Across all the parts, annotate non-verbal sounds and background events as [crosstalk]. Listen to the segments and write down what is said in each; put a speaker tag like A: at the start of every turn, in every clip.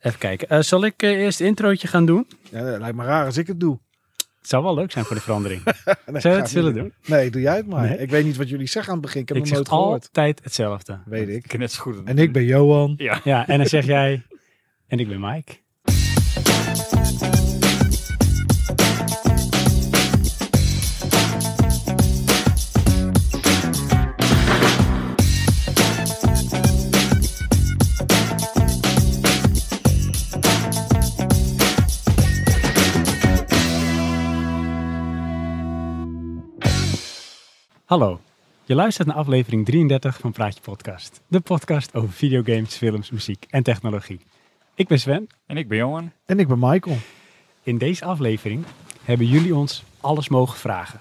A: Even kijken. Eh, zal ik eh, eerst het introotje gaan doen?
B: Ja, dat lijkt me raar als ik het doe.
A: Het zou wel leuk zijn voor de [laughs] verandering.
B: Nee,
A: Zou je
B: ga
A: het
B: ik
A: willen
B: niet
A: doen?
B: Nee, doe jij het maar.
A: Nee.
B: Ik weet niet wat jullie zeggen aan het begin. Ik heb
A: Ik
B: het
A: zeg
B: nooit gehoord.
A: altijd hetzelfde.
B: Weet ik.
C: kan net zo goed.
B: En ik ben Johan.
C: Ja.
A: Ja, en dan zeg jij... En ik ben Mike. Hallo, je luistert naar aflevering 33 van Praatje Podcast. De podcast over videogames, films, muziek en technologie. Ik ben Sven.
C: En ik ben Johan.
B: En ik ben Michael.
A: In deze aflevering hebben jullie ons alles mogen vragen.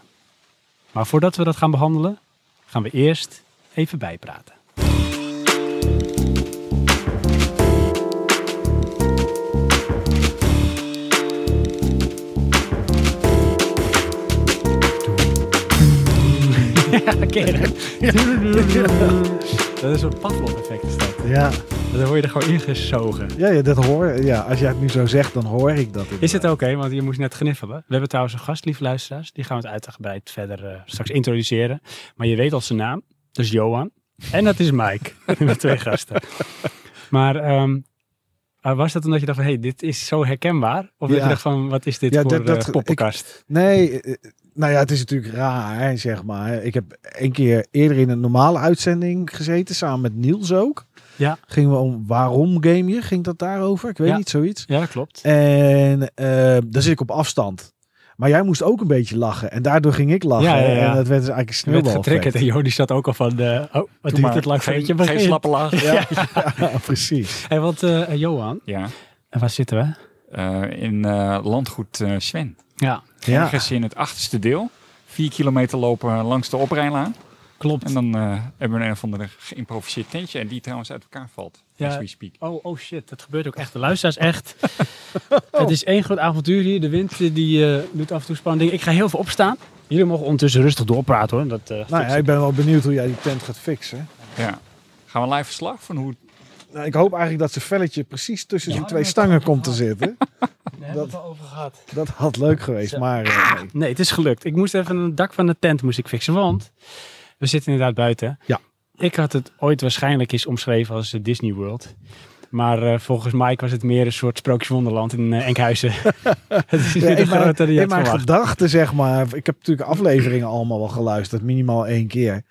A: Maar voordat we dat gaan behandelen, gaan we eerst even bijpraten. [laughs] Ja, ken je dat? Dat is een Pavlov-effect. is dat.
B: [laughs] Ja.
A: Dan word je er gewoon ingezogen.
B: Ja, ja, dat hoor Ja, als jij het nu zo zegt, dan hoor ik dat.
A: Is het
B: inderdaad.
A: oké? Want je moest net gniffelen. We hebben trouwens een gast, lieve luisteraars. Die gaan we het uitgebreid verder eh, straks introduceren. Maar je weet al zijn naam. Dat is Johan. En dat is Mike. [laughs] Met twee gasten. Maar ehm, eh, was dat omdat je dacht van, hé, hey, dit is zo herkenbaar? Of dat
B: Ja.
A: je dacht van, wat is dit
B: Ja,
A: voor
B: dat- dat-
A: eh, poppenkast?
B: Nee, eh, eh, nou ja, het is natuurlijk raar, zeg maar. Ik heb één keer eerder in een normale uitzending gezeten, samen met Niels ook.
A: Ja.
B: Gingen we om waarom game je? Ging dat daarover? Ik weet
A: Ja.
B: niet, zoiets.
A: Ja, dat klopt.
B: En eh, daar zit ik op afstand. Maar jij moest ook een beetje lachen. En daardoor ging ik lachen.
A: Ja, ja, ja.
B: En dat werd dus eigenlijk
A: Je
B: een
A: werd
B: sneeuwbal
A: getriggerd. En Jo, die zat ook al van, eh, oh, wat duurt het lang voordat je
C: geen, geen
A: begint?
C: slappe laag. Ja.
B: Ja,
A: [laughs]
B: ja, [laughs] precies.
A: Hé, want eh, Johan, en waar zitten we?
C: Eh, in eh, landgoed eh, Sven.
A: Ja,
B: Ja.
C: Ergens in het achterste deel. Vier kilometer lopen langs de oprijlaan.
A: klopt.
C: En dan eh, hebben we een of andere geïmproviseerd tentje. En die trouwens uit elkaar valt.
A: Ja.
C: As we speak.
A: Oh, oh shit, dat gebeurt ook echt. De luisteraars echt. [laughs] Het is één groot avontuur hier. De wind eh, die eh, doet af en toe spannende dingen. Ik ga heel veel opstaan. Jullie mogen ondertussen rustig doorpraten hoor. Dat, eh,
B: Nou
A: fix
B: ja,
A: ik.
B: ik ben wel benieuwd hoe jij die tent gaat fixen.
C: Ja. Gaan we live verslag van hoe...
B: Nou, ik hoop eigenlijk dat zijn velletje precies tussen
A: Ja,
B: die twee
A: dat-
B: stangen komt te zitten.
A: Daar hebben we het al over gehad.
B: Dat had leuk geweest,
A: Zo.
B: maar eh, nee.
A: Nee, het is gelukt. Ik moest even het dak van de tent moest ik fixen, want we zitten inderdaad buiten.
B: Ja.
A: Ik had het ooit waarschijnlijk eens omschreven als eh, Disney World. Maar eh, volgens Mike was het meer een soort sprookjeswonderland in eh, Enkhuizen. [laughs] het is niet
B: Ja,
A: de
B: in mijn,
A: grote die je had
B: in mijn
A: verwacht.
B: gedachten, zeg maar. Ik heb natuurlijk afleveringen allemaal wel geluisterd, minimaal één keer.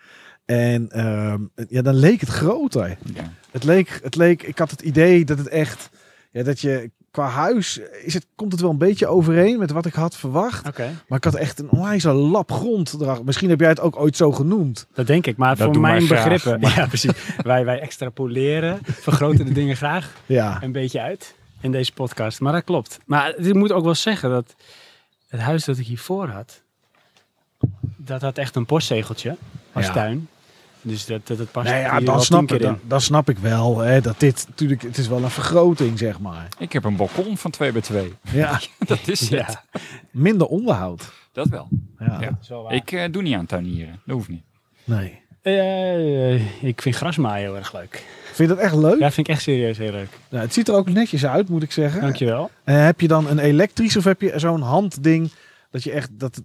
B: En ehm, ja, dan leek het groter.
C: Ja.
B: Het leek, het leek, ik had het idee dat het echt, ja, dat je qua huis, is het, komt het wel een beetje overeen met wat ik had verwacht.
A: Oké,
B: Maar ik had echt een onwijs lap grond. erachter. Misschien heb jij het ook ooit zo genoemd.
A: Dat denk ik, maar
C: Dat
A: voor
C: doen wij
A: mijn
C: graag,
A: begrippen.
B: [laughs]
A: Ja, precies. wij, wij extrapoleren, vergroten de dingen graag
B: Ja,
A: een beetje uit in deze podcast. Maar dat klopt. Maar ik moet ook wel zeggen dat het huis dat ik hiervoor had, dat had echt een postzegeltje als
B: Ja.
A: tuin. Dus dat, dat, dat past
B: nee, ja
A: hier wel
B: dan,
A: tien
B: snap
A: keer
B: ik, dan,
A: in.
B: dan snap ik wel hè, dat dit natuurlijk, het is wel een vergroting, zeg maar.
C: Ik heb een balkon van 2 bij 2
A: [laughs]
B: Ja,
C: [laughs] Dat is het.
A: Ja,
B: minder onderhoud.
C: Dat wel.
B: Ja,
C: Ja.
A: dat is wel waar. Ik,
C: Ik eh, doe niet aan tuinieren. Dat hoeft niet.
B: nee.
A: eh, ik vind grasmaaien heel erg leuk.
B: Vind je dat echt leuk?
A: Ja, vind ik echt serieus heel leuk.
B: Nou, het ziet er ook netjes uit, moet ik zeggen.
A: Dankjewel.
B: Eh, heb je dan een elektrisch of heb je zo'n handding dat je echt dat,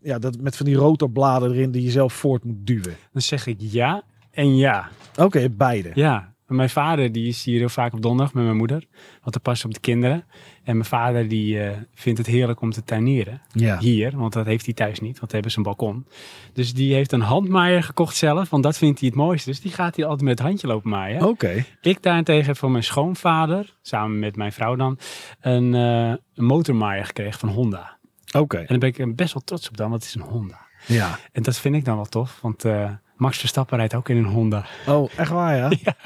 B: ja, dat met van die rotorbladen erin die je zelf voort moet duwen?
A: Dan zeg ik ja en ja.
B: Oké, beide.
A: Ja, en mijn vader die is hier heel vaak op donderdag met mijn moeder. Want dan past ze op de kinderen. En mijn vader die eh, vindt het heerlijk om te tuinieren.
B: Ja.
A: Hier, want dat heeft hij thuis niet. Want daar hebben ze een balkon. Dus die heeft een handmaaier gekocht zelf. Want dat vindt hij het mooiste. Dus die gaat hier altijd met het handje lopen maaien.
B: Oké.
A: Ik daarentegen heb van mijn schoonvader, samen met mijn vrouw dan, een, eh, een motormaaier gekregen van Honda.
B: Oké.
A: En daar ben ik best wel trots op dan, want het is een Honda.
B: Ja.
A: En dat vind ik dan wel tof, want eh, Max Verstappen rijdt ook in een Honda.
B: Oh, echt waar,
A: [laughs]
B: ja?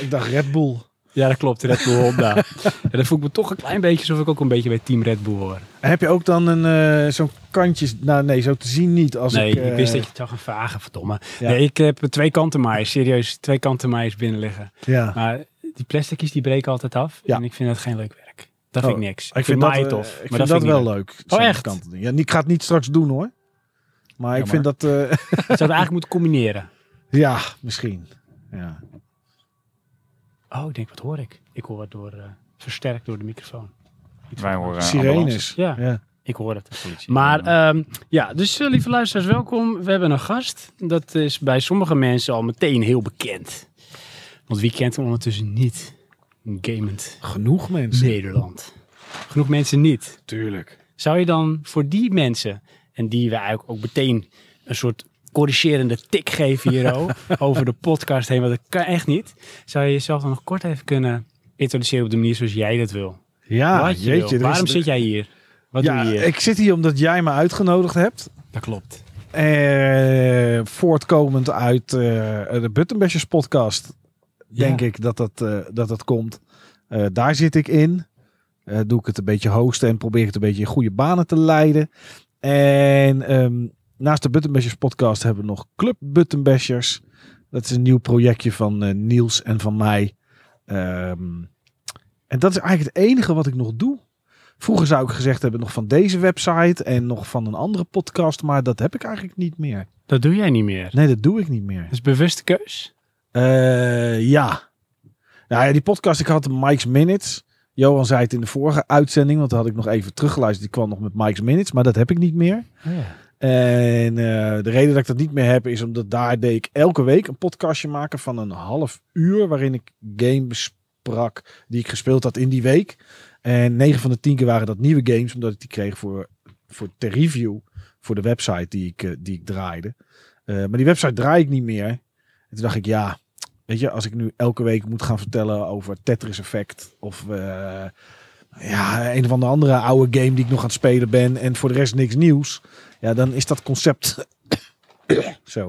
B: Ik dacht Red Bull.
A: Ja, dat klopt. Red Bull
B: [laughs]
A: Honda. ja, dan voel ik me toch een klein beetje alsof ik ook een beetje bij Team Red Bull hoor.
B: En heb je ook dan een eh, zo'n kantjes? Nou, nee, zo te zien niet. Als
A: nee, ik,
B: ik, eh,
A: wist dat je het zou gaan vragen, verdomme.
B: Ja.
A: Nee, ik heb twee kanten maaiers, serieus. Twee kanten maaiers binnen liggen.
B: Ja.
A: Maar die plasticjes die breken altijd af.
B: Ja.
A: En ik vind dat geen leuk werk. Dat
B: Oh,
A: vind ik niks.
B: Ik vind dat,
A: maaien
B: eh,
A: tof.
B: Ik
A: maar
B: vind dat,
A: vind ik
B: wel
A: niet Oh,
B: leuk. zo'n
A: echt?
B: kanten ding. Ja, niet- ik ga het niet straks doen hoor. Maar ik vind
C: Jammer.
B: dat, eh, [laughs]
A: leuk. Je zou het eigenlijk moeten combineren.
B: ja, misschien. Ja.
A: Oh, ik denk, wat hoor ik? Ik hoor het door, eh, versterkt door de microfoon. Iets
C: Wij
A: van-
C: horen eh, ambulances,
B: Sirenes.
A: Ja,
B: Ja.
A: ik hoor het.
C: politie.
A: Maar
C: Ja.
A: ehm, ja, dus eh, lieve luisteraars, welkom. We hebben een gast. Dat is bij sommige mensen al meteen heel bekend. Want wie kent hem ondertussen niet? Gamend
B: Genoeg mensen.
A: Nederland. Genoeg mensen niet.
B: Tuurlijk.
A: Zou je dan voor die mensen, en die we eigenlijk ook meteen een soort corrigerende tik geven hier
B: [laughs]
A: ook, over de podcast heen, want dat kan echt niet. Zou je jezelf dan nog kort even kunnen introduceren op de manier zoals jij dat wil?
B: Ja,
A: Wat je wil.
B: Ah, jeetje. er is-
A: Waarom zit jij hier? Wat
B: ja,
A: doe je hier?
B: Ik zit hier omdat jij me uitgenodigd hebt.
A: Dat klopt.
B: Eh, voortkomend uit eh, de Buttonbashers podcast, denk
A: Ja.
B: ik dat dat, eh, dat dat komt. Eh, daar zit ik in. Eh, doe ik het een beetje hosten en probeer ik het een beetje in goede banen te leiden. En ehm, naast de Buttonbashers podcast hebben we nog Club Buttonbashers. Dat is een nieuw projectje van eh, Niels en van mij. Ehm, en dat is eigenlijk het enige wat ik nog doe. Vroeger zou ik gezegd hebben nog van deze website en nog van een andere podcast, maar dat heb ik eigenlijk niet meer.
A: Dat doe jij niet meer.
B: Nee, dat doe ik niet meer.
A: Dat is bewuste keus.
B: Eh, ja. Nou ja, die podcast, ik had Mike's Minutes. Johan zei het in de vorige uitzending, want daar had ik nog even teruggeluisterd. Die kwam nog met Mike's Minutes, maar dat heb ik niet meer. En eh, de reden dat ik dat niet meer heb, is omdat daar deed ik elke week een podcastje maken van een half uur. Waarin ik game besprak die ik gespeeld had in die week. En 9 van de 10 keer waren dat nieuwe games, omdat ik die kreeg voor, voor ter review. Voor de website die ik, eh, die ik draaide. Eh, maar die website draai ik niet meer. En toen dacht ik, ja, weet je, als ik nu elke week moet gaan vertellen over Tetris Effect. Of eh, ja, een of andere andere oude game die ik nog aan het spelen ben. En voor de rest niks nieuws. Ja, dan is dat concept. [coughs] Zo.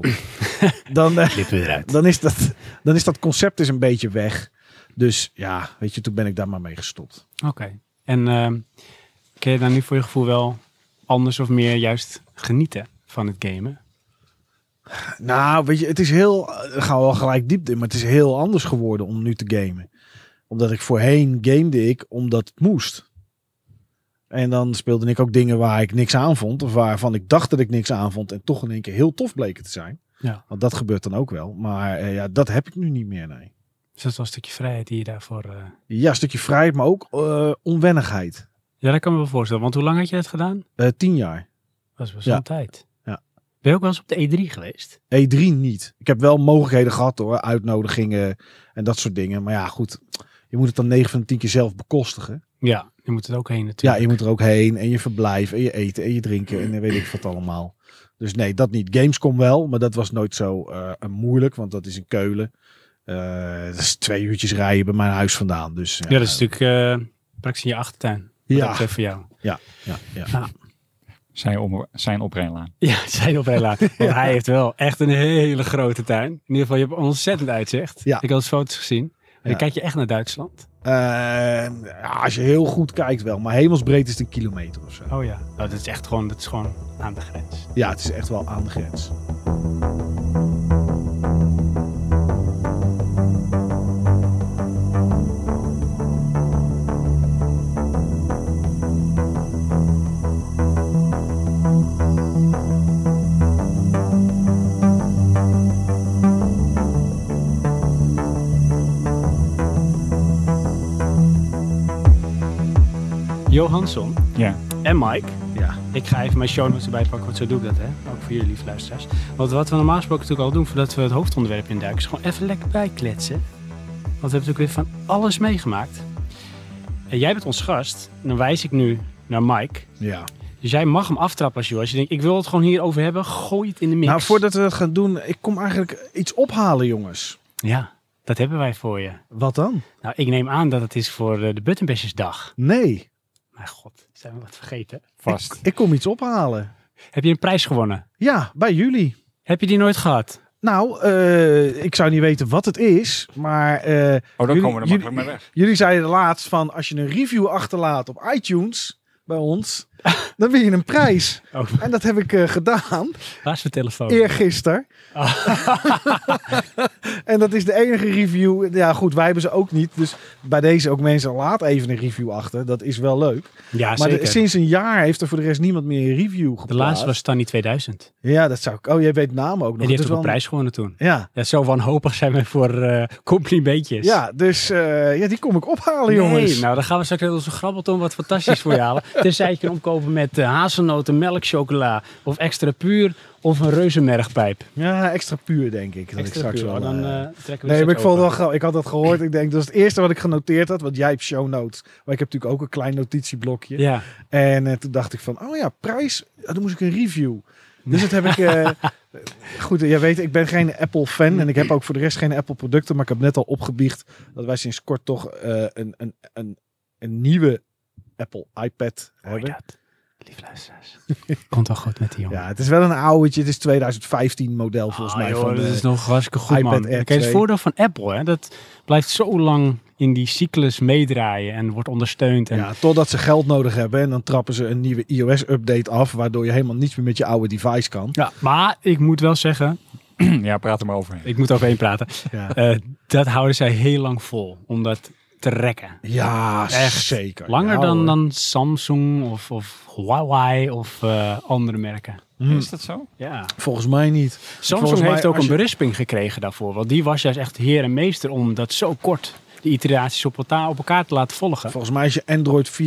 B: Dan, eh,
A: [laughs] Klippen eruit.
B: dan, is dat, dan is dat concept is een beetje weg. Dus ja, weet je, toen ben ik daar maar mee gestopt.
A: Oké. En ehm kun je daar nu voor je gevoel wel anders of meer juist genieten van het gamen?
B: Nou, weet je, het is heel. eh, Gaan we wel gelijk diep in, maar het is heel anders geworden om nu te gamen. Omdat ik voorheen gamede ik omdat het moest. En dan speelde ik ook dingen waar ik niks aan vond. Of waarvan ik dacht dat ik niks aan vond. En toch in één keer heel tof bleken te zijn.
A: Ja.
B: Want dat gebeurt dan ook wel. Maar eh, ja, dat heb ik nu niet meer, nee.
A: Dus dat is wel een stukje vrijheid die je daarvoor... eh,
B: Ja, een stukje vrijheid, maar ook eh, onwennigheid.
A: Ja, dat kan ik me wel voorstellen. Want hoe lang had je dat gedaan?
B: Eh, tien jaar.
A: Dat is best
B: Ja.
A: wel een tijd.
B: Ja.
A: Ben je ook wel eens op de E3 geweest?
B: E3 E niet. Ik heb wel mogelijkheden gehad hoor. Uitnodigingen en dat soort dingen. Maar ja, goed. Je moet het dan 9 van de 10 keer zelf bekostigen.
A: Ja. Je moet het ook heen
B: Ja,
A: natuurlijk.
B: je moet er ook heen. En je verblijf. En je eten. En je drinken. En dan weet ik wat allemaal. Dus nee, dat niet. Gamescom wel. Maar dat was nooit zo eh, moeilijk. Want dat is in Keulen. Eh, dat is twee uurtjes rijden bij mijn huis vandaan. Dus ja,
A: Ja, dat is natuurlijk eh, praktisch in je achtertuin. Wat dat
B: Ja,
A: betreft voor jou.
B: ja, ja.
C: Zijn, om, zijn oprijlaan.
A: Ja, zijn op
B: [laughs]
A: helaas. Want hij heeft wel echt een hele grote tuin. In ieder geval, je hebt ontzettend uitzicht.
B: Ja.
A: Ik had eens foto's gezien. En
B: Ja.
A: dan kijk je echt naar Duitsland.
B: Eh, ja, als je heel goed kijkt wel. Maar hemelsbreed is het een kilometer of zo.
A: Oh ja. dat is echt gewoon, dat is gewoon aan de grens.
B: Ja, het is echt wel aan de grens.
A: Johansson
C: Ja.
A: en Mike.
B: Ja.
A: Ik ga even mijn show notes erbij pakken, want zo doe ik dat, hè. Ook voor jullie, lieve luisteraars. Want wat we normaal gesproken natuurlijk al doen, voordat we het hoofdonderwerp induiken, is gewoon even lekker bijkletsen. Want we hebben natuurlijk weer van alles meegemaakt. En jij bent ons gast. En dan wijs ik nu naar Mike.
B: Ja.
A: Dus jij mag hem aftrappen als je wil. Als je denkt, ik wil het gewoon hierover hebben, gooi het in de mix.
B: Nou, voordat we dat gaan doen, ik kom eigenlijk iets ophalen, jongens.
A: Ja, dat hebben wij voor je.
B: Wat dan?
A: Nou, ik neem aan dat het is voor eh, de Buttonbashesdag.
B: Nee,
A: Mijn god, zijn we wat vergeten.
C: Vast.
B: ik kom iets ophalen.
A: Heb je een prijs gewonnen?
B: Ja, bij jullie.
A: Heb je die nooit gehad?
B: Nou, eh, ik zou niet weten wat het is, maar eh,
C: Oh, dan
B: Jullie-
C: komen we er
B: jullie-
C: makkelijk mee weg.
B: jullie zeiden laatst van als je een review achterlaat op iTunes, bij [laughs] ons, dan win je een prijs.
A: Oh.
B: En dat heb ik eh, gedaan
A: Waar is mijn
B: Oh.
A: telefoon?
B: [laughs] eergisteren.
A: Ah.
B: en dat is de enige review. Ja, goed, wij hebben ze ook niet. Dus bij deze ook mensen, laat even een review achter. Dat is wel leuk.
A: Ja,
B: maar
A: Ah,
B: de-
A: zeker. De,
B: sinds een jaar heeft er voor de rest niemand meer een review geplaatst.
A: laatste was Stanny 2000.
B: Ja, dat zou ik. Oh, jij weet namen ook nog.
A: en die heeft
B: Dat
A: ook
B: is
A: een
B: wel
A: prijs gewonnen toen.
B: Ja.
A: Ja, zo wanhopig zijn we voor eh, complimentjes.
B: Ja, dus eh, ja, die kom ik ophalen, jongens.
A: Nee, nou dan gaan we straks net onze grabbelton wat fantastisch voor je
B: [laughs]
A: halen. Tenzij je kan omkopen met eh, hazelnoten, melkchocola of extra puur of een reuzenmergpijp.
B: Ja, extra puur, denk ik. Dat ik
A: Extra
B: straks
A: puur,
B: wel,
A: dan
B: eh,
A: eh, trekken we
B: Nee,
A: die
B: maar
A: straks
B: ik vond het wel
A: open.
B: grappig. Ik had dat gehoord. Ik denk, dat is het eerste wat ik genoteerd had. Want jij hebt show notes. Maar ik heb natuurlijk ook een klein notitieblokje.
A: Ja,
B: En eh, toen dacht ik van, oh ja, prijs. Ah, dan moest ik een review. Dus dat heb ik...
A: [laughs]
B: eh, goed, eh, jij weet, ik ben geen Apple-fan. En ik heb ook voor de rest geen Apple-producten. Maar ik heb net al opgebiecht dat wij sinds kort toch eh, een, een, een, een nieuwe Apple iPad
A: hoor je
B: hebben.
A: dat? Lief luisteraars. Komt wel goed met die jongen.
B: Ja, het is wel een ouwetje. Het is 2015 model volgens
A: Ah,
B: mij.
A: joh,
B: van eh,
A: dat
B: de-
A: is nog hartstikke goed,
B: iPad
A: man.
B: Air
A: Kijk, het is
B: 2.
A: het voordeel van Apple, hè, dat blijft zo lang in die cyclus meedraaien en wordt ondersteund. En,
B: Ja, totdat ze geld nodig hebben en dan trappen ze een nieuwe iOS-update af, waardoor je helemaal niets meer met je oude device kan.
A: Ja, maar ik moet wel zeggen,
C: [clears throat] Ja, praat er maar over.
A: ik moet overheen praten,
B: Ja,
A: eh, dat houden zij heel lang vol om dat te rekken.
B: ja
A: Echt.
B: zeker.
A: Langer
B: Ja,
A: dan,
B: hoor.
A: dan Samsung of, of Huawei of eh, andere merken.
B: Hm,
C: Is dat zo?
A: Ja.
B: volgens mij niet. Volgens
A: Samsung
B: mij
A: heeft ook
B: als
A: een
B: je-
A: berisping gekregen daarvoor. Want die was juist echt heer en meester om dat zo kort de iteraties op, elta- op elkaar te laten volgen.
B: Volgens mij als je Android 4.2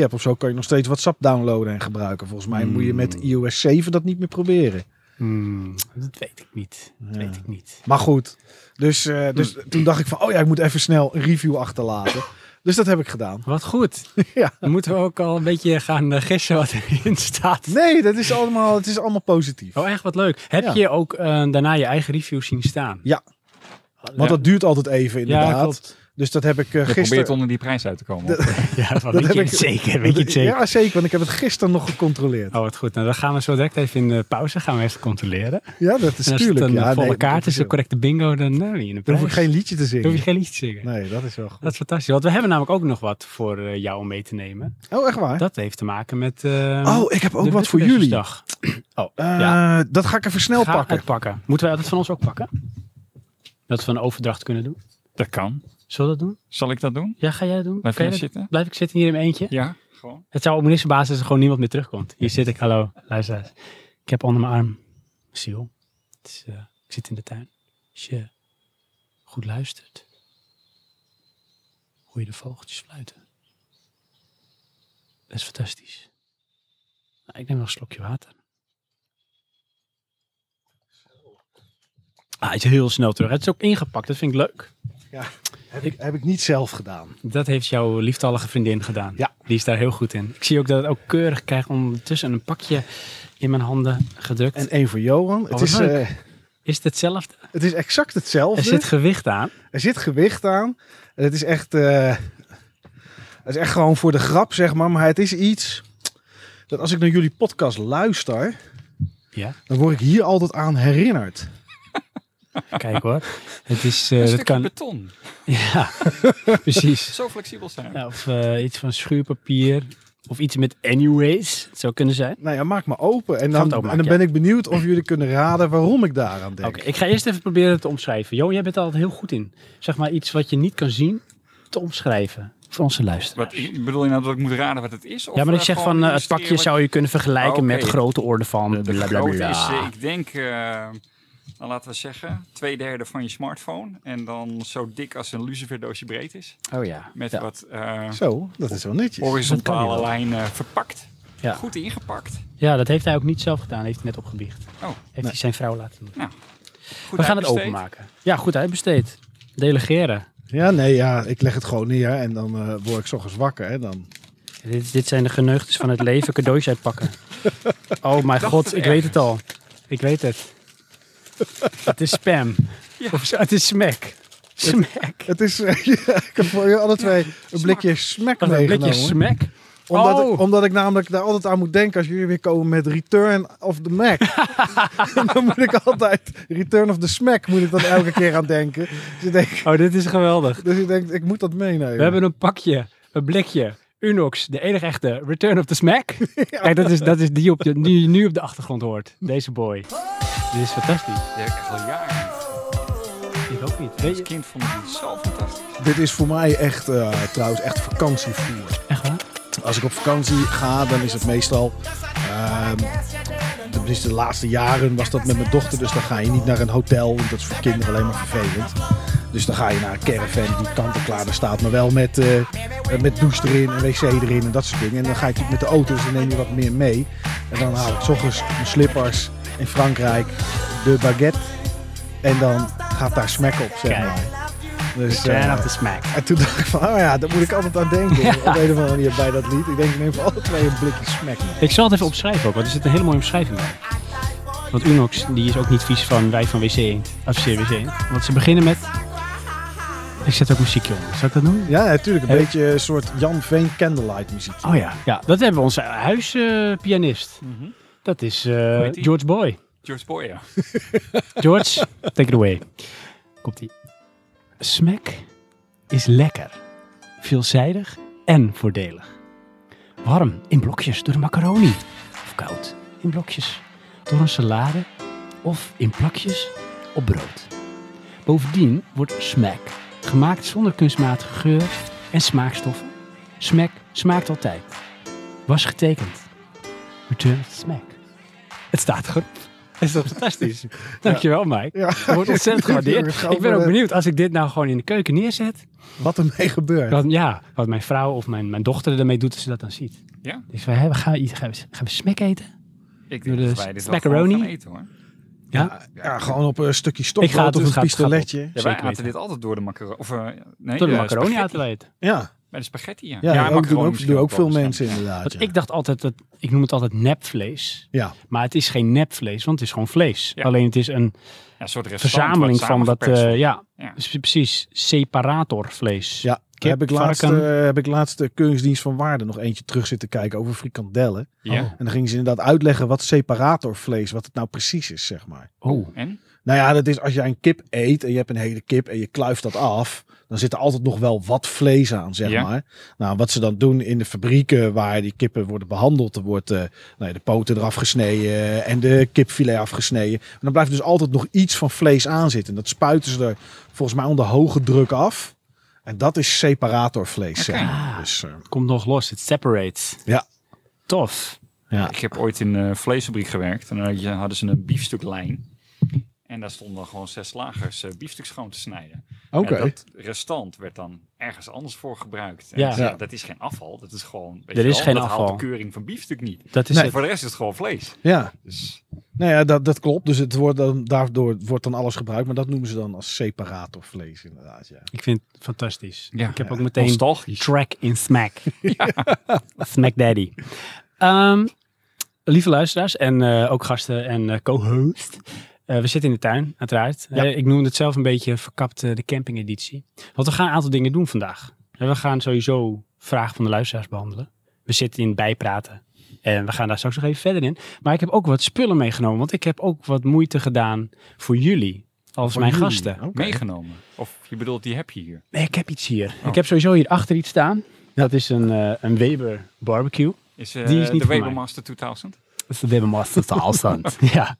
B: hebt of zo, kan je nog steeds WhatsApp downloaden en gebruiken. Volgens mij moet je met iOS 7 dat niet meer proberen.
A: Hmm, dat weet ik niet. Dat weet ik niet.
B: Maar goed, dus, eh, dus
A: Hmm.
B: toen dacht ik van, oh ja, ik moet even snel een review achterlaten. Dus dat heb ik gedaan.
A: Wat goed.
B: [laughs] Ja.
A: Dan moeten we ook al een beetje gaan eh, gissen wat erin staat.
B: Nee, dat is allemaal, het is allemaal positief.
A: Oh, echt wat leuk. Heb
B: Ja.
A: je ook eh, daarna je eigen review zien staan?
B: Ja.
A: Ja.
B: Want dat duurt altijd even
A: ja,
B: inderdaad.
A: klopt.
B: dus dat heb ik eh,
C: Je
B: gisteren...
C: probeert onder die prijs uit te komen.
A: Ja, [laughs] dat
B: Dat
A: weet je
B: heb
A: het
B: ik-
A: zeker. Weet je het zeker?
B: Ja, zeker, want ik heb het gisteren nog gecontroleerd.
A: Oh, wat goed. Nou, dan gaan we zo direct even in de pauze gaan we even controleren.
B: Ja, dat is
A: en als het
B: tuurlijk.
A: een
B: ja,
A: eh, volle
B: nee,
A: kaart
B: dat
A: is, een correcte bingo, dan eh, win je een
B: Dan
A: prijs.
B: hoef ik geen liedje te
A: Dan hoef
B: zingen.
A: je geen liedje te zingen.
B: Nee, dat is wel goed.
A: Dat is fantastisch. Want we hebben namelijk ook nog wat voor eh, jou om mee te nemen.
B: Oh, echt waar?
A: Dat heeft te maken met... eh,
B: oh, ik heb ook
A: de
B: wat voor jullie.
A: Buttermessersdag. Oh,
B: Eh,
A: ja.
B: Dat ga ik even snel
A: Ga
B: pakken.
A: het pakken. Moeten wij dat van ons ook pakken? Dat we een overdracht kunnen doen?
C: Dat kan.
A: Zullen we dat doen?
C: Zal ik dat doen?
A: Ja, ga jij dat doen?
C: Blijf
A: Kan
C: jij
A: jij dat-
C: zitten?
A: Blijf ik zitten hier in mijn eentje?
C: Ja, gewoon.
A: Het zou op ministerbasis dat er gewoon niemand meer terugkomt. Hier zit ik, hallo, luisteraars. Ik heb onder mijn arm ziel. Het is, eh, ik zit in de tuin. Als je goed luistert, hoor je de vogeltjes fluiten. Dat is fantastisch. Nou, ik neem nog een slokje water. Ah, hij is heel snel terug. Het is ook ingepakt, dat vind ik leuk.
B: Heb ik, heb ik niet zelf gedaan.
A: Dat heeft jouw lieftallige vriendin gedaan.
B: Ja.
A: Die is daar heel goed in. Ik zie ook dat het ook keurig krijgt ondertussen een pakje in mijn handen gedrukt.
B: En één voor Johan. Het
A: Oh, wat
B: is,
A: leuk.
B: eh,
A: is het hetzelfde?
B: het is exact
A: Er
B: hetzelfde.
A: zit gewicht aan.
B: gewicht aan. En het is echt... eh, het is echt gewoon voor de grap, zeg maar. Maar het is iets... Dat als ik naar jullie podcast luister,
A: Ja,
B: dan word ik hier altijd aan herinnerd.
A: kijk hoor. Het is,
C: Een
A: eh dat
C: stukje
A: kan,
C: beton.
A: ja, precies.
C: Zo flexibel zijn.
A: Ja, of eh, iets van schuurpapier. Of iets met anyways. Het zou kunnen zijn.
B: Nou ja, maak me open. En
A: Ga het
B: dan,
A: openmaken,
B: en dan ben ik benieuwd of jullie kunnen raden waarom ik daaraan denk.
A: Oké, ik ga eerst even proberen te omschrijven. Jo, jij bent er altijd heel goed in. Zeg maar iets wat je niet kan zien, te omschrijven. Voor onze luisteraars.
C: Wat, ik bedoel je nou dat ik moet raden wat het is? Of,
A: ja, maar ik
C: eh,
A: zeg
C: gewoon
A: van eh, het
C: illustreren
A: pakje
C: wat-
A: zou je kunnen vergelijken
C: Ah, oké.
A: met grote orde van
C: De
A: blablabla.
C: grote is, eh, ik denk, eh, nou, laten we zeggen, twee derde van je smartphone. En dan zo dik als een luciferdoosje breed is.
A: Oh ja.
C: Met
A: ja.
C: wat eh,
B: Zo, dat is wel netjes.
A: Dat kan
C: horizontale
A: je wel.
C: lijnen verpakt.
A: Ja.
C: Goed ingepakt.
A: Ja, dat heeft hij ook niet zelf gedaan. Heeft hij net opgebiecht.
C: Oh,
A: Heeft hij zijn vrouw laten doen.
C: nou. Goed
A: We gaan het
C: uitbesteed.
A: openmaken. Ja, goed uitbesteed. Delegeren.
B: Ja, nee, ja, ik leg het gewoon neer en dan eh, word ik 's ochtends wakker. Hè, dan.
A: Dit, dit zijn de geneugtes van het leven. Cadeautjes [laughs] uitpakken. Oh mijn
C: dacht
A: god,
C: het
A: ik weet het al. Ik weet het. Het is spam.
C: Ja.
A: Of zo, het is smack. Smack.
B: Het is, [laughs] eh, ja, ik heb voor jullie alle twee een blikje smack
A: Wat een blikje
B: meegenomen.
A: smack.
B: omdat, ik,
A: Oh.
B: omdat ik namelijk daar altijd aan moet denken als jullie weer komen met Return of the
A: [laughs]
B: Mac. En dan moet ik altijd Return of the Smack, moet ik dan elke keer aan denken. Dus ik denk,
A: Oh, dit is geweldig.
B: dus ik, denk ik moet dat meenemen.
A: We hebben een pakje, een blikje, Unox, de enige echte Return of the [laughs] Smack. Kijk, dat is, dat is die, op de, die je nu op de achtergrond hoort. Deze boy. Dit is fantastisch.
C: Die heb ik echt al jaren. niet.
A: Ik ook niet. Weet
C: Als
A: je?
C: kind vond ik het zo fantastisch.
B: Dit is voor mij echt, eh, trouwens, echt vakantievoer.
A: Echt waar?
B: Als ik op vakantie ga, dan is het meestal... ehm, dat is de laatste jaren was dat met mijn dochter. Dus dan ga je niet naar een hotel. Want dat is voor kinderen alleen maar vervelend. Dus dan ga je naar een caravan die kant-en-klaar er staat. Maar wel met, eh, eh, met douche erin en wc erin en dat soort dingen. En dan ga je natuurlijk met de auto's en neem je wat meer mee. En dan haal ik 's ochtends mijn slippers in Frankrijk de baguette. En dan gaat daar smack op, zeg
A: Kijk.
B: maar. Dus,
A: Return
B: eh,
A: of the Smack.
B: en toen dacht ik van, oh ja, daar moet ik altijd aan denken. Op een of andere manier bij dat lied. Ik denk, ik neem voor alle twee een blikje smack mee.
A: Ik zal het even opschrijven ook, want er zit een hele mooie omschrijving bij. Want Unox die is ook niet vies van wij van WC Eend. Of zeer WC Eend. Want ze beginnen met... Ik zet ook muziekje onder. Zal ik dat doen?
B: Ja, natuurlijk. een
A: Heb-
B: beetje een soort Jan Veen candlelight muziek.
A: Oh ja. ja. Dat hebben we onze huispianist. Dat is eh,
C: heet die?
A: George Boy.
C: George Boyer.
A: George, take it away. Komt ie. Smack is lekker, veelzijdig en voordelig. Warm in blokjes door de macaroni. Of koud in blokjes door een salade. Of in plakjes op brood. Bovendien wordt smack gemaakt zonder kunstmatige geur en smaakstoffen. Smack smaakt altijd. Was getekend. Return of the smack. Het staat erop. Is dat fantastisch? [laughs] Dankjewel, Mike.
B: Ja.
A: Dat wordt ontzettend
B: Jongens,
A: [laughs] gewaardeerd.
B: ga
A: Ik ben
B: voor
A: ook
B: de-
A: benieuwd, als ik dit nou gewoon in de keuken neerzet,
B: Wat ermee gebeurt.
A: wat, ja, wat mijn vrouw of mijn, mijn dochter ermee doet, dat ze dat dan ziet.
C: Ja.
A: Dus wij hebben, gaan, we, iets- gaan, we, gaan we smack eten?
C: Ik
A: Doe
C: denk
A: de
C: dat wij dit wel
A: macaroni.
C: gewoon gaan eten hoor.
A: Ja.
B: Ja, gewoon op een stukje
A: Ik ga het
B: stokbrood
A: doen,
B: of een
A: gaat- gaat op.
B: pistoletje.
C: Ja, wij
A: Zeker
C: aten
A: weten.
C: dit altijd door de macaroni. Of, eh, nee,
A: Door de
C: eh,
A: macaroni uit
C: spaghetti.
A: te eten.
B: Ja,
C: Bij de spaghetti, ja.
B: ja, ook, doen
C: macaroni
B: ook,
C: misschien
B: doen ook veel
C: wel bestemd.
B: mensen inderdaad.
A: Want
B: Ja.
A: ik dacht altijd, dat, ik noem het altijd nepvlees.
B: ja.
A: Maar het is geen nepvlees, want het is gewoon vlees.
C: Ja.
A: Alleen het is een
C: Ja, een soort restaurant
A: verzameling
C: wat
A: van dat,
C: samengeperst
A: eh, ja,
C: Ja.
A: dus precies, separatorvlees.
B: Ja,
A: Kip,
B: daar heb ik, laatst, eh,
A: varken.
B: heb ik laatst de Keuringsdienst van Waarde nog eentje terug zitten kijken over frikandellen.
C: wordt. Ja.
A: Oh.
B: En dan gingen ze inderdaad uitleggen wat separatorvlees, wat het nou precies is, zeg maar.
A: Oh,
C: En?
B: Nou ja, dat is als jij een kip eet en je hebt een hele kip en je kluift dat af, dan zit er altijd nog wel wat vlees aan, zeg
C: Ja.
B: maar. Nou, wat ze dan doen in de fabrieken waar die kippen worden behandeld, er wordt eh, nou ja, de poten eraf gesneden en de kipfilet afgesneden. En dan blijft dus altijd nog iets van vlees aan zitten. En dat spuiten ze er volgens mij onder hoge druk af. En dat is separatorvlees, zeg
C: Oké.
B: maar. Dus, eh,
A: het komt nog los. Het separates.
B: Ja.
A: Tof.
B: ja.
C: Ik heb ooit in een vleesfabriek gewerkt. En dan had je- hadden ze een biefstuklijn. En daar stonden dan gewoon zes lagers eh, biefstuk schoon te snijden.
B: Oké.
C: En dat restant werd dan ergens anders voor gebruikt. En
A: Ja.
C: ik zei,
B: Ja.
C: Dat is geen afval. Dat is gewoon... weet
A: Er
C: je
A: is
C: wel,
A: geen
C: dat haalt
A: afval.
C: de keuring van biefstuk niet.
A: Dat is
B: Nee.
A: het.
C: Voor de rest is het gewoon vlees.
B: Ja,
C: Dus
B: nou ja, dat, dat klopt. Dus het wordt dan, daardoor wordt dan alles gebruikt. Maar dat noemen ze dan als separatorvlees, inderdaad. Ja.
A: Ik vind het fantastisch.
C: Ja.
A: ik heb
B: Ja.
A: ook meteen
C: nostalgisch.
A: track in
B: [laughs]
A: smack. Smack daddy. Ehm, lieve luisteraars en eh, ook gasten en eh, co-host. Eh, we zitten in de tuin, uiteraard.
B: Ja.
A: Eh, ik noem het zelf een beetje verkapt eh, de camping editie. Want we gaan een aantal dingen doen vandaag. En we gaan sowieso vragen van de luisteraars behandelen. We zitten in bijpraten. En we gaan daar straks nog even verder in. Maar ik heb ook wat spullen meegenomen. Want ik heb ook wat moeite gedaan voor jullie. Als
B: Voor
A: mijn
B: jullie.
A: gasten.
B: Oké.
C: Meegenomen. Of je bedoelt, die heb je hier.
A: Nee, ik heb iets hier.
C: Oh.
A: Ik heb sowieso hier achter iets staan. Dat is een, eh, een Weber barbecue.
C: Is, eh,
A: Die is niet
C: de
A: van mij.
C: Webermaster 2000?
A: Dat is de Weber Master Saalstand. [laughs] ja.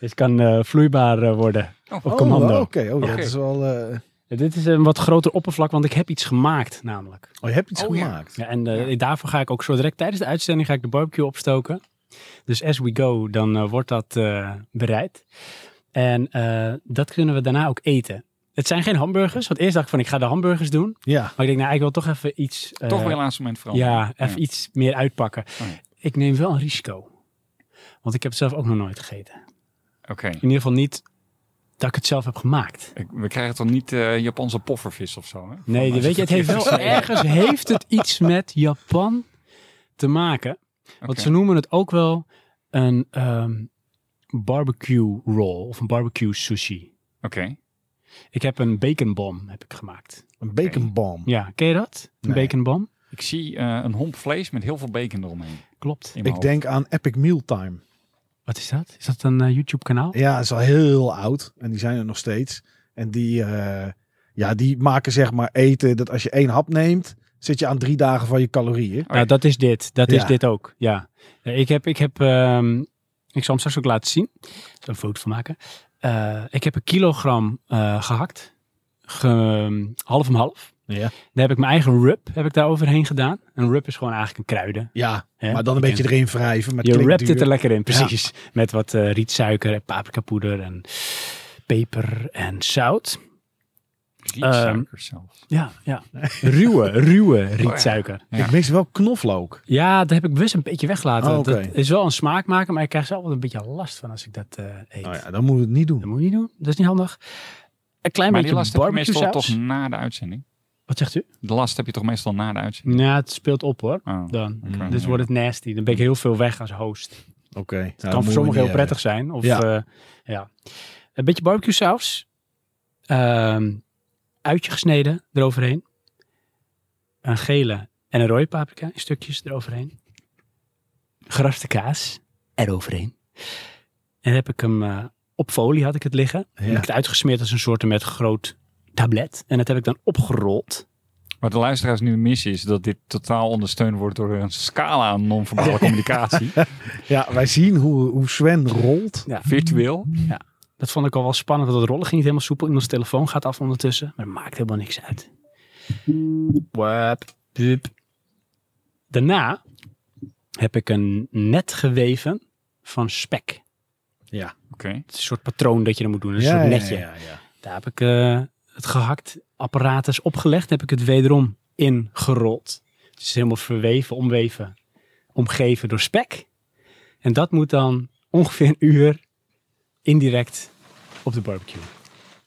A: Dit kan eh, vloeibaar eh, worden.
C: Oh.
A: Op commando.
B: Oh, Oké, oh, ja,
C: Oké.
B: dat is wel. eh,
A: En Dit is een wat groter oppervlak, want ik heb iets gemaakt namelijk.
B: Oh, je hebt iets
C: Oh, ja.
B: gemaakt.
A: Ja, en eh, daarvoor ga ik ook zo direct tijdens de uitzending ga ik de barbecue opstoken. Dus as we go, dan eh, wordt dat eh, bereid. En eh, dat kunnen we daarna ook eten. Het zijn geen hamburgers, want eerst dacht ik van ik ga de hamburgers doen.
B: Ja.
A: Maar ik denk nou, ik wil toch even iets... eh,
C: Toch weer een laatste moment veranderen.
A: Ja, even iets meer uitpakken.
C: Oh ja.
A: Ik neem wel een risico. Want ik heb het zelf ook nog nooit gegeten.
C: Oké.
A: In ieder geval niet dat ik het zelf heb gemaakt.
C: Ik- We krijgen toch niet eh, Japanse poffervis of zo, hè?
A: Nee, die- weet je, het heeft wel ergens heeft het iets met Japan te maken. Want ze noemen het ook wel een ehm, barbecue roll of een barbecue sushi.
C: Oké.
A: Ik heb een baconbom heb ik gemaakt.
B: Een baconbom.
A: Ja, ken je dat? Een
B: Nee.
A: baconbom?
C: Ik zie eh, een homp vlees met heel veel bacon eromheen.
A: Klopt.
C: in mijn
B: Ik
C: hoofd.
B: denk aan Epic Mealtime.
A: Wat is dat? Is dat een eh, YouTube kanaal?
B: Ja, dat is al heel oud. En die zijn er nog steeds. En die, eh, ja, die maken zeg maar eten dat als je één hap neemt, zit je aan drie dagen van je calorieën.
A: Nou, dat is dit. Dat is
B: Ja.
A: dit ook. Ja. Ja, Ik heb, ik heb, ehm, ik zal hem straks ook laten zien. Ik zal een foto van maken. Eh, ik heb een kilogram eh, gehakt. Ge- half om half.
B: Ja,
A: Daar heb ik mijn eigen rub heb ik daar overheen gedaan. Een rub is gewoon eigenlijk een kruiden.
B: ja
A: hè.
B: maar dan een
A: Je
B: beetje erin wrijven. Met
A: Je wrapt
B: klinkduur.
A: het er lekker in, precies. Met wat eh, rietsuiker en paprikapoeder en peper en zout.
C: Rietsuiker zelfs.
A: Ja, ja. Oh, Ruwe, ruwe rietsuiker.
C: Ja.
B: Ik mis wel knoflook.
A: Ja, dat heb ik bewust een beetje weggelaten.
B: Oh, oké.
A: Dat is wel een smaakmaker, maar ik krijg zelf wel een beetje last van als ik dat eh, eet.
B: Nou ja, dan moet je het niet
A: Dat
B: doen.
A: moet je niet doen. Dat is niet handig. Een klein
C: Maar die
A: beetje
C: last heb je
A: barbecue
C: meestal
A: saus.
C: toch na de uitzending?
A: Wat zegt u?
C: De last heb je toch meestal na de uitzending?
A: Nou, het speelt op hoor.
C: Oh.
A: Dan.
B: Mm.
C: oké.
A: Dus wordt het nasty. Dan ben ik heel veel weg als host. Het
B: Oké. nou, dat
A: kan
B: moeten we
A: voor sommigen heel
B: niet
A: prettig zijn. Of,
B: Ja.
A: ja. ja. Een beetje barbecue saus. Ehm, uitje gesneden eroverheen. Een gele en een rode paprika in stukjes eroverheen. Geraste kaas eroverheen. En heb ik hem eh, op folie had ik het liggen.
B: hebben.
A: En heb ik het uitgesmeerd als een soort met groot tablet. En dat heb ik dan opgerold.
C: Wat de luisteraars nu missen is dat dit totaal ondersteund wordt door een scala
A: [laughs]
C: aan non-verbale communicatie.
B: Ja. ja, wij zien hoe, hoe Sven rolt.
C: Virtueel.
A: Dat vond ik al wel spannend, want het rollen ging niet helemaal soepel. Iemands telefoon gaat af ondertussen. Maar het maakt helemaal niks uit. Wap, pup. Daarna heb ik een net geweven van spek.
C: Oké.
A: Het is een soort patroon dat je dan moet doen. Een
B: ja,
A: soort
B: ja,
A: netje.
B: ja, ja.
A: Daar heb ik eh, het gehakt apparatus opgelegd. Heb ik het wederom ingerold. Het is helemaal verweven, omweven, omgeven door spek. En dat moet dan ongeveer een uur indirect op de barbecue.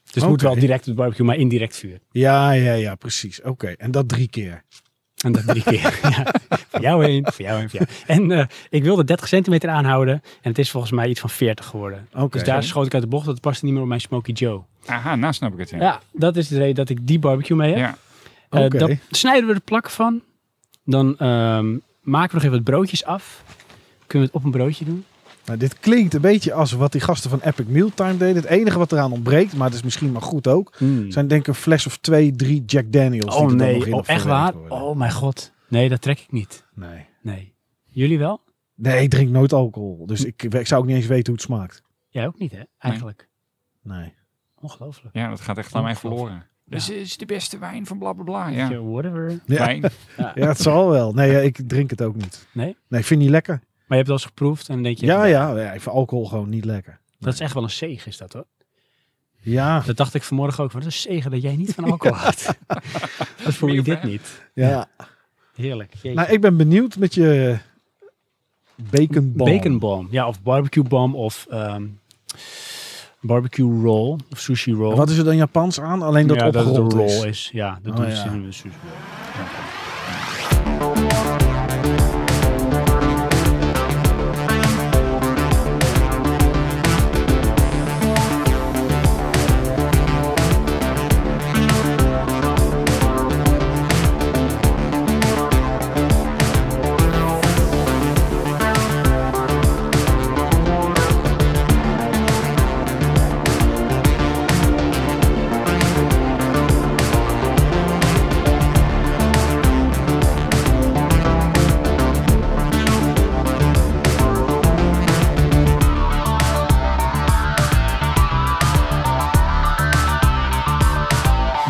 A: Dus het moet
B: Oké.
A: wel direct op de barbecue, maar indirect vuur.
B: Ja, ja, ja, precies. Oké, en dat drie keer.
A: En dat drie keer. [laughs] Ja, voor jou heen, voor jou heen, voor jou. En eh, ik wilde 30 centimeter aanhouden. En het is volgens mij iets van 40 geworden.
B: Oké.
A: Dus daar schoot ik uit de bocht. Dat paste niet meer op mijn Smoky Joe.
C: Aha, nou snap ik het. Ja.
A: Ja, dat is de reden dat ik die barbecue mee heb.
C: Ja.
A: Eh,
B: Oké.
A: dan snijden we er plakken van. Dan ehm, maken we nog even wat broodjes af. Kunnen we het op een broodje doen?
B: Nou, dit klinkt een beetje als wat die gasten van Epic Mealtime deden. Het enige wat eraan ontbreekt, maar het is misschien maar goed ook,
C: Hmm.
B: zijn denk ik een fles of twee, drie Jack Daniels. die
A: oh
B: er dan nog
A: nee,
B: in
A: oh,
B: of
A: echt
B: verwerkt
A: waar?
B: worden.
A: Oh mijn god. Nee, dat trek ik niet.
B: Nee.
A: Nee. Jullie wel?
B: nee, ik drink nooit alcohol. Dus ik, ik zou ook niet eens weten hoe het smaakt.
A: Jij ook niet, hè? Eigenlijk.
B: Nee.
A: Ongelooflijk.
C: ja, dat gaat echt aan mij verloren. Dus
A: Ja.
C: dit is de beste wijn van blablabla. Bla, bla. Ah, Ja.
A: Whatever.
B: Ja.
C: Wijn.
B: Ja, het zal wel. Nee, ja, ik drink het ook niet.
A: Nee?
B: Nee, ik vind het niet lekker.
A: Maar je hebt het al eens geproefd en dan denk je...
B: Ja, ja, ja, ik vind alcohol gewoon niet lekker.
A: Dat is echt wel een zegen, is dat hoor.
B: Ja,
A: Dat dacht ik vanmorgen ook. Wat een zegen dat jij niet [laughs] van alcohol houdt. dat voel je
C: Meer voor
A: dit
C: hem.
A: niet.
B: ja.
A: Heerlijk. Jeetje.
B: Nou, ik ben benieuwd met je baconbal.
A: Baconbom. Ja, of barbecuebom of ehm, barbecue roll of sushi roll.
B: Wat is er dan Japans aan? Alleen dat
A: ja, dat het
B: opgerold
A: een roll
B: is.
A: is. Ja, dat dus
B: Oh,
A: doen
B: ja.
A: ze in de sushi roll.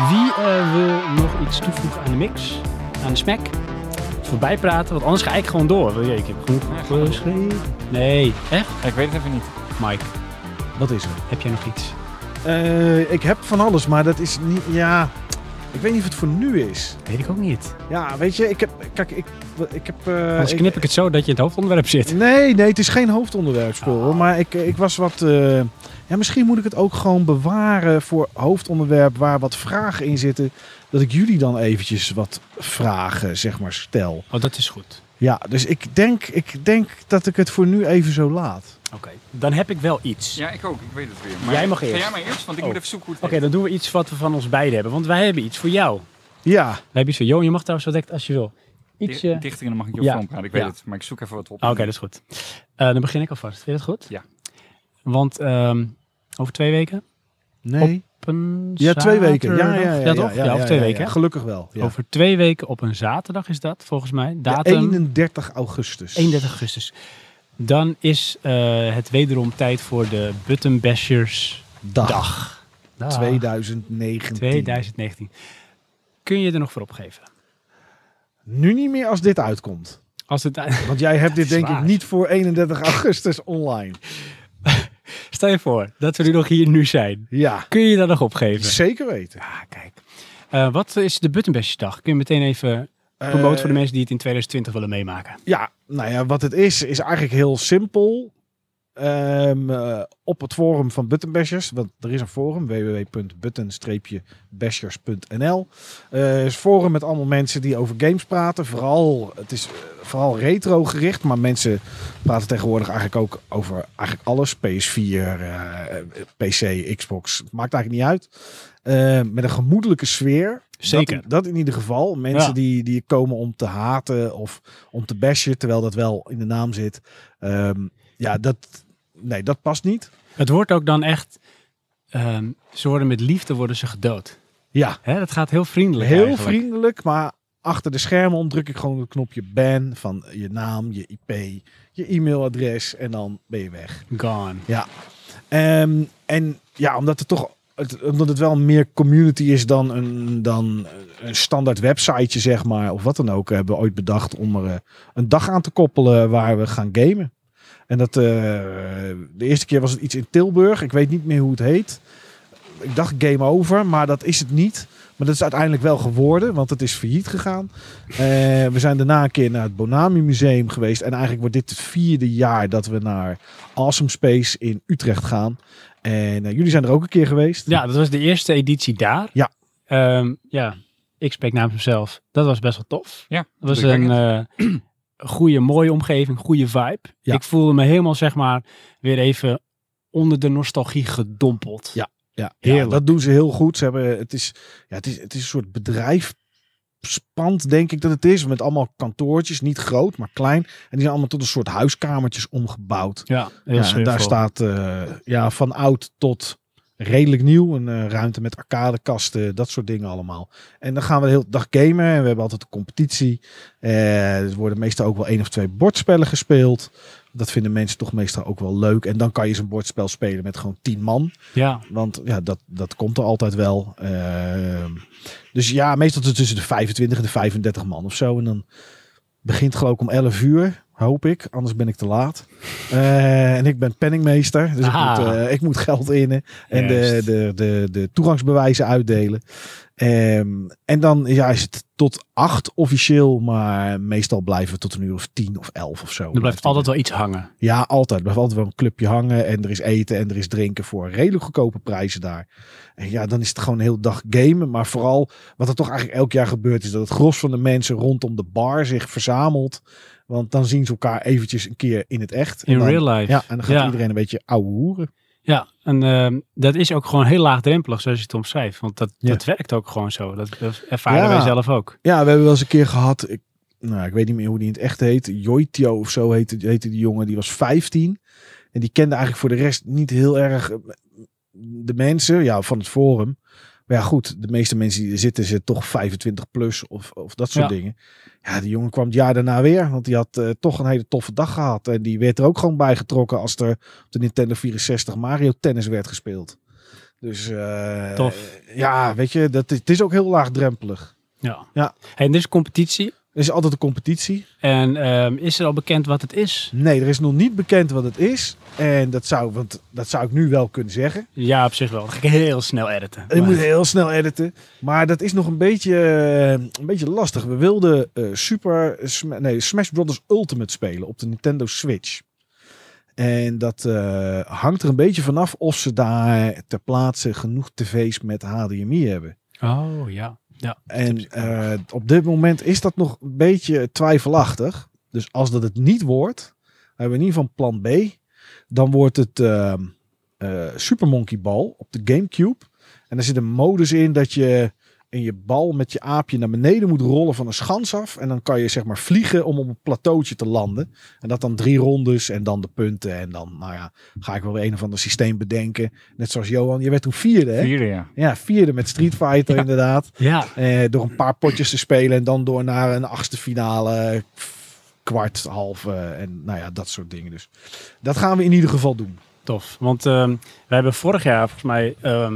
A: Wie eh, wil nog iets toevoegen aan de mix? Aan de smack? Voorbij praten, want anders ga ik gewoon door. Wil je- Ik heb
C: Ja,
A: genoeg
C: ga door.
A: geschreven. Nee, echt?
C: Ik weet het even niet.
A: Mike,
B: Wat is er?
A: heb jij nog iets?
B: Eh, ik heb van alles, maar dat is niet. Ja. Ik weet niet of het voor nu is.
A: Weet ik ook niet.
B: Ja, weet je, ik heb. Kijk, ik, ik heb. eh,
A: Anders knip Eh, ik het zo dat je in het hoofdonderwerp zit.
B: Nee, nee, het is geen hoofdonderwerp, Spoor, hoor.
A: Oh.
B: Maar ik, ik was wat. eh, ja, misschien moet ik het ook gewoon bewaren voor hoofdonderwerp waar wat vragen in zitten. Dat ik jullie dan eventjes wat vragen, zeg maar, stel.
A: Oh, dat is goed.
B: Ja, dus ik denk, ik denk dat ik het voor nu even zo laat.
A: Oké, dan heb ik wel iets.
C: Ja, ik ook. Ik weet het weer. Maar
A: Jij mag
C: Ga
A: eerst.
C: jij maar eerst, want ik
A: Oh.
C: moet even zoeken hoe het
A: Oké, dan doen we iets wat we van ons beiden hebben. Want wij hebben iets voor jou. Wij
B: Ja,
A: hebben iets voor jou. Je mag trouwens zo direct als je wil.
C: heet.
A: Ietsje...
C: Di- Dichter in de mag ik je
A: eh, Ja.
C: ja. praten. Ik weet
A: Ja.
C: het, maar ik zoek even wat op.
A: Ah, Oké, dat is goed. Eh, dan begin ik alvast. Vind je dat goed?
C: Ja.
A: Want ehm, over twee weken
B: nee.
A: op een
B: Ja, twee weken. Ja,
A: zaterdag.
B: ja, ja,
A: toch? Ja, over
B: ja,
A: twee
B: ja,
A: weken.
B: ja.
A: hè?
B: Gelukkig wel. Ja.
A: Over twee weken op een zaterdag is dat, volgens mij.
B: Ja,
A: Datum
B: 31 augustus.
A: 31 augustus. Dan is eh, het wederom tijd voor de Button Bashers
B: dag.
A: Dag.
B: 2019.
A: 2019. Kun je er nog voor opgeven?
B: Nu niet meer als dit uitkomt.
A: Als het, [laughs]
B: Want jij hebt dit
A: is
B: denk
A: waar.
B: ik niet voor 31 augustus online.
A: stel je voor dat we nu nog hier nu zijn.
B: Ja,
A: Kun je dat nog opgeven?
B: zeker weten.
A: Ja, kijk. Eh, wat is de Button Bashers Dag? Kun je meteen even promoten
B: Eh,
A: voor de mensen die het in 2020 willen meemaken?
B: Ja, nou ja, wat het is, is eigenlijk heel simpel. Ehm, eh, op het forum van Buttonbashers, want er is een forum, www.button-bashers.nl. Eh is een forum met allemaal mensen die over games praten. Vooral, het is eh, vooral retro gericht, maar mensen praten tegenwoordig eigenlijk ook over eigenlijk alles. PS4, eh, eh, PC, Xbox, maakt eigenlijk niet uit. Eh, met een gemoedelijke sfeer.
A: Zeker.
B: Dat, dat in ieder geval. Mensen
A: Ja.
B: die, die komen om te haten of om te bashen, terwijl dat wel in de naam zit. Ehm, ja, dat, nee, dat past niet.
A: Het wordt ook dan echt... ehm, ze worden met liefde worden ze gedood.
B: Ja,
A: Hè, dat gaat heel vriendelijk
B: heel
A: eigenlijk.
B: vriendelijk, maar achter de schermen omdruk ik gewoon het knopje ban van je naam, je IP, je e-mailadres en dan ben je weg.
A: Gone.
B: Ehm, en ja, omdat het toch het, omdat het wel meer community is dan een, dan een standaard websiteje, zeg maar, of wat dan ook, hebben we ooit bedacht om er eh, een dag aan te koppelen waar we gaan gamen. En dat eh, de eerste keer was het iets in Tilburg. Ik weet niet meer hoe het heet. Ik dacht game over, maar dat is het niet. Maar dat is uiteindelijk wel geworden, want het is failliet gegaan. Eh, we zijn daarna een keer naar het Bonami Museum geweest. En eigenlijk wordt dit het vierde jaar dat we naar Awesome Space in Utrecht gaan. En eh, jullie zijn er ook een keer geweest.
A: Ja, dat was de eerste editie daar.
B: Ja.
A: Ehm, ja, ik spreek namens mezelf. Dat was best wel tof.
C: Ja,
A: Dat was een
C: indrukwekkend.
A: eh, [clears throat] goede, mooie omgeving, goede vibe.
B: Ja.
A: Ik voelde me helemaal, zeg maar, weer even onder de nostalgie gedompeld.
B: Ja. Ja, ja,
A: Heerlijk.
B: dat doen ze heel goed. Ze hebben, het, is, ja, het, is, het is een soort bedrijfspand, denk ik dat het is. Met allemaal kantoortjes, niet groot, maar klein. En die zijn allemaal tot een soort huiskamertjes omgebouwd.
A: Ja, heel
B: Ja, en
A: sfeervol.
B: daar staat eh, ja, van oud tot redelijk nieuw. Een eh, ruimte met arcadekasten, dat soort dingen allemaal. En dan gaan we de hele dag gamen. En we hebben altijd een competitie. Eh, er worden meestal ook wel één of twee bordspellen gespeeld. Dat vinden mensen toch meestal ook wel leuk. En dan kan je zo'n bordspel spelen met gewoon tien man.
A: Ja,
B: Want ja, dat, dat komt er altijd wel. Ehm, dus ja, meestal t- tussen de 25 en de 35 man of zo. En dan begint geloof ik om 11 uur, hoop ik. Anders ben ik te laat. Eh, en ik ben penningmeester, dus ik
A: Ah.
B: moet, eh, ik moet geld innen. En de,
A: Juist.
B: de, de, de toegangsbewijzen uitdelen. Ehm, en dan ja, is het tot 8 officieel. Maar meestal blijven we tot een uur of 10 of 11 of zo.
A: er blijft altijd wel iets hangen.
B: Ja, altijd. Er blijft altijd wel een clubje hangen. En er is eten en er is drinken voor redelijk goedkope prijzen daar. En ja, dan is het gewoon een hele dag gamen. Maar vooral wat er toch eigenlijk elk jaar gebeurt, is dat het gros van de mensen rondom de bar zich verzamelt. Want dan zien ze elkaar eventjes een keer in het echt. En
A: In
B: dan-
A: real life.
B: Ja, en dan gaat
A: Ja.
B: iedereen een beetje ouwe hoeren.
A: Ja, en ehm, dat is ook gewoon heel laagdrempelig, zoals je het omschrijft. Want dat,
B: Ja.
A: dat werkt ook gewoon zo. Dat, dat ervaren
B: Ja.
A: wij zelf ook.
B: Ja, we hebben wel eens een keer gehad. Ik, nou, ik weet niet meer hoe die in het echt heet. Joitio of zo heette, heette die jongen. Die was 15. En die kende eigenlijk voor de rest niet heel erg eh, de mensen ja, van het forum. Maar ja, goed, de meeste mensen die er zitten, zitten toch 25 plus of, of dat soort
A: Ja.
B: dingen. Ja, die jongen kwam het jaar daarna weer. Want die had eh, toch een hele toffe dag gehad. En die werd er ook gewoon bij getrokken als er op de Nintendo 64 Mario Tennis werd gespeeld. Dus eh,
A: Tof.
B: ja, weet je, dat, is- het is ook heel laagdrempelig.
A: Ja.
B: Ja.
A: Hey, en er is competitie.
B: Er is altijd een competitie.
A: En ehm, is er al bekend wat het is?
B: Nee, er is nog niet bekend wat het is. En dat zou, want dat zou ik nu wel kunnen zeggen.
A: Ja, op zich wel. Dan ga ik heel snel editen.
B: Ik
A: Maar-
B: moet heel snel editen. Maar dat is nog een beetje, eh, een beetje lastig. We wilden eh, Super Sm- nee, Smash Brothers Ultimate spelen op de Nintendo Switch. En dat eh, hangt er een beetje vanaf of ze daar ter plaatse genoeg tv's met HDMI hebben.
A: Oh ja. ja.
B: En eh, op dit moment is dat nog een beetje twijfelachtig. Dus als dat het niet wordt, hebben we in ieder geval plan B. Dan wordt het ehm, eh, Super Monkey Ball op de Gamecube. En daar zit een modus in dat je en je bal met je aapje naar beneden moet rollen van een schans af. En dan kan je zeg maar vliegen om op een plateautje te landen. En dat dan drie rondes en dan de punten. En dan, nou ja, ga ik wel weer een of ander systeem bedenken. Net zoals Johan, je werd toen vierde hè?
C: Vierde, ja.
B: Ja, vierde met Street Fighter inderdaad.
A: Ja,
B: Eh, door een paar potjes te spelen en dan door naar een achtste finale, f- kwart, halve en nou ja, dat soort dingen. Dus dat gaan we in ieder geval doen.
A: tof. Want ehm wij hebben vorig jaar, volgens mij, ehm,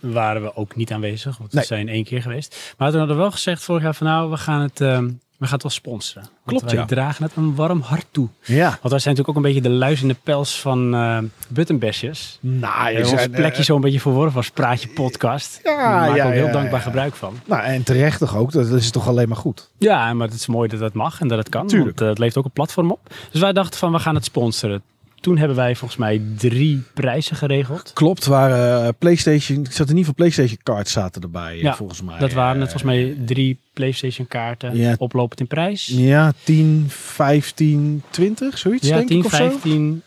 A: waren we ook niet aanwezig. Want
B: Nee.
A: we zijn één keer geweest. Maar toen hadden we wel gezegd vorig jaar van nou, we gaan het, ehm, we gaan het wel sponsoren. Want
B: Klopt,
A: wij
B: ja.
A: dragen het een warm hart toe.
B: Ja.
A: Want wij zijn natuurlijk ook een beetje de luis in de pels van ehm buttonbashes.
B: Nou, je
A: Waar ons
B: zijn,
A: plekje
B: eh,
A: zo'n beetje verworven als praatje podcast.
B: Ja,
A: Daar maken we
B: ja,
A: ook heel
B: ja,
A: dankbaar
B: ja.
A: gebruik van.
B: nou, en terecht toch ook, dat is toch alleen maar goed.
A: Ja, maar het is mooi dat dat mag en dat het kan.
B: Tuurlijk.
A: Want eh, het leeft ook een platform op. Dus wij dachten van, we gaan het sponsoren. Toen hebben wij volgens mij drie prijzen geregeld.
B: Klopt, waren eh, PlayStation, ik zat in ieder geval PlayStation cards zaten erbij eh,
A: Oh, Ja,
B: volgens mij.
A: Dat waren
B: Eh,
A: het volgens mij drie PlayStation kaarten,
B: Ja.
A: oplopend in prijs.
B: Ja, 10, 15, 20, zoiets
A: Ja,
B: denk
A: 10,
B: ik of zo.
A: 15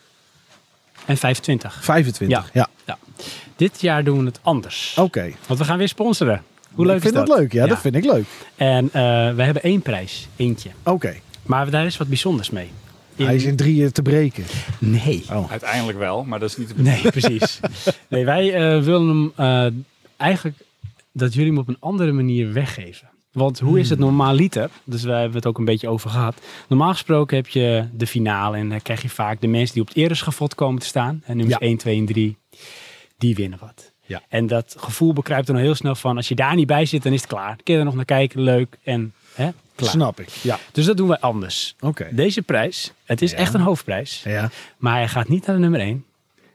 A: en 25.
B: 25, ja.
A: Dit jaar doen we het anders.
B: Oké.
A: Want we gaan weer sponsoren. Hoe leuk
B: Oh. ik vind
A: is dat?
B: leuk, ja, dat vind ik leuk.
A: En eh, we hebben één prijs, eentje.
B: Oké,
A: Maar daar is wat bijzonders mee. In-
B: hij is in drieën te breken.
A: Nee.
B: Oh.
C: Uiteindelijk wel, maar dat is niet de
A: Nee, precies. Nee, wij eh, willen hem eh, eigenlijk dat jullie hem op een andere manier weggeven. Want hoe is het normaaliter? Dus wij hebben het ook een beetje over gehad. Normaal gesproken heb je de finale en dan krijg je vaak de mensen die op het ereschafot komen te staan. En nummers
B: Ja.
A: 1, 2 en 3, die winnen wat.
B: Ja.
A: En dat gevoel bekruipt er nog heel snel van. Als je daar niet bij zit, dan is het klaar. Kun je er nog naar kijken, leuk en hè, klaar.
B: Snap ik, ja.
A: Dus dat doen wij anders.
B: Oké.
A: Deze prijs, het is
B: Ja.
A: echt een hoofdprijs.
B: Ja.
A: Maar hij gaat niet naar de nummer 1.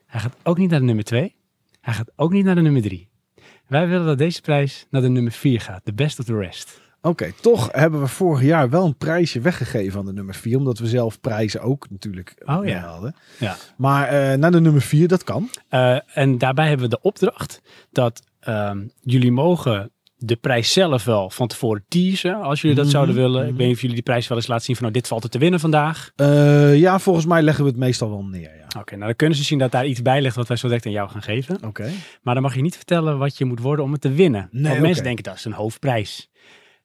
A: Hij gaat ook niet naar de nummer 2. Hij gaat ook niet naar de nummer 3. Wij willen dat deze prijs naar de nummer 4 gaat. The best of the rest.
B: Oké, toch hebben we vorig jaar wel een prijsje weggegeven aan de nummer 4. Omdat we zelf prijzen ook natuurlijk eh,
A: Oh, ja.
B: hadden.
A: Ja.
B: Maar eh, naar de nummer 4, dat kan.
A: Eh, en daarbij hebben we de opdracht dat ehm, jullie mogen de prijs zelf wel van tevoren teasen. Als jullie dat
B: Mhm,
A: zouden willen. Ik
B: mhm.
A: weet niet of jullie die prijs wel eens laten zien van nou, dit valt er te winnen vandaag.
B: Eh, ja, volgens mij leggen we het meestal wel neer. Ja.
A: Oké, nou dan kunnen ze zien dat daar iets bij ligt wat wij zo direct aan jou gaan geven.
B: Oké.
A: Maar dan mag je niet vertellen wat je moet worden om het te winnen.
B: Nee,
A: Want
B: oké.
A: mensen denken dat is een hoofdprijs.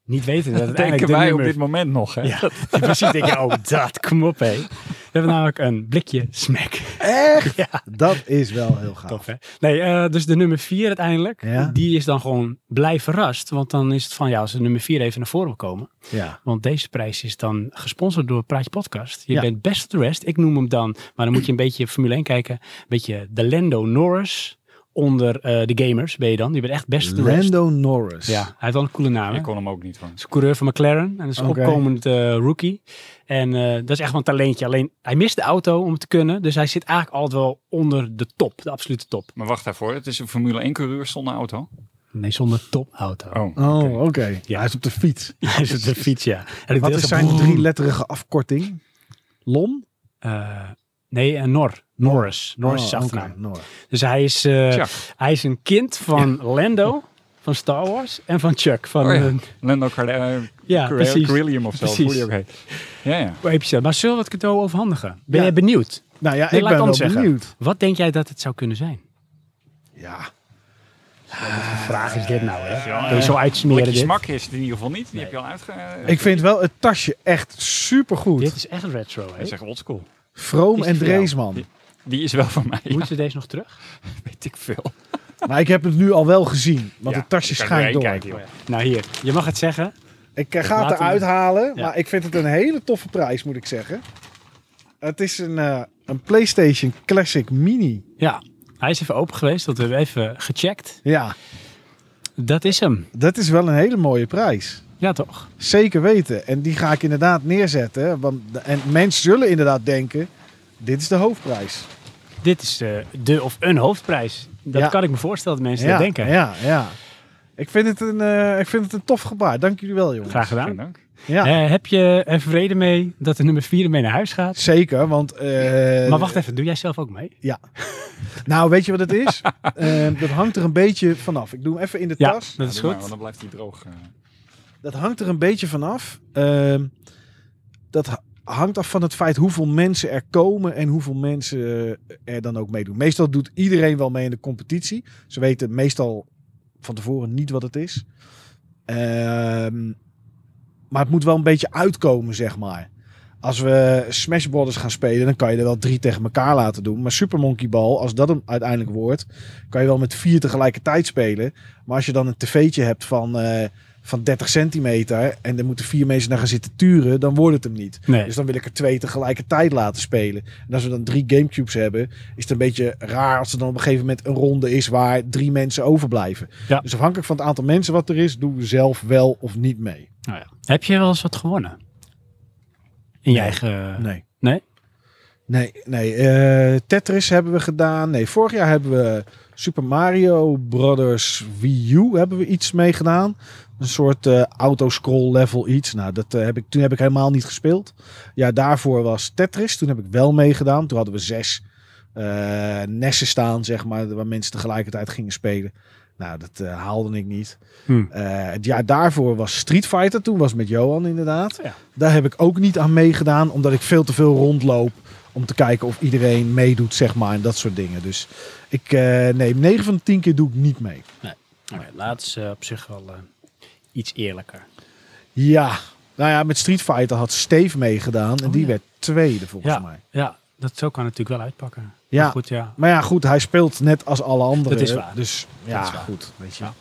A: Niet weten
C: [laughs]
A: dat het
C: Dat denken
A: uiteindelijk de
C: wij op
A: nummer
C: dit moment nog. Hè?
A: [laughs] Ja, ja, precies. Denk je, oh, dat, kom op, hé. We hebben namelijk een blikje smack.
B: Echt?
A: Ja,
B: Dat is wel heel gaaf.
A: tof, hè? Nee, eh, dus de nummer 4 uiteindelijk,
B: Ja.
A: die is dan gewoon blij verrast. Want dan is het van, ja, als de nummer 4 even naar voren wil komen.
B: Ja.
A: Want deze prijs is dan gesponsord door Praatje Podcast. Je
B: Ja.
A: bent best of the rest. Ik noem hem dan, maar dan moet je een beetje Formule 1 kijken. Een beetje de Lando Norris onder eh, de gamers ben je dan. Je bent echt best of the rest.
B: Lando Norris.
A: Ja, hij heeft wel een coole naam, hè?
C: Ik kon hem ook niet van.
A: is coureur van McLaren en is een
B: Oké.
A: opkomend eh, rookie. En eh, dat is echt wel een talentje. Alleen hij mist de auto om het te kunnen. Dus hij zit eigenlijk altijd wel onder de top, de absolute top.
C: Maar wacht daarvoor, het is een Formule 1 coureur zonder auto.
A: Nee, zonder topauto.
C: Oh, oké.
B: Oh, oké.
A: Ja.
B: Hij is op de fiets.
A: [laughs] Hij is op de fiets, ja. En ik
B: Wat
A: deed
B: is
A: zo-
B: zijn drieletterige afkorting? Lon?
A: Eh, nee, en Nor. Norris. Norris is
B: Oh,
A: zijn
B: oké,
A: achternaam.
B: Nor.
A: Dus hij is, eh,
C: Chuck.
A: hij is een kind van Lando, van Star Wars en van Chuck. Van,
C: Oh ja.
A: eh,
C: Lando Car- eh,
A: ja,
C: Car-
A: precies.
C: Carillium of zo,
A: Precies.
C: hoe die ook heet. Ja, ja.
A: Hoe heet je dat? Maar zullen we het cadeau overhandigen? Ben
B: Ja.
A: jij benieuwd?
B: Nou ja,
A: Nee, laat
B: ik
A: ik
B: ben wel
A: anders zeggen.
B: benieuwd.
A: Wat denk jij dat het zou kunnen zijn?
B: Ja.
A: vraag is dit nou, hè?
C: Ja,
A: Kun je zo uitsmeren
C: Blikje
A: dit?
C: smak is het in ieder geval niet. Die heb je al uitge...
B: Ik vind wel het tasje echt supergoed.
A: Dit is echt retro, hè?
C: Ik zeg oldschool.
B: Vroom
A: Dit is
B: en
A: voor jou.
B: Dreesman.
C: Die is wel van mij, ja,
A: Moeten ze deze nog terug?
C: weet ik veel.
B: Maar ik heb het nu al wel gezien, want
C: Ja,
B: het tasje
C: je kan
B: schijnt
C: er doorheen
B: door.
C: kijken, joh.
A: Nou, hier. Je mag het zeggen.
B: Ik eh, ga
A: Laat
B: het
A: hem-
B: eruit halen,
A: Ja.
B: maar ik vind het een hele toffe prijs, moet ik zeggen. Het is een, eh, een PlayStation Classic Mini.
A: Ja. Hij is even open geweest, want we hebben even gecheckt.
B: Ja,
A: Dat is hem.
B: dat is wel een hele mooie prijs.
A: Ja, toch?
B: Zeker weten. En die ga ik inderdaad neerzetten. hè, Want, en mensen zullen inderdaad denken, dit is de hoofdprijs.
A: Dit is eh, de of een hoofdprijs. Dat
B: Ja.
A: kan ik me voorstellen dat mensen
B: ja,
A: dat denken.
B: Ja, ja. Ik vind, het een, eh, ik vind het een tof gebaar. Dank jullie wel, jongens.
A: Graag gedaan.
C: Geen dank.
B: Ja,
A: Eh, heb je er vrede mee dat de nummer 4 mee naar huis gaat?
B: zeker, want... eh,
A: maar wacht even, doe jij zelf ook mee?
B: Nou, weet je wat het is? Eh, dat hangt er een beetje vanaf. Ik doe hem even in de
A: Ja,
B: tas.
A: dat is
C: Ja, doe maar,
A: goed.
C: want dan blijft hij droog. eh.
B: Dat hangt er een beetje vanaf. Ehm dat ha- hangt af van het feit hoeveel mensen er komen en hoeveel mensen eh, er dan ook meedoen. Meestal doet iedereen wel mee in de competitie. Ze weten meestal van tevoren niet wat het is. Ehm, maar het moet wel een beetje uitkomen, zeg maar. Als we Smash Brothers gaan spelen, dan kan je er wel drie tegen elkaar laten doen. Maar Super Monkey Ball, als dat hem uiteindelijk wordt, kan je wel met vier tegelijkertijd spelen. Maar als je dan een tv'tje hebt van, eh, van 30 centimeter en er moeten vier mensen naar gaan zitten turen, dan wordt het hem niet.
A: Nee.
B: Dus dan wil ik er twee tegelijkertijd laten spelen. En als we dan drie Gamecubes hebben, is het een beetje raar als er dan op een gegeven moment een ronde is waar drie mensen overblijven.
A: Ja.
B: Dus afhankelijk van het aantal mensen wat er is, doen we zelf wel of niet mee.
A: Nou ja. Heb je wel eens wat gewonnen? In je eigen...
B: Nee.
A: eh, Nee?
B: Nee, nee. eh, Tetris hebben we gedaan. Nee, vorig jaar hebben we Super Mario Brothers Wii U hebben we iets mee gedaan. Een soort eh autoscroll level iets. Nou, dat eh, heb ik, toen heb ik helemaal niet gespeeld. Ja, daarvoor was Tetris. Toen heb ik wel meegedaan. Toen hadden we zes eh, nessen staan, zeg maar, waar mensen tegelijkertijd gingen spelen. Nou, dat eh, haalde ik niet.
A: Hm.
B: Eh, het jaar daarvoor was Street Fighter. Toen was het met Johan inderdaad.
A: Ja.
B: Daar heb ik ook niet aan meegedaan. Omdat ik veel te veel rondloop. Om te kijken of iedereen meedoet, zeg maar. En dat soort dingen. Dus ik, eh, nee, 9 van de 10 keer doe ik niet mee.
A: Oké, laat is eh, op zich wel eh, iets eerlijker.
B: Ja. Nou ja, met Street Fighter had Steve meegedaan. En
A: Oh,
B: die
A: ja.
B: werd tweede, volgens
A: Ja.
B: mij.
A: Ja, dat zo kan het natuurlijk wel uitpakken.
B: Ja.
A: Maar Goed, ja.
B: Maar ja, goed, hij speelt net als alle anderen.
A: Dat is waar.
B: Dus ja,
A: is waar.
B: goed. Weet je.
A: Ja.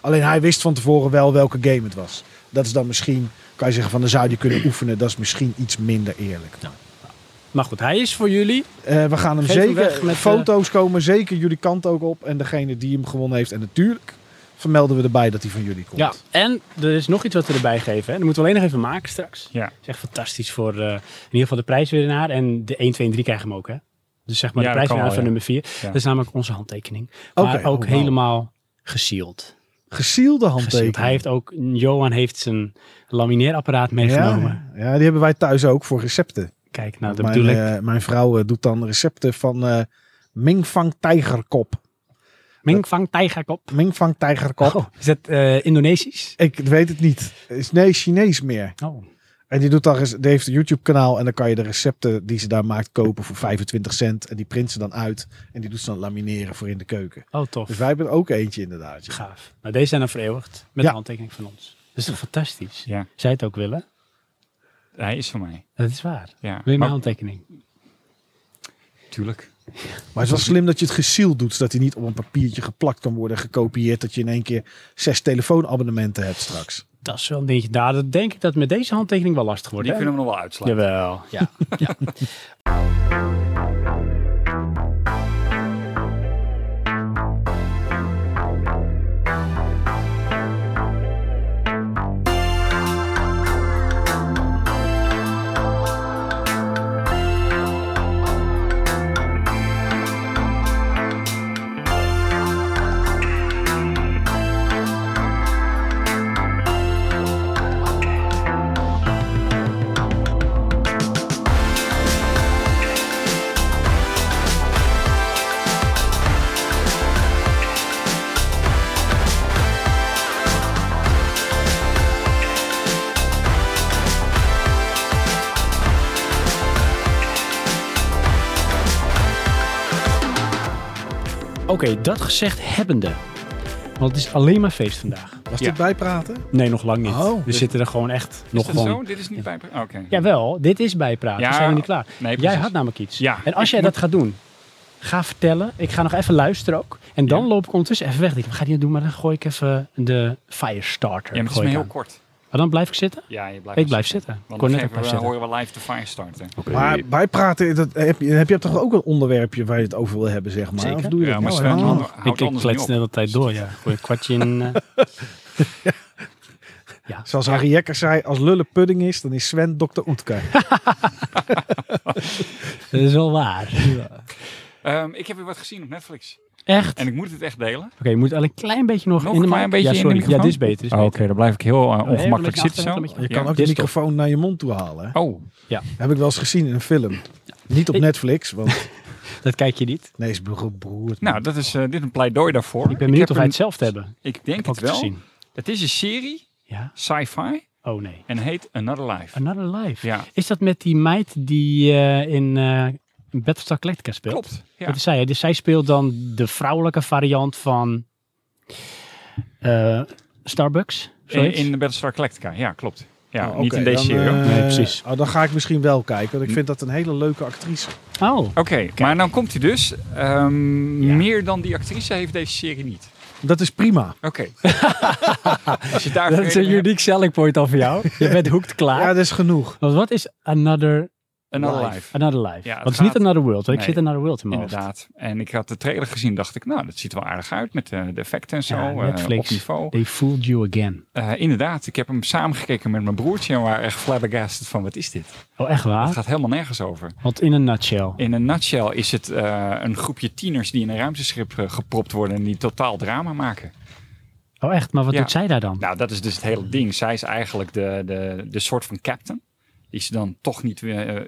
B: Alleen hij wist van tevoren wel welke game het was. Dat is dan misschien, kan je zeggen, van dan zou je kunnen oefenen. Dat is misschien iets minder eerlijk.
A: Maar goed, hij is voor jullie.
B: Eh, we gaan hem
A: Geef hem
B: zeker.
A: weg met, eh,
B: foto's komen zeker jullie kant ook op. En degene die hem gewonnen heeft. En natuurlijk vermelden we erbij dat hij van jullie komt.
A: Ja. En er is nog iets wat we erbij geven. Hè. Dat moeten we alleen nog even maken straks.
C: Ja.
A: is echt fantastisch voor eh, in ieder geval de prijswinnaar. En de 1, 2 en 3 krijgen hem ook, hè? Dus zeg maar
C: Ja,
A: de
C: dat kan
A: prijswinnaar
C: wel,
A: van
C: ja.
A: nummer 4.
C: Ja.
A: Dat is namelijk onze handtekening. Maar
B: Oké,
A: ook
B: oh, wauw.
A: helemaal gesield.
B: Gesielde handtekening.
A: Gesield. Hij heeft ook, Johan heeft zijn lamineerapparaat meegenomen.
B: ja, ja, die hebben wij thuis ook voor recepten.
A: Kijk, nou, dat
B: mijn,
A: bedoel ik.
B: eh, mijn vrouw eh, doet dan recepten van eh Mingfang tijgerkop.
A: Mingvang tijgerkop.
B: Mingfang tijgerkop.
A: Oh, is dat eh, Indonesisch?
B: Ik weet het niet. Is nee Chinees meer.
A: Oh,
B: En die, doet dan, rec- die heeft een YouTube kanaal en dan kan je de recepten die ze daar maakt kopen voor 25 cent. En die print ze dan uit en die doet ze dan lamineren voor in de keuken.
A: oh tof.
B: Dus wij hebben er ook eentje inderdaad. ja.
A: Gaaf. Nou, deze zijn dan vereeuwigd met
B: Ja.
A: de handtekening van ons. Dat is toch fantastisch?
C: Ja.
A: Zij het ook willen?
C: Hij is van mij.
A: Dat is waar.
C: Ja.
A: Wil je
C: Maar-
A: mijn handtekening?
C: Tuurlijk.
B: Maar het is wel slim dat je het gesield doet, zodat hij niet op een papiertje geplakt kan worden, gekopieerd, dat je in één keer zes telefoonabonnementen hebt straks.
A: Dat is wel een dingetje. Daar dat denk ik dat met deze handtekening wel lastig wordt.
C: Die
A: hè?
C: kunnen we nog wel uitslaan.
A: Jawel. Ja. ja. [laughs] Oké, dat gezegd hebbende. Want het is alleen maar feest vandaag.
B: Was
C: Ja.
B: dit bijpraten?
A: Nee, nog lang niet.
B: Oh.
A: we zitten er gewoon echt
C: dus- Is
A: nog
C: dat
A: gewoon.
C: zo? Dit is niet bij... Oké.
A: Jawel, dit is bijpraten.
C: Ja.
A: We zijn nog niet klaar.
C: Nee,
A: jij
C: precies.
A: had namelijk iets.
C: Ja,
A: En als jij
C: ik
A: dat gaat doen, ga vertellen. Ik ga nog even luisteren ook. En dan
C: Ja.
A: loop ik ondertussen even weg. Ik ga die niet doen, maar dan gooi ik even de firestarter.
C: Ja, maar het is
A: gooi
C: maar
A: ik
C: heel
A: aan.
C: kort.
A: Maar dan blijf ik zitten?
C: Ja, je blijft
A: Ik blijf zitten. Ik
C: Want
A: kon net
C: dan
A: ook
C: geven we,
A: blijven zitten.
C: horen we live de fire starten.
B: Maar bijpraten, dat heb je, heb je toch ook een onderwerpje waar je het over wil hebben, zeg maar?
A: Zeker.
B: Of doe je
C: Ja,
B: dat
C: maar
B: nou
C: Sven,
B: helemaal?
C: hou- houdt
A: Ik, ik
C: anders
A: klets
C: niet
A: de
C: op.
A: hele tijd door, ja.
C: [laughs]
A: Gooi een kwartje in. eh.
B: Zoals Harry Jekker zei, als lullen pudding is, dan is Sven dokter
C: [laughs]
B: Oetker.
A: dat is wel waar.
C: Ehm, ik heb weer wat gezien op Netflix.
A: Echt?
C: En ik moet het echt delen.
A: Oké, je moet al een klein beetje nog,
C: Nog
A: in de
C: maar
A: mic.
C: een beetje
A: ja,
C: in de
A: sorry. ja,
C: microfoon? Oh,
A: dit is beter. Dit is
C: Oké,
A: beter.
C: dan blijf ik heel eh,
A: een
C: ongemakkelijk
A: beetje
C: zitten
A: achter,
C: zo.
A: een beetje
B: Je kan ook
C: Ja.
B: de
A: dit is top.
B: microfoon naar je mond toe halen. hè?
C: Oh,
B: Heb ik wel eens gezien in een film. Niet op
A: Ik-
B: Netflix, want [laughs]
A: Dat kijk je niet.
B: nee, is beroerd.
C: nou, dat is eh, dit een pleidooi daarvoor.
A: Ik ben benieuwd
C: heb
A: of wij
C: hem-
A: het zelf te hebben.
C: Ik denk
A: Ik heb
C: het
A: het
C: wel.
A: gezien.
C: Het is een serie,
A: Ja?
C: sci-fi,
A: Oh nee.
C: en heet Another Life.
A: Another Life.
C: Ja,
A: Is dat met die meid die eh, in eh Battlestar Galactica speelt?
C: klopt. Ja.
A: Dat is zij. hè? Dus zij speelt dan de vrouwelijke variant van eh, Starbucks.
C: In,
A: zoiets.
C: in de Battlestar Galactica, ja, klopt. Ja,
B: Oh,
C: niet
B: oké,
C: in deze
B: dan,
C: serie. hoor.
B: eh,
A: Nee, precies.
B: Oh, dan ga ik misschien wel kijken,
C: Hm.
B: want ik vind dat een hele leuke actrice.
A: Oh,
C: Oké, maar dan komt hij dus. Ehm,
A: Ja.
C: Meer dan die actrice heeft deze serie niet.
B: Dat is prima.
C: Oké. Als je daar
A: dat is een
C: vergeten
A: uniek selling point al voor jou. [laughs] Je bent hoekt klaar.
B: Ja, dat is genoeg.
A: Want wat is Another,
C: bent, Another
B: live.
C: Life.
A: another Life?
C: Ja, het
A: Want het is niet
C: gaat-
A: Another World, want ik
C: Nee,
A: zit Another World in mijn hoofd.
C: Inderdaad. En ik had de trailer gezien, dacht ik, nou, dat ziet er wel aardig uit met eh, de effecten en zo.
A: Ja,
C: eh,
A: Netflix.
C: op niveau.
A: They fooled you again.
C: Eh, inderdaad, ik heb hem samengekeken met mijn broertje en we waren echt flabbergasted van, wat is dit?
A: Oh, echt waar?
C: Het gaat helemaal nergens over.
A: Want in een nutshell.
C: In een nutshell is het eh, een groepje tieners die in een ruimteschip eh, gepropt worden en die totaal drama maken.
A: Oh, echt? Maar wat
C: Ja.
A: doet zij daar dan?
C: Nou, dat is dus het hele ding. Zij is eigenlijk de, de, de soort van captain. Die ze dan toch niet eh,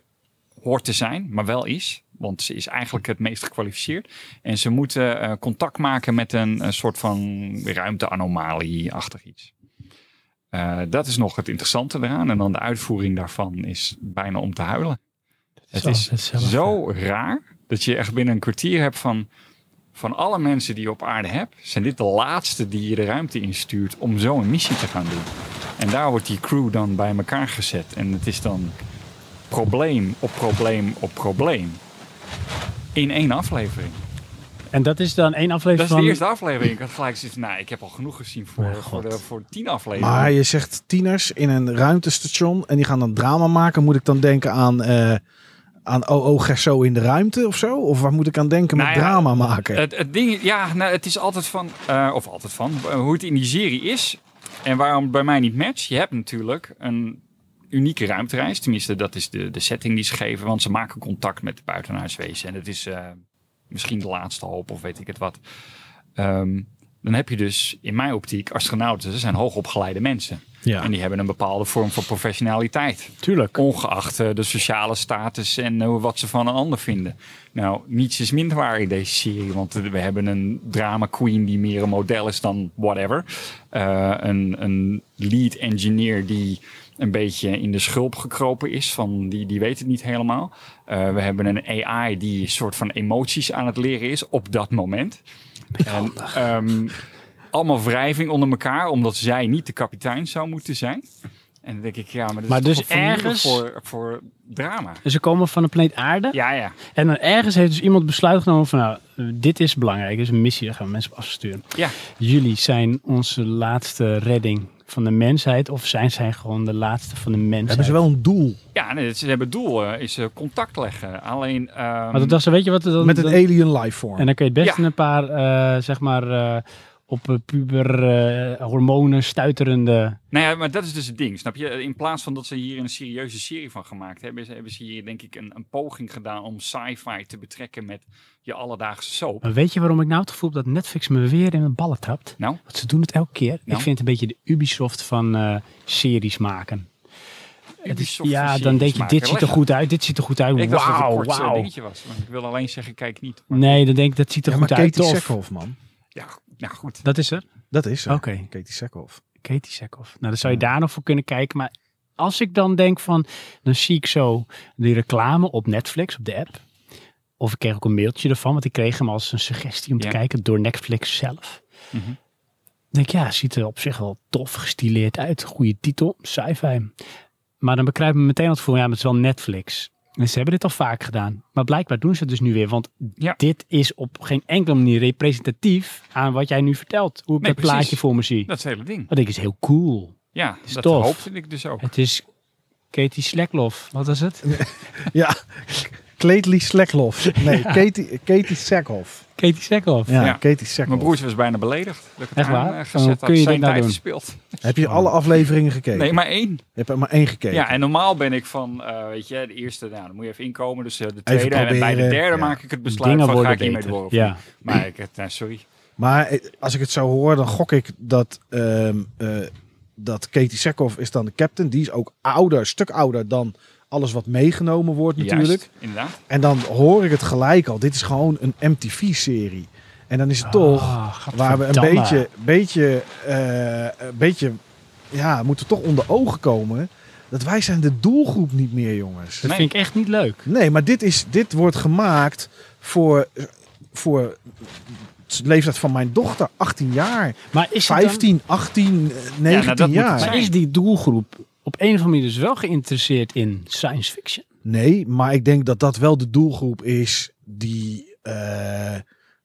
C: hoort te zijn, maar wel is. Want ze is eigenlijk het meest gekwalificeerd. En ze moeten eh, contact maken met een, een soort van ruimteanomalie-achtig iets. Eh, dat is nog het interessante eraan. En dan de uitvoering daarvan is bijna om te huilen. Het
A: Zo,
C: is
A: hetzelfde.
C: zo raar dat je echt binnen een kwartier hebt van... van alle mensen die je op aarde hebt... zijn dit de laatste die je de ruimte instuurt om zo'n missie te gaan doen. En daar wordt die crew dan bij elkaar gezet. En het is dan probleem op probleem op probleem. In één aflevering.
A: En dat is dan één aflevering
C: Dat is
A: van...
C: de eerste aflevering. Ik had gelijk zoiets van, nou, ik heb al genoeg gezien voor,
A: Mijn
C: voor,
A: God.
C: de, voor tien afleveringen.
B: Maar je zegt tieners in een ruimtestation en die gaan dan drama maken. Moet ik dan denken aan, eh aan OO Gerso in de ruimte of zo? Of waar moet ik aan denken met
C: Nou ja,
B: drama maken?
C: Het, het ding, ja, nou, het is altijd van, eh, of altijd van, eh, hoe het in die serie is en waarom het bij mij niet matcht. Je hebt natuurlijk een unieke ruimtereis, tenminste dat is de, de setting die ze geven, want ze maken contact met het buitenaardswezen en het is eh, misschien de laatste hoop of weet ik het wat. Ehm, dan heb je dus in mijn optiek astronauten, ze zijn hoogopgeleide mensen.
B: ja.
C: En die hebben een bepaalde vorm van professionaliteit.
A: Tuurlijk.
C: Ongeacht eh, de sociale status en eh, wat ze van een ander vinden. Nou, niets is minder waar in deze serie. Want we hebben een drama queen die meer een model is dan whatever. Eh, een, een lead engineer die een beetje in de schulp gekropen is. Van die, die weet het niet helemaal. Eh, we hebben een AI die een soort van emoties aan het leren is op dat moment. En, ehm, allemaal wrijving onder elkaar, omdat zij niet de kapitein zou moeten zijn. En dan denk ik, ja, maar dat
A: Maar
C: is
A: dus
C: toch een formule
A: ergens-
C: voor, voor drama.
A: Dus ze komen van de planeet aarde.
C: Ja, ja.
A: En dan ergens heeft dus iemand besluit genomen van... Nou, eh, dit is belangrijk. Dit is een missie. Daar gaan we mensen op afsturen.
C: Ja.
A: Jullie zijn onze laatste redding van de mensheid. Of zijn zij gewoon de laatste van de mensheid?
B: Hebben ze wel een doel?
C: ja nee, ze hebben het doel eh, is eh, contact leggen. Alleen, ehm,
A: Maar dat dacht ze, weet je wat... er Dan,
B: Met een
A: dan-
B: alien life form.
A: En dan kun je het best
C: Ja.
A: een paar, eh, zeg maar... eh, op eh, puber eh, hormonen stuiterende...
C: nou ja, maar dat is dus het ding, snap je? In plaats van dat ze hier een serieuze serie van gemaakt hebben, ze- hebben ze hier denk ik een, een poging gedaan om sci-fi te betrekken met je alledaagse soap.
A: Maar weet je waarom ik nou het gevoel heb dat Netflix me weer in mijn ballen trapt?
C: Nou?
A: Want ze doen het elke keer. Ik
C: Nou?
A: vind het een beetje de Ubisoft van eh, series maken. Het is,
C: Ubisoft
A: ja,
C: series
A: dan denk je,
C: maken.
A: dit ziet er
C: Leg-
A: goed uit, dit ziet er goed uit.
C: Ik dacht dat het een
A: Wauw,
C: kort eh,
A: wauw.
C: dingetje was. Want ik wil alleen zeggen, kijk niet. Maar,
A: Nee, dan denk ik, dat ziet er
B: ja, maar
A: goed uit.
B: Katie
A: Tof.
B: Sackhoff, man.
C: ja, nou goed.
A: Dat is er?
B: Dat is ze.
A: Oké,
B: Katie Sackhoff.
A: Katie Sackhoff. Nou, dan zou je daar nog voor kunnen kijken. Maar als ik dan denk van, dan zie ik zo die reclame op Netflix, op de app. Of ik kreeg ook een mailtje ervan, want ik kreeg hem als een suggestie om te
C: Ja.
A: kijken door Netflix zelf.
C: Mhm.
A: denk ik, ja, ziet er op zich wel tof gestileerd uit. Goede titel, sci-fi. Maar dan bekruipt me meteen al het gevoel, ja, maar het is wel Netflix. En ze hebben dit al vaak gedaan. Maar blijkbaar doen ze het dus nu weer. Want
C: Ja.
A: dit is op geen enkele manier representatief aan wat jij nu vertelt. Hoe ik
C: Nee,
A: dat
C: precies.
A: plaatje voor me zie.
C: Dat is het hele ding.
A: Wat ik is heel cool.
C: Ja,
A: Is
C: dat
A: tof.
C: hoopte ik dus ook.
A: Het is Katie Slekloff. Wat was het?
B: Ja, Clately Slackhoff. Nee, Katie, Katie Sackhoff.
A: Katie Slekloff.
B: Ja,
C: Ja.
B: Katie
C: Mijn
B: Sackhoff.
C: broertje was bijna beledigd dat ik het
A: Echt waar?
C: aan, eh, gezet
A: Kun je
C: had.
A: dit
C: Zijn
A: nou
C: tijd
A: doen?
C: gespeeld.
B: Heb je alle afleveringen gekeken?
C: Nee, maar één.
B: Je hebt er maar één gekeken.
C: Ja, en normaal ben ik van, eh, weet je, de eerste, nou, dan moet je even inkomen. Dus eh, de tweede en bij de
B: proberen,
C: derde
B: ja.
C: maak ik het besluit
A: Dingen
C: van, ga
A: worden
C: ik hiermee
A: beter.
C: door? of
A: ja.
C: niet? Maar ik, het, nou, sorry.
B: Maar eh, als ik het zo hoor, dan gok ik dat, ehm, eh, dat Katie Sackhoff is dan de captain. Die is ook ouder, een stuk ouder dan alles wat meegenomen wordt natuurlijk.
C: Juist, inderdaad.
B: En dan hoor ik het gelijk al. Dit is gewoon een MTV-serie. En dan is het toch
A: Ah,
B: waar we een
A: gadverdamme.
B: beetje, beetje, eh, een beetje, ja, moeten toch onder ogen komen. Dat wij zijn de doelgroep niet meer, jongens.
A: Dat
C: Nee.
A: vind ik echt niet leuk.
B: Nee, maar dit, is, dit wordt gemaakt voor, voor leeftijd van mijn dochter, 18 jaar,
A: Maar is, het dan-
B: 15, 18, eh, 19
C: dat moet
B: jaar.
C: het zijn.
A: maar is die doelgroep op een of andere manier dus wel geïnteresseerd in science fiction?
B: Nee, maar ik denk dat dat wel de doelgroep is die eh,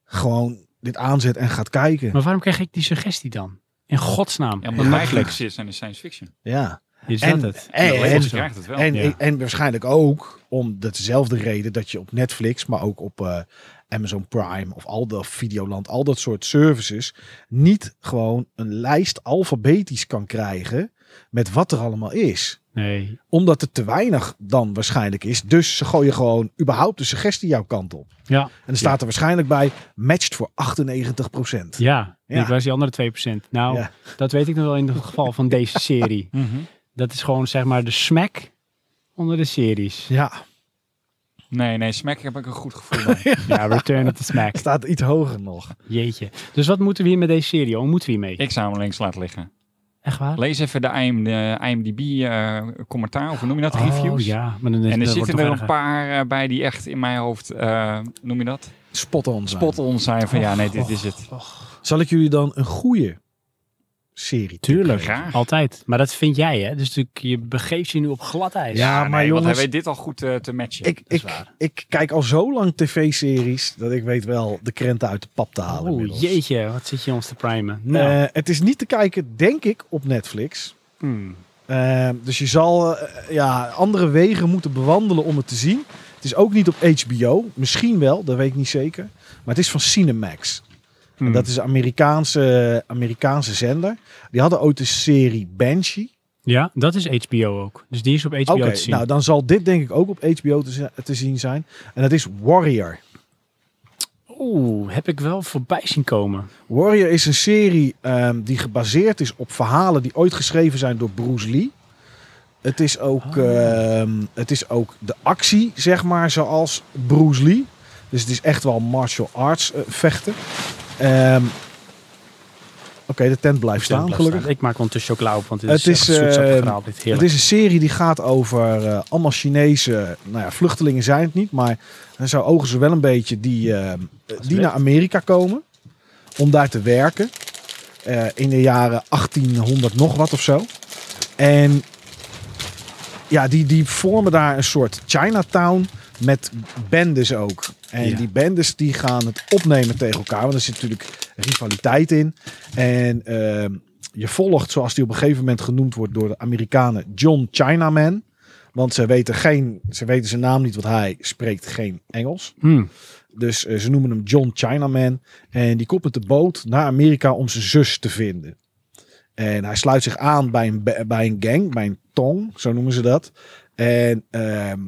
B: gewoon dit aanzet en gaat kijken.
A: Maar waarom krijg ik die suggestie dan? In godsnaam.
C: Ja,
A: Ja,
C: omdat
B: Ja.
C: mijn flex is en de science fiction.
B: Ja.
A: Is
B: en-
A: dat het?
B: en-
C: Ja,
B: en-
C: Lexus krijgt het wel.
B: En,
A: Ja.
B: en waarschijnlijk ook om dezelfde reden dat je op Netflix, maar ook op eh, Amazon Prime of al dat Videoland, al dat soort services, niet gewoon een lijst alfabetisch kan krijgen met wat er allemaal is.
A: Nee.
B: Omdat het te weinig dan waarschijnlijk is. Dus ze gooien gewoon überhaupt de suggestie jouw kant op.
A: Ja,
B: En er staat er waarschijnlijk bij, matched voor 98
A: ja.
B: Ja.
A: Ik was die andere 2%. Nou,
B: Ja.
A: dat weet ik nog wel in het geval van deze serie.
C: Mhm.
A: Dat is gewoon zeg maar de smack onder de series.
B: Ja,
C: Nee, nee, smack heb ik een goed
B: [laughs]
C: gevoel bij.
A: Ja, Return of the Smack.
B: staat iets hoger nog.
A: Jeetje. Dus wat moeten we hier met deze serie? Hoe moeten we hiermee?
C: ik zou hem links laten liggen.
A: Echt waar?
C: Lees even de IM, de IMDb eh, commentaar, of hoe noem je dat, reviews.
A: Oh, ja, maar dan is
C: En er
A: dat
C: zitten
A: wordt
C: er
A: toch
C: een
A: erger.
C: paar eh, bij die echt in mijn hoofd, eh, noem je dat?
B: Spot on. zijn.
C: Spot on zijn van ja, nee, dit is
A: Oh.
C: het.
B: Zal ik jullie dan een goede serie
A: Tuurlijk,
C: Graag.
A: altijd. Maar dat vind jij, hè? Dus natuurlijk, je begeeft je nu op glad ijs.
B: Ja,
C: nee,
B: maar
C: Want hij
B: jongens,
C: weet dit al goed eh, te matchen.
B: ik,
A: is
B: ik,
A: waar.
B: ik kijk al zo lang tv-series dat ik weet wel de krenten uit de pap te halen.
A: Oeh,
B: inmiddels.
A: Oh, jeetje, wat zit je ons te primen.
B: Eh,
A: Nou,
B: het is niet te kijken, denk ik, op Netflix.
A: hmm.
B: Eh, dus je zal eh, ja, andere wegen moeten bewandelen om het te zien. Het is ook niet op HBO. Misschien wel, dat weet ik niet zeker. Maar het is van Cinemax. En
A: Hmm.
B: dat is een Amerikaanse, Amerikaanse zender. Die hadden ooit de serie Banshee.
A: Ja, dat is HBO ook. Dus die is op HBO
B: Oké,
A: te zien.
B: nou dan zal dit denk ik ook op HBO te, zi- te zien zijn. En dat is Warrior.
A: Oeh, heb ik wel voorbij zien komen.
B: Warrior is een serie ehm, die gebaseerd is op verhalen die ooit geschreven zijn door Bruce Lee. Het is ook, ehm, het is ook de actie, zeg maar, zoals Bruce Lee. Dus het is echt wel martial arts eh, vechten. Ehm, Oké, de tent blijft staan,
A: Blijf
B: gelukkig.
A: staan. Ik maak ondertussen chocola op, want dit
B: Het
A: is, echt
B: is,
A: een zoet
B: eh,
A: verhaal. Dit heerlijk.
B: Het is een serie die gaat over eh, allemaal Chinese, nou ja, vluchtelingen zijn het niet, maar er zo ogen ze wel een beetje die, eh, die
A: weet.
B: naar Amerika komen om daar te werken. Eh, in de jaren 1800 nog wat of zo. En ja, die, die vormen daar een soort Chinatown met bendes ook. En
A: Ja.
B: die bendes die gaan het opnemen tegen elkaar, want er zit natuurlijk rivaliteit in. En ehm, je volgt, zoals die op een gegeven moment genoemd wordt door de Amerikanen, John Chinaman. Want ze weten, geen, ze weten zijn naam niet, want hij spreekt geen Engels.
A: Hmm.
B: Dus eh, ze noemen hem John Chinaman. En die koppelt de boot naar Amerika om zijn zus te vinden. En hij sluit zich aan bij een, be- bij een gang, bij een tong, zo noemen ze dat. En ehm,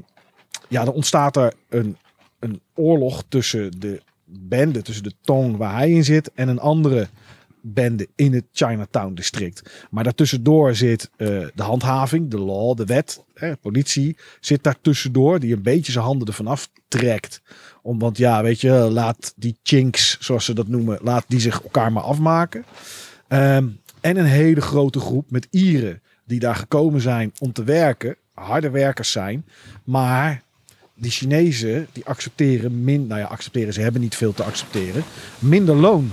B: ja, dan ontstaat er een, een oorlog tussen de bende, tussen de tong waar hij in zit en een andere bende in het Chinatown district. Maar daartussendoor zit eh, de handhaving, de law, de wet, hè, politie zit daartussendoor die een beetje zijn handen ervan aftrekt. Om, want ja, weet je, laat die chinks, zoals ze dat noemen, laat die zich elkaar maar afmaken. Ehm, en een hele grote groep met Ieren die daar gekomen zijn om te werken, harde werkers zijn, maar die Chinezen die accepteren min, nou ja, accepteren ze hebben niet veel te accepteren, minder loon.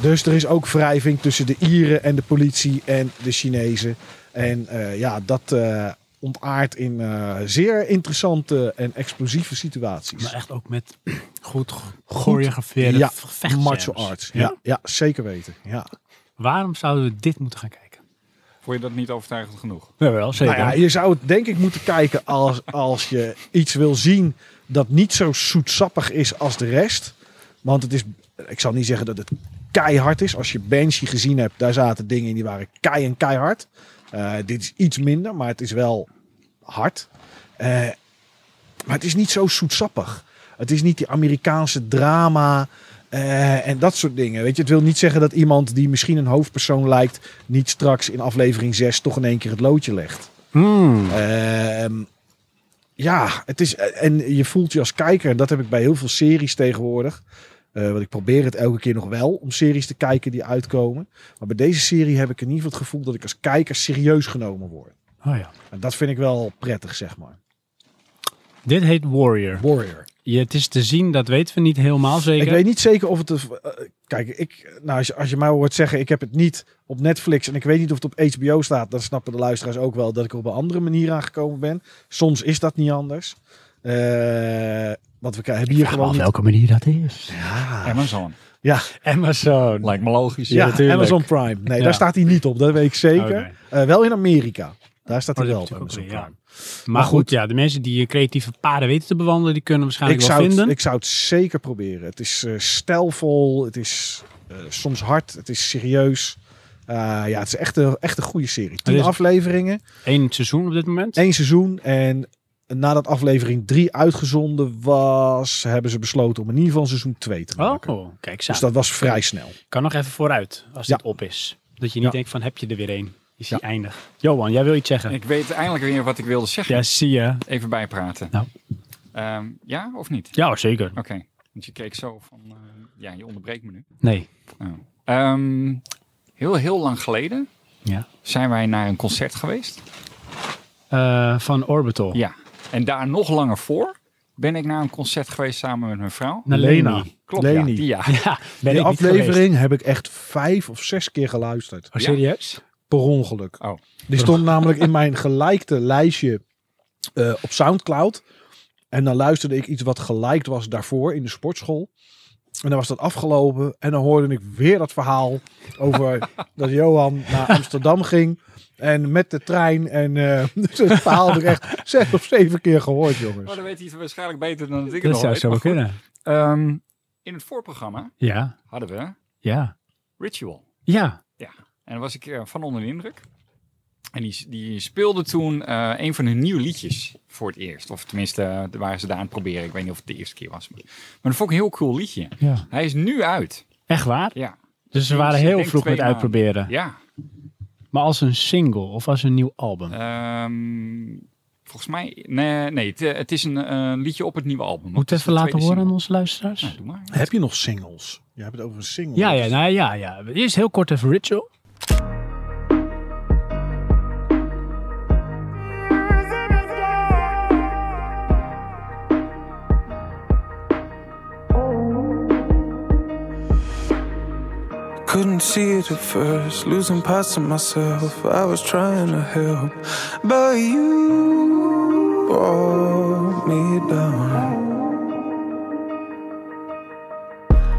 B: Dus er is ook wrijving tussen de Ieren en de politie en de Chinezen. En eh, ja, dat eh ontaart in eh, zeer interessante en explosieve situaties.
A: Maar echt ook met goed ge- choreografeerde
B: ja,
A: vechtscènes.
B: Martial arts. Ja, ja, zeker weten. Ja.
A: Waarom zouden we dit moeten gaan kijken?
C: Vond je dat niet overtuigend genoeg?
A: Jawel, zeker.
B: Nou ja, je zou het denk ik moeten kijken als, als je iets wil zien dat niet zo zoetsappig is als de rest. Want het is, ik zal niet zeggen dat het keihard is. Als je Banshee gezien hebt, daar zaten dingen in die waren kei en keihard. Eh, dit is iets minder, maar het is wel hard. Eh, maar het is niet zo zoetsappig. Het is niet die Amerikaanse drama eh, en dat soort dingen. Weet je, het wil niet zeggen dat iemand die misschien een hoofdpersoon lijkt, niet straks in aflevering 6 toch in één keer het loodje legt.
A: Hmm.
B: Ehm, ja, het is, en je voelt je als kijker, en dat heb ik bij heel veel series tegenwoordig. eh, want ik probeer het elke keer nog wel om series te kijken die uitkomen. Maar bij deze serie heb ik in ieder geval het gevoel dat ik als kijker serieus genomen word.
A: Oh ja.
B: En dat vind ik wel prettig, zeg maar.
A: Dit heet Warrior.
B: Warrior.
A: je, het is te zien, dat weten we niet helemaal zeker.
B: Ik weet niet zeker of het. een- eh, kijk, ik, nou, als, je, als je mij hoort zeggen, ik heb het niet op Netflix en ik weet niet of het op HBO staat, dan snappen de luisteraars ook wel dat ik er op een andere manier aangekomen ben. Soms is dat niet anders. Eh want we k- hebben hier gewoon. Niet,
A: welke manier dat is.
B: ja,
C: Amazon.
A: Amazon.
C: Lijkt me logisch.
B: ja,
A: natuurlijk.
B: Amazon Prime. Nee,
A: Ja.
B: daar staat hij niet op, dat weet ik zeker.
A: Oh, nee.
B: Eh, wel in Amerika. Daar staat
A: Oh,
B: hij
A: dat
B: wel
A: heb
B: op
A: ik ook
B: Amazon
A: weer, ja.
B: Prime.
A: Maar,
B: Maar
A: goed,
B: goed.
A: ja, de mensen die je creatieve paden weten te bewandelen, die kunnen waarschijnlijk
B: Ik
A: wel
B: zou, het,
A: vinden.
B: ik zou het zeker proberen. Het is eh, stijlvol, het is eh, soms hard, het is serieus. Eh, ja, het is echt een, echt een goede serie. Tien
A: is-
B: afleveringen,
A: Eén seizoen op dit moment.
B: één seizoen. En nadat aflevering drie uitgezonden was, hebben ze besloten om in ieder geval seizoen twee te
A: Oh,
B: maken.
A: kijk,
B: Dus
A: samen.
B: dat was vrij snel.
A: kan nog even vooruit als
B: Ja.
A: dit op is. Dat je niet
B: Ja.
A: denkt van, heb je er weer één? Is die
C: Ja.
A: eindig? Johan, jij wil iets zeggen?
C: Ik weet eindelijk weer wat ik wilde zeggen.
A: Ja, zie je.
C: Even bijpraten.
A: Nou.
C: Ehm, ja of niet?
A: Ja, zeker.
C: Oké. Want je keek zo van... eh, ja, je onderbreekt me nu.
A: Nee.
C: Oh. Ehm, heel, heel lang geleden
A: Ja.
C: zijn wij naar een concert geweest.
A: Eh, van Orbital.
C: Ja. En daar nog langer voor ben ik naar een concert geweest samen met mijn vrouw.
A: Naar
B: Lena.
A: Leni.
C: Klopt, ja.
B: Leni.
C: Die, ja.
A: [laughs] Ja, ben
B: Die
A: ik niet geweest.
B: aflevering heb ik echt vijf of zes keer geluisterd.
A: Oh,
C: Ja.
A: serieus?
B: Per ongeluk.
C: Oh.
B: Die
A: [laughs]
B: stond namelijk in mijn gelijkte lijstje eh, op Soundcloud. En dan luisterde ik iets wat gelijk was daarvoor in de sportschool. En dan was dat afgelopen. En dan hoorde ik weer dat verhaal
A: [laughs]
B: over dat Johan naar Amsterdam ging. En met de trein. En eh [laughs] dus het verhaal heb ik echt zes of zeven keer gehoord,
C: Maar
B: jongens.
C: Oh, dan weet hij het waarschijnlijk beter dan dat ik het
A: Dat
C: al
A: zou
C: weet.
A: zo wel
C: Maar goed.
A: kunnen.
C: Ehm, in het voorprogramma
A: Ja,
C: hadden we
A: ja.
C: Ritual.
A: Ja,
C: En daar was ik eh, van onder de indruk. En die, die speelde toen eh, een van hun nieuwe liedjes voor het eerst. Of tenminste, eh, daar waren ze daar aan het proberen. Ik weet niet of het de eerste keer was. Maar, maar dat vond ik een heel cool liedje.
A: ja.
C: Hij is nu uit.
A: Echt waar?
C: Ja.
A: Dus ze
C: Ik
A: waren heel
C: denk
A: vroeg
C: twee
A: met
C: maanden.
A: uitproberen.
C: Ja.
A: Maar als een single of als een nieuw album?
C: Ehm, volgens mij... Nee, nee het, eh, het is een eh, liedje op het nieuwe album.
A: Moet het
C: Het is
A: even
C: de
A: laten
C: tweede
A: horen aan
C: single.
A: onze luisteraars?
C: Nou, doe maar.
B: Heb je nog singles? Je hebt het over een single.
A: Ja, ja, nou ja, ja. Eerst heel kort even Ritual.
D: Couldn't see it at first, losing parts of myself. I was trying to help, but you brought me down.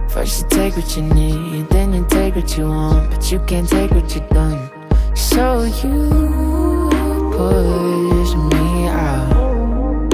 E: First you take what you need, then you take what you want, but you can't take what you've done. So you push me out.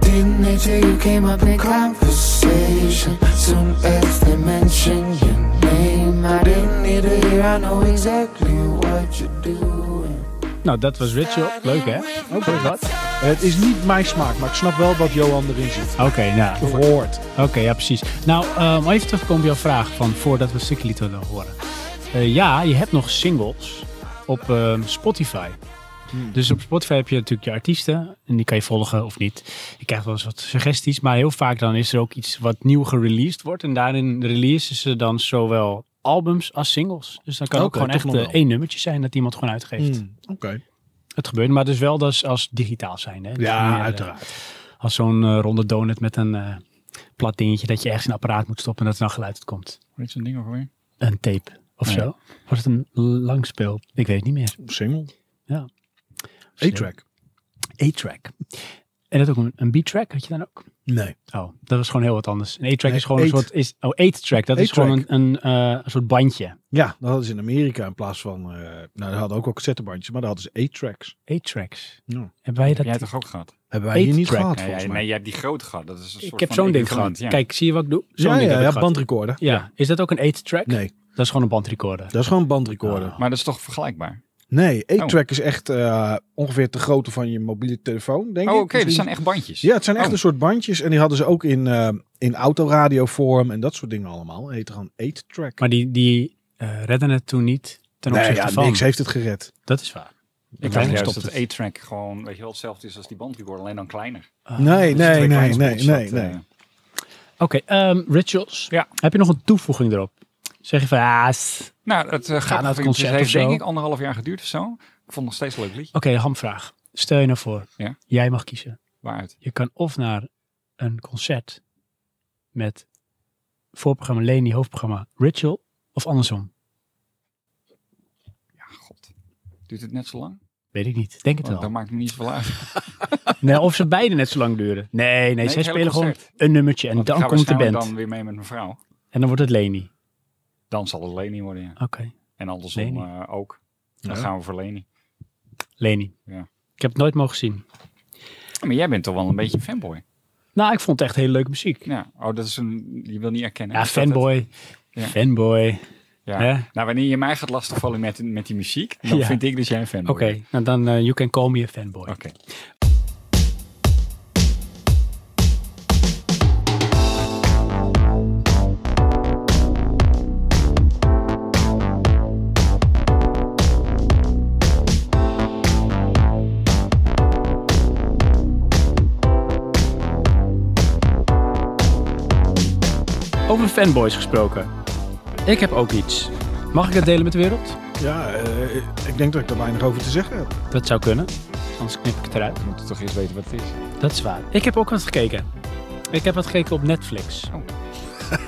E: Didn't they tell you came up in conversation? Soon as they mentioned your name, I didn't need to hear. I know exactly what you're doing.
A: Nou, dat was Ritual. Leuk, hè? Ook wat.
B: Het is niet mijn smaak, maar ik snap wel wat Johan erin zit.
A: Oké, nou.
B: Of hoort.
A: Oké, ja, precies. Nou, eh, maar even terugkomen op jouw vraag van voordat we een stukje lieten horen. Eh, ja, je hebt nog singles op ehm, Spotify.
B: Hmm.
A: Dus op Spotify heb je natuurlijk je artiesten en die kan je volgen of niet. Je krijgt wel eens wat suggesties, maar heel vaak dan is er ook iets wat nieuw gereleased wordt. En daarin releasen ze dan zowel albums als singles. Dus dan kan ook
B: Oké,
A: gewoon
B: toch
A: echt
B: nog
A: eh,
B: wel.
A: één nummertje zijn dat iemand gewoon uitgeeft.
B: Hmm, Oké.
A: Het gebeurt, maar dus wel dus als digitaal zijn. Hè? Dus meer,
B: Ja,
A: eh,
B: uiteraard.
A: als zo'n eh, ronde donut met een eh, plat dingetje dat je ergens in een apparaat moet stoppen en dat er dan geluid komt.
C: Hoe heet zo'n ding ook alweer?
A: Een tape of
C: Nee.
A: zo. Was het een langspeel? Ik weet het niet meer.
B: Single.
A: Ja.
B: A-track.
A: A-track. En dat ook een, een B-track had je dan ook?
B: Nee.
A: Oh, dat was gewoon heel wat anders. Een A-track
B: Nee,
A: is gewoon een
B: eight.
A: soort... Is, oh, eight-track. Dat is
B: Eight-track.
A: gewoon een, een, eh, een soort bandje.
B: Ja, dat hadden ze in Amerika in plaats van... eh nou, daar hadden ook wel cassettebandjes, maar daar hadden ze A-tracks.
A: A-tracks.
B: Ja.
A: Hebben wij
C: Heb
A: dat...
C: jij het toch ook gehad?
B: Hebben wij hier niet
A: A-track.
B: gehad,
C: Nee,
B: volgens
C: jij,
B: mij.
C: nee, jij hebt die groot gehad. Dat is een soort
A: ik heb
C: van
A: zo'n ding
C: equivalent,
A: gehad.
C: ja.
A: Kijk, zie je wat ik doe? Zo'n
B: ja,
A: ding
B: ja,
A: heb ik
B: ja,
A: gehad.
B: bandrecorder.
A: Ja. Is dat ook een eight-track?
B: Nee,
A: Dat is gewoon een bandrecorder.
B: dat is gewoon een bandrecorder.
A: Oh.
C: Ah. Maar dat is toch vergelijkbaar?
B: Nee, A-track is echt eh, ongeveer de grootte van je mobiele telefoon, denk
C: Oh,
B: ik.
C: oké. dat
B: Misschien-
C: zijn echt bandjes.
B: Ja, het zijn echt
C: Oh.
B: een soort bandjes. En die hadden ze ook in, eh in autoradiovorm en dat soort dingen allemaal. Het heet gewoon 8-track.
A: Maar die, die eh, redden het toen niet ten
B: Nee,
A: opzichte
B: ja,
A: van...
B: niks heeft het gered.
A: Dat is waar.
C: Ik dacht
A: Uiteindelijk
C: juist
A: stopt
C: dat
A: het.
C: A-track gewoon, weet je wel, hetzelfde is als die bandrecorder, alleen dan kleiner.
A: Ah.
B: Nee,
C: Dus
B: nee,
C: twee
B: nee,
C: kleine
B: nee,
C: spots,
B: nee,
C: dat,
B: nee.
C: eh,
A: Oké, ehm, rituals.
C: Ja.
A: Heb je nog een toevoeging erop? Zeg je van, ah, s- oké,
C: Nou, het eh,
A: naar het
C: grappige
A: concert
C: concert heeft
A: of zo.
C: denk ik anderhalf jaar geduurd of zo. Ik vond het nog steeds een leuk liedje.
A: de hamvraag. Stel je nou voor,
C: Ja.
A: jij mag kiezen.
C: Waaruit?
A: Je kan of naar een concert met voorprogramma Leni, hoofdprogramma Ritual, of andersom.
C: Ja, god. Duurt het net zo lang?
A: Weet ik niet. Denk het
C: Want dat
A: wel.
C: maakt me niet zoveel uit.
A: Nee, of ze beide net zo lang duren. Nee, nee,
C: het
A: zij
C: hele
A: spelen gewoon
C: concert.
A: een nummertje en
C: Want ik
A: dan
C: ga
A: komt de band.
C: waarschijnlijk dan weer mee met mijn vrouw.
A: En dan wordt het Leni.
C: Dan zal het Leni worden, ja.
A: Oké,
C: En andersom
A: Leni.
C: eh, ook. Dan gaan we voor Leni.
A: Leni.
C: Ja.
A: Ik heb het nooit mogen zien.
C: Maar jij bent toch wel een beetje een fanboy?
A: Nou, ik vond het echt hele leuke muziek.
C: Ja. Oh, dat is een... Je wil niet erkennen.
A: Ja,
C: Is dat het?
A: fanboy.
C: Ja.
A: Fanboy.
C: Ja.
A: Hè?
C: Nou, wanneer je mij gaat lastigvallen met, met die muziek, dan
A: Ja.
C: vind ik dat jij een fanboy
A: Oké,
C: bent.
A: nou dan eh, you can call me a fanboy.
C: Oké.
A: Over fanboys gesproken. Ik heb ook iets. Mag ik het delen met de wereld?
B: Ja, eh, ik denk dat ik er weinig over te zeggen heb.
A: Dat zou kunnen. Anders knip ik het eruit.
C: We moeten toch eerst weten wat het is.
A: Dat is waar. Ik heb ook wat gekeken. Ik heb wat gekeken op Netflix.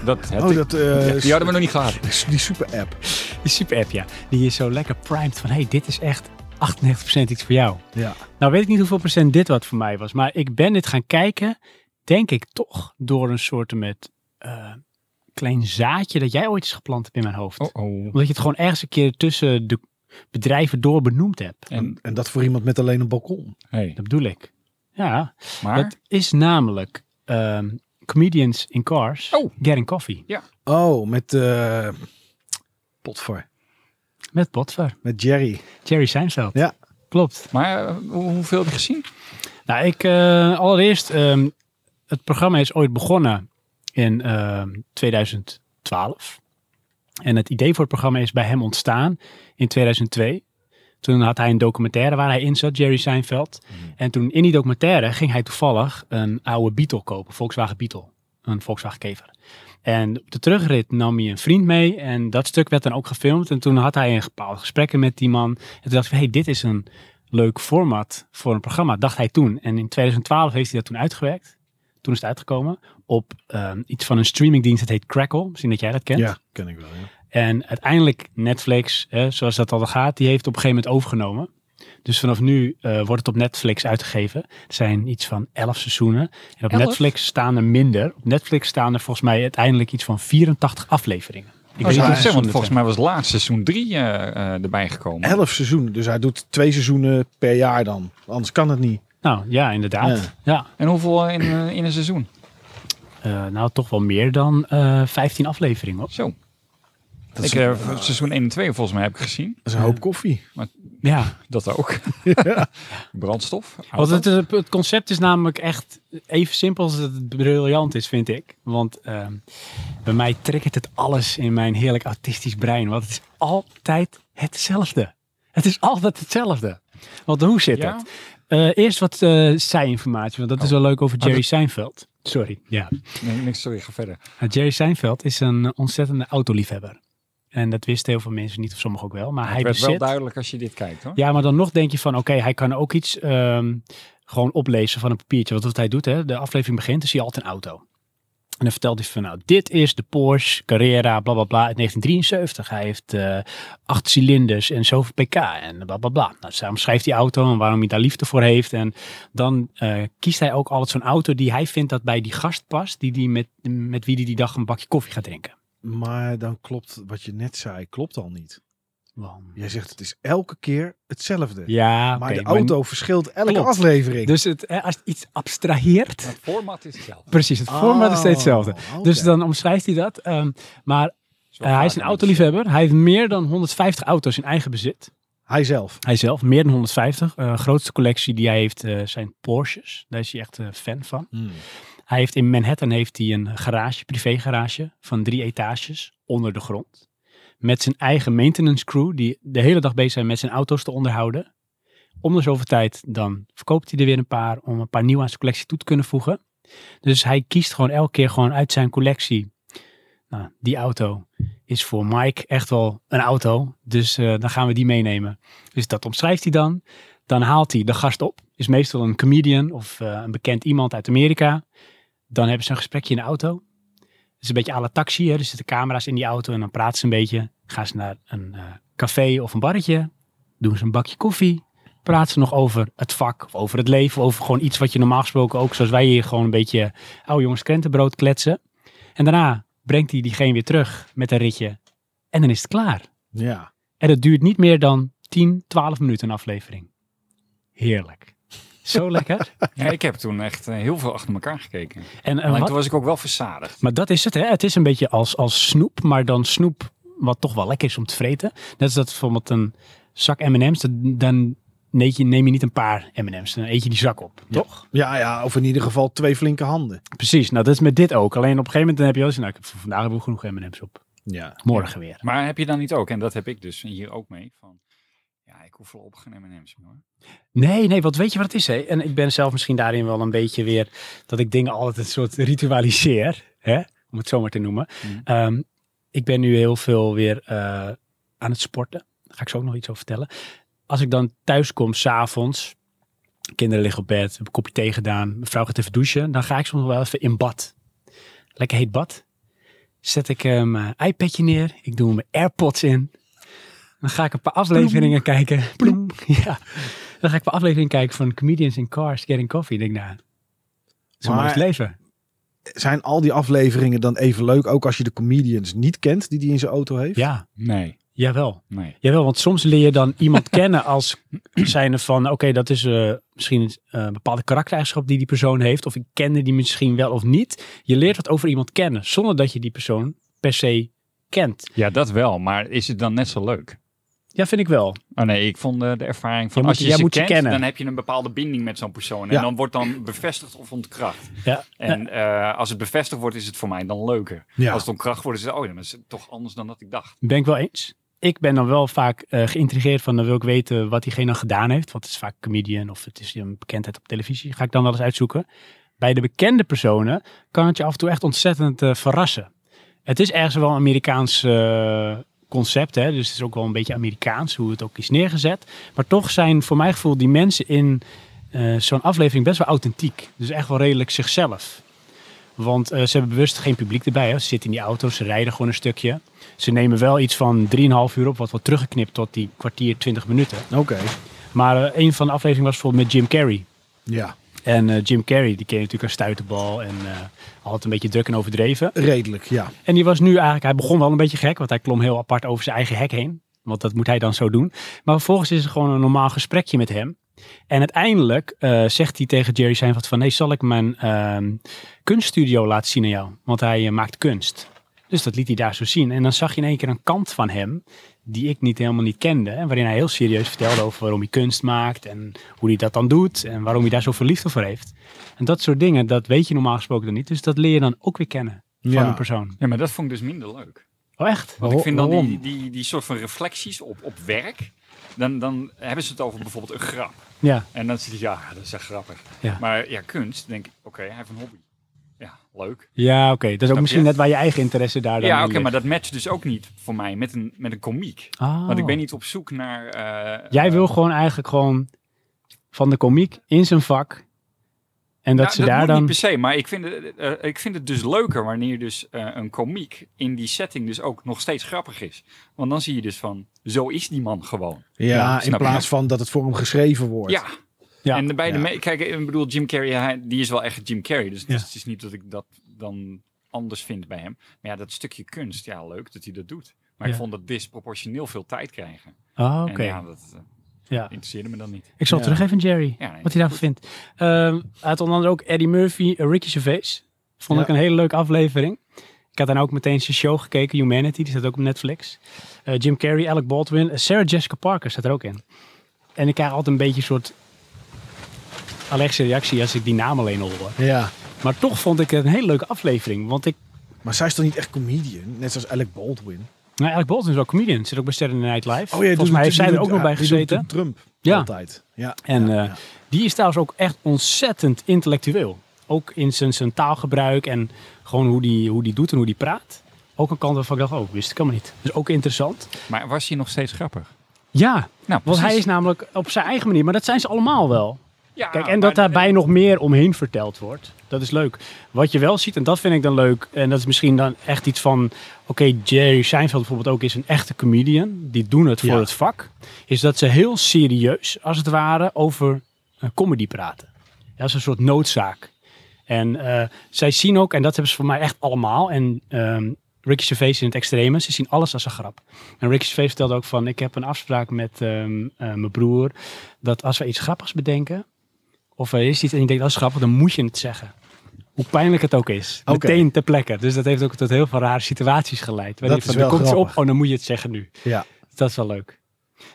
C: Dat heb
B: Oh,
C: ik.
B: dat, eh,
C: Die hadden we nog niet gehad.
B: die super app.
A: Die super app, ja. Die is zo lekker primed van, hé, hey, dit is echt 98% iets voor jou.
B: Ja.
A: Nou weet ik niet hoeveel procent dit wat voor mij was. Maar ik ben dit gaan kijken, denk ik toch, door een soort met eh, klein zaadje dat jij ooit eens geplant hebt in mijn hoofd.
C: Oh, oh.
A: Omdat je het gewoon ergens een keer tussen de bedrijven door benoemd hebt.
C: En,
B: En dat voor iemand met alleen een balkon.
C: hey,
A: Dat bedoel ik. Ja,
C: maar...
A: het is namelijk ehm, Comedians in Cars,
C: Oh.
A: Getting Coffee,
B: Oh, met... eh Potver.
A: met Botver,
B: Met Jerry.
A: Jerry Seinfeld.
B: Ja.
A: Klopt.
C: Maar eh, hoe- hoeveel heb je gezien?
A: Nou, ik, eh, allereerst, ehm, het programma is ooit begonnen in ehm, 2012. En het idee voor het programma is bij hem ontstaan in 2002. Toen had hij een documentaire waar hij in zat, Jerry Seinfeld. En toen in die documentaire ging hij toevallig een oude Beetle kopen, Volkswagen Beetle. Een Volkswagen Kever. En op de terugrit nam hij een vriend mee en dat stuk werd dan ook gefilmd. En toen had hij een bepaald gesprekken met die man. En toen dacht ik, hé, hey, dit is een leuk format voor een programma, dacht hij toen. En in 2012 heeft hij dat toen uitgewerkt. Toen is het uitgekomen op ehm, iets van een streamingdienst, dat heet Crackle. Misschien dat jij dat kent.
B: Ja, ken ik wel. Ja.
A: En uiteindelijk Netflix, hè, zoals dat al gaat, die heeft op een gegeven moment overgenomen. Dus vanaf nu eh, wordt het op Netflix uitgegeven. Er zijn iets van elf seizoenen. En op
C: Elf?
A: Netflix staan er minder. Op Netflix staan er volgens mij uiteindelijk iets van 84 afleveringen. Ik niet
C: Ik
A: hoeveel
C: het zeggen, Oh, want
A: seizoenen het
C: volgens mij was laatst seizoen 3 erbij gekomen.
B: Elf seizoenen. Dus hij doet twee seizoenen per jaar dan. Anders kan het niet.
A: zijn. Nou ja, inderdaad. Ja.
C: En hoeveel in, eh, in een seizoen?
A: Eh, nou, toch wel meer dan eh 15 afleveringen. Hoor.
C: Zo.
B: Dat
C: ik,
B: is, een-
C: eh, seizoen 1 en 2 volgens mij heb ik gezien.
B: dat is een hoop koffie.
A: Ja,
C: Dat ook. [laughs] Brandstof.
A: Want
C: auto.
A: het, is- het concept is namelijk echt even simpel als dat het briljant is, vind ik. Want ehm, bij mij triggert het alles in mijn heerlijk autistisch brein. Want het is altijd hetzelfde. Het is altijd hetzelfde. Want hoe zit
C: Ja? Oh.
A: het? Eh, eerst wat eh zij-informatie, want dat is wel leuk
C: Ah,
A: over Jerry Seinfeld. Sorry. Ja.
C: Nee, niks, sorry, ga verder.
A: Nou, Jerry Seinfeld is een ontzettende autoliefhebber. En dat wisten heel veel mensen niet, of sommigen ook wel. Maar hij
C: het werd wel
A: bezit...
C: duidelijk als je dit kijkt hoor.
A: Ja, maar dan nog denk je van, oké, hij kan ook iets ehm, gewoon oplezen van een papiertje. Want wat hij doet, hè, de aflevering begint, dan zie je altijd een auto. En dan vertelt hij van, nou, dit is de Porsche Carrera, bla bla bla, uit 1973. Hij heeft eh, acht cilinders en zoveel pk en bla bla bla. Nou, daarom schrijft die auto en waarom hij daar liefde voor heeft. En dan eh, kiest hij ook altijd zo'n auto die hij vindt dat bij die gast past, die die met, met wie hij die dag een bakje koffie gaat drinken.
B: Maar dan klopt wat je net zei, klopt al niet.
A: Want-
B: Jij zegt het is elke keer hetzelfde.
A: Ja,
B: maar
A: oké,
B: de auto verschilt elke
A: Klopt.
B: aflevering.
A: Dus het, eh, als het iets abstraheert,
C: Het format is hetzelfde.
A: Precies, het format is steeds hetzelfde.
B: Oh, oké.
A: Dus dan omschrijft hij dat. ehm, maar eh,
C: Is wel
A: hij
C: vaak
A: is een
C: een
A: autoliefhebber. Hij heeft meer dan 150 auto's in eigen bezit.
B: Hij zelf.
A: Hij zelf, meer dan 150. Eh grootste collectie die hij heeft eh, zijn Porsches. Daar is hij echt eh, fan van.
B: Hmm.
A: Hij heeft in Manhattan heeft hij een garage, privégarage van drie etages onder de grond. Met zijn eigen maintenance crew die de hele dag bezig zijn met zijn auto's te onderhouden. Om de zoveel tijd dan verkoopt hij er weer een paar om een paar nieuw aan zijn collectie toe te kunnen voegen. Dus hij kiest gewoon elke keer gewoon uit zijn collectie. Nou, die auto is voor Mike echt wel een auto. Dus eh, dan gaan we die meenemen. Dus dat omschrijft hij dan. Dan haalt hij de gast op. Is meestal een comedian of eh, een bekend iemand uit Amerika. Dan hebben ze een gesprekje in de auto. Het is een beetje à la taxi. Hè? Er zitten camera's in die auto en dan praten ze een beetje. Gaan ze naar een eh, café of een barretje. Doen ze een bakje koffie. Praten ze nog over het vak of over het leven. Of over gewoon iets wat je normaal gesproken ook, zoals wij hier, gewoon een beetje oude jongens krentenbrood kletsen. En daarna brengt hij diegene weer terug met een ritje. En dan is het klaar.
B: Ja.
A: En het duurt niet meer dan 10, 12 minuten een aflevering. Heerlijk. Zo lekker.
C: Ja, ik heb toen echt eh, heel veel achter elkaar gekeken.
A: En, en
C: Alleen
A: wat-
C: toen was ik ook wel verzadigd.
A: Maar dat is het, hè? Het is een beetje als, als snoep, maar dan snoep wat toch wel lekker is om te vreten. Net als dat bijvoorbeeld een zak M&M's, dat- dan neem je, neem je niet een paar M&M's, dan eet je die zak op, toch?
B: Ja, ja, of in ieder geval twee flinke handen.
A: Precies, nou dat is met dit ook. Alleen op een gegeven moment dan heb je wel eens, nou ik heb voor vandaag hebben we genoeg M&M's op.
B: Ja.
A: Morgen weer.
C: Maar heb je dan niet ook, en dat heb ik dus hier ook mee, van ja, ik hoef voorlopig geen M&M's meer hoor.
A: Nee, nee, want weet je wat het is? Hè? En ik ben zelf misschien daarin wel een beetje weer dat ik dingen altijd een soort ritualiseer, hè? om het zo maar te noemen.
C: Mm.
A: Ehm, ik ben nu heel veel weer eh, aan het sporten. Daar ga ik zo ook nog iets over vertellen. Als ik dan thuis kom, s'avonds, kinderen liggen op bed, heb een kopje thee gedaan, mijn vrouw gaat even douchen, dan ga ik soms wel even in bad. Lekker heet bad. Zet ik eh, mijn iPadje neer, ik doe mijn AirPods in. Dan ga ik een paar afleveringen kijken. Ploem. [laughs] Ja. Dan ga ik een paar afleveringen kijken van Comedians in Cars Getting Coffee. Ik denk, nou, dat is een
B: Maar-
A: mooi is het leven.
B: Zijn al die afleveringen dan even leuk, ook als je de comedians niet kent die die in zijn auto heeft?
A: Ja,
C: Nee,
A: jawel.
C: nee.
A: Jawel, want soms leer je dan iemand kennen als zijnde van... oké, dat is eh, misschien eh, een bepaalde karaktereigenschap die die persoon heeft... of ik kende die misschien wel of niet. Je leert wat over iemand kennen, zonder dat je die persoon per se kent.
C: Ja, dat wel, maar is het dan net zo leuk?
A: Ja, vind ik wel.
C: Oh nee, ik vond eh, de ervaring van
A: Je moet-
C: als je
A: jij
C: ze
A: moet ze
C: kent,
A: kennen.
C: dan heb je een bepaalde binding met zo'n persoon. En
B: Ja.
C: dan wordt dan bevestigd of ontkracht.
A: Ja.
C: En eh, als het bevestigd wordt, is het voor mij dan leuker.
B: Ja.
C: Als het ontkracht wordt, is het, oh ja, maar is het toch anders dan dat ik dacht.
A: Ben ik wel eens. Ik ben dan wel vaak eh, geïntrigeerd van, dan wil ik weten wat diegene dan gedaan heeft. Want het is vaak comedian of het is een bekendheid op televisie. Ga ik dan wel eens uitzoeken. Bij de bekende personen kan het je af en toe echt ontzettend eh, verrassen. Het is ergens wel een Amerikaans eh, concept, hè? dus het is ook wel een beetje Amerikaans hoe het ook is neergezet. Maar toch zijn voor mijn gevoel die mensen in eh, zo'n aflevering best wel authentiek. Dus echt wel redelijk zichzelf. Want eh, ze hebben bewust geen publiek erbij. Hè? Ze zitten in die auto's, ze rijden gewoon een stukje. Ze nemen wel iets van 3,5 uur op, wat wordt teruggeknipt tot die kwartier, 20 minuten.
B: Oké.
A: Maar eh, een van de afleveringen was bijvoorbeeld met Jim Carrey.
B: Ja.
A: En eh, Jim Carrey, die ken je natuurlijk als stuiterbal en eh, altijd een beetje druk en overdreven.
B: Redelijk, ja.
A: En die was nu eigenlijk, hij begon wel een beetje gek, want hij klom heel apart over zijn eigen hek heen. Want dat moet hij dan zo doen. Maar vervolgens is er gewoon een normaal gesprekje met hem. En uiteindelijk eh, zegt hij tegen Jerry Seinfeld van... nee, zal ik mijn ehm, kunststudio laten zien aan jou? Want hij eh, maakt kunst. Dus dat liet hij daar zo zien. En dan zag je in één keer een kant van hem... die ik niet helemaal niet kende. En waarin hij heel serieus vertelde over waarom hij kunst maakt... en hoe hij dat dan doet en waarom hij daar zoveel liefde voor heeft. En dat soort dingen, dat weet je normaal gesproken dan niet. Dus dat leer je dan ook weer kennen van
B: Ja.
A: een persoon.
C: Ja, maar dat vond ik dus minder leuk.
A: Oh, echt?
C: Want ik vind dan
B: waarom?
C: die, die, die soort van reflecties op, op werk, dan, dan hebben ze het over bijvoorbeeld een grap.
A: Ja.
C: En dan zit je, ja, dat is echt grappig.
A: Ja.
C: Maar ja, kunst, denk ik, oké, hij heeft een hobby. Ja, leuk.
A: Ja, oké. Dat is ook
C: je?
A: misschien net waar je eigen interesse daar dan
C: Ja,
A: in
C: oké, maar
A: ligt.
C: dat matcht dus ook niet voor mij met een, met een komiek.
A: Ah.
C: Want ik ben niet op zoek naar... eh,
A: Jij
C: eh,
A: wil gewoon eigenlijk gewoon van de komiek in zijn vak. En dat
C: nou,
A: ze daar
C: moet
A: dan...
C: niet per se, maar ik vind, het, eh, ik vind het dus leuker wanneer dus eh, een komiek in die setting dus ook nog steeds grappig is. Want dan zie je dus van, zo is die man gewoon.
B: Ja, in
C: snap je?
B: plaats van dat het voor hem geschreven wordt.
C: Ja.
A: Ja.
C: En bij de
B: Ja.
C: me- kijk, ik bedoel, Jim Carrey, hij- die is wel echt Jim Carrey. Dus,
A: Ja.
C: dus het is niet dat ik dat dan anders vind bij hem. Maar ja, dat stukje kunst, ja, leuk dat hij dat doet. Maar ik
A: Ja.
C: vond dat disproportioneel veel tijd krijgen.
A: Ah, oké.
C: En ja, dat eh,
A: Ja.
C: interesseerde me dan niet.
A: Ik zal
B: Ja.
A: teruggeven, Jerry.
C: Ja, nee,
A: wat hij daarvan vindt. Ehm, hij had onder andere ook Eddie Murphy, eh, Ricky Gervais. Vond
B: Ja.
A: ik een hele leuke aflevering. Ik had dan ook meteen zijn show gekeken, Humanity. Die staat ook op Netflix. Eh, Jim Carrey, Alec Baldwin. eh, Sarah Jessica Parker staat er ook in. En ik krijg altijd een beetje een soort... allergische reactie als ik die naam alleen hoor.
B: Ja.
A: Maar toch vond ik het een hele leuke aflevering. Want ik,
B: Maar zij is toch niet echt comedian? Net zoals Alec Baldwin.
A: nou, Alec Bolton is ook comedian. Zit ook bij Saturday Night Live.
B: Oh die
A: Volgens
B: doet-
A: mij heeft
B: die
A: zij er
B: doet-
A: ook nog
B: ah,
A: bij
B: die doet
A: gezeten.
B: toen Trump
A: Ja.
B: altijd. Ja.
A: En
B: ja,
A: eh,
B: ja.
A: die is trouwens ook echt ontzettend intellectueel. Ook in zijn, zijn taalgebruik en gewoon hoe die, hoe die doet en hoe die praat. Ook een kant waarvan ik dacht, oh, wist ik helemaal niet. Dus ook interessant.
C: Maar was hij nog steeds grappig?
A: Ja,
C: Nou,
A: want hij is
C: precies.
A: namelijk op zijn eigen manier, maar dat zijn ze allemaal wel.
C: Ja,
A: Kijk, en
C: maar-
A: dat daarbij nog meer omheen verteld wordt. Dat is leuk. Wat je wel ziet, en dat vind ik dan leuk. En dat is misschien dan echt iets van... Oké, Jerry Seinfeld bijvoorbeeld ook is een echte comedian. Die doen het voor
B: Ja.
A: het vak. Is dat ze heel serieus, als het ware, over eh, comedy praten. Dat is een soort noodzaak. En eh, zij zien ook, en dat hebben ze voor mij echt allemaal. En ehm, Ricky Gervais in het extreme. Ze zien alles als een grap. En Ricky Gervais vertelde ook van... Ik heb een afspraak met ehm, eh, mijn broer. Dat als we iets grappigs bedenken... Of er is iets en je denkt, dat is grappig, dan moet je het zeggen. Hoe pijnlijk het ook is.
B: Oké.
A: Meteen ter plekke. Dus dat heeft ook tot heel veel rare situaties geleid. Waarin
B: Dat
A: van, er
B: is wel
A: komt iets op,
B: grappig.
A: oh, dan moet je het zeggen nu.
B: Ja.
A: Dus dat is wel leuk.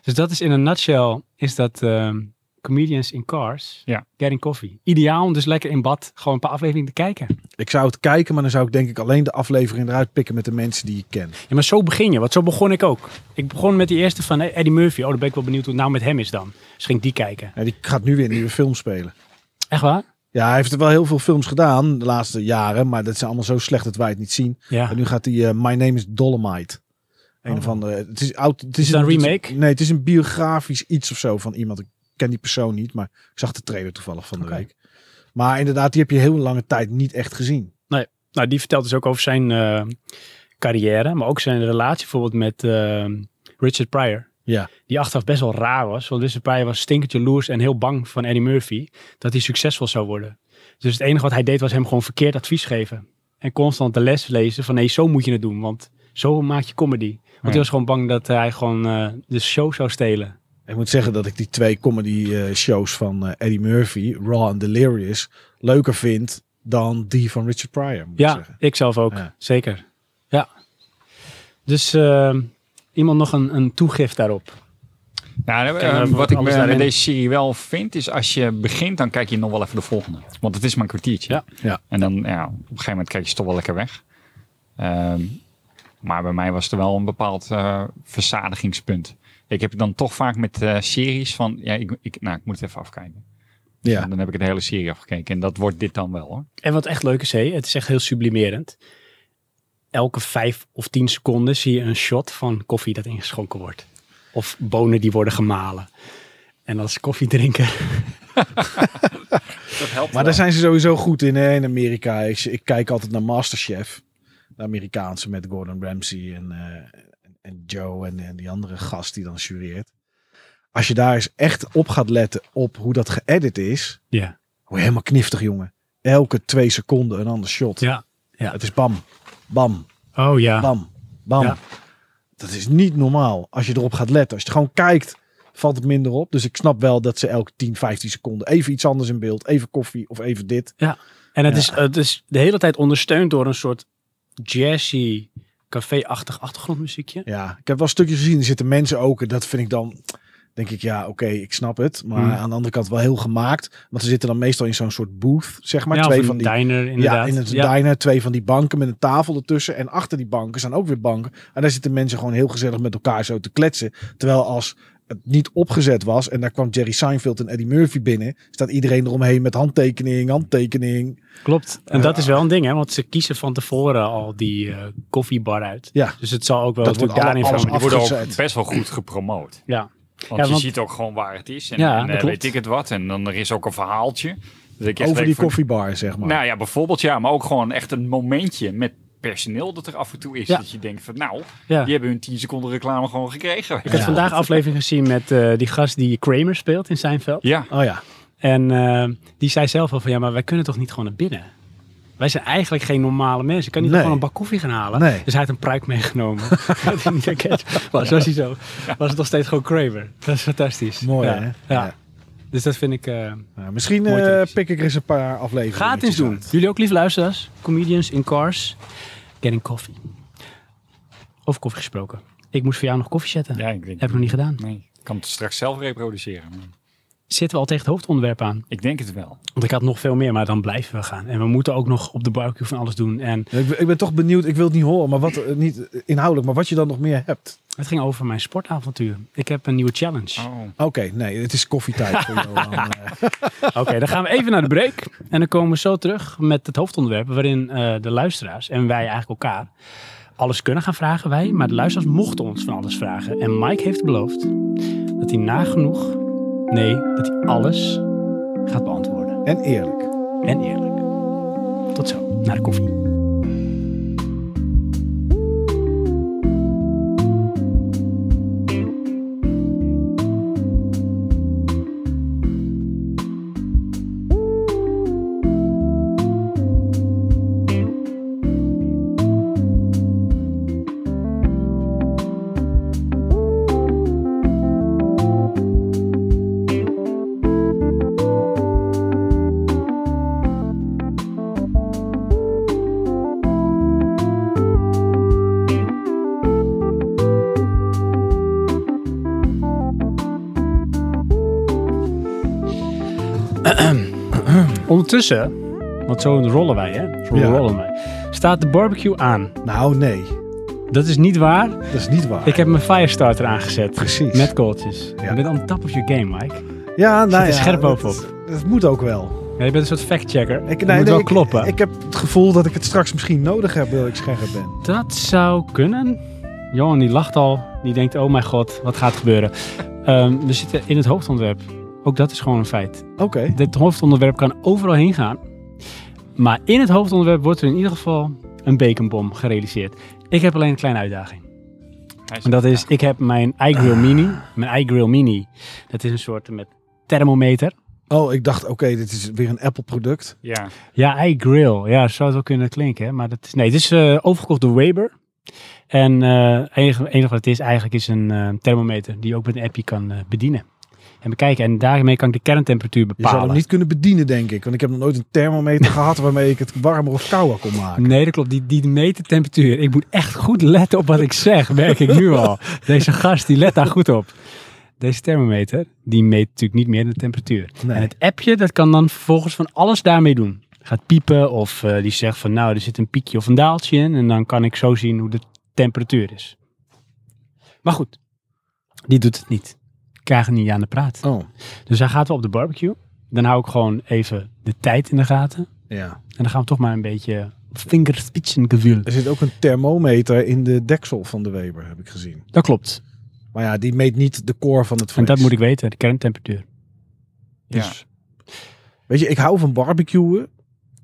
A: Dus dat is in een nutshell, is dat ehm, Comedians in Cars,
C: Ja.
A: Getting Coffee. Ideaal om dus lekker in bad gewoon een paar afleveringen te kijken.
B: Ik zou het kijken, maar dan zou ik denk ik alleen de aflevering eruit pikken met de mensen die ik ken.
A: Ja, maar zo begin je. Want zo begon ik ook. Ik begon met die eerste van Eddie Murphy. Oh, dan ben ik wel benieuwd hoe het nou met hem is dan. Dus ging ik die kijken.
B: En die gaat nu weer een nieuwe film spelen.
A: Echt waar?
B: Ja, hij heeft wel heel veel films gedaan de laatste jaren, maar dat zijn allemaal zo slecht dat wij het niet zien.
A: Ja.
B: En nu gaat hij eh, My Name is Dolomite. Een
A: Oh.
B: of andere. Het is oud. Het is
A: het een
B: het
A: remake?
B: nee, het is een biografisch iets of zo van iemand. Ik ken die persoon niet, maar ik zag de trailer toevallig van de
A: Oké.
B: week. Maar inderdaad, die heb je heel lange tijd niet echt gezien.
A: Nou, die vertelt dus ook over zijn eh, carrière. Maar ook zijn relatie bijvoorbeeld met eh, Richard Pryor.
B: Ja.
A: Die achteraf best wel raar was. Want Richard Pryor was stinkend jaloers en heel bang van Eddie Murphy. Dat hij succesvol zou worden. Dus het enige wat hij deed was hem gewoon verkeerd advies geven. En constant de les lezen van nee, zo moet je het doen. Want zo maak je comedy. Want hij
C: Ja.
A: was gewoon bang dat hij gewoon eh, de show zou stelen.
B: Ik moet zeggen dat ik die twee comedy eh, shows van eh, Eddie Murphy, Raw en Delirious, leuker vind dan die van Richard Pryor. Moet ik
A: Ja,
B: zeggen.
A: ik zelf ook.
B: Ja.
A: Zeker. Ja. Dus ehm, iemand nog een, een toegift daarop.
C: Nou, eh,
A: Kijk, maar
C: eh, wat ik
A: alles
C: bij
A: daarin.
C: deze serie wel vind, is als je begint, dan kijk je nog wel even de volgende. Want het is maar een kwartiertje.
A: Ja.
B: Ja.
C: En dan, ja, op een gegeven moment kijk je toch wel lekker weg. Ehm, maar bij mij was er wel een bepaald eh, verzadigingspunt. Ik heb dan toch vaak met eh, series van, ja, ik, ik, nou, ik moet het even afkijken.
B: Ja.
C: En dan heb ik de hele serie afgekeken. En dat wordt dit dan wel, hoor.
A: En wat echt leuk is, hé, het is echt heel sublimerend. Elke vijf of tien seconden zie je een shot van koffie dat ingeschonken wordt. Of bonen die worden gemalen. En als koffiedrinker.
C: Dat helpt
B: Maar daar zijn ze sowieso goed in hè, in Amerika. Ik, ik kijk altijd naar Masterchef. De Amerikaanse met Gordon Ramsay en, eh, en- en Joe en, en die andere gast die dan jureert. Als je daar eens echt op gaat letten op hoe dat geëdit is.
A: Ja.
B: Hoe helemaal kniftig jongen. Elke twee seconden een ander shot.
A: Ja.
B: Het is bam, bam,
A: Oh ja.
B: bam, bam.
A: Ja.
B: Dat is niet normaal als je erop gaat letten. Als je het gewoon kijkt, valt het minder op. Dus ik snap wel dat ze elke 10, 15 seconden even iets anders in beeld. Even koffie of even dit.
A: En het,
B: Ja.
A: is, het is de hele tijd ondersteund door een soort jazzy, café-achtig achtergrondmuziekje.
B: Ja, ik heb wel stukjes gezien. Er zitten mensen ook. En dat vind ik dan, denk ik, ja, oké, ik snap het. Maar
A: Hmm.
B: aan de andere kant wel heel gemaakt. Want ze zitten dan meestal in zo'n soort booth, zeg maar.
A: Ja, of
B: twee
A: een
B: van die.
A: diner inderdaad.
B: Ja, in het diner. Twee van die banken met een tafel ertussen. En achter die banken zijn ook weer banken. En daar zitten mensen gewoon heel gezellig met elkaar zo te kletsen. Terwijl als het niet opgezet was en daar kwam Jerry Seinfeld en Eddie Murphy binnen, staat iedereen eromheen met handtekening, handtekening.
A: Klopt. En
B: Eh,
A: dat is wel een ding, hè? Want ze kiezen van tevoren al die eh, koffiebar uit.
B: Ja.
A: Dus het zal ook wel
B: Dat
A: natuurlijk
B: wordt
A: daarin
B: alle- alles
A: van.
C: Die worden ook
B: afgezet.
C: best wel goed gepromoot.
A: Ja.
C: Want
A: Ja,
C: je
A: want-
C: ziet ook gewoon waar het is. En,
A: Ja,
C: en, eh,
A: dat klopt.
C: weet ik het wat. En dan er is ook een verhaaltje. Dat ik echt
B: Over
C: denk
B: die
C: van,
B: koffiebar, zeg maar.
C: Nou ja, bijvoorbeeld ja, maar ook gewoon echt een momentje met personeel dat er af en toe is.
A: Ja.
C: Dat je denkt van nou,
A: ja.
C: die hebben hun 10 seconden reclame gewoon gekregen.
A: Ik had vandaag een aflevering gezien met eh, die gast die Kramer speelt in Seinfeld.
C: Ja,
B: Oh ja.
A: En eh, die zei zelf al van, ja, maar wij kunnen toch niet gewoon naar binnen? Wij zijn eigenlijk geen normale mensen. Ik kan niet
B: Nee.
A: gewoon een bak koffie gaan halen.
B: Nee.
A: Dus hij had een pruik meegenomen.
B: [laughs]
A: [laughs] Dat hij niet herkend was. Was hij zo. Was het nog steeds gewoon Kramer. Dat is fantastisch.
B: Mooi,
A: ja.
B: hè?
A: Ja.
B: Ja.
A: Dus dat vind ik... eh,
B: Nou, misschien
A: Mooi
B: eh,
A: televisie.
B: pik ik er eens een paar afleveringen.
A: Gaat eens doen. Jullie ook lief luisteraars, comedians in cars, getting coffee. Over koffie gesproken. Ik moest voor jou nog koffie zetten.
C: ja ik denk,
A: Heb ik nog niet gedaan.
C: nee, ik kan het straks zelf reproduceren. maar
A: Zitten we al tegen het hoofdonderwerp aan?
C: Ik denk het wel.
A: Want ik had nog veel meer, maar dan blijven we gaan. En we moeten ook nog op de barbecue van alles doen. En
B: Ja, Ik, ben- ik ben toch benieuwd, ik wil het niet horen, maar wat, eh, niet eh, inhoudelijk, maar wat je dan nog meer hebt.
A: het ging over mijn sportavontuur. Ik heb een nieuwe challenge.
C: Oh.
B: Oké, nee, het is koffietijd voor
A: [laughs]
B: Johan. eh.
A: Oké, dan gaan we even naar de break. En dan komen we zo terug met het hoofdonderwerp. Waarin eh, de luisteraars en wij eigenlijk elkaar alles kunnen gaan vragen wij, maar de luisteraars mochten ons van alles vragen. En Mike heeft beloofd dat hij nagenoeg, nee, dat hij alles gaat beantwoorden.
B: En eerlijk.
A: En eerlijk. Tot zo, naar de koffie. Ondertussen, want zo rollen wij, hè? Zo
B: Ja.
A: rollen wij. Staat de barbecue aan.
B: Nou, nee.
A: Dat is niet waar.
B: Dat is niet waar.
A: Ik heb mijn firestarter aangezet.
B: Precies.
A: Met kooltjes.
B: Ja.
A: Je bent on top of your game, Mike.
B: ja, nou
A: er
B: ja,
A: scherp
B: dat-
A: bovenop.
B: Dat moet ook wel.
A: Ja, je bent een soort factchecker.
B: Ik,
A: Het
B: nee,
A: moet
B: nee,
A: wel
B: ik-
A: kloppen.
B: Ik heb het gevoel dat ik het straks misschien nodig heb dat ik scherp ben.
A: Dat zou kunnen. Johan die lacht al. Die denkt, oh mijn god, wat gaat
B: [laughs]
A: gebeuren? Ehm, we zitten in het hoofdonderwerp. Ook dat is gewoon een feit.
B: Oké.
A: Dit hoofdonderwerp kan overal heen gaan. Maar in het hoofdonderwerp wordt er in ieder geval een baconbom gerealiseerd. Ik heb alleen een kleine uitdaging.
C: Hij
A: En dat is, ik heb mijn iGrill
B: Ah.
A: Mini. Mijn iGrill Mini, dat is een soort eh, met thermometer.
B: Oh, ik dacht, oké, dit is weer een Apple-product.
C: Ja.
A: Ja, iGrill. Ja, zou het wel kunnen klinken. Hè? Maar dat is, nee, het is eh, overgekocht door Weber. En eh enige, enige wat het is eigenlijk is een eh, thermometer die je ook met een appje kan eh, bedienen. En bekijken. En daarmee kan ik de kerntemperatuur
B: Je zou
A: bepalen.
B: hem niet kunnen bedienen, denk ik. Want ik heb nog nooit een thermometer [laughs] gehad waarmee ik het warmer of kouder kon maken.
A: Nee, dat klopt. Die, die meet de temperatuur. Ik moet echt goed letten op wat ik zeg, merk ik nu al. Deze gast, die let daar goed op. Deze thermometer, die meet natuurlijk niet meer de temperatuur.
B: Nee.
A: En het appje, dat kan dan vervolgens van alles daarmee doen. Gaat piepen of eh, die zegt van nou, er zit een piekje of een daaltje in. En dan kan ik zo zien hoe de temperatuur is. Maar goed, die doet het niet. Ik krijg er niet aan de praat.
B: Oh,
A: Dus hij gaat wel op de barbecue. Dan hou ik gewoon even de tijd in de gaten.
B: ja.
A: En dan gaan we toch maar een beetje vingerspitsengevoel.
B: Er zit ook een thermometer in de deksel van de Weber, heb ik gezien.
A: Dat klopt.
B: Maar ja, die meet niet de core van het
A: En
B: vlees.
A: dat moet ik weten, de kerntemperatuur. Dus
B: Weet je, ik hou van barbecuen.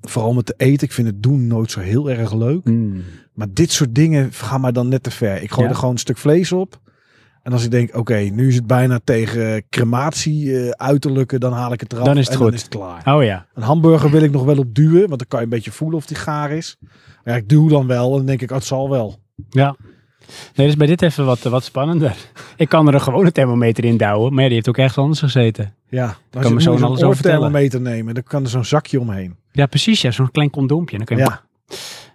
B: Vooral met te eten. Ik vind het doen nooit zo heel erg leuk.
A: mm,
B: Maar dit soort dingen gaan mij dan net te ver. Ik gooi
A: Ja.
B: er gewoon een stuk vlees op. En als ik denk, oké, nu is het bijna tegen crematie eh, uiterlijken, dan haal ik het eraf
A: Dan is het
B: en
A: goed.
B: dan is het klaar.
A: Oh ja.
B: Een hamburger wil ik nog wel op duwen, want dan kan je een beetje voelen of die gaar is. Maar ja, ik duw dan wel en dan denk ik, oh, het zal wel.
A: ja. Nee, dus bij dit even wat, eh, wat spannender. [laughs] Ik kan er een gewone thermometer in douwen, maar ja, die heeft ook ergens anders gezeten.
B: Ja, dan
A: me zo alles over vertellen.
B: thermometer nemen, dan kan er zo'n zakje omheen.
A: Ja, precies. Ja, zo'n klein condoompje. Dan kun je
B: Ja,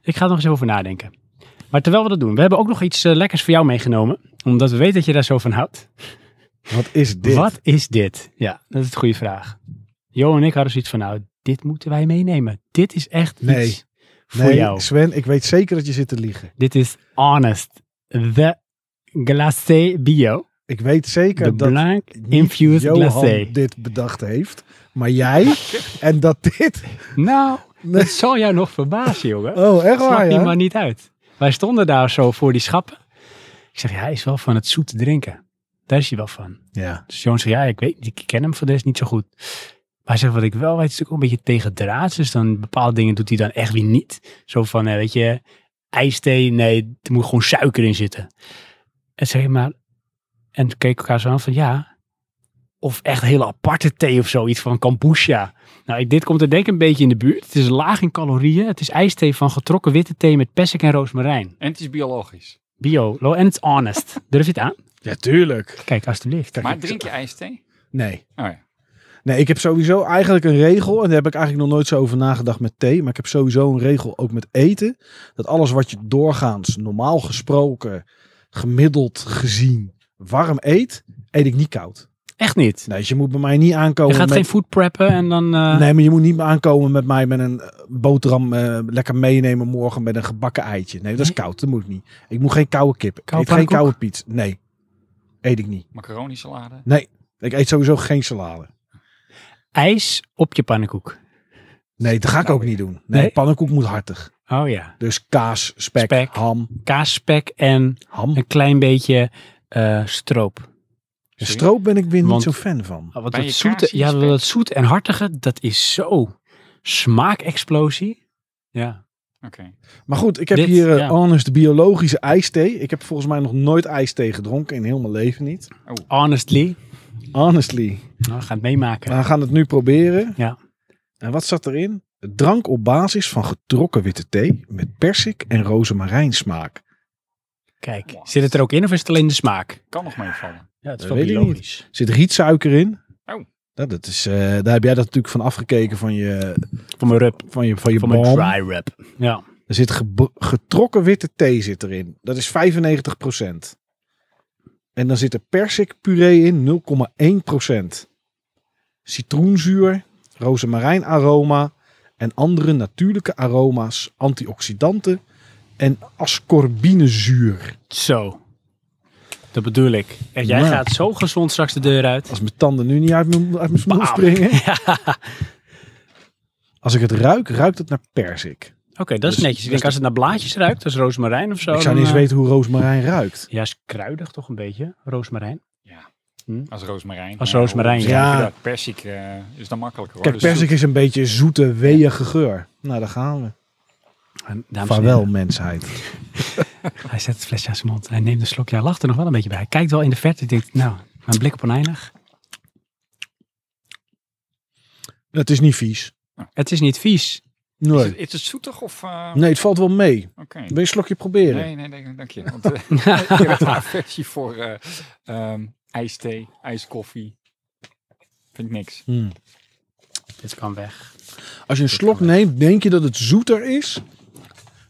A: Ik ga er nog eens over nadenken. Maar terwijl we dat doen, we hebben ook nog iets eh, lekkers voor jou meegenomen. Omdat we weten dat je daar zo van houdt.
B: wat is dit?
A: Wat is dit? Ja, dat is een goede vraag. Jo en ik hadden zoiets van, nou, dit moeten wij meenemen. Dit is echt
B: Nee.
A: iets voor
B: Nee,
A: jou.
B: Sven, ik weet zeker dat je zit te liegen.
A: Dit is Honest, the glacé bio.
B: Ik weet zeker
A: De
B: dat
A: blanc
B: niet
A: infused
B: Johan
A: glacé.
B: dit bedacht heeft, maar jij. en dat dit...
A: Nou,
B: [laughs] Nee.
A: dat zal jou nog verbazen, jongen.
B: Oh, echt
A: Snap
B: waar,
A: je
B: ja?
A: maar niet uit. Wij stonden daar zo voor die schappen. Ik zeg, ja, hij is wel van het zoete drinken. Daar is hij wel van.
B: Ja.
A: Dus Johan zegt, ja, ik weet niet, ik ken hem voor de rest niet zo goed. Maar hij zegt, wat ik wel weet, is ook een beetje tegen draad. Dus dan bepaalde dingen doet hij dan echt weer niet. Zo van, eh, weet je, ijsthee, nee, er moet gewoon suiker in zitten. En zeg je maar, en toen keken we elkaar zo aan van, ja, of echt hele aparte thee of zoiets van kombucha. Nou, ik- dit komt er denk ik een beetje in de buurt. Het is laag in calorieën. Het is ijsthee van getrokken witte thee met persik en roosmarijn.
C: En het is biologisch.
A: Bio, low en het is honest. [laughs] Durf je het aan?
B: Ja, tuurlijk.
A: Kijk, alstublieft.
C: Maar drink je ijsthee?
B: Nee.
C: Oh ja.
B: Nee, ik heb sowieso eigenlijk een regel. En daar heb ik eigenlijk nog nooit zo over nagedacht met thee. Maar ik heb sowieso een regel ook met eten. Dat alles wat je doorgaans, normaal gesproken, gemiddeld gezien, warm eet, eet ik niet koud.
A: Echt niet.
B: Nee, dus je moet bij mij niet
A: Je
B: aankomen.
A: gaat
B: met...
A: geen food preppen en dan... eh,
B: Nee, maar je moet niet meer aankomen met mij met een eh, boterham eh, lekker meenemen morgen met een gebakken eitje. Nee, dat is
A: Nee?
B: koud. Dat moet niet. Ik moet geen koude kip. Ik
A: Koude
B: eet geen
A: pannenkoek?
B: koude piet. Nee, eet ik niet.
C: Macaroni salade.
B: Ik eet sowieso geen salade.
A: ijs op je pannenkoek.
B: Nee, dat ga ik ook niet doen. Nee,
A: Nou, Nee?
B: pannenkoek moet hartig.
A: Oh ja.
B: Dus kaas, spek,
A: Spek.
B: ham,
A: Kaasspek en
B: ham.
A: een klein beetje eh,
B: Oh,
A: stroop.
B: En stroop ben ik weer niet
A: Want-
B: zo fan van.
A: Oh, want
C: Bij
A: dat
C: je
A: zoete,
C: kaas in je
A: ja,
C: spek.
A: dat zoet en hartige, dat is zo smaakexplosie. Ja.
C: Oké.
B: Maar goed, ik heb
A: Dit,
B: hier eh,
A: ja.
B: Honest biologische ijsthee. Ik heb volgens mij nog nooit ijsthee gedronken in heel mijn leven niet.
A: Honestly.
B: Honestly.
A: Nou, we gaan het meemaken.
B: We gaan het nu proberen.
A: Ja.
B: En wat zat erin? Drank op basis van getrokken witte thee met persik en rozemarijnsmaak.
A: Kijk, zit het er ook in of is het alleen de smaak?
C: Kan nog meevallen.
A: Ja, het
B: Dat weet ik niet. Zit rietsuiker in?
C: Oh.
B: Dat, dat is, eh, daar heb jij dat natuurlijk van afgekeken van je,
A: Voor mijn rub,
B: van je, van je
A: voor mijn
B: balm.
A: dry rub. Ja.
B: Er zit gebo- getrokken witte thee zit erin. Dat is 95%. En dan zit er persikpuree in, 0,1%. Citroenzuur, rozemarijnaroma en andere natuurlijke aroma's, antioxidanten en ascorbinezuur.
A: Zo. Dat bedoel ik. En jij
B: Ja.
A: gaat zo gezond straks de deur uit.
B: Als mijn tanden nu niet uit mijn, uit mijn smoel
A: Bam. [laughs]
B: springen. Als ik het ruik, ruikt het naar persik.
A: Oké, dat is
B: Dus-
A: netjes. Ik
B: dus
A: denk als het naar blaadjes ruikt, als rozemarijn of zo.
B: ik zou niet
A: dan,
B: eens
A: eh,
B: weten hoe rozemarijn ruikt.
A: Ja, is kruidig toch een beetje, rozemarijn.
C: Als roosmarijn.
A: Als
C: Nou,
A: roosmarijn,
C: hoe-
B: ja.
C: dat Persik eh, is dan makkelijker hoor.
B: Kijk,
C: Dus
B: persik is een beetje zoete, weeige geur. Nou, daar gaan we.
A: En, dames en
B: Vaarwel, mensheid.
A: heren, Hij zet het flesje aan zijn mond. Hij neemt een slokje. Hij lacht er nog wel een beetje bij. Hij kijkt wel in de verte. Ik denk, nou, mijn blik op oneindig.
B: Het is niet vies.
A: Het is niet vies.
C: Is het,
B: Nee.
C: is het zoetig of... eh,
B: Nee, het valt wel mee.
C: Oké.
B: Wil je een slokje proberen?
C: Nee, nee, nee, dank je. Want, eh, [laughs] je hebt een versie voor eh ehm, ijsthee, ijskoffie. Vind ik niks.
B: Hmm.
A: Dit kan weg.
B: Als je een slok neemt, denk je dat het zoeter is.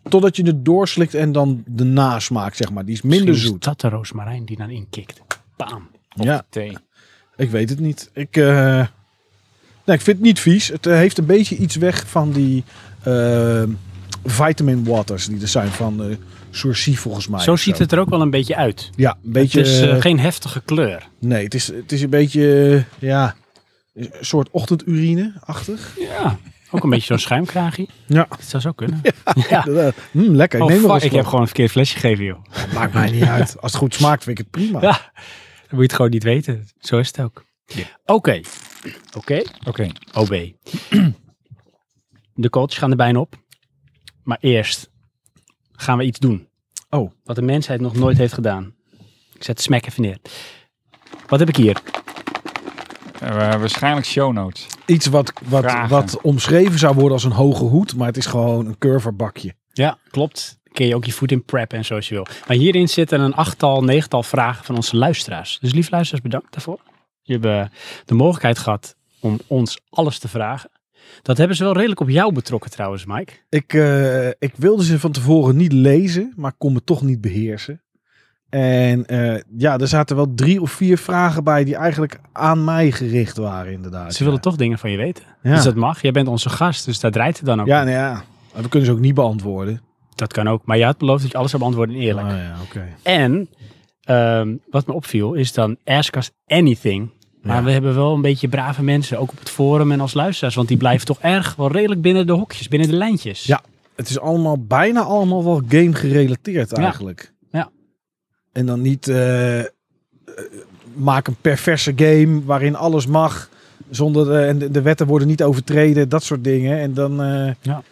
B: Totdat je het doorslikt en dan de nasmaak, zeg maar. Die is minder
A: Misschien is
B: zoet.
A: dat de rozemarijn die dan inkikt. Bam.
B: Ja,
C: Thee.
B: ik weet het niet. Ik, eh, nee, ik vind het niet vies. Het eh, heeft een beetje iets weg van die eh, vitamin waters die er zijn van eh Sourcy volgens mij.
A: Zo
B: of
A: ziet het er ook wel een beetje uit.
B: Ja, een beetje...
A: het is eh,
B: eh,
A: geen heftige kleur.
B: Nee, het is, het is een beetje, eh, ja, een soort ochtendurine-achtig.
A: Ja. Ook een beetje zo'n schuimkraagje.
B: Ja.
A: [laughs] Dat zou zo kunnen. Ja.
B: Ja. Mm, lekker, ik
A: Oh,
B: neem nog
A: fuck,
B: een
A: ik heb
B: slok.
A: gewoon een verkeerd flesje gegeven, joh. Dan
B: Maakt mij niet uit. [laughs] Als het goed smaakt, vind ik het prima.
A: Ja. moet je het gewoon niet weten. Zo is het ook. Oké. Oké.
C: Oké.
A: OB. De coaches gaan er bijna op. Maar eerst gaan we iets doen.
B: Oh.
A: Wat de mensheid nog nooit heeft gedaan. Ik zet de smack even neer. Wat heb ik hier?
C: Eh, waarschijnlijk show notes.
B: Iets wat, wat,
C: Vragen.
B: wat omschreven zou worden als een hoge hoed, maar het is gewoon een curverbakje.
A: Ja, klopt. Kun je ook je voet in prep en zoals je wil. Maar hierin zitten een achttal, negental vragen van onze luisteraars. Dus lief luisteraars, bedankt daarvoor. Je hebt eh, de mogelijkheid gehad om ons alles te vragen. Dat hebben ze wel redelijk op jou betrokken trouwens, Mike.
B: Ik, eh, ik wilde ze van tevoren niet lezen, maar kon me toch niet beheersen. En eh, ja, er zaten wel drie of vier vragen bij die eigenlijk aan mij gericht waren, inderdaad.
A: Ze willen
B: ja.
A: toch dingen van je weten.
B: Ja,
A: Dus dat mag. Jij bent onze gast, dus daar draait het dan ook.
B: ja,
A: om.
B: nou ja. Maar we kunnen ze ook niet beantwoorden.
A: Dat kan ook. Maar je had beloofd dat je alles zou beantwoorden en eerlijk.
B: Ah, ja, oké.
A: En ehm, wat me opviel is dan ask us anything. Maar
B: Ja.
A: we hebben wel een beetje brave mensen, ook op het forum en als luisteraars. Want die blijven toch erg wel redelijk binnen de hokjes, binnen de lijntjes.
B: Ja. Het is allemaal, bijna allemaal wel game gerelateerd eigenlijk.
A: Ja.
B: En dan niet eh, eh, maak een perverse game waarin alles mag. Zonder, eh, en de, de wetten worden niet overtreden, dat soort dingen. En dan, eh,
A: Ja.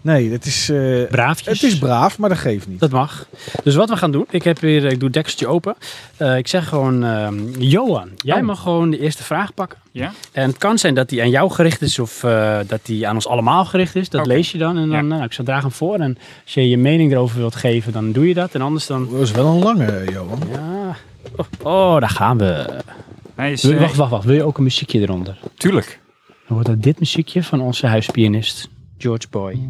B: nee, het is, eh,
A: Braafjes.
B: het is braaf, maar dat geeft niet.
A: Dat mag. Dus wat we gaan doen, ik heb weer, ik doe het dekseltje open. Eh, ik zeg gewoon, ehm, Johan, jij
C: Oh.
A: mag gewoon de eerste vraag pakken.
C: Ja?
A: En het kan zijn dat die aan jou gericht is of eh, dat die aan ons allemaal gericht is. Dat
C: Oké.
A: lees je dan en dan,
C: Ja.
A: nou, ik zal draag hem voor. En als je je mening erover wilt geven, dan doe je dat. En anders dan,
B: Dat is wel een lange, eh, Johan.
A: ja. Oh, oh, daar gaan we.
C: Hij is,
A: Wil-
C: eh,
A: wacht, wacht, wacht. Wil je ook een muziekje eronder?
C: Tuurlijk.
A: Dan wordt dat dit muziekje van onze huispianist, George Boy.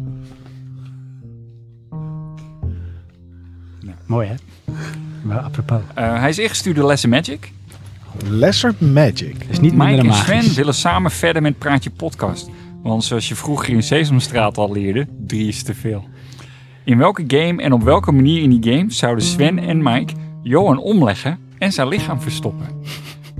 A: Mooi, hè? Maar apropos.
C: Eh, hij is ingestuurd door Lesson Magic.
B: Lesser Magic.
A: Het is niet
C: Mike
A: minder
C: en
A: dan
C: Sven
A: magisch.
C: willen samen verder met Praatje Podcast. Want zoals je vroeger in Sesamstraat al leerde, drie is te veel. In welke game en op welke manier in die game zouden Sven en Mike Johan omleggen en zijn lichaam verstoppen?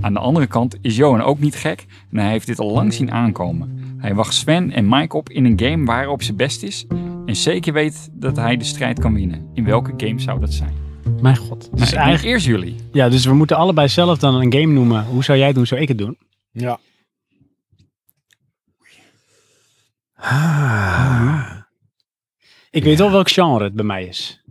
C: Aan de andere kant is Johan ook niet gek en hij heeft dit al lang zien aankomen. Hij wacht Sven en Mike op in een game waarop ze best is en zeker weet dat hij de strijd kan winnen. In welke game zou dat zijn?
A: Mijn god. Dus
C: Nou,
A: eigenlijk,
C: Eerst jullie.
A: ja, dus we moeten allebei zelf dan een game noemen. Hoe zou jij het doen? Zou ik het doen?
B: Ja. Ah,
A: Ik weet wel welk genre het bij mij is.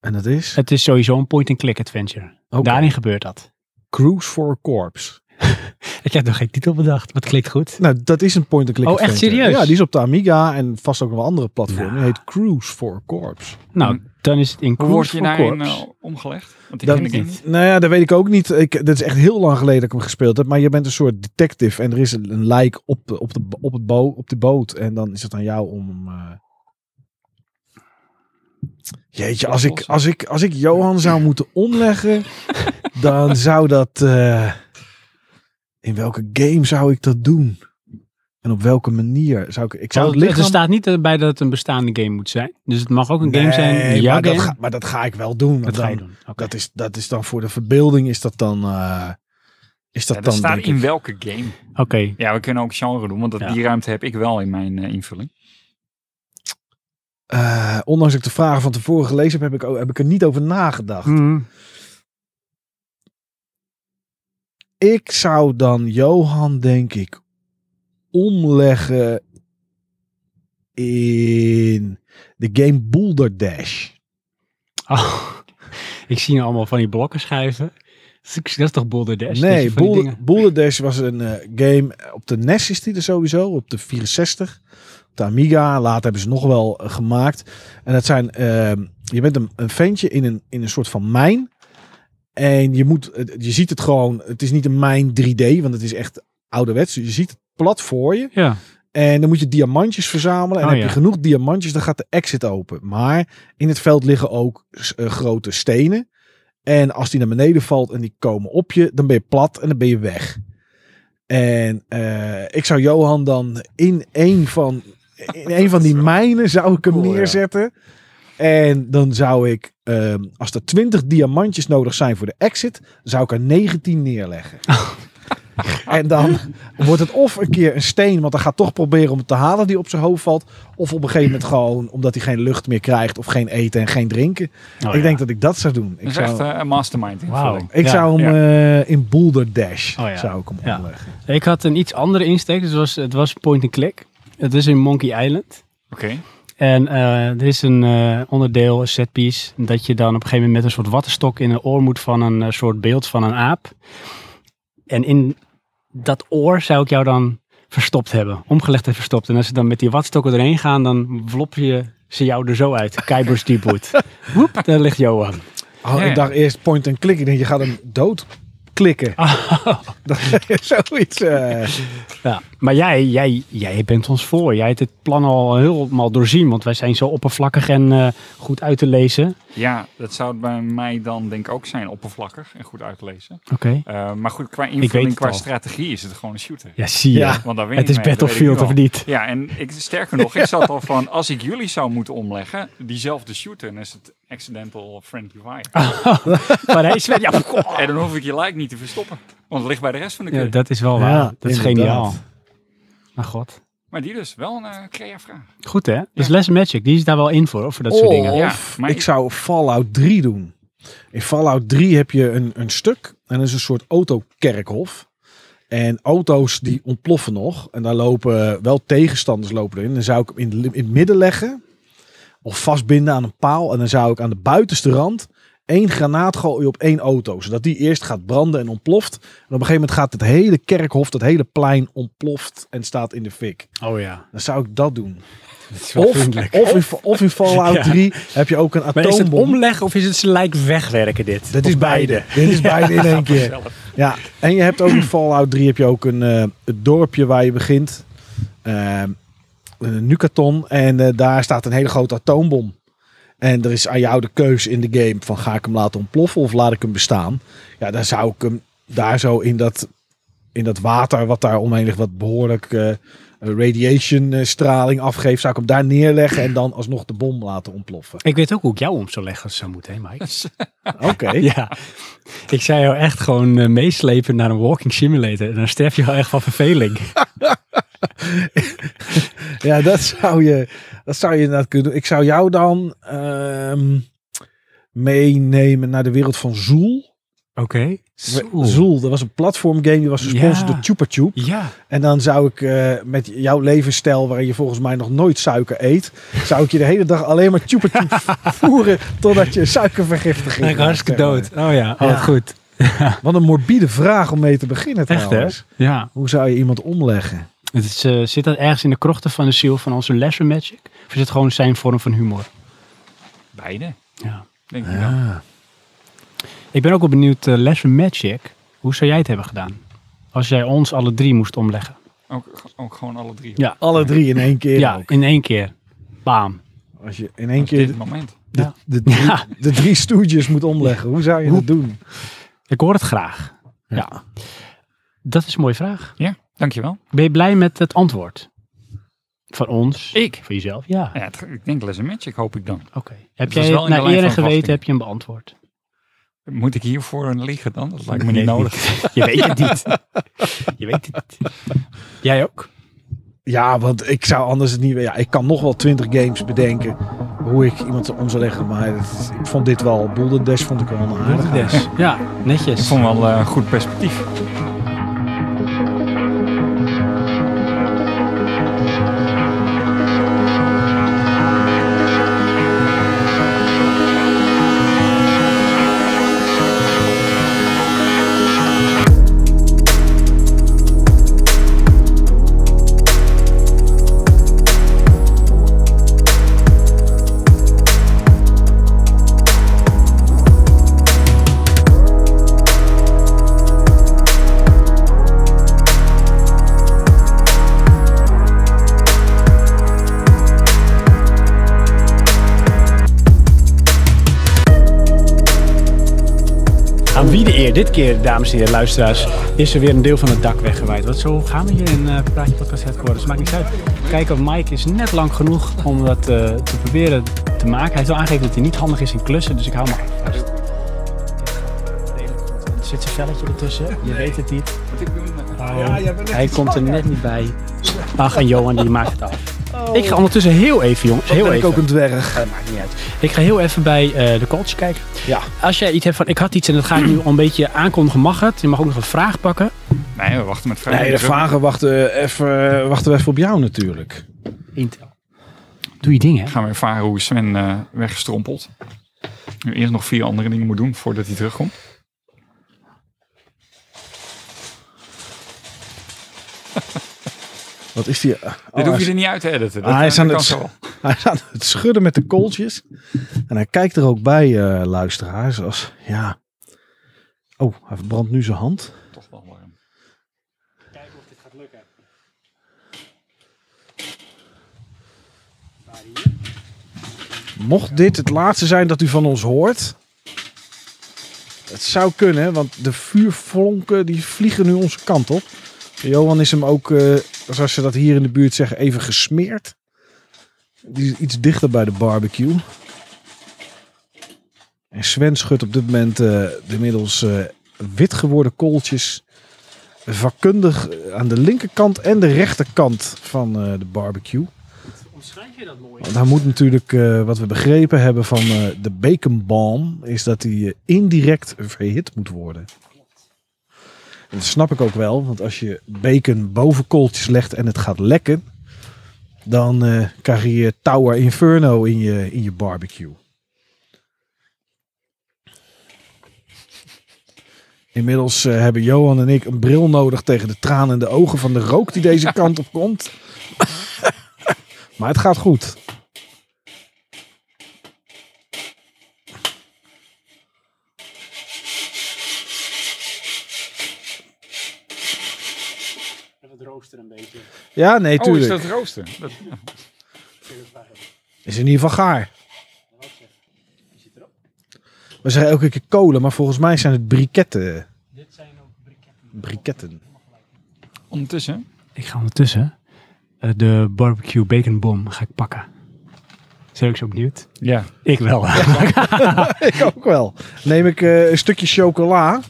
B: En dat is?
A: Het is sowieso een point-and-click adventure.
B: Oké.
A: Daarin gebeurt dat.
B: Cruise for a Corpse.
A: [laughs] Ik heb nog geen titel bedacht, maar het klinkt goed.
B: Nou, dat is een point-and-click
A: Oh, echt
B: adventure.
A: serieus?
B: Ja, die is op de Amiga en vast ook nog wel andere platformen. Die
A: Nou.
B: heet Cruise for a Corpse.
A: Nou, dan is het in
C: Hoe word
A: Cruise
C: je
A: for
C: daarin
A: Corps.
C: eh, omgelegd? Want ik
B: Dat,
C: ken de game niet.
B: nou ja, dat weet ik ook niet. Ik, dat is echt heel lang geleden dat ik hem gespeeld heb. Maar je bent een soort detective en er is een, een lijk op, de- op, de, op, het bo, op de boot. En dan is het aan jou om... hem, eh, Jeetje, als ik, als, ik, als ik Johan zou moeten omleggen, dan zou dat... eh, In welke game zou ik dat doen? En op welke manier zou ik... Ik zou
A: Zou
B: het
A: het er
B: lichaam...
A: staat niet eh, bij dat het een bestaande game moet zijn. Dus het mag ook een game
B: Nee,
A: zijn. die jouw
B: maar,
A: game.
B: dat ga, maar dat ga ik wel doen. want
A: dat ga
B: dan-
A: je doen. Oké.
B: dat, is, dat is dan voor de verbeelding, is dat dan... eh, is dat
C: Ja, dat
B: dan,
C: staat
B: denk
C: in
B: ik-
C: welke game.
A: Oké.
C: Ja, we kunnen ook genre doen, want dat,
A: Ja.
C: die ruimte heb ik wel in mijn eh, invulling.
B: Eh, ondanks dat ik de vragen van tevoren gelezen heb, heb ik, ook- heb ik er niet over nagedacht.
C: Hmm.
A: Mhm.
B: Ik zou dan Johan, denk ik, omleggen in de game Boulder Dash.
A: Oh, [laughs] ik zie nu allemaal van die blokken schuiven. Dat is- dat is toch Boulder Dash? Dat je
B: nee,
A: van die
B: Boulder,
A: dingen-
B: Boulder Dash was een eh, game. eh, Op de NES is die er sowieso, op de 64. Op de Amiga, later hebben ze nog wel eh, gemaakt. En dat zijn, ehm, je bent een, een ventje in een, in een soort van mijn. En je moet, eh, je ziet het gewoon, het is niet een mijn 3D, want het is echt ouderwets. Je ziet het plat voor je.
A: Ja.
B: En dan moet je diamantjes verzamelen. En
A: Oh,
B: heb
A: ja.
B: je genoeg diamantjes, dan gaat de exit open. Maar in het veld liggen ook s- eh, grote stenen. En als die naar beneden valt en die komen op je, dan ben je plat en dan ben je weg. En eh, ik zou Johan dan in een van, in een
A: [laughs]
B: van die mijnen zou ik hem
C: Cool, ja.
B: neerzetten. En dan zou ik, ehm, als er 20 diamantjes nodig zijn voor de exit, zou ik er 19
C: [laughs]
B: neerleggen. en dan wordt het of een keer een steen, want hij gaat toch proberen om het te halen die op zijn hoofd valt. Of op een gegeven moment gewoon omdat hij geen lucht meer krijgt of geen eten en geen drinken.
A: Oh,
B: ik
A: ja.
B: denk dat ik dat zou doen.
C: Dat
B: Ik
C: is
B: zou,
C: echt eh, een mastermind
A: Wauw.
C: invulling.
B: ik
A: Ja,
B: zou hem eh, in Boulder Dash
A: Oh, ja.
B: zou ik hem
A: Ja.
B: omleggen.
A: Ik had een iets andere insteek. Dus het was, het was point and click. Het is in Monkey Island.
C: Oké.
A: En eh, er is een eh, onderdeel, een setpiece, dat je dan op een gegeven moment met een soort wattenstok in een oor moet van een eh, soort beeld van een aap. En in dat oor zou ik jou dan verstopt hebben, omgelegd en verstopt. En als ze dan met die wattstokken erheen gaan, dan vlop je ze jou er zo uit. Kuipers Deepwood. Woep, daar ligt Johan.
B: Oh,
C: Ja, ja.
B: Ik dacht eerst point and click. Ik denk, je gaat hem dood
A: [laughs]
B: klikken.
A: Oh.
B: [laughs] Zoiets. eh.
A: Ja, maar jij, jij, jij bent ons voor. Jij hebt het plan al helemaal doorzien, want wij zijn zo oppervlakkig en eh, goed uit te lezen.
C: Ja, dat zou bij mij dan denk ik ook zijn oppervlakkig en goed uitlezen.
A: Oké.
C: Eh, maar goed, qua
A: weet
C: invulling,
A: het
C: qua
A: al.
C: strategie is het gewoon een shooter.
A: Ja, zie je.
B: Ja.
C: Want daar win
A: het
C: ik
A: is
C: mee, dat weet ik
A: Battlefield
C: nu
A: of
C: al.
A: niet. [laughs]
C: Ja, en ik, sterker nog, ik zat al van, als ik jullie zou moeten omleggen, diezelfde shooter, dan is het Accidental Friendly Fire.
A: Ah. Maar hij is wel- ja, oh goh.
C: En dan hoef ik je like niet te verstoppen, want het ligt bij de rest van de
A: Ja,
C: keuze.
A: dat is wel waar.
B: Ja,
A: dat is
B: inderdaad.
A: geniaal. Maar god.
C: Maar die dus, wel een eh, crea-vraag.
A: Goed hè? Dus Les Magic, die is daar wel in voor, hoor, voor dat
B: Oh.
A: soort dingen.
B: Of
C: Ja, maar
B: ik
C: ik-
B: zou Fallout 3 doen. In Fallout 3 heb je een, een stuk en dat is een soort autokerkhof. En auto's die ontploffen nog. En daar lopen eh, wel tegenstanders lopen erin. Dan zou ik hem in, de- in het midden leggen. Of vastbinden aan een paal. En dan zou ik aan de buitenste rand één granaat gooien op één auto. Zodat die eerst gaat branden en ontploft. En op een gegeven moment gaat het hele kerkhof, dat hele plein ontploft en staat in de fik.
A: Oh ja.
B: Dan zou ik dat doen.
A: wel
B: Of,
A: vriendelijk.
B: of, in, of in Fallout
A: [laughs] Ja.
B: 3 heb je ook een
A: Maar is het
B: atoombom.
A: omleggen of is het slijk wegwerken dit?
B: dat is beide. Dit is beide in één keer. Ja, en je hebt ook in Fallout 3 heb je ook een eh, het dorpje waar je begint. Ehm, een Nukaton. En eh, daar staat een hele grote atoombom. En er is aan jou de keus in de game van ga ik hem laten ontploffen of laat ik hem bestaan. Ja, dan zou ik hem daar zo in dat, in dat water wat daar omheen ligt, wat behoorlijk eh, radiation eh, straling afgeeft, zou ik hem daar neerleggen en dan alsnog de bom laten ontploffen.
A: Ik weet ook hoe ik jou om zou leggen als het zou moeten, hè [laughs] Mike?
B: Oké.
A: [laughs] Ja. Ik zou jou echt gewoon eh, meeslepen naar een walking simulator. En dan sterf je wel echt van verveling.
B: Ja, dat zou je. Dat zou je inderdaad kunnen doen. Ik zou jou dan ehm, meenemen naar de wereld van
A: [laughs]
B: Zool.
A: Oké.
B: We- Zool, dat was een platformgame die was gesponsord
A: Ja.
B: door Chupa Chup.
A: Ja.
B: En dan zou ik eh, met jouw levensstijl, waarin je volgens mij nog nooit suiker eet, zou ik je de hele dag alleen maar Chupa
A: [laughs]
B: Chup voeren totdat je suikervergiftiging
A: Ik
B: krijgt,
A: hartstikke
B: zeg
A: dood.
B: maar.
A: Oh ja, oh,
B: Ja.
A: wat goed.
B: Wat een morbide vraag om mee te beginnen
A: Echt hè?
B: trouwens.
A: Ja.
B: Hoe zou je iemand omleggen?
A: Het is, eh, zit dat ergens in de krochten van de ziel van onze lesser magic? Of is het gewoon zijn vorm van humor?
C: Beide,
A: Ja.
C: denk ik wel.
B: Ja.
A: Ik ben ook wel benieuwd, eh, lesser magic, hoe zou jij het hebben gedaan? Als jij ons alle drie moest omleggen.
C: Ook, ook gewoon alle drie.
A: Ja.
B: Alle drie in één keer.
A: Ja, in één keer. Bam.
B: Als je in één
C: Op
B: keer
C: dit moment.
B: de,
A: Ja.
B: de, drie,
A: Ja.
B: de drie stoeltjes moet omleggen, hoe zou je dat doen?
A: Ik hoor het graag. Ja. Dat is een mooie vraag.
C: Ja, dankjewel.
A: Ben je blij met het antwoord? Van ons?
C: Ik?
A: Van jezelf? Ja.
C: Ja, het- ik denk Les een Magic, hoop ik dan.
A: Oké. Heb
C: was
A: jij het
C: wel in de
A: naar
C: lijn
A: eer en geweten,
C: van verwachting.
A: heb je een beantwoord?
C: Moet ik hiervoor een liggen dan? Dat lijkt me
A: Nee,
C: niet nodig.
A: [laughs] Je weet het niet. Je weet het niet. Jij ook?
B: Ja, want ik zou anders het niet... Ja, ik kan nog wel twintig games bedenken hoe ik iemand om zou leggen. Maar dat is- ik vond dit wel... Boulder Dash vond ik wel een aardige.
A: Ja,
C: Ik
A: netjes.
C: vond wel eh, een goed perspectief.
A: Aan wie de eer dit keer, dames en heren luisteraars, is er weer een deel van het dak weggewaaid. Want zo gaan we hier in eh Praatje Podcast Headquarters. Maakt niet uit. Kijken, Mike is net lang genoeg om dat eh, te proberen te maken. Hij heeft wel aangegeven dat hij niet handig is in klussen, dus ik hou me vast. Dit gaat redelijk goed. Er zit zijn velletje ertussen, je weet het niet. Oh, hij komt er net niet bij. Ach, en Johan die maakt het af. Ik ga ondertussen heel even, jongens. Heel
B: Oh. ben ik
A: even.
B: ook een dwerg.
A: Dat Eh, maakt niet uit. Ik ga heel even bij eh, de coach kijken.
B: Ja.
A: Als jij iets hebt van, ik had iets en dat ga ik nu al een beetje aankondigen, mag het? Je mag ook nog een vraag pakken.
C: Nee, we wachten met vrijdag.
B: Nee, de vragen wachten eh, even, wachten we even op jou natuurlijk.
A: Intel. Doe je ding, hè?
C: Gaan we ervaren hoe Sven eh, weggestrompeld. Nu eerst nog vier andere dingen moet doen voordat hij
B: Oh,
C: terugkomt.
B: Wat is die... Oh,
C: Dit
B: hij
C: hoef
B: is-
C: je er niet uit te editen. Dat,
B: Ah, hij is
C: eh,
B: aan
C: dat
B: het-
C: kan zo wel.
B: Hij is aan het schudden met de kooltjes. En hij kijkt er ook bij, eh, luisteraars, als ja. Oh, hij verbrandt nu zijn hand.
C: Toch wel warm.
A: Kijken of dit gaat lukken.
B: Mocht dit het laatste zijn dat u van ons hoort. Het zou kunnen, want de vuurvonken die vliegen nu onze kant op. Johan is hem ook, eh, zoals ze dat hier in de buurt zeggen, even gesmeerd. Die is iets dichter bij de barbecue. En Sven schudt op dit moment eh, de inmiddels eh, wit geworden kooltjes vakkundig aan de linkerkant en de rechterkant van eh, de barbecue.
A: Omschrijf je dat mooi?
B: Want hij moet natuurlijk, eh, wat we begrepen hebben van eh, de bacon balm, is dat hij eh, indirect verhit moet worden. En dat snap ik ook wel, want als je bacon boven kooltjes legt en het gaat lekken, dan eh, krijg je Tower Inferno in je, in je barbecue. Inmiddels eh, hebben Johan en ik een bril nodig tegen de tranen in de ogen van de rook die deze kant op komt. [laughs] maar het gaat goed.
A: Het rooster een beetje.
B: Ja, nee,
C: Oh, is
B: tuurlijk.
C: dat rooster? Dat-
B: Is in ieder geval gaar. We zeggen elke keer kolen, maar volgens mij zijn het briketten.
A: Dit zijn ook briketten.
B: Briketten. [laughs]
C: ondertussen.
A: Ik ga ondertussen eh, de barbecue bacon bom ga ik pakken. Zijn ik zo benieuwd?
C: Ja.
A: Ik wel. [laughs]
B: ik ook wel. Neem ik eh, een stukje chocola.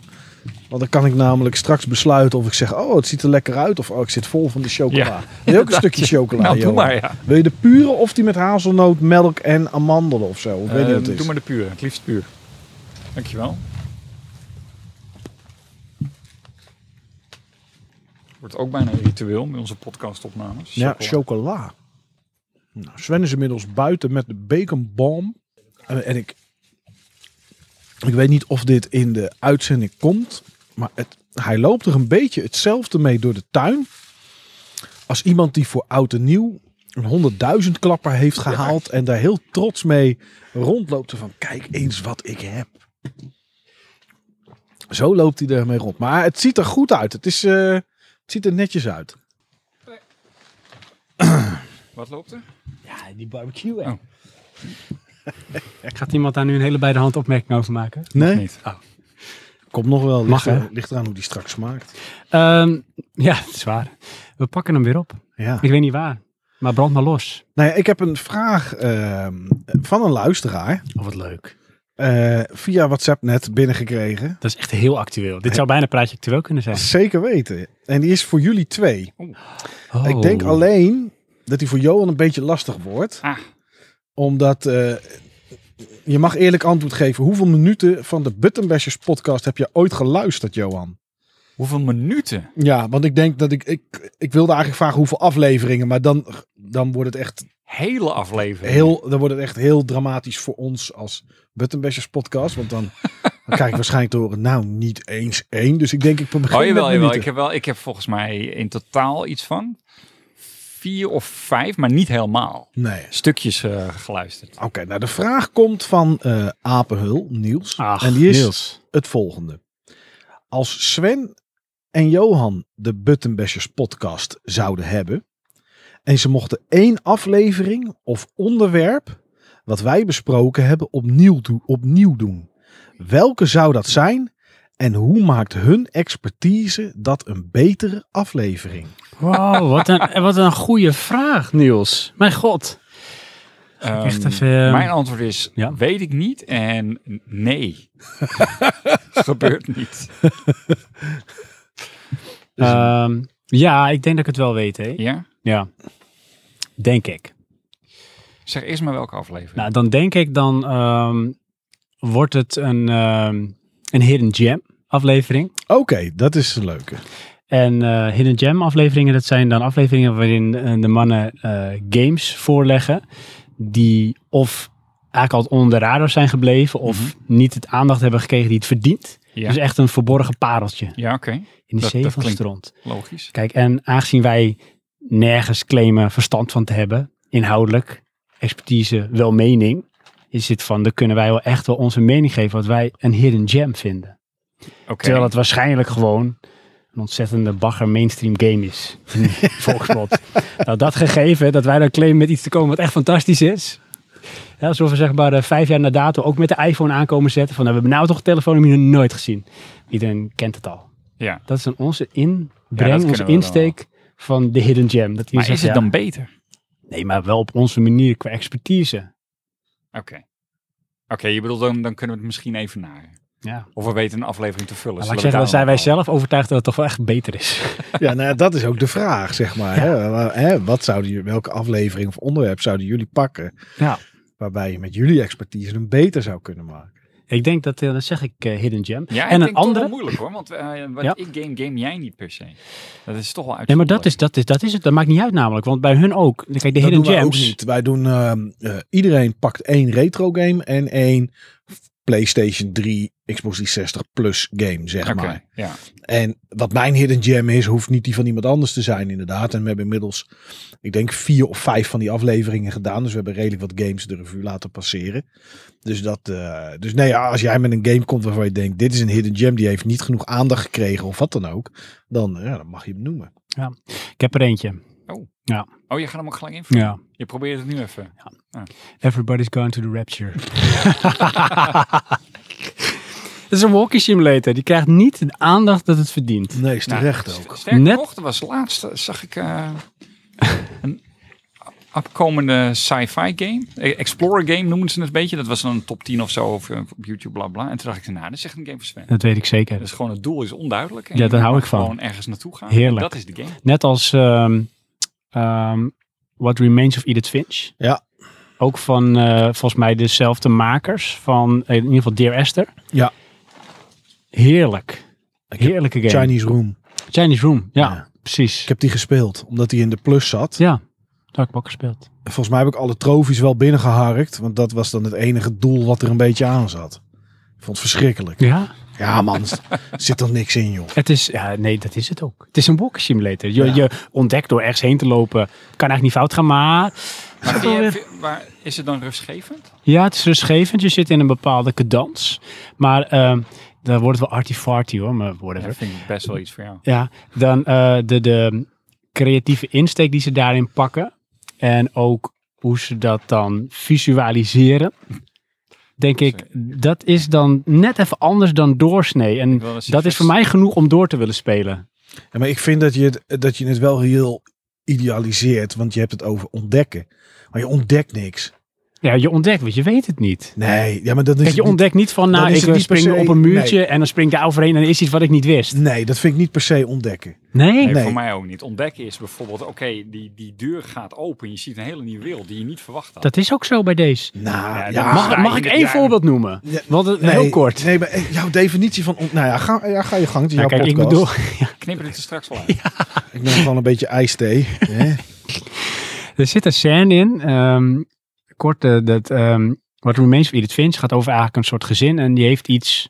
B: Want dan kan ik namelijk straks besluiten of ik zeg... oh, het ziet er lekker uit of oh, ik zit vol van de chocola.
C: Ja.
B: Wil je ook een
C: [laughs] Dat
B: stukje chocola,
C: nou, doe
B: Johan?
C: maar, ja.
B: Wil je de pure of die met hazelnoot, melk en amandelen of zo? Ik weet niet wat
C: Eh,
B: het is.
C: doe maar de pure, het liefst puur. Dankjewel. Wordt ook bijna een ritueel met onze podcastopnames.
B: Ja,
C: Chocola.
B: chocola. Nou, Sven is inmiddels buiten met de baconbom. En, en ik, ik weet niet of dit in de uitzending komt. Maar het, hij loopt er een beetje hetzelfde mee door de tuin. Als iemand die voor oud en nieuw een honderdduizend klapper heeft gehaald. En daar heel trots mee rondloopt. Van kijk eens wat ik heb. Zo loopt hij ermee rond. Maar het ziet er goed uit. Het, is, eh, het ziet er netjes uit.
C: Wat loopt er?
A: Ja, die barbecue.
C: hè.
A: Gaat iemand daar nu een hele bij de hand opmerking over maken?
B: Nee?
C: Niet. Ah,
B: Komt nog wel.
A: Mag,
B: ligt,
A: hè?
B: er- ligt eraan hoe die straks smaakt.
A: Ehm, ja, het is waar. We pakken hem weer op.
B: Ja.
A: Ik weet niet waar. Maar brand maar los.
B: Nou ja, ik heb een vraag ehm, van een luisteraar
A: Oh, wat leuk.
B: eh, via WhatsApp net binnengekregen.
A: Dat is echt heel actueel. Dit zou bijna praatje actueel kunnen zijn.
B: Zeker weten. En die is voor jullie twee.
A: Oh.
B: Ik denk alleen dat die voor Johan een beetje lastig wordt.
C: Ah.
B: Omdat eh, je mag eerlijk antwoord geven. Hoeveel minuten van de Buttonbashers podcast heb je ooit geluisterd, Johan?
C: Hoeveel minuten?
B: Ja, want ik denk dat ik... Ik, ik wilde eigenlijk vragen hoeveel afleveringen. Maar dan, dan wordt het echt
C: Hele aflevering. Oh,
B: heel, dan wordt het echt heel dramatisch voor ons als Buttonbashers podcast. Want
C: [laughs]
B: dan, dan krijg ik waarschijnlijk te horen, nou niet eens één. Dus ik denk, ik begin
C: Oh jawel,
B: met
C: jawel.
B: minuten.
C: Ik heb wel. Ik heb volgens mij in totaal iets van vier of vijf, maar niet helemaal.
B: Nee.
C: Stukjes eh, geluisterd.
B: Oké, nou de vraag komt van eh, Apenhul, Niels.
A: Ach,
B: en die is
A: Niels.
B: het volgende. Als Sven en Johan de Buttonbashers podcast zouden hebben... en ze mochten één aflevering of onderwerp... wat wij besproken hebben opnieuw, do- opnieuw doen. Welke zou dat zijn... En hoe maakt hun expertise dat een betere aflevering?
A: Wow, wat een, wat een goede vraag, Niels. Mijn god.
C: Ehm,
A: echt even-
C: Mijn antwoord is,
A: Ja.
C: weet ik niet en
B: [laughs]
C: nee. Gebeurt niet. Dus-
A: Ehm, ja, ik denk dat ik het wel weet, hè?
C: Ja?
A: Ja. Denk ik.
C: Zeg eerst maar welke aflevering.
A: Nou, dan denk ik, dan ehm, wordt het een, ehm, een Hidden Gem aflevering.
B: Oké, dat is een leuke.
A: En eh Hidden Gem afleveringen, dat zijn dan afleveringen waarin eh, de mannen eh, games voorleggen. Die of eigenlijk altijd onder de radar zijn gebleven. Of niet het aandacht hebben gekregen die het verdient.
C: Mhm. ja,
A: Dus echt een verborgen pareltje
C: ja oké.
A: in de
C: Dat-
A: zee
C: dat
A: van
C: klinkt-
A: stront.
C: Logisch.
A: Kijk, en aangezien wij nergens claimen verstand van te hebben, inhoudelijk, expertise, wel mening, is dit van, dan kunnen wij wel echt wel onze mening geven wat wij een hidden gem vinden.
C: Oké.
A: Terwijl het waarschijnlijk gewoon een ontzettende bagger mainstream game is. Volkspot. nou, dat gegeven, dat wij dan claimen met iets te komen wat echt fantastisch is. Ja, alsof we zeg maar eh, vijf jaar na dato ook met de iPhone aankomen zetten. Van, nou, we hebben nou toch een telefoon die we nog nooit gezien. Iedereen kent het al.
C: Ja.
A: Dat is dan onze inbreng,
C: kunnen
A: onze
C: we wel.
A: insteek van de Hidden Gem. Dat die
C: Maar
A: zegt,
C: is het
A: ja,
C: dan beter?
A: Nee, maar wel op onze manier qua expertise.
C: Oké. Oké, je bedoelt dan, dan kunnen we het misschien even naar.
A: Ja.
C: Of we weten een aflevering te vullen.
A: Maar Nou, laat ik
C: Zullen
A: zeggen,
C: we
A: dan zijn wij
C: daar
A: zelf overtuigd dat het toch wel echt beter is. [laughs]
B: Ja, nou ja, dat is ook de vraag, zeg maar. Hè? Wa- Hè? Wat zouden jullie, welke aflevering of onderwerp zouden jullie pakken?
A: Ja.
B: Waarbij je met jullie expertise hem beter zou kunnen maken.
A: Ik denk dat, eh, dan zeg ik eh, Hidden Gem.
C: Ja, ik
A: en een
C: denk toch wel
A: andere,
C: moeilijk hoor, want eh, wat
A: Ja.
C: ik game, game jij niet per se. Dat is toch wel uit.
A: Nee, maar dat is, dat, is, dat is het. Dat maakt niet uit namelijk. Want bij hun ook. Kijk, de
B: dat doen
A: Hidden
B: wij ook
A: Gems.
B: niet. Wij doen, ehm, eh, iedereen pakt één retro game en één PlayStation 3, Xbox 360 plus game, zeg
C: Oké,
B: maar.
C: ja.
B: En wat mijn hidden gem is, hoeft niet die van iemand anders te zijn inderdaad. En we hebben inmiddels, ik denk, vier of vijf van die afleveringen gedaan. Dus we hebben redelijk wat games de revue laten passeren. Dus, dat, eh, dus nee, ja, als jij met een game komt waarvan je denkt, dit is een hidden gem, die heeft niet genoeg aandacht gekregen of wat dan ook. Dan, eh, ja, dan mag je hem noemen.
A: Ik heb er eentje.
C: Oh, je gaat hem ook gelijk invullen.
A: Ja.
C: Je probeert het nu even.
A: Everybody's going to the rapture. [laughs] dat is een walkie simulator. Die krijgt niet de aandacht dat het verdient.
B: Nee, is
C: Nou,
B: terecht
C: st-
B: ook.
C: Sterker
A: Net-
C: nog, er was laatst, eh, zag ik eh, een Opkomende sci-fi game. Eh, Explorer game noemen ze het een beetje. Dat was dan een top 10 of zo of, eh, op YouTube, bla bla. En toen dacht ik, nou, dat is echt een game voor Sven.
A: Dat weet ik zeker.
C: Dus gewoon het doel is onduidelijk. En
A: Ja,
C: je
A: daar hou
C: mag
A: ik van.
C: Gewoon ergens naartoe gaan.
A: Heerlijk.
C: Dat is de game.
A: Net als ehm, ehm, What Remains of Edith Finch.
B: Ja.
A: Ook van eh, volgens mij dezelfde makers van eh, in ieder geval Dear Esther.
B: Ja.
A: Heerlijk.
B: heb
A: Heerlijke game.
B: Chinese Room.
A: Chinese Room. Ja,
B: Ja.
A: precies.
B: Ik heb die gespeeld, omdat die in de plus zat.
A: Ja, dat heb ik ook gespeeld.
B: Volgens mij heb ik alle trofies wel binnengeharkt, want dat was dan het enige doel wat er een beetje aan zat. Ik vond het verschrikkelijk.
A: Ja,
B: Ja [laughs] man, er zit toch niks in joh.
A: het is, ja, nee, dat is het ook. Het is een walking simulator. Je,
B: Ja.
A: je ontdekt door ergens heen te lopen. Kan eigenlijk niet fout gaan, maar
C: Maar
A: Gewoon
C: vind je-
A: weer-
C: vind- waar, is het dan rustgevend?
A: Ja, het is rustgevend. Je zit in een bepaalde cadans. Maar ehm daar wordt wel artifarty hoor, maar
C: Dat
A: whatever.
C: vind ik best wel iets voor jou.
A: Ja, dan eh, de, de creatieve insteek die ze daarin pakken. En ook hoe ze dat dan visualiseren. Denk ik, dat is dan net even anders dan doorsnee. En
C: Ik wil zeggen,
A: dat is voor mij genoeg om door te willen spelen.
B: Ja, maar ik vind dat je, het, dat je het wel heel idealiseert, want je hebt het over ontdekken. Maar je ontdekt niks.
A: Ja, je ontdekt, want je weet het niet.
B: Nee, ja, maar dan
A: Kijk,
B: is
A: je
B: het niet-
A: ontdekt niet van,
B: Dus dan
A: nou,
B: is
A: ik
B: het
A: eh,
B: niet per
A: spring
B: se-
A: op een muurtje en dan spring ik daar overheen en er is iets wat ik niet wist.
B: Nee, dat vind ik niet per se ontdekken.
A: Nee?
C: Nee,
B: Nee.
C: voor mij ook niet. Ontdekken is bijvoorbeeld, oké, die, die deur gaat open. Je ziet een hele nieuwe wereld die je niet verwacht had.
A: Dat is ook zo bij deze.
B: Nou,
C: Ja,
B: ja,
C: dat
A: Mag,
C: Ja,
A: mag ik
C: in het
A: één
C: jaar-
A: voorbeeld noemen?
B: Ja,
A: Want het, heel kort.
B: Nee, maar eh, jouw definitie van... ont- Nou ja, ga, ja, ga je gang. Het is
A: Nou,
B: jouw
A: kijk, ik
B: podcast.
A: bedoel,
C: Knippen dit er straks wel uit.
B: Ik neem gewoon een beetje
A: [laughs]
B: ijsthee. hè?
A: er zit een scène in, ehm, kort, eh, dat ehm wat Remains of Edith Finch gaat over eigenlijk een soort gezin en die heeft iets,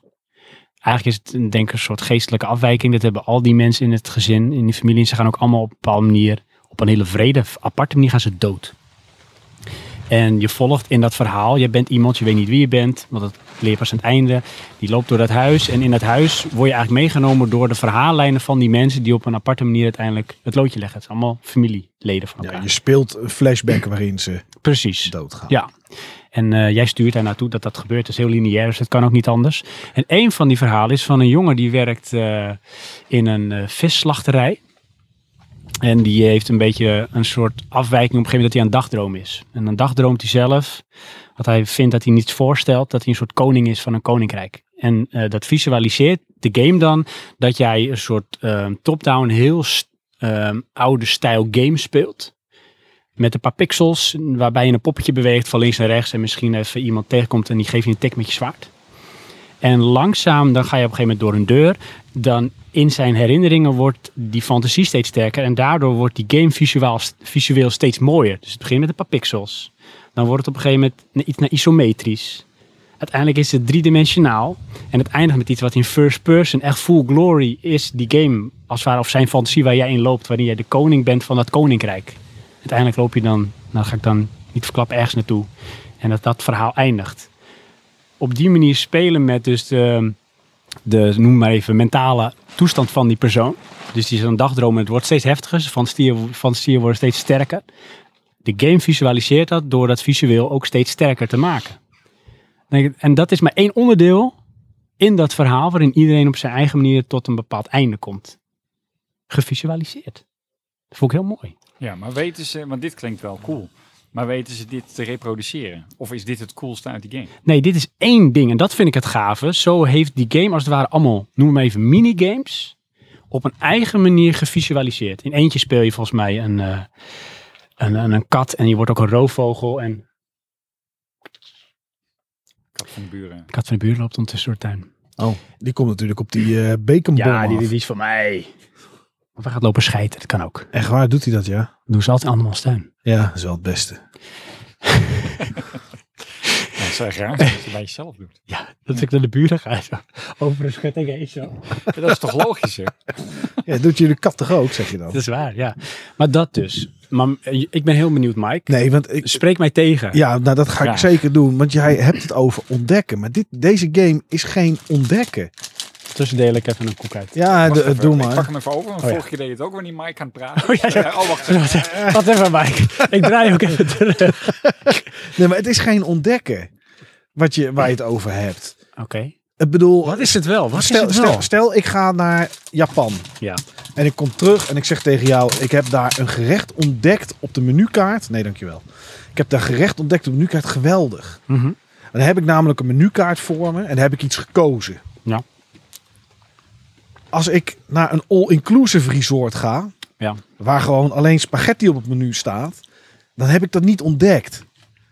A: eigenlijk is het een- denk ik een soort geestelijke afwijking, dat hebben al die mensen in het gezin, in die familie, en ze gaan ook allemaal op een bepaalde manier, op een hele vrede, aparte manier gaan ze dood. En je volgt in dat verhaal, je bent iemand, je weet niet wie je bent, want dat leer je pas aan het einde. Die loopt door dat huis en in dat huis word je eigenlijk meegenomen door de verhaallijnen van die mensen die op een aparte manier uiteindelijk het loodje leggen. Het zijn allemaal familieleden van elkaar.
B: Ja, je speelt een flashback waarin ze
A: Precies.
B: doodgaan.
A: Ja. En eh, jij stuurt daar naartoe dat dat gebeurt. Dat is heel lineair, dus dat kan ook niet anders. En een van die verhalen is van een jongen die werkt eh, in een eh, visslachterij. En die heeft een beetje een soort afwijking op een gegeven moment dat hij aan dagdroom is. En dan dagdroomt hij zelf, wat hij vindt dat hij niets voorstelt, dat hij een soort koning is van een koninkrijk. En eh, dat visualiseert de game dan dat jij een soort ehm, top-down, heel st- ehm, oude stijl game speelt met een paar pixels, waarbij je een poppetje beweegt van links naar rechts en misschien even iemand tegenkomt en die geeft je een tik met je zwaard. En langzaam, dan ga je op een gegeven moment door een deur, dan in zijn herinneringen wordt die fantasie steeds sterker en daardoor wordt die game visueel, visueel steeds mooier. Dus het begint met een paar pixels, dan wordt het op een gegeven moment na- iets naar isometrisch. Uiteindelijk is het driedimensionaal en het eindigt met iets wat in first person echt full glory is die game, als het ware, of zijn fantasie waar jij in loopt, wanneer jij de koning bent van dat koninkrijk uiteindelijk loop je dan, nou dat ga ik dan niet verklappen, ergens naartoe. En dat dat verhaal eindigt. Op die manier spelen met dus de, de noem maar even, mentale toestand van die persoon. Dus die is een dagdroom en het wordt steeds heftiger. Zijn fantasieën fantasieën worden steeds sterker. De game visualiseert dat door dat visueel ook steeds sterker te maken. Dan denk ik, En dat is maar één onderdeel in dat verhaal waarin iedereen op zijn eigen manier tot een bepaald einde komt. Gevisualiseerd. Dat vond ik heel mooi.
C: Ja, maar weten ze, want dit klinkt wel cool. Maar weten ze dit te reproduceren? Of is dit het coolste uit die game?
A: Nee, dit is één ding. En dat vind ik het gave. Zo heeft die game als het ware allemaal, noem maar even minigames, op een eigen manier gevisualiseerd. In eentje speel je volgens mij een, eh, een, een, een kat en je wordt ook een roofvogel. En
C: Kat van de buren.
A: de kat van de buurt loopt ondertussen door de tuin.
B: Oh, die komt natuurlijk op die eh baconbom
A: Ja, die,
B: af.
A: die, die is van mij. Of hij gaat lopen scheiden, dat kan ook.
B: Echt waar, doet hij dat, ja?
A: Dat doen ze altijd in andermans tuin.
B: Ja, dat is wel het beste.
C: Dat is erg raar als je het bij jezelf doet.
A: Ja, dat ik naar de buren ga. Zo. Over een schutting heen zo.
C: [laughs] Ja, dat is toch logisch,
B: [laughs]
C: hè?
B: Ja, doet jullie kat toch ook, zeg je
A: Dat
B: dan?
A: is waar, ja. Maar dat dus. Maar eh, ik ben heel benieuwd, Mike.
B: Nee, want ik,
A: Spreek mij tegen.
B: Ja, nou dat ga ik
C: Graag.
B: zeker doen. Want jij hebt het over ontdekken. Maar dit, deze game is geen ontdekken.
A: Tussen deel ik even een koek uit.
B: Ja,
C: Wacht
B: de-
C: even,
B: doe
C: Ik pak
B: maar. Oh
C: hem even over, want
A: ja.
C: vorige keer deed je het ook wanneer Mike aan het praten.
A: Oh, [laughs] ja, ja.
C: Eh, oh,
B: [laughs]
C: wacht. even.
A: Wat even, Mike. Ik draai ook even terug.
B: Nee, maar het is geen ontdekken wat je, waar je het over hebt.
A: Oké.
B: Ik bedoel,
A: Wat is het wel? Wat
B: stel,
A: is het wel?
B: Stel, stel, ik ga naar Japan
A: Ja.
B: en ik kom terug en ik zeg tegen jou, ik heb daar een gerecht ontdekt op de menukaart. Nee, dankjewel. Ik heb daar gerecht ontdekt op de menukaart, geweldig.
A: Mhm.
B: En daar heb ik namelijk een menukaart voor me en daar heb ik iets gekozen.
A: Ja.
B: Als ik naar een all-inclusive resort ga,
A: Ja.
B: waar gewoon alleen spaghetti op het menu staat, dan heb ik dat niet ontdekt.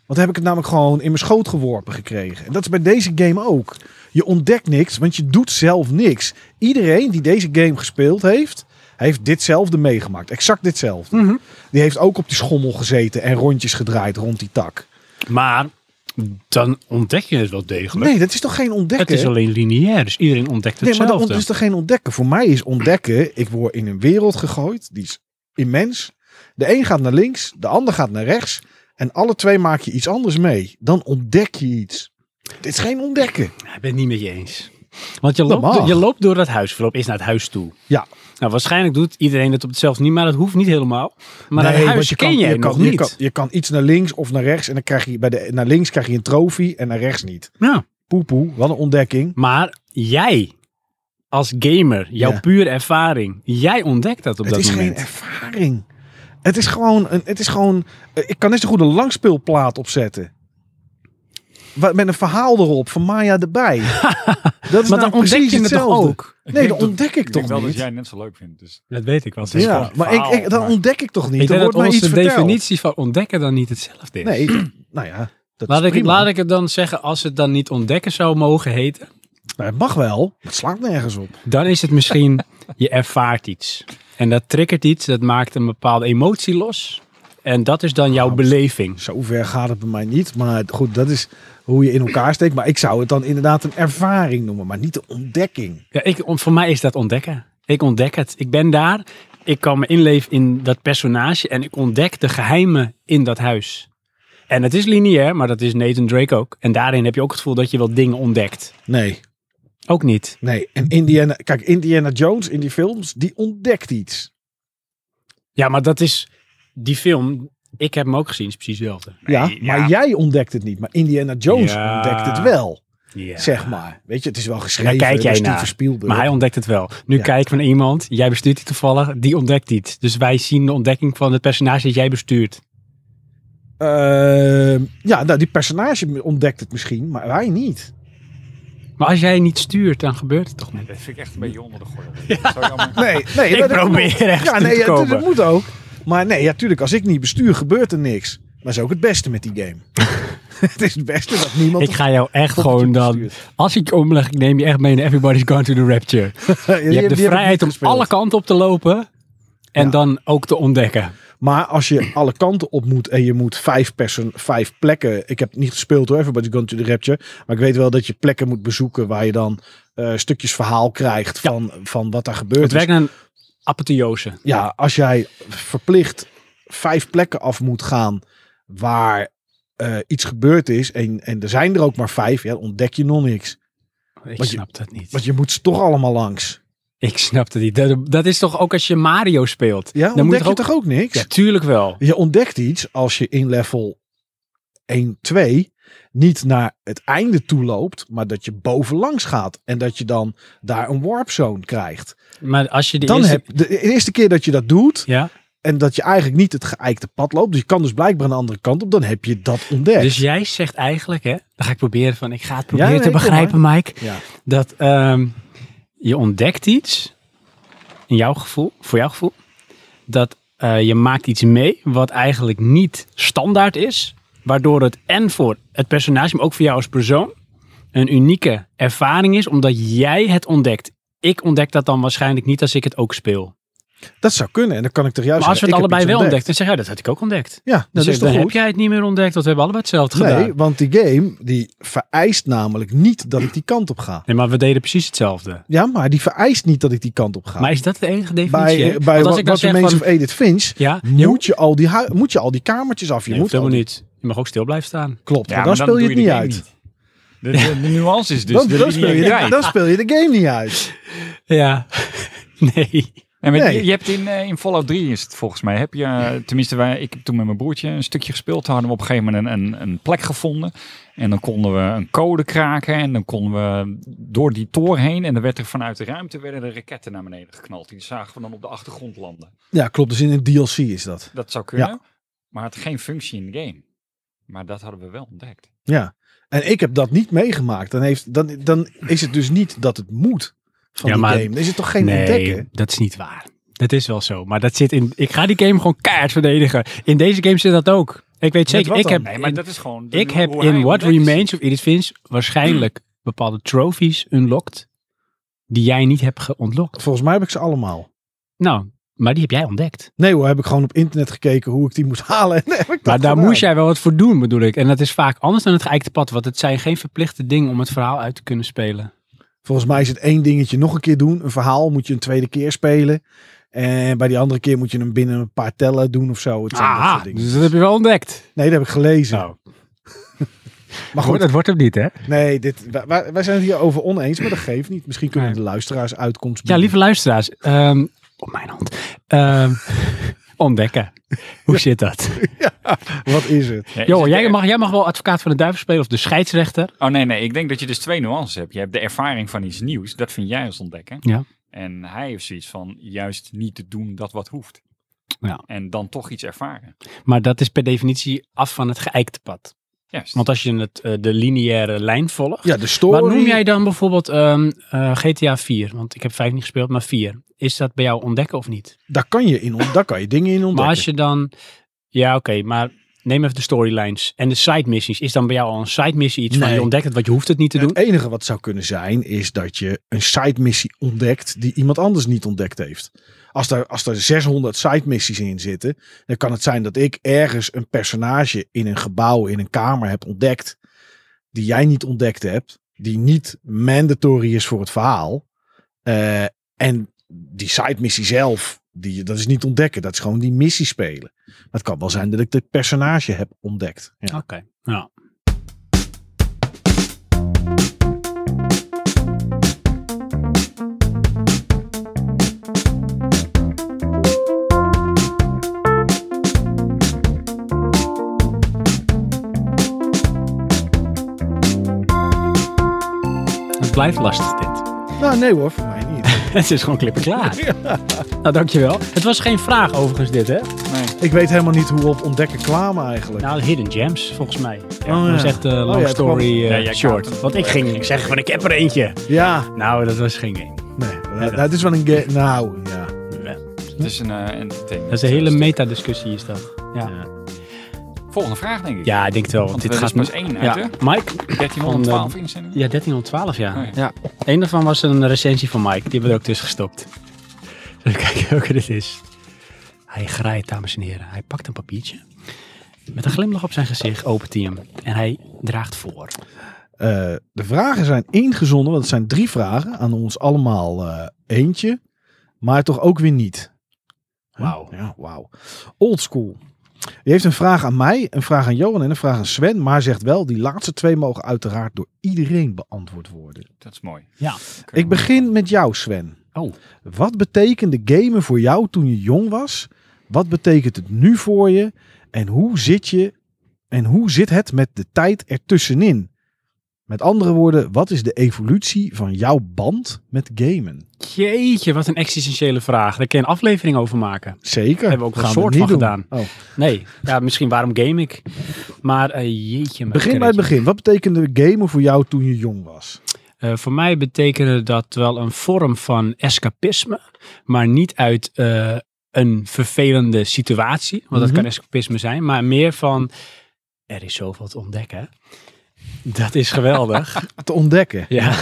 B: Want dan heb ik het namelijk gewoon in mijn schoot geworpen gekregen. En dat is bij deze game ook. Je ontdekt niks, want je doet zelf niks. Iedereen die deze game gespeeld heeft, heeft ditzelfde meegemaakt. Exact ditzelfde.
A: Mhm.
B: Die heeft ook op die schommel gezeten en rondjes gedraaid rond die tak.
A: Maar dan ontdek je het wel degelijk.
B: Nee, dat is toch geen ontdekken?
A: het is alleen lineair, dus iedereen ontdekt
B: Nee, maar
A: hetzelfde.
B: dat is toch geen ontdekken? Voor mij is ontdekken, ik word in een wereld gegooid, die is immens. De een gaat naar links, de ander gaat naar rechts. En alle twee maak je iets anders mee. Dan ontdek je iets. Dit is geen ontdekken.
A: Ik ben het niet met je eens. Want je
B: Dat
A: loopt,
B: mag.
A: je loopt door dat huis, voorop is naar het huis toe.
B: Ja.
A: Nou, waarschijnlijk doet iedereen het op hetzelfde niet, maar dat hoeft niet helemaal. Maar
B: Nee,
A: naar het
B: want
A: huis ken
B: kan-
A: je, het
B: kan,
A: nog
B: Je
A: niet.
B: kan, je kan iets naar links of naar rechts. En dan krijg je bij de, naar links krijg je een trofee en naar rechts niet.
A: Ja.
B: Poepoe, wat een ontdekking.
A: Maar jij, als gamer, jouw
B: Ja.
A: pure ervaring, jij ontdekt dat op
B: het
A: dat
B: is
A: moment.
B: geen ervaring. Het is gewoon, een, het is gewoon eh, ik kan net zo goed een langspeelplaat opzetten. Wa- Met een verhaal erop van
A: [laughs]
B: Maya erbij. dat is
A: maar
B: nou
A: dan ontdek
B: precies
A: je het toch
B: hetzelfde.
A: ook?
B: Nee,
C: denk
B: dat
C: dat-
B: ontdek ik
C: denk wel
B: toch
C: dat
B: niet.
C: jij het net zo leuk vindt. Dus
A: Dat weet ik wel.
C: is
A: zeker.
C: gewoon
B: Ja,
C: een
B: maar ik,
C: verhaal,
B: ik, dat
C: maar-
B: ontdek ik toch
A: ik
B: niet. Er
A: denk dat
B: wordt mij
A: onze
B: iets verteld.
A: definitie van ontdekken dan niet hetzelfde is.
B: Nee, ik- nou ja. Dat
A: laat,
B: is
A: ik,
B: prima.
A: laat ik het dan zeggen, als het dan niet ontdekken zou mogen heten,
B: Nou, het mag wel, maar het slaat nergens op.
A: dan is het
B: [laughs]
A: misschien, je ervaart iets. En dat triggert iets, dat maakt een bepaalde emotie los. En dat is dan jouw
B: Ah,
A: beleving.
B: Zover gaat het bij mij niet. Maar goed, dat is hoe je in elkaar steekt. Maar ik zou het dan inderdaad een ervaring noemen, maar niet een ontdekking.
A: Ja, ik, on- voor mij is dat ontdekken. Ik ontdek het. Ik ben daar, ik kan me inleven in dat personage en ik ontdek de geheimen in dat huis. En het is lineair, maar dat is Nathan Drake ook. En daarin heb je ook het gevoel dat je wel dingen ontdekt.
B: Nee.
A: Ook niet.
B: Nee. En Indiana, kijk, Indiana Jones in die films, die ontdekt iets.
A: Ja, maar dat is die film. Ik heb hem ook gezien, is precies hetzelfde.
B: ja,
C: ja.
B: maar jij ontdekt het niet. Maar Indiana Jones
A: Ja.
B: ontdekt het wel,
A: Ja.
B: zeg maar. Weet je, het is wel geschreven.
A: Daar kijk jij
B: door Steven
A: naar.
B: Spielberg.
A: Maar hij ontdekt het wel. Nu
B: Ja.
A: kijk ik van iemand, jij bestuurt die toevallig, die ontdekt iets. Dus wij zien de ontdekking van het personage dat jij bestuurt.
B: Ehm, ja, nou, die personage ontdekt het misschien, maar wij niet.
A: Maar als jij niet stuurt, dan gebeurt het toch niet.
C: Dat vind ik echt een beetje onder de
B: [laughs]
C: gordel. Dat zou jammer.
A: [laughs]
B: Nee, nee.
A: Ik
B: dat- dat
A: probeer
B: klopt.
A: echt
B: ja,
A: toe
B: nee,
A: te
B: ja, dat-
A: komen.
B: Dat moet ook. Maar nee, ja, tuurlijk, als ik niet bestuur, gebeurt er niks. Maar dat is ook het beste met die
A: [laughs]
B: game. het is het beste dat niemand...
A: Ik ga jou echt
B: God,
A: gewoon
B: dat je
A: dan...
B: bestuurt.
A: Als ik je omleg, ik neem je echt mee naar Everybody's Gone to the Rapture. Je hebt de vrijheid om alle kanten op te lopen. En
B: Ja.
A: dan ook te ontdekken.
B: Maar als je alle kanten op moet en je moet vijf, persen, vijf plekken... Ik heb het niet gespeeld hoor, Everybody's Gone to the Rapture. Maar ik weet wel dat je plekken moet bezoeken waar je dan eh, stukjes verhaal krijgt van, van wat daar gebeurt.
A: Het
B: is.
A: werkt naar een apotheose.
B: ja, als jij verplicht vijf plekken af moet gaan waar eh, iets gebeurd is en, en er zijn er ook maar vijf, ja, dan ontdek je nog niks.
A: Ik
B: Want je-
A: snap dat niet.
B: Want je moet ze toch allemaal langs.
A: Ik snap dat niet. Dat, dat is toch ook als je Mario speelt.
B: Ja,
A: moet
B: ontdek
A: er
B: je
A: ook-
B: toch ook niks?
A: Ja, tuurlijk wel.
B: Je ontdekt iets als je in level 1, 2 niet naar het einde toe loopt, maar dat je bovenlangs gaat en dat je dan daar een warp zone krijgt.
A: Maar als je de
B: dan
A: eerste...
B: heb de, de eerste keer dat je dat doet
A: Ja?
B: en dat je eigenlijk niet het geëikte pad loopt, dus je kan dus blijkbaar een andere kant op, dan heb je dat ontdekt.
A: Dus jij zegt eigenlijk, hè, dan ga ik proberen van, ik ga het proberen
B: nee,
A: te
B: kom
A: begrijpen, Mike,
B: Ja.
A: dat ehm, je ontdekt iets, in jouw gevoel, voor jouw gevoel, dat eh, je maakt iets mee wat eigenlijk niet standaard is, waardoor het en voor het personage, maar ook voor jou als persoon, een unieke ervaring is, omdat jij het ontdekt. Ik ontdek dat dan waarschijnlijk niet als ik het ook speel.
B: Dat zou kunnen. En dan kan ik toch juist
A: Maar als we het
B: zeggen,
A: allebei
B: ik heb
A: wel ontdekt,
B: iets
A: dan zeg je, dat had ik ook ontdekt.
B: Ja, dat
A: Dus
B: is
A: dan
B: toch
A: heb
B: goed?
A: jij het niet meer ontdekt, want we hebben allebei hetzelfde gedaan.
B: Nee, want die game die vereist namelijk niet dat ik die kant op ga.
A: Nee, maar we deden precies hetzelfde.
B: Ja, maar die vereist niet dat ik die kant op ga.
A: Maar is dat de enige definitie?
B: bij
A: hè?
B: eh,
A: Want
B: bij
A: als
B: wat,
A: ik dan
B: wat de
A: zeg
B: Remains
A: van,
B: of Edith Finch
A: ja, je
B: moet, je al die hui- moet je al die kamertjes af. Je
A: nee,
B: moet
A: hoeft helemaal
B: al die-
A: niet. Je mag ook stil blijven staan.
B: Klopt,
C: Ja,
B: maar dan,
C: maar
B: speel je
C: doe
B: het
C: de
B: niet uit.
C: game De, de- de nuance is dus
B: dan,
C: de
B: dan, speel je de,
C: lineariteit.
B: dan speel je de game niet uit.
A: Ja. [laughs] nee.
C: En weet je-
B: Nee.
C: je hebt in, eh, in Fallout 3 is het volgens mij. Heb je, eh, tenminste, wij, ik heb toen met mijn broertje een stukje gespeeld. Toen hadden we op een gegeven moment een, een, een plek gevonden. En dan konden we een code kraken. En dan konden we door die toren heen. En dan werd er vanuit de ruimte werden er raketten naar beneden geknald. Die zagen we dan op de achtergrond landen.
B: Ja, klopt. Dus in een DLC is dat.
C: Dat zou kunnen. Maar het had geen functie in de game. Maar dat hadden we wel ontdekt.
B: Ja. En ik heb dat niet meegemaakt. Dan, heeft, dan, dan is het dus niet dat het moet van
A: Ja,
B: die
A: maar-
B: game. Dan is het toch geen
A: Nee,
B: ontdekken?
A: dat is niet waar. Dat is wel zo. Maar dat zit in. Ik ga die game gewoon keihard verdedigen. In deze game zit dat ook. Ik weet zeker.
B: wat
A: Ik
B: dan?
A: heb,
C: Nee, maar
A: in-
C: dat is gewoon.
A: ik
C: hoe
A: heb
C: hij
A: in What
C: ontdekt is.
A: Remains of Edith Finch waarschijnlijk bepaalde trophies unlocked. Die jij niet hebt geontlokt.
B: Volgens mij heb ik ze allemaal.
A: Nou, maar die heb jij ontdekt.
B: Nee hoor, heb ik gewoon op internet gekeken hoe ik die moest [laughs] halen. En heb ik dat
A: Maar daar
B: gedaan.
A: moest jij wel wat voor doen, bedoel ik. En dat is vaak anders dan het geëikte pad. Want het zijn geen verplichte dingen om het verhaal uit te kunnen spelen.
B: Volgens mij is het één dingetje nog een keer doen. Een verhaal moet je een tweede keer spelen. En bij die andere keer moet je hem binnen een paar tellen doen of zo. Het zijn dat
A: Ah,
B: soort dingen.
A: dus dat heb je wel ontdekt.
B: Nee, dat heb ik gelezen.
A: Nou,
B: [laughs] maar
A: goed,
B: goed,
A: dat wordt hem niet, hè?
B: nee, dit, wij- wij, wij zijn het hier over oneens, maar dat geeft niet. Misschien kunnen
A: Nee.
B: de luisteraars uitkomst
A: Ja,
B: bieden.
A: lieve luisteraars. ehm, op mijn hand. Ehm, [laughs] ontdekken. Hoe zit dat?
B: Wat is het?
C: Ja, is
A: Jo,
C: het
A: jij
C: er-
A: mag, jij mag wel advocaat van de duivel spelen of de scheidsrechter.
C: Oh nee, nee. Ik denk dat je dus twee nuances hebt. Je hebt de ervaring van iets nieuws. Dat vind jij als ontdekken.
A: Ja.
C: En hij heeft zoiets van juist niet te doen dat wat hoeft.
A: Ja.
C: En dan toch iets ervaren.
A: Maar dat is per definitie af van het geëikte pad.
C: Juist.
A: Want als je het, eh, de lineaire lijn volgt.
B: Ja, de story.
A: Wat noem jij dan bijvoorbeeld ehm, eh, GTA 4? Want ik heb 5 niet gespeeld, maar 4. Is dat bij jou ontdekken of niet?
B: Daar kan je, in, ont- daar kan je dingen in ontdekken.
A: Maar als je dan... Ja, oké, maar neem even de storylines. En de side missies. Is dan bij jou al een side missie iets van
B: Nee.
A: je ontdekt het, want je hoeft het niet te doen?
B: Het enige wat zou kunnen zijn, is dat je een side missie ontdekt die iemand anders niet ontdekt heeft. Als daar als er 600 side missies in zitten, dan kan het zijn dat ik ergens een personage in een gebouw, in een kamer heb ontdekt, die jij niet ontdekt hebt, die niet mandatory is voor het verhaal. Eh, en die side missie zelf, die, dat is niet ontdekken, dat is gewoon die missie spelen. Maar het kan wel zijn dat ik dit personage heb ontdekt. Ja.
A: Oké, ja. Het blijft lastig dit.
B: Nou nee hoor, voor mij niet.
A: [laughs] Het is gewoon klippen klaar. Nou, dankjewel. Het was geen vraag overigens dit, hè?
C: Nee.
B: Ik weet helemaal niet hoe we op ontdekken kwamen eigenlijk.
A: Nou, Hidden Gems, volgens mij.
B: Oh, ja.
A: Dat is echt eh,
B: Oh,
A: long
B: ja, het
A: story eh,
C: Ja, jij kaapt
A: short.
C: het.
A: Want ik ging zeggen van, ik heb er eentje.
B: ja,
A: Nou, dat was geen game.
B: nee. Nou, dat is wel een ge- Nou, ja.
C: Het is een eh entertainment.
A: Dat is een hele meta-discussie is dat. Ja, ja.
C: Volgende vraag denk ik.
A: ik denk het wel. Want
C: Want
A: dit
C: er
A: gaat
C: is pas
A: nu-
C: één uit,
A: ja.
C: hè?
A: Mike?
C: 1312
A: Van, eh,
C: inzendingen.
A: Ja, 1312, ja.
C: Oh, ja.
A: ja. Eén daarvan was een recensie van Mike. Die hebben we er ook tussen gestopt. [laughs] Even kijken welke dit is. Hij graait, dames en heren. Hij pakt een papiertje. Met een glimlach op zijn gezicht opent hij hem. En hij draagt voor.
B: Eh, de vragen zijn ingezonden, want het zijn drie vragen. Aan ons allemaal eh, eentje, maar toch ook weer niet.
A: Wauw.
B: Ja, wauw. Old school. Die heeft een vraag aan mij, een vraag aan Johan en een vraag aan Sven. Maar zegt wel, die laatste twee mogen uiteraard door iedereen beantwoord worden.
C: Dat is mooi.
A: Ja.
B: Ik begin met jou, Sven.
A: Oh.
B: Wat betekende gamen voor jou toen je jong was? Wat betekent het nu voor je? En hoe zit je? En hoe zit het met de tijd ertussenin? Met andere woorden, wat is de evolutie van jouw band met gamen?
A: Jeetje, wat een existentiële vraag. Daar kun je een aflevering over maken.
B: Zeker.
A: Hebben we ook
B: dat
A: een
B: gaan
A: soort
B: niet
A: van
B: doen.
A: gedaan.
B: Oh.
A: Nee, ja, misschien waarom game ik. Maar eh, jeetje. mijn
B: Begin bij het
A: karretje.
B: begin. Wat betekende gamen voor jou toen je jong was?
A: Eh, voor mij betekende dat wel een vorm van escapisme, maar niet uit eh, een vervelende situatie, want dat
B: Mhm.
A: kan escapisme zijn, maar meer van er is zoveel te ontdekken. Dat is
B: [laughs]
A: geweldig.
B: Te ontdekken.
A: ja.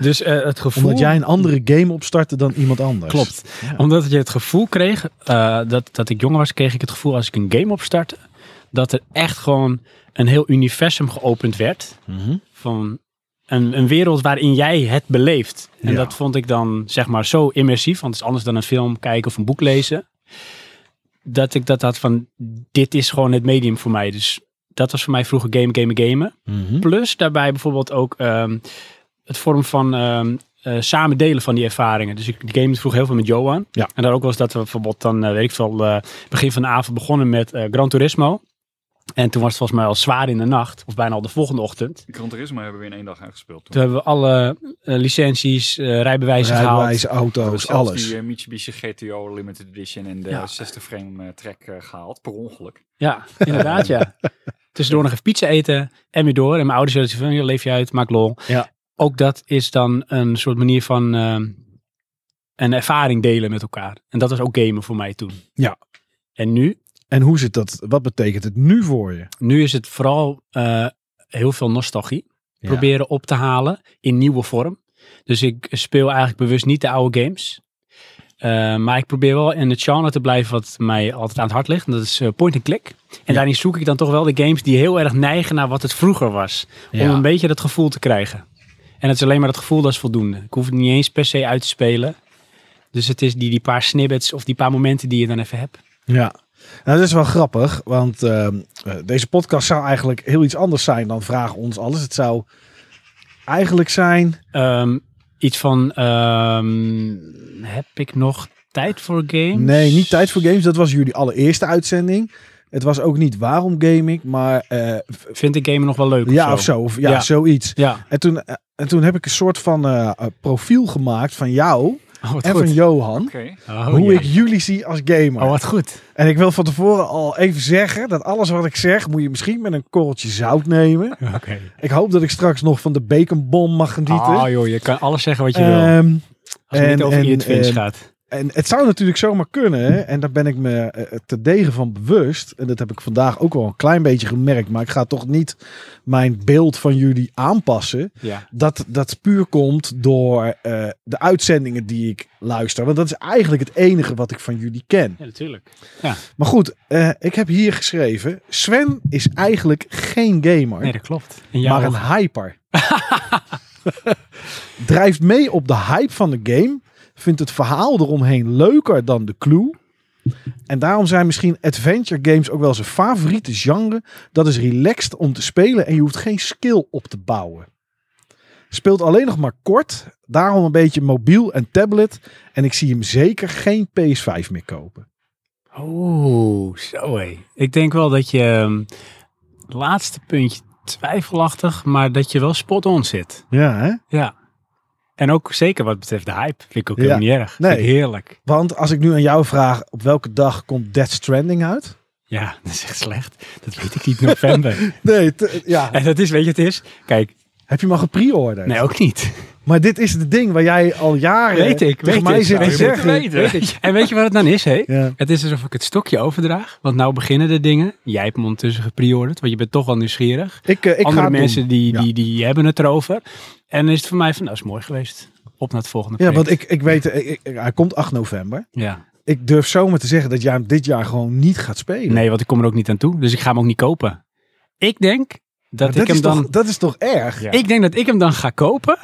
A: Dus eh, het gevoel.
B: Omdat jij een andere game opstartte dan iemand anders.
A: Klopt.
B: Ja.
A: Omdat je het gevoel kreeg, eh, dat, dat ik jong was, kreeg ik het gevoel als ik een game opstartte, dat er echt gewoon een heel universum geopend werd
B: Mhm.
A: van een, een wereld waarin jij het beleeft. En
B: Ja.
A: dat vond ik dan zeg maar zo immersief, want het is anders dan een film kijken of een boek lezen. Dat ik dat had van, dit is gewoon het medium voor mij. Dus dat was voor mij vroeger game, gamen, gamen.
B: Mhm.
A: Plus daarbij bijvoorbeeld ook ehm, het vorm van ehm, eh, eh, samen delen van die ervaringen. Dus ik die game vroeg heel veel met Johan.
B: Ja.
A: En daar ook was dat we bijvoorbeeld dan, eh, weet ik veel, eh, begin van de avond begonnen met eh, Gran Turismo. En toen was het volgens mij al zwaar in de nacht, of bijna al de volgende ochtend.
C: Gran Turismo hebben we in één dag uitgespeeld. Toen.
A: Toen hebben we alle eh, licenties, eh, rijbewijzen gehaald.
B: Rijbewijs,
C: We
B: auto's,
C: hebben zelfs
B: alles.
C: die eh, Mitsubishi GTO Limited Edition en de
A: Ja.
C: 60 frame eh, track eh, gehaald, per ongeluk.
A: Ja, inderdaad, ja. Tussendoor nog even pizza eten en weer door. En mijn ouders zeiden van, "Ja, leef je uit, maak lol.
B: Ja.
A: Ook dat is dan een soort manier van ehm, een ervaring delen met elkaar. En dat was ook gamen voor mij toen.
B: Ja.
A: En nu?
B: En hoe zit dat? Wat betekent het nu voor je?
A: Nu is het vooral eh, heel veel nostalgie.
B: Ja.
A: Proberen op te halen in nieuwe vorm. Dus ik speel eigenlijk bewust niet de oude games. Eh, maar ik probeer wel in het genre te blijven wat mij altijd aan het hart ligt. En dat is eh, point and click. En daarin zoek ik dan toch wel de games die heel erg neigen naar wat het vroeger was. Om
B: Ja.
A: een beetje dat gevoel te krijgen. En het is alleen maar dat gevoel dat is voldoende. Ik hoef het niet eens per se uit te spelen. Dus het is die, die paar snippets of die paar momenten die je dan even hebt.
B: Ja. Nou, dat is wel grappig, want ehm, eh, deze podcast zou eigenlijk heel iets anders zijn dan Vraag ons alles. Het zou eigenlijk zijn.
A: Ehm, iets van, ehm, heb ik nog tijd voor games?
B: Nee, niet tijd voor games. Dat was jullie allereerste uitzending. Het was ook niet waarom game ik, maar eh,
A: Vind ik gamen nog wel leuk?
B: ja of zo. Of, ja,
A: Ja.
B: zoiets.
A: Ja.
B: [laughs] En toen, eh, en toen heb ik een soort van eh, eh, profiel gemaakt van jou
A: Oh, wat
B: en
A: goed.
B: van Johan.
C: Oké.
A: Oh,
B: hoe
A: jee.
B: ik jullie zie als gamer.
A: Oh, wat
B: [laughs]
A: goed.
B: En ik wil van tevoren al even zeggen dat alles wat ik zeg, moet je misschien met een korreltje zout nemen.
A: Oké.
B: Ik hoop dat ik straks nog van de baconbom mag genieten.
A: Ah, joh, je kan alles zeggen wat je wil.
B: Ehm,
A: Als het
B: en-
A: niet over
B: en-
A: je twins
B: en-
A: gaat.
B: en het zou natuurlijk zomaar kunnen, hè, en daar ben ik me eh, te degen van bewust. En dat heb ik vandaag ook wel een klein beetje gemerkt, maar ik ga toch niet mijn beeld van jullie aanpassen.
A: Ja.
B: Dat, dat puur komt door eh, de uitzendingen die ik luister. Want dat is eigenlijk het enige wat ik van jullie ken.
A: Ja, natuurlijk.
B: Maar goed, eh, ik heb hier geschreven: Sven is eigenlijk geen gamer,
A: Nee, dat klopt. En
B: maar
A: jou
B: een hyper. [laughs] Drijft mee op de hype van de game, vindt het verhaal eromheen leuker dan de clue. En daarom zijn misschien adventure games ook wel zijn favoriete genre. Dat is relaxed om te spelen en je hoeft geen skill op te bouwen. Speelt alleen nog maar kort, daarom een beetje mobiel en tablet. En ik zie hem zeker geen PS5 meer kopen.
A: Oh, zo hé. Ik denk wel dat je ehm, laatste puntje twijfelachtig, maar dat je wel spot on zit.
B: Ja, hè?
A: Ja. En ook zeker wat betreft de hype. Vind ik ook
B: Ja.
A: helemaal niet erg.
B: Nee.
A: Vind ik heerlijk.
B: Want als ik nu aan jou vraag op welke dag komt Death Stranding uit?
A: Ja, [laughs] dat is echt slecht. Dat weet ik niet in
B: [laughs]
A: november.
B: Nee, te- ja.
A: en dat is, weet je wat het is? Kijk,
B: Heb je hem al gepreorderd?
A: nee, ook niet.
B: Maar dit is het ding waar jij al jaren
A: Weet ik,
B: tegen
A: weet
B: Eh, mij
A: ik.
B: zit
A: Zou
B: te
A: je moeten
B: zeggen.
A: Weet ik. En weet je wat het dan is, hé?
B: Ja.
A: Het is alsof ik het stokje overdraag. Want nou beginnen de dingen. Jij hebt hem ondertussen gepreorderd, want je bent toch wel nieuwsgierig.
B: Ik, eh, ik ga
A: Andere
B: het
A: mensen
B: doen.
A: Die,
B: Ja.
A: die, die hebben het erover. En dan is het voor mij van, nou is mooi geweest. Op naar het volgende
B: Ja, want
A: project.
B: ik, ik weet, eh, ik, ik- hij komt 8 november.
A: Ja.
B: Ik durf zomaar te zeggen dat jij hem dit jaar gewoon niet gaat spelen.
A: Nee, want ik kom er ook niet aan toe. Dus ik ga hem ook niet kopen. Ik denk dat,
B: Maar
A: ik
B: dat,
A: hem
B: is
A: dan...
B: toch, dat is toch erg?
C: Ja.
A: Ik denk dat ik hem dan ga kopen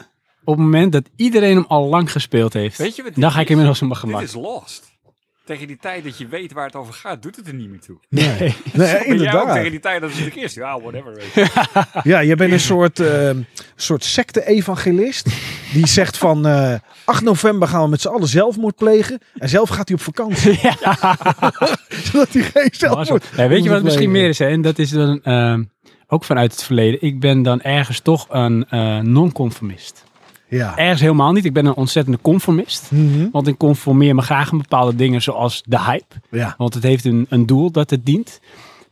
A: op het moment dat iedereen hem al lang gespeeld heeft.
C: Weet je wat
A: dan
C: dit
A: ga ik
C: is?
A: inmiddels op mijn
C: Dit
A: gemak. [laughs]
C: is lost. Tegen die tijd dat je weet waar het over gaat, doet het er niet meer toe.
A: [laughs] Nee.
B: Nee,
C: Maar jij ook tegen
B: inderdaad.
C: die tijd dat het er is. Ja, Ah, whatever. weet je.
B: Ja, je bent een soort, ehm, soort secte-evangelist. Die zegt van eh 8 november gaan we met z'n allen zelfmoord plegen. En zelf gaat hij op vakantie. [laughs] Zodat hij geen
A: Maar zo-
B: zelfmoord
A: Nee, weet je wat het misschien
B: plegen.
A: meer is? Hè? En dat is dan ehm, ook vanuit het verleden. Ik ben dan ergens toch een eh, non-conformist.
B: Ja.
A: Ergens helemaal niet. Ik ben een ontzettende conformist.
B: Mhm.
A: Want ik conformeer me graag aan bepaalde dingen zoals de hype.
B: ja.
A: Want het heeft een, een doel dat het dient.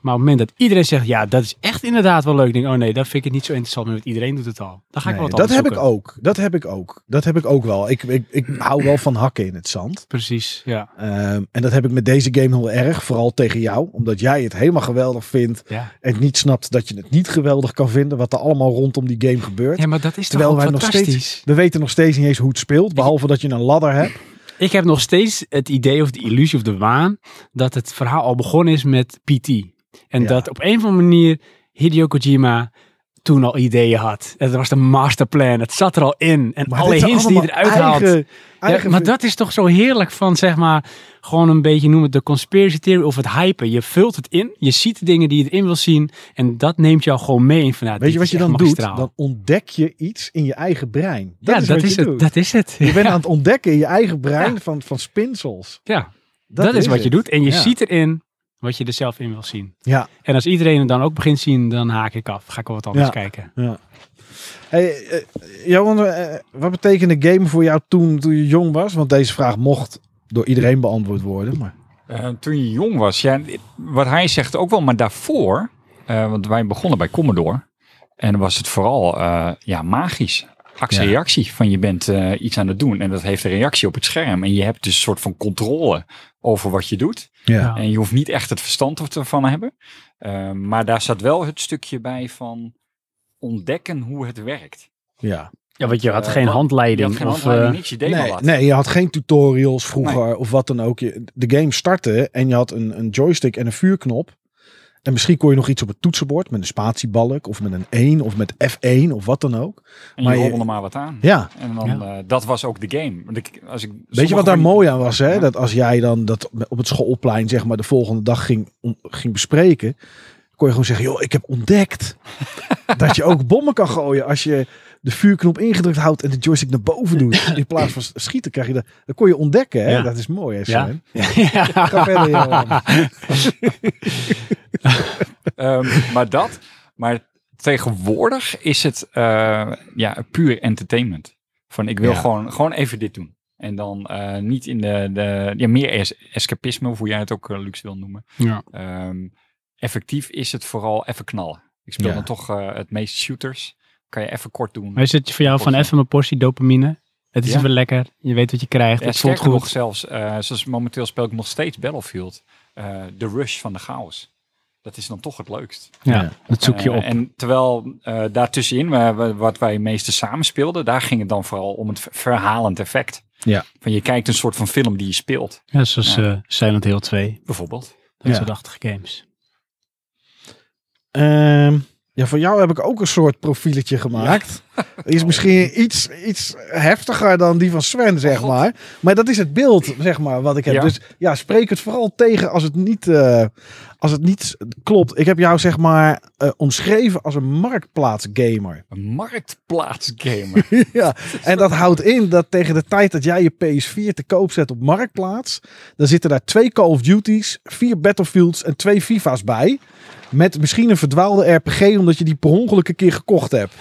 A: Maar op het moment dat iedereen zegt, ja, dat is echt inderdaad wel leuk. Denk ik, oh nee, dat vind ik het niet zo interessant, want iedereen doet het al. Dan ga ik
B: Nee,
A: wel wat
B: dat
A: anders
B: heb ik
A: zoeken.
B: ook. Dat heb ik ook. Dat heb ik ook wel. Ik, ik, ik hou wel van hakken in het zand.
A: Precies, ja.
B: Ehm, en dat heb ik met deze game heel erg. Vooral tegen jou. Omdat jij het helemaal geweldig vindt.
A: Ja,
B: En niet snapt dat je het niet geweldig kan vinden. Wat er allemaal rondom die game gebeurt.
A: ja maar dat is toch
B: Terwijl
A: ook
B: wij nog
A: fantastisch?
B: steeds. We weten nog steeds niet eens hoe het speelt. Behalve dat je een ladder hebt.
A: Ik heb nog steeds het idee of de illusie of de waan dat het verhaal al begonnen is met PT. En
B: Ja.
A: dat op een of andere manier Hideo Kojima toen al ideeën had. Het was de masterplan. Het zat er al in. En
B: Maar
A: alle
B: dit zijn
A: hints die je
B: allemaal
A: eruit haalt.
B: eigen- eigen
A: ja, maar dat is toch zo heerlijk van, zeg maar, gewoon een beetje noem het de conspiracy theory of het hypen. Je vult het in, je ziet de dingen die je erin wil zien en dat neemt jou gewoon mee. in Van, nou,
B: Weet
A: dit
B: je wat
A: is
B: je
A: echt
B: dan doet?
A: magistraal.
B: Dan ontdek je iets in je eigen brein. Dat
A: ja,
B: is
A: dat,
B: wat
A: is
B: je
A: het,
B: doet.
A: dat is
B: [laughs]
A: het.
B: Je bent aan het ontdekken in je eigen brein van, van spinsels.
A: Ja, dat, is, wat je
B: het.
A: doet. En je
B: Ja.
A: ziet erin wat je er zelf in wil zien.
B: Ja.
A: En als iedereen het dan ook begint zien, dan haak ik af. Ga ik wel wat anders
B: Ja.
A: kijken.
B: ja. Hey, eh, Johan, eh, wat betekende game voor jou toen, toen je jong was? Want deze vraag mocht door iedereen beantwoord worden. Maar
C: Eh, toen je jong was, ja, wat hij zegt ook wel, maar daarvoor, eh, want wij begonnen bij Commodore. En was het vooral eh, ja, magisch. Actie-reactie van je bent eh, iets aan het doen en dat heeft een reactie op het scherm. En je hebt dus een soort van controle over wat je doet.
A: Ja.
C: En je hoeft niet echt het verstand ervan te hebben. Eh, maar daar zat wel het stukje bij van ontdekken hoe het werkt.
B: ja.
A: Ja, want je had
C: Eh,
A: geen
C: wat-
A: handleiding.
C: Je had geen
A: of,
C: handleiding,
A: eh,
C: niks, je deed maar
B: Nee,
C: wat.
B: nee, je had geen tutorials vroeger of wat dan ook. Je- De game startte en je had een, een joystick en een vuurknop. En misschien kon je nog iets op het toetsenbord met een spatiebalk of met een 1 of met F1 of wat dan ook.
C: en
B: maar
C: je
B: je-
C: rommelde maar wat aan.
B: Ja,
C: En dan,
A: Ja.
C: eh, dat was ook de game. Want ik- als ik,
B: Weet
C: sommige
B: je wat daar
C: van-
B: mooi aan was? Hè?
C: Ja.
B: Dat als jij dan dat op het schoolplein zeg maar, de volgende dag ging, om- ging bespreken, kon je gewoon zeggen, joh, ik heb ontdekt dat je ook bommen kan gooien als je de vuurknop ingedrukt houdt en de joystick naar boven doet. In plaats van schieten krijg je dat. Dat kon je ontdekken. Hè?
A: Ja.
B: Dat is mooi. Hè,
A: Ja.
B: Sven?
A: ja. [laughs]
B: Ga verder, Johan.
C: Ehm, maar dat, maar tegenwoordig is het eh, ja, puur entertainment. Van ik wil
B: Ja.
C: gewoon, gewoon even dit doen. En dan eh, niet in de, de ja, meer es- escapisme, of hoe jij het ook eh, luxe wil noemen.
A: Ja.
C: Ehm, effectief is het vooral even knallen. Ik speel
B: Ja.
C: dan toch eh, het meest shooters. Kan je even kort doen.
A: Maar is het voor jou van even een portie dopamine? Het is
C: Ja.
A: even lekker. Je weet wat je krijgt.
C: Ja,
A: het voelt
C: sterker nog
A: goed.
C: zelfs, eh, zoals momenteel speel ik nog steeds Battlefield. eh, de rush van de chaos. Dat is dan toch het leukst.
A: Ja,
B: Ja.
A: dat zoek je
C: Eh,
A: op.
C: En terwijl eh, daartussenin, waar we- wat wij meeste samen speelden, daar ging het dan vooral om het ver- verhalend effect.
B: Ja.
C: Van je kijkt een soort van film die je speelt,
A: ja, zoals
C: ja.
A: eh, Silent Hill 2.
C: bijvoorbeeld.
A: Dat
B: Ja.
A: soort achtige games.
B: [laughs] Ehm, ja, voor jou heb ik ook een soort profieletje gemaakt. Die is misschien iets, iets heftiger dan die van Sven, zeg
C: Oh, God.
B: maar. Maar dat is het beeld, zeg maar, wat ik heb.
C: Ja.
B: Dus ja, spreek het vooral tegen als het niet, eh, als het niet klopt. Ik heb jou, zeg maar, eh, omschreven als een marktplaatsgamer.
C: Een marktplaatsgamer. [laughs]
B: ja, en dat houdt in dat tegen de tijd dat jij je PS4 te koop zet op marktplaats, dan zitten daar twee Call of Duty's, vier Battlefields en twee FIFA's bij. Met misschien een verdwaalde RPG omdat je die per ongeluk een keer gekocht hebt.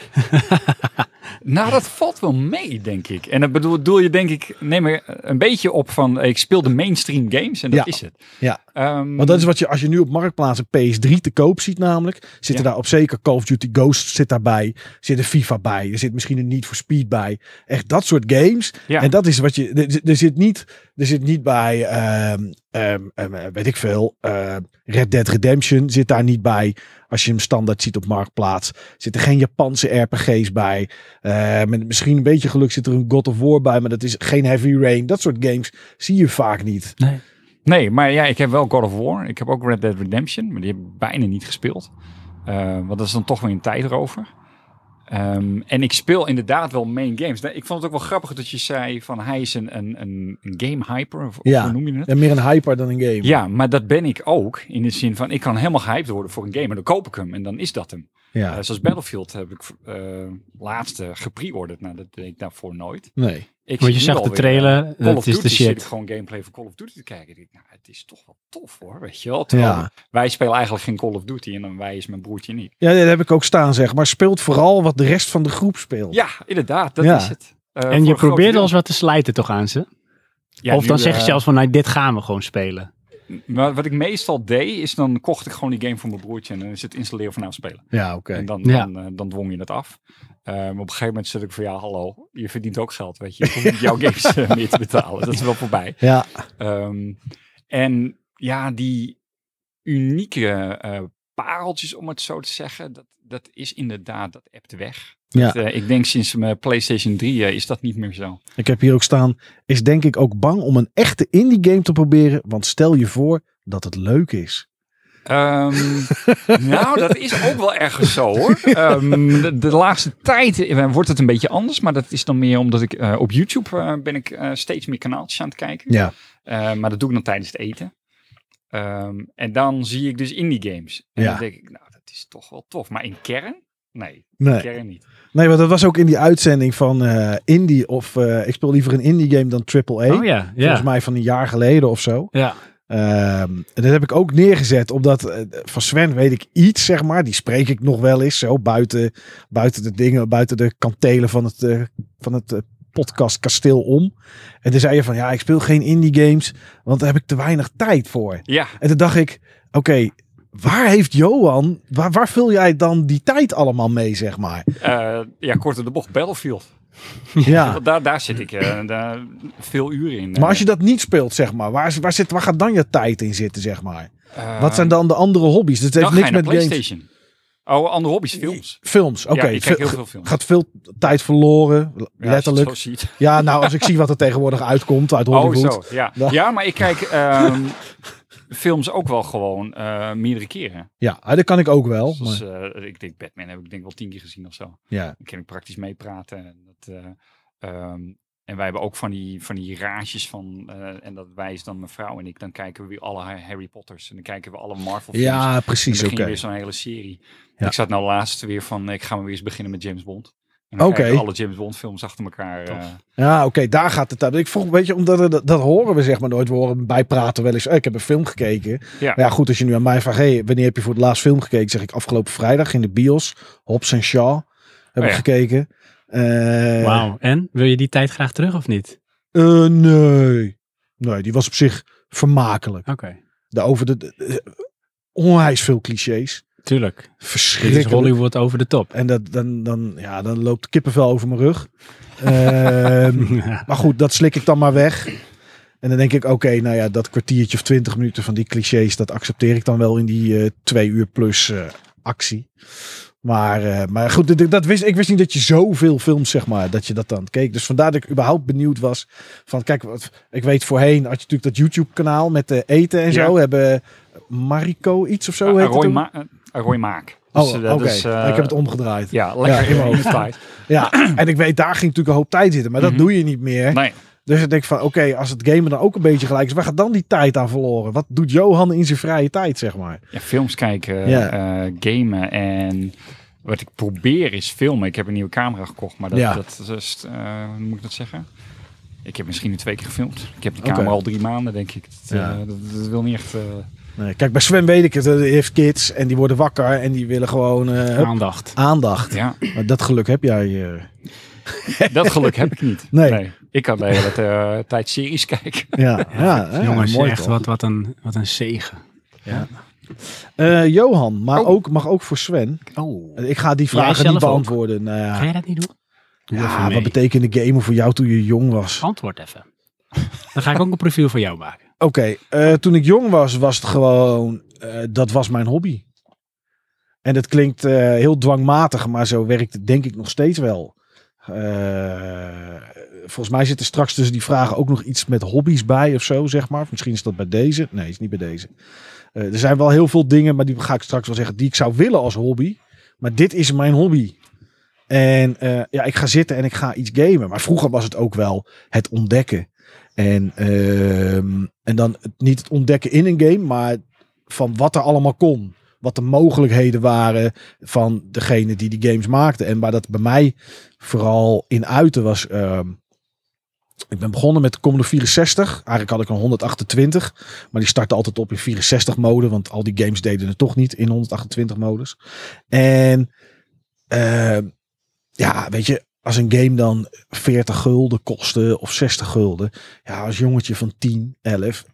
C: nou, dat valt wel mee, denk ik. En dat bedoel, bedoel je, denk ik, neem er een beetje op van, eh, ik speel de mainstream games en dat
B: Ja.
C: is het.
B: Ja.
C: Ehm,
B: Want dat is wat je, als je nu op marktplaats een PS3 te koop ziet namelijk, zitten
C: Ja.
B: daar op zeker Call of Duty Ghost zit daarbij, zit een FIFA bij, er zit misschien een Need for Speed bij. Echt dat soort games.
C: ja.
B: En dat is wat je. Er, er zit, niet, er zit niet bij. ehm, ehm, ehm, eh, weet ik veel. ehm, Red Dead Redemption zit daar niet bij. Als je hem standaard ziet op Marktplaats. Zitten geen Japanse RPG's bij. Eh, met misschien een beetje geluk zit er een God of War bij. Maar dat is geen Heavy Rain. Dat soort games zie je vaak niet.
A: Nee.
C: Nee, maar ja, ik heb wel God of War. Ik heb ook Red Dead Redemption, maar die heb ik bijna niet gespeeld. Eh, want dat is dan toch weer een tijdrover. Ehm en ik speel inderdaad wel main games. Nou, Ik vond het ook wel grappig dat je zei van hij is een, een, een een game hyper, of of
B: Ja.
C: hoe noem je het?
B: En meer een hyper dan een game.
C: Ja, maar dat ben ik ook. In de zin van, ik kan helemaal gehyped worden voor een game. En dan koop ik hem en dan is dat hem.
B: Ja.
C: Eh, zoals Battlefield heb ik eh laatst eh, gepreorderd. Nou, dat deed ik daarvoor nooit.
B: Nee.
C: Ik
A: Want je
C: zit nu
A: zag de
C: alweer,
A: trailer,
C: eh,
A: dat
C: Call of
A: is de
C: Duty zit
A: shit.
C: ik gewoon gameplay van Call of Duty te kijken. Ik denk, nou, het is toch wel tof hoor, weet je wel. Terwijl
B: Ja.
C: Wij spelen eigenlijk geen Call of Duty en dan wij is mijn broertje niet.
B: ja, dat heb ik ook staan zeg. Maar speelt vooral wat de rest van de groep speelt.
C: Ja, inderdaad, dat
B: Ja.
C: is het. Eh, voor
A: en je
C: een groot
A: probeert
C: deel.
A: al eens wat te slijten toch aan ze?
C: Ja,
A: of dan
C: nu,
A: zeg je
C: eh,
A: zelfs van, nou, dit gaan we gewoon spelen.
C: Maar wat ik meestal deed, is dan kocht ik gewoon die game voor mijn broertje en dan is het installeren vanaf spelen.
B: Ja, oké.
C: En dan,
A: Ja.
C: dan, eh, dan dwong je het af. Eh, maar op een gegeven moment zit ik van ja, hallo, je verdient ook geld, weet je. Ik hoef niet jouw [laughs] games eh, meer te betalen. Dat is wel voorbij.
B: Ja.
C: Ehm, en ja, die unieke eh, pareltjes, om het zo te zeggen, dat, dat is inderdaad, dat appt weg.
B: Ja.
C: Dat, eh, ik denk sinds mijn PlayStation 3 eh, is dat niet meer zo.
B: Ik heb hier ook staan, is denk ik ook bang om een echte indie game te proberen, want stel je voor dat het leuk is.
C: Ehm, nou, dat is ook wel ergens zo hoor. Ehm, de, de laatste tijd eh, wordt het een beetje anders. Maar dat is dan meer omdat ik eh, op YouTube eh, ben ik eh, steeds meer kanaaltjes aan het kijken.
B: Ja.
C: Eh, maar dat doe ik dan tijdens het eten. Ehm, en dan zie ik dus indie games. En
B: Ja.
C: dan denk ik, nou, dat is toch wel tof. Maar in kern? Nee,
B: Nee.
C: kern niet.
B: nee, want dat was ook in die uitzending van eh, Indie. Of eh, ik speel liever een Indie game dan AAA.
A: Oh ja,
B: Volgens
A: ja.
B: mij van een jaar geleden of zo.
A: Ja,
B: Ehm, en dat heb ik ook neergezet, omdat eh, van Sven weet ik iets, zeg maar. Die spreek ik nog wel eens, zo buiten, buiten de dingen, buiten de kantelen van het, eh, van het eh, podcast Kasteel om. En toen zei je van, ja, ik speel geen indie games, want daar heb ik te weinig tijd voor.
C: Ja,
B: En toen dacht ik, oké, waar heeft Johan, waar, waar vul jij dan die tijd allemaal mee, zeg
C: [laughs]
B: maar?
C: eh, ja kort op de bocht, Battlefield.
B: Ja.
C: Want Daar, daar zit ik eh, daar veel uren in.
B: Ah. Maar als je dat niet speelt, zeg maar, waar, waar, zit, waar gaat dan je tijd in zitten, zeg maar?
C: Eh,
B: Wat zijn dan de andere hobby's? Dus het heeft
C: dan ga
B: niks
C: je naar
B: met games.
C: PlayStation. Oh, andere hobby's, films.
B: Films, oké.
C: ja, ik kijk
B: Fil-
C: heel veel films.
B: gaat veel tijd verloren, l-
C: Ja,
B: letterlijk.
C: Als je het zo ziet.
B: Ja, nou, als ik zie wat er tegenwoordig uitkomt uit Hollywood.
C: Oh, zo. Ja,
B: Ja.
C: ja maar ik kijk ehm, films ook wel gewoon eh, meerdere keren.
B: Ja, ah, dat kan ik ook wel.
C: Zoals,
B: maar-
C: eh, ik denk Batman heb ik denk wel tien keer gezien of zo.
B: ja.
C: Dan kan ik praktisch meepraten. En, dat, eh, ehm, en wij hebben ook van die, van die rages van... eh, en dat wij is dan mijn vrouw en ik. Dan kijken we weer alle Harry Potters. En dan kijken we alle Marvel films.
B: ja,
C: En
B: precies,
C: dan
B: oké.
C: ging weer zo'n hele serie.
B: Ja.
C: Ik zat nou laatst weer van, ik ga maar weer eens beginnen met James Bond. En dan
B: Oké.
C: kijk ik alle James Bond films achter elkaar. eh,
B: Ja, oké, daar gaat het uit. Ik vroeg, weet je, omdat er- dat, dat horen we zeg maar nooit. We horen bijpraten wel eens, eh, ik heb een film gekeken.
C: Ja.
B: Maar ja, goed, als je nu aan mij vraagt, hey, wanneer heb je voor het laatst film gekeken? Zeg ik afgelopen vrijdag in de bios, Hobbs en Shaw hebben we
C: Oh ja.
B: gekeken. Eh,
A: wauw. En, wil je die tijd graag terug of niet?
B: eh, nee. Nee, die was op zich vermakelijk.
A: Oké,
B: De over de, de- de- onwijs veel clichés.
A: tuurlijk. Dit is
B: Verschrikkelijk.
A: Hollywood over de top.
B: En dat, dan, dan, ja, dan loopt kippenvel over mijn rug. Ehm,
A: [laughs] Ja.
B: maar goed, dat slik ik dan maar weg. En dan denk ik, oké, nou ja, dat kwartiertje of twintig minuten van die clichés, dat accepteer ik dan wel in die eh, twee uur plus eh, actie. Maar, eh, maar goed, dat, dat wist, ik wist niet dat je zoveel films, zeg maar, dat je dat dan keek. Dus vandaar dat ik überhaupt benieuwd was. Van kijk, wat, ik weet voorheen had je natuurlijk dat YouTube-kanaal met eh, eten en
C: Ja.
B: zo. Hebben eh, Mariko iets of zo heet het
C: Roy,
B: toen?
C: Ma- eh, Roy Maak.
B: Oh,
C: Dus, eh,
B: oké.
C: dat is, eh,
B: ik heb het omgedraaid.
C: Ja, lekker
B: Ja, [laughs] in mijn hoofd.
C: tijd.
B: Ja, en ik weet, daar ging natuurlijk een hoop tijd zitten.
C: Mhm.
B: Maar dat doe je niet meer.
C: Nee,
B: Dus ik denk van, oké, als het gamen dan ook een beetje gelijk is, waar gaat dan die tijd aan verloren? Wat doet Johan in zijn vrije tijd, zeg maar?
C: ja, films kijken,
B: Ja.
C: eh, gamen en wat ik probeer is filmen. Ik heb een nieuwe camera gekocht, maar dat,
B: Ja.
C: dat is, eh, hoe moet ik dat zeggen? Ik heb misschien nu twee keer gefilmd. Ik heb die
B: Oké.
C: camera al drie maanden, denk ik. Dat, eh,
B: Ja.
C: dat, dat wil niet echt... eh,
B: Nee, kijk, bij Sven weet ik het, eh, die heeft kids en die worden wakker en die willen gewoon eh, hup,
A: Aandacht.
B: aandacht.
C: ja, [laughs]
B: Maar dat geluk heb jij.
A: [laughs]
B: eh,
C: dat geluk heb ik niet.
B: Nee.
C: Ik kan de hele eh, tijd series kijken.
B: ja, ja, hè,
A: Jongens,
B: mooi
A: echt
B: toch?
A: wat, wat, een, wat een zegen.
B: Eh, Johan, maar
C: Oh.
B: ook, mag ook voor Sven.
A: Oh.
B: Ik ga die
A: Jij
B: vragen
A: zelf
B: niet
A: ook?
B: beantwoorden. Nou ja.
A: Ga jij dat niet doen? Doe even
B: ja,
A: mee.
B: wat betekende gamen voor jou toen je jong was?
A: Antwoord even. [laughs] Dan ga ik ook een profiel voor jou maken.
B: Oké, eh, toen ik jong was, was het gewoon, eh, dat was mijn hobby. En dat klinkt eh, heel dwangmatig, maar zo werkt het denk ik nog steeds wel. Eh, volgens mij zit er straks tussen die vragen ook nog iets met hobby's bij of zo, zeg maar. Of Misschien is dat bij deze. Nee, is niet bij deze. Eh, er zijn wel heel veel dingen, maar die ga ik straks wel zeggen, die ik zou willen als hobby. Maar dit is mijn hobby. En eh, ja, ik ga zitten en ik ga iets gamen. Maar vroeger was het ook wel het ontdekken. En, ehm, en dan het- niet het ontdekken in een game, maar van wat er allemaal kon. Wat de mogelijkheden waren van degene die die games maakten. En waar dat bij mij vooral in uiten was. ehm, ik ben begonnen met de Commodore 64. Eigenlijk had ik een 128. Maar die startte altijd op in 64 mode. Want al die games deden het toch niet in 128 modus. En ehm, ja, weet je, als een game dan 40 gulden kostte of 60 gulden. Ja, als jongetje van 10, 11,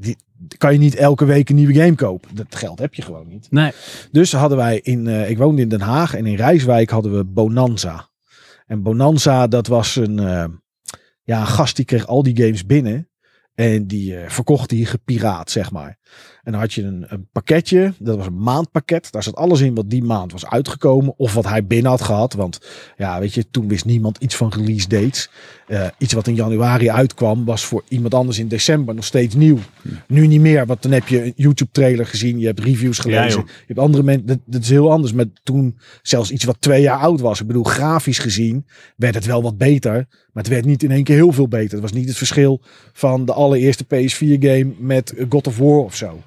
B: die, die kan je niet elke week een nieuwe game kopen. Dat geld heb je gewoon niet.
A: Nee.
B: Dus hadden wij in, eh, ik woonde in Den Haag en in Rijswijk hadden we Bonanza. En Bonanza, dat was een, eh, ja, een gast die kreeg al die games binnen. En die eh, verkocht die gepiraat, zeg maar. En dan had je een, een pakketje, dat was een maandpakket. Daar zat alles in wat die maand was uitgekomen. Of wat hij binnen had gehad. Want ja, weet je, toen wist niemand iets van release dates. Eh, iets wat in januari uitkwam, was voor iemand anders in december nog steeds nieuw. Nu niet meer, want dan heb je een YouTube trailer gezien. Je hebt reviews gelezen.
A: joh.
B: je hebt andere mensen, dat, dat is heel anders. Maar toen zelfs iets wat twee jaar oud was. Ik bedoel, grafisch gezien werd het wel wat beter. Maar het werd niet in één keer heel veel beter. Het was niet het verschil van de allereerste PS4-game met God of War of zo.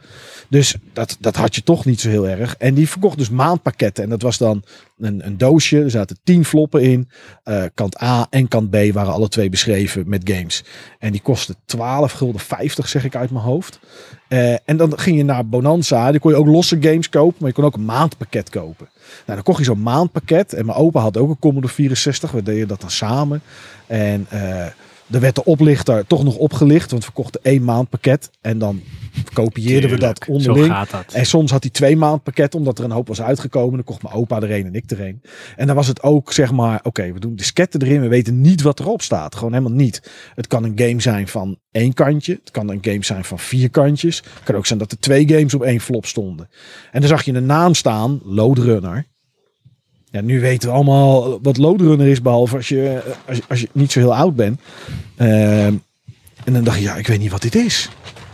B: Dus dat, dat had je toch niet zo heel erg. En die verkocht dus maandpakketten. En dat was dan een, een doosje. Er zaten tien floppen in. Eh, kant A en kant B waren alle twee beschreven met games. En die kostte 12 gulden 50, zeg ik uit mijn hoofd. Eh, en dan ging je naar Bonanza. Dan kon je ook losse games kopen. Maar je kon ook een maandpakket kopen. Nou, dan kocht je zo'n maandpakket. En mijn opa had ook een Commodore 64. We deden dat dan samen. En eh er werd de oplichter toch nog opgelicht. Want we kochten één maandpakket. En dan kopieerden we dat
A: Tuurlijk, Zo
B: onderling.
A: gaat dat.
B: En soms had hij twee maand pakket, omdat er een hoop was uitgekomen. Dan kocht mijn opa er een en ik er een. En dan was het ook, zeg maar, oké, we doen disketten erin. We weten niet wat erop staat. Gewoon helemaal niet. Het kan een game zijn van één kantje. Het kan een game zijn van vier kantjes. Het kan ook zijn dat er twee games op één flop stonden. En dan zag je een naam staan, Loadrunner. Ja, nu weten we allemaal wat Loadrunner is, behalve als je, eh, als je, als je niet zo heel oud bent. Ehm, en dan dacht je, ja, ik weet niet wat dit is.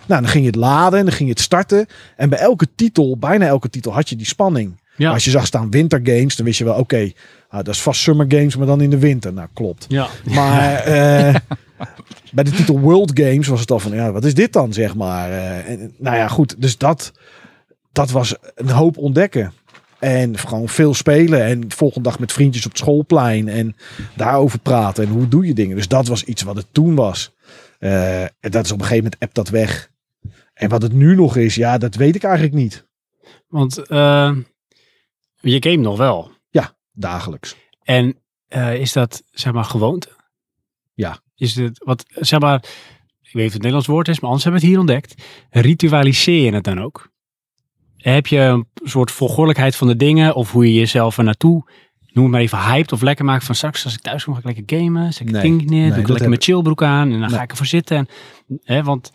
B: Nou, dan ging je het laden en dan ging je het starten. En bij elke titel, bijna elke titel, had je die spanning.
A: Ja.
B: Als je zag staan Winter Games, dan wist je wel, oké, ah, dat is vast Summer Games, maar dan in de winter. Nou, klopt.
A: Ja.
B: Maar eh, bij de titel World Games was het al van, ja, wat is dit dan, zeg maar. Eh, en, nou ja, goed, dus dat, dat was een hoop ontdekken. En gewoon veel spelen en de volgende dag met vriendjes op het schoolplein en daarover praten en hoe doe je dingen. Dus dat was iets wat het toen was. Eh, en dat is op een gegeven moment app dat weg. En wat het nu nog is, ja, dat weet ik eigenlijk niet.
A: Want eh, je game nog wel.
B: Dagelijks.
A: En eh, is dat, zeg maar, gewoonte?
B: Ja.
A: Is dit, wat, zeg maar, ik weet niet of het Nederlands woord is, maar anders hebben we het hier ontdekt. Ritualiseer je het dan ook? Heb je een soort volgordelijkheid van de dingen of hoe je jezelf er naartoe, noem het maar even, hyped of lekker maakt van straks als ik thuis kom ga ik lekker gamen, zet ik het
B: Nee,
A: ding neer,
B: nee,
A: doe ik
B: dat
A: lekker mijn chillbroek aan en dan
B: Nee.
A: ga ik ervoor zitten. En, hè, want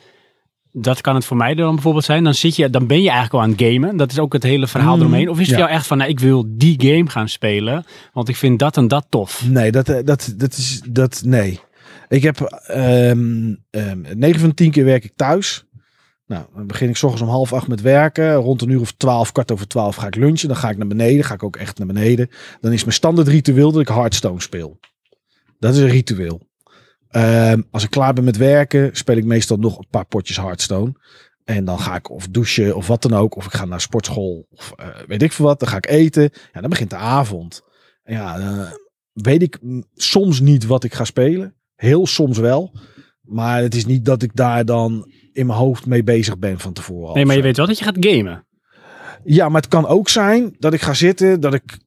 A: dat kan het voor mij dan bijvoorbeeld zijn. Dan, zit je, dan ben je eigenlijk al aan het gamen. Dat is ook het hele verhaal
B: Mm,
A: eromheen. Of is het
B: ja.
A: jou echt van, nou, ik wil die game gaan spelen, want ik vind dat en dat tof.
B: Nee, dat, eh, dat, dat is, dat, nee. Ik heb, ehm ehm 9 van 10 keer werk ik thuis. Nou, dan begin ik 's ochtends om half acht met werken. Rond een uur of twaalf, kwart over twaalf ga ik lunchen. Dan ga ik naar beneden, ga ik ook echt naar beneden. Dan is mijn standaard ritueel dat ik Hearthstone speel. Dat is een ritueel. Ehm, als ik klaar ben met werken, speel ik meestal nog een paar potjes Hearthstone. En dan ga ik of douchen of wat dan ook. Of ik ga naar sportschool of eh, weet ik veel wat. Dan ga ik eten. Ja, dan begint de avond. En Ja, eh, weet ik mm, soms niet wat ik ga spelen. Heel soms wel. Maar het is niet dat ik daar dan in mijn hoofd mee bezig ben van tevoren. al
A: Nee, maar je
B: of zo.
A: weet wel dat je gaat gamen.
B: Ja, maar het kan ook zijn dat ik ga zitten, dat ik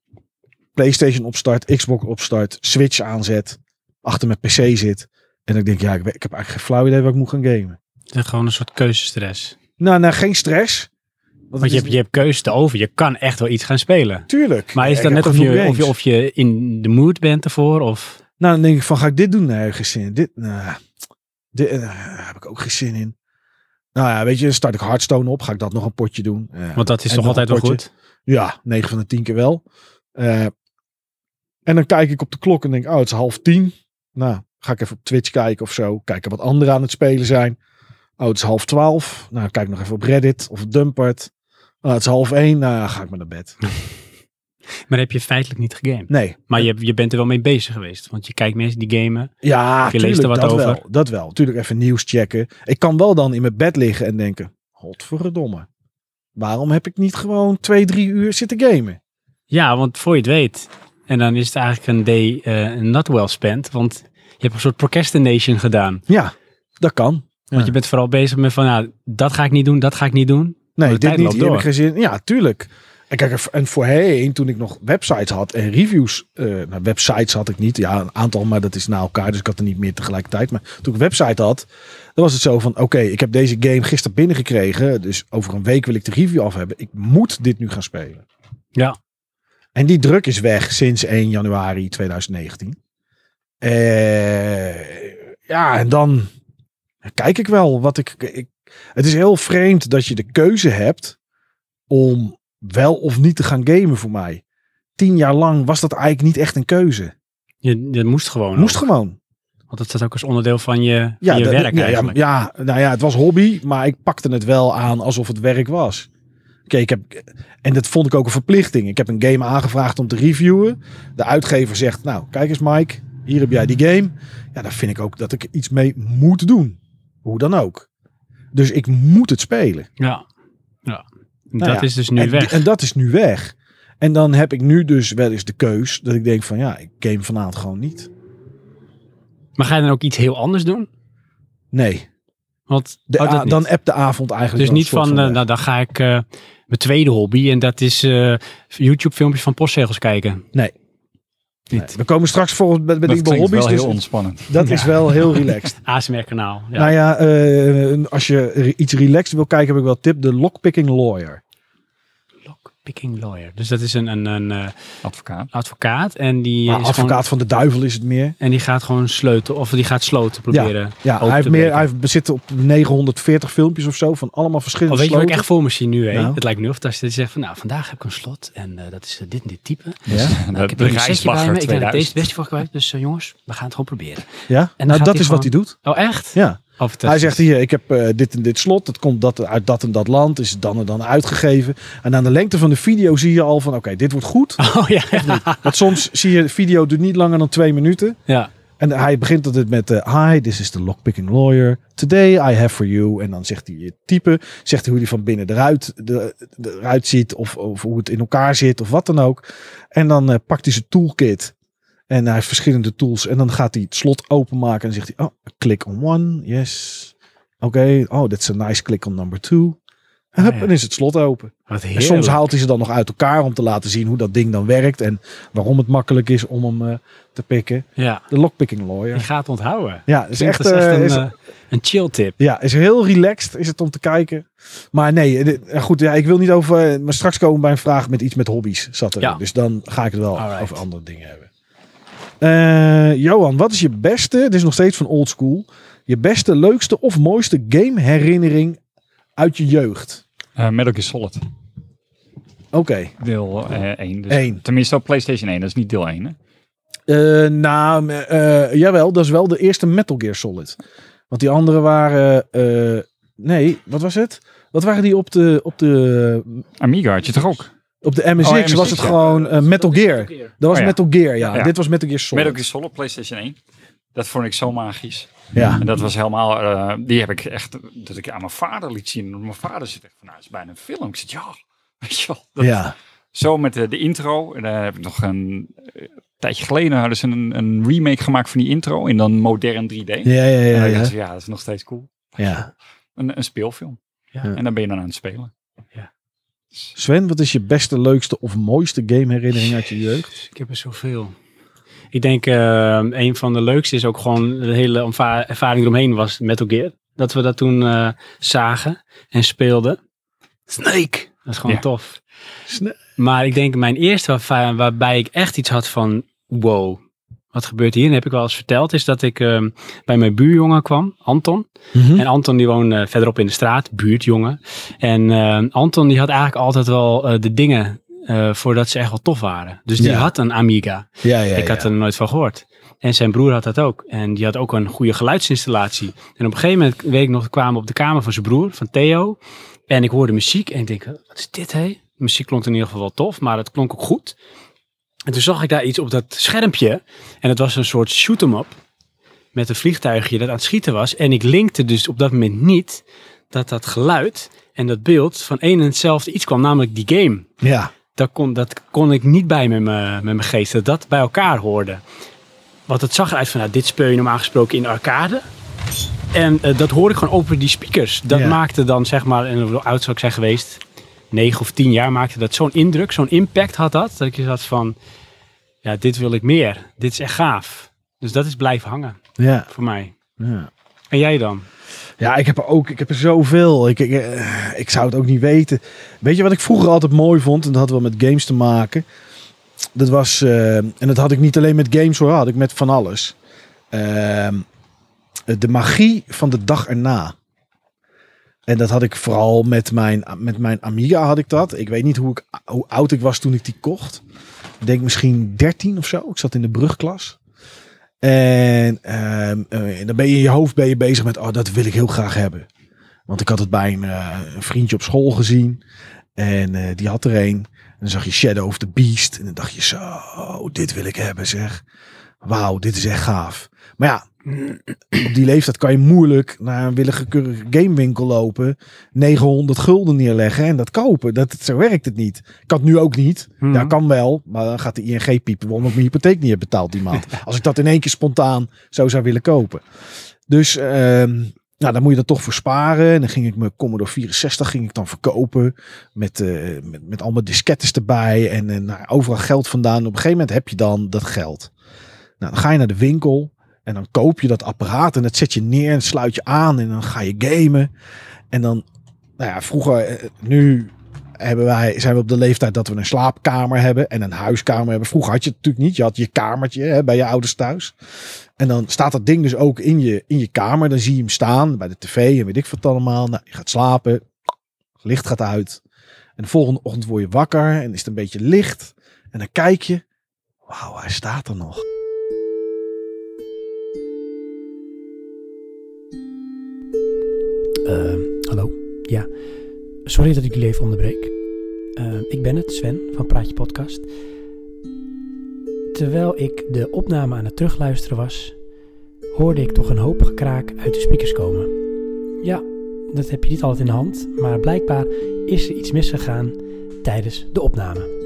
B: PlayStation opstart, Xbox opstart, Switch aanzet, achter mijn PC zit. En ik denk, ja, ik, weet- ik heb eigenlijk geen flauw idee wat ik moet gaan gamen.
A: Het is gewoon een soort keuzestress.
B: Nou, nou geen stress. Want,
A: Want je
B: het
A: hebt,
B: is-
A: je hebt keuze te over. Je kan echt wel iets gaan spelen.
B: Tuurlijk.
A: Maar is
B: Ja,
A: dat
B: ik
A: net
B: heb
A: of je,
B: genoeg
A: of, je,
B: games.
A: of je in de mood bent ervoor? Of...
B: Nou, dan denk ik van, ga ik dit doen? Nee, geen zin in. Dit, nou, dit eh, daar heb ik ook geen zin in. Nou ja, weet je, dan start ik Hearthstone op. Ga ik dat nog een potje doen? Ja.
A: Want dat is
B: En
A: toch
B: nog een
A: altijd wel
B: potje.
A: goed?
B: Ja, 9 van de 10 keer wel. Eh, en dan kijk ik op de klok en denk, oh, het is half tien. Nou, ga ik even op Twitch kijken of zo. Kijken wat anderen aan het spelen zijn. Oh, het is half twaalf. Nou, kijk nog even op Reddit of Dumpert. Nou, het is half één. Nou, ja, ga ik maar naar bed.
A: Maar heb je feitelijk niet gegamed.
B: Nee.
A: Maar je, je bent er wel mee bezig geweest. Want je kijkt mensen die gamen.
B: Ja,
A: Je leest
B: tuurlijk,
A: er wat
B: dat
A: over.
B: wel. Dat wel. Tuurlijk even nieuws checken. Ik kan wel dan in mijn bed liggen en denken, godverdomme. Waarom heb ik niet gewoon twee, drie uur zitten gamen?
A: Ja, want voor je het weet. En dan is het eigenlijk een day eh, not well spent. Want je hebt een soort procrastination gedaan.
B: Ja, dat kan.
A: Want je bent vooral bezig met van, nou, dat ga ik niet doen, dat ga ik niet doen.
B: Nee,
A: Maar de
B: dit
A: tijd
B: niet.
A: loopt
B: Hier heb ik
A: door.
B: geen zin. in. Ja, tuurlijk. En kijk, er- en voorheen, toen ik nog websites had en reviews. eh, nou, websites had ik niet. Ja, een aantal, maar dat is na elkaar. Dus ik had er niet meer tegelijkertijd. Maar toen ik een website had, dan was het zo van: oké, ik heb deze game gisteren binnengekregen. Dus over een week wil ik de review af hebben. Ik moet dit nu gaan spelen.
A: Ja.
B: En die druk is weg sinds 1 januari 2019. Eh, ja, en dan dan kijk ik wel wat ik, ik. Het is heel vreemd dat je de keuze hebt om wel of niet te gaan gamen voor mij. Tien jaar lang was dat eigenlijk niet echt een keuze.
A: Je, je moest gewoon.
B: Moest
A: ook.
B: gewoon.
A: Want dat staat ook als onderdeel van je, van
B: Ja,
A: je
B: dat-
A: werk
B: ja, ja,
A: eigenlijk.
B: ja, nou ja, het was hobby, maar ik pakte het wel aan alsof het werk was. Oké, ik heb, en dat vond ik ook een verplichting. Ik heb een game aangevraagd om te reviewen. De uitgever zegt, nou, kijk eens Mike, hier heb jij die game. Ja, dan vind ik ook dat ik iets mee moet doen. Hoe dan ook. Dus ik moet het spelen.
A: Ja. ja.
B: Nou
A: dat
B: ja,
A: is dus nu
B: en,
A: weg.
B: En dat is nu weg. En dan heb ik nu dus wel eens de keus dat ik denk van, ja, ik game vanavond gewoon niet.
A: maar ga je dan ook iets heel anders doen?
B: Nee,
A: Want
B: de
A: oh, dat
B: a-
A: niet.
B: dan app de avond eigenlijk.
A: Dus
B: wel
A: niet
B: een soort
A: van, eh,
B: weg.
A: nou dan ga ik eh, mijn tweede hobby en dat is eh, YouTube filmpjes van postzegels kijken.
B: Nee.
A: Niet.
B: Nee, we komen straks volgens bij, bij
C: Dat
B: die bij
C: klinkt
B: hobby's.
C: wel
B: dus
C: heel ontspannend.
B: dat is
C: [laughs]
B: wel heel relaxed.
A: ASMR kanaal. [laughs] Ja.
B: Nou ja, eh, als je re- iets relaxed wil kijken, heb ik wel een tip. De Lockpicking Lawyer.
A: Lockpicking lawyer. Dus dat is een, een, een eh,
C: Advocaat.
A: advocaat en die,
B: Maar
A: is
B: Ah, advocaat
A: gewoon-
B: van de duivel is het meer.
A: en die gaat gewoon sleutelen of die gaat sloten proberen.
B: Ja,
A: open
B: hij, heeft
A: te
B: meer,
A: breken.
B: hij bezit op 940 filmpjes of zo van allemaal verschillende
A: Oh, weet je wat ik echt
B: sloten.
A: voor me zie nu? Hè?
B: Nou.
A: Het lijkt nu of dat je zegt van nou, vandaag heb ik een slot en eh, dat is eh, dit en dit type.
B: Ja,
A: Nou, ik heb
C: de
A: hier een setje bij
C: reisbagger
A: me. Ik ben het
C: 2000.
A: deze best voor kwijt. Dus eh, jongens, we gaan het gewoon proberen.
B: ja?
A: dan
B: nou
A: gaat
B: dat
A: hij
B: is wat hij doet.
A: Oh echt?
B: Ja.
A: Oh,
B: Hij
A: fantastisch.
B: zegt hier, ik heb eh, dit en dit slot. Dat komt dat, uit dat en dat land. Is dan en dan uitgegeven. En aan de lengte van de video zie je al van, oké, dit wordt goed.
A: [laughs] Oh ja.
B: Want soms zie je, de video duurt niet langer dan twee minuten.
A: ja.
B: En hij begint altijd met, eh, hi, this is the lockpicking lawyer. Today I have for you. En dan zegt hij je type. Zegt hij hoe hij van binnen eruit, de, de- eruit ziet. Of, of hoe het in elkaar zit. Of wat dan ook. En dan eh, pakt hij zijn toolkit. En hij heeft verschillende tools. En dan gaat hij het slot openmaken. En dan zegt hij, oh, click on one. Yes. Oké. Oh, that's a nice click on number two. En hup,
A: Ah, ja.
B: en is het slot open.
A: Wat
B: En
A: heerlijk.
B: soms haalt hij ze dan nog uit elkaar om te laten zien hoe dat ding dan werkt. En waarom het makkelijk is om hem eh, te pikken.
A: Ja,
B: De lockpicking lawyer.
A: je gaat onthouden.
B: Ja, is
A: Klinkt
B: echt,
A: als
B: eh,
A: een,
B: is,
A: eh, een chill tip.
B: ja, is heel relaxed is het om te kijken. Maar nee, dit- eh, goed, ja, ik wil niet over. eh, Maar straks komen we bij een vraag met iets met hobby's zat er.
A: Ja.
B: Dus dan ga ik het wel
A: Alright.
B: over andere dingen hebben. Eh, Johan, wat is je beste? Dit is nog steeds van old school. Je beste, leukste of mooiste gameherinnering uit je jeugd?
C: Eh Metal Gear Solid.
B: Oké.
C: Deel 1. dus,
B: Eén.
C: Tenminste op PlayStation 1. Dat is niet deel 1. Hè?
B: Eh, nou, eh, jawel, dat is wel de eerste Metal Gear Solid. Want die andere waren. eh, nee, wat was het? Wat waren die op de, op de
C: Amiga had je toch ook?
B: Op de MSX,
C: Oh, MSX,
B: was het
C: ja.
B: gewoon eh, Metal Gear. Dat was
C: Oh, ja.
B: Metal Gear, ja.
C: Ja.
B: Dit was Metal Gear Solid.
C: Metal Gear Solid PlayStation 1. Dat vond ik zo magisch.
B: Ja.
C: En dat was helemaal, eh, die heb ik echt, dat ik aan mijn vader liet zien. Mijn vader zit echt van, nou, het is bijna een film. Ik zeg, ja, weet je wel. Dat-
B: ja.
C: Zo met de, de intro. En daar heb ik nog een eh, tijdje geleden hadden ze een, een remake gemaakt van die intro in dan modern 3D.
B: Ja, ja,
C: En
B: ja.
C: dan
B: ja,
C: dacht ik, ja, dat is nog steeds cool.
B: ja.
C: Een, een speelfilm.
A: Ja.
C: En dan ben je dan aan het spelen.
B: Sven, wat is je beste, leukste of mooiste gameherinnering uit je jeugd?
A: Ik heb er zoveel. Ik denk, eh, een van de leukste is ook gewoon de hele omva- ervaring eromheen was Metal Gear. Dat we dat toen eh, zagen en speelden. Snake! Dat is gewoon
C: Ja.
A: tof. Maar ik denk mijn eerste waarva- waarbij ik echt iets had van wow, wat gebeurt hier? En heb ik wel eens verteld, is dat ik eh, bij mijn buurjongen kwam, Anton.
B: Mhm. Hm.
A: En Anton die woonde eh, verderop in de straat, buurtjongen. En eh, Anton die had eigenlijk altijd wel eh, de dingen eh, voordat ze echt wel tof waren. Dus die
B: Ja.
A: had een Amiga.
B: Ja, ja,
A: ik had
B: ja.
A: er nooit van gehoord. En zijn broer had dat ook. En die had ook een goede geluidsinstallatie. En op een gegeven moment, weet ik nog, kwamen we op de kamer van zijn broer, van Theo. En ik hoorde muziek en ik denk, wat is dit hé? De muziek klonk in ieder geval wel tof, maar het klonk ook goed. En toen zag ik daar iets op dat schermpje. En het was een soort shoot-em-up. Met een vliegtuigje dat aan het schieten was. En ik linkte dus op dat moment niet dat dat geluid en dat beeld van een en hetzelfde iets kwam. Namelijk die game.
B: Ja.
A: Dat kon, dat kon ik niet bij met mijn met mijn geest. Dat dat bij elkaar hoorde. Want het zag eruit van, nou, dit speel je normaal gesproken in de arcade. En eh, dat hoorde ik gewoon over die speakers. Dat
B: Ja.
A: maakte dan, zeg maar, en hoe oud zou ik zijn geweest? Negen of tien jaar maakte dat zo'n indruk, zo'n impact had dat. Dat ik je zat van, ja, dit wil ik meer. Dit is echt gaaf. Dus dat is blijven hangen
B: Ja.
A: voor mij.
B: Ja.
A: En jij dan?
B: Ja, ik heb er ook, ik heb er zoveel. Ik, ik, eh, ik zou het ook niet weten. Weet je wat ik vroeger altijd mooi vond? En dat had wel met games te maken. Dat was, eh, en dat had ik niet alleen met games hoor, had ik met van alles. Ehm, eh, eh, de magie van de dag erna. En dat had ik vooral met mijn, met mijn Amiga had ik dat. Ik weet niet hoe, ik, hoe oud ik was toen ik die kocht. Ik denk misschien 13 of zo. Ik zat in de brugklas. En ehm, eh, dan ben je in je hoofd ben je bezig met, oh, dat wil ik heel graag hebben. Want ik had het bij een, eh, een vriendje op school gezien. En eh, die had er een. En dan zag je Shadow of the Beast. En dan dacht je, zo, dit wil ik hebben zeg. Wauw, dit is echt gaaf. Maar ja, op die leeftijd kan je moeilijk naar een willekeurige gamewinkel lopen, 900 gulden neerleggen en dat kopen. Dat, zo werkt het niet. Kan nu ook niet.
A: Mhm.
B: Ja, kan wel, maar dan gaat de ING piepen waarom ik mijn hypotheek niet heb betaald die maand. Als ik dat in één keer spontaan zo zou willen kopen. Dus ehm, nou, dan moet je dat toch voor sparen. En dan ging ik mijn Commodore 64 ging ik dan verkopen met, eh, met, met allemaal diskettes erbij en eh, nou, overal geld vandaan. Op een gegeven moment heb je dan dat geld. Nou, dan ga je naar de winkel. En dan koop je dat apparaat en dat zet je neer en sluit je aan en dan ga je gamen. En dan, nou ja, vroeger, eh, nu hebben wij, zijn we op de leeftijd dat we een slaapkamer hebben en een huiskamer hebben. Vroeger had je het natuurlijk niet. Je had je kamertje hè, bij je ouders thuis. En dan staat dat ding dus ook in je, in je kamer. Dan zie je hem staan bij de tv en weet ik wat allemaal. Nou, je gaat slapen, licht gaat uit. En de volgende ochtend word je wakker en is het een beetje licht. En dan kijk je, wauw, hij staat er nog.
F: Eh, hallo, ja. Sorry dat ik jullie even onderbreek. Eh, ik ben het, Sven van Praatje Podcast. Terwijl ik de opname aan het terugluisteren was, hoorde ik toch een hoop gekraak uit de speakers komen. Ja, dat heb je niet altijd in de hand, maar blijkbaar is er iets misgegaan tijdens de opname.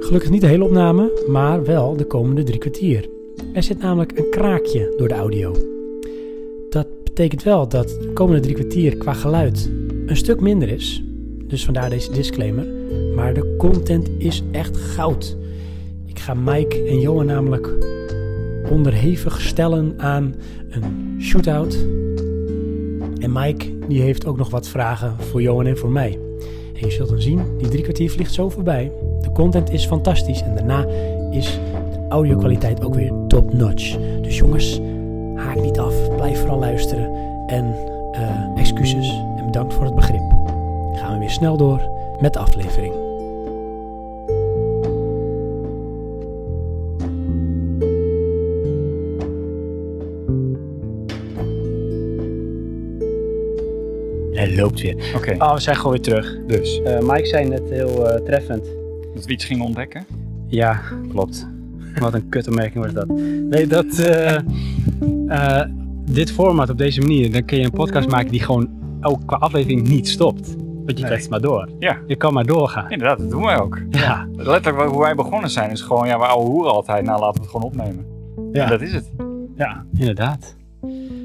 F: Gelukkig niet de hele opname, maar wel de komende drie kwartier. Er zit namelijk een kraakje door de audio. Dat betekent wel dat de komende drie kwartier qua geluid een stuk minder is. Dus vandaar deze disclaimer. Maar de content is echt goud. Ik ga Mike en Johan namelijk onderhevig stellen aan een shootout. En Mike die heeft ook nog wat vragen voor Johan en voor mij. En je zult dan zien, die drie kwartier vliegt zo voorbij. De content is fantastisch en daarna is de audio-kwaliteit ook weer top notch. Dus jongens, haak niet af. Blijf vooral luisteren. En eh, excuses en bedankt voor het begrip. Gaan we weer snel door met de aflevering.
A: Hij loopt weer.
C: Oké,
A: Oh, we zijn gewoon weer terug.
C: dus.
A: Eh, Mike zei net heel eh, treffend.
C: Dat we iets gingen ontdekken.
A: Ja, klopt. Wat een kutopmerking was dat. Nee, dat... eh, eh, dit format op deze manier, dan kun je een podcast maken die gewoon ook qua aflevering niet stopt. Want je krijgt het maar door.
C: Ja.
A: Je kan maar doorgaan.
C: Inderdaad, dat doen wij ook.
A: Ja.
C: Letterlijk hoe wij begonnen zijn is gewoon, ja, we ouwe hoeren altijd. Nou, laten we het gewoon opnemen.
B: Ja.
C: En dat is het.
A: Ja, inderdaad.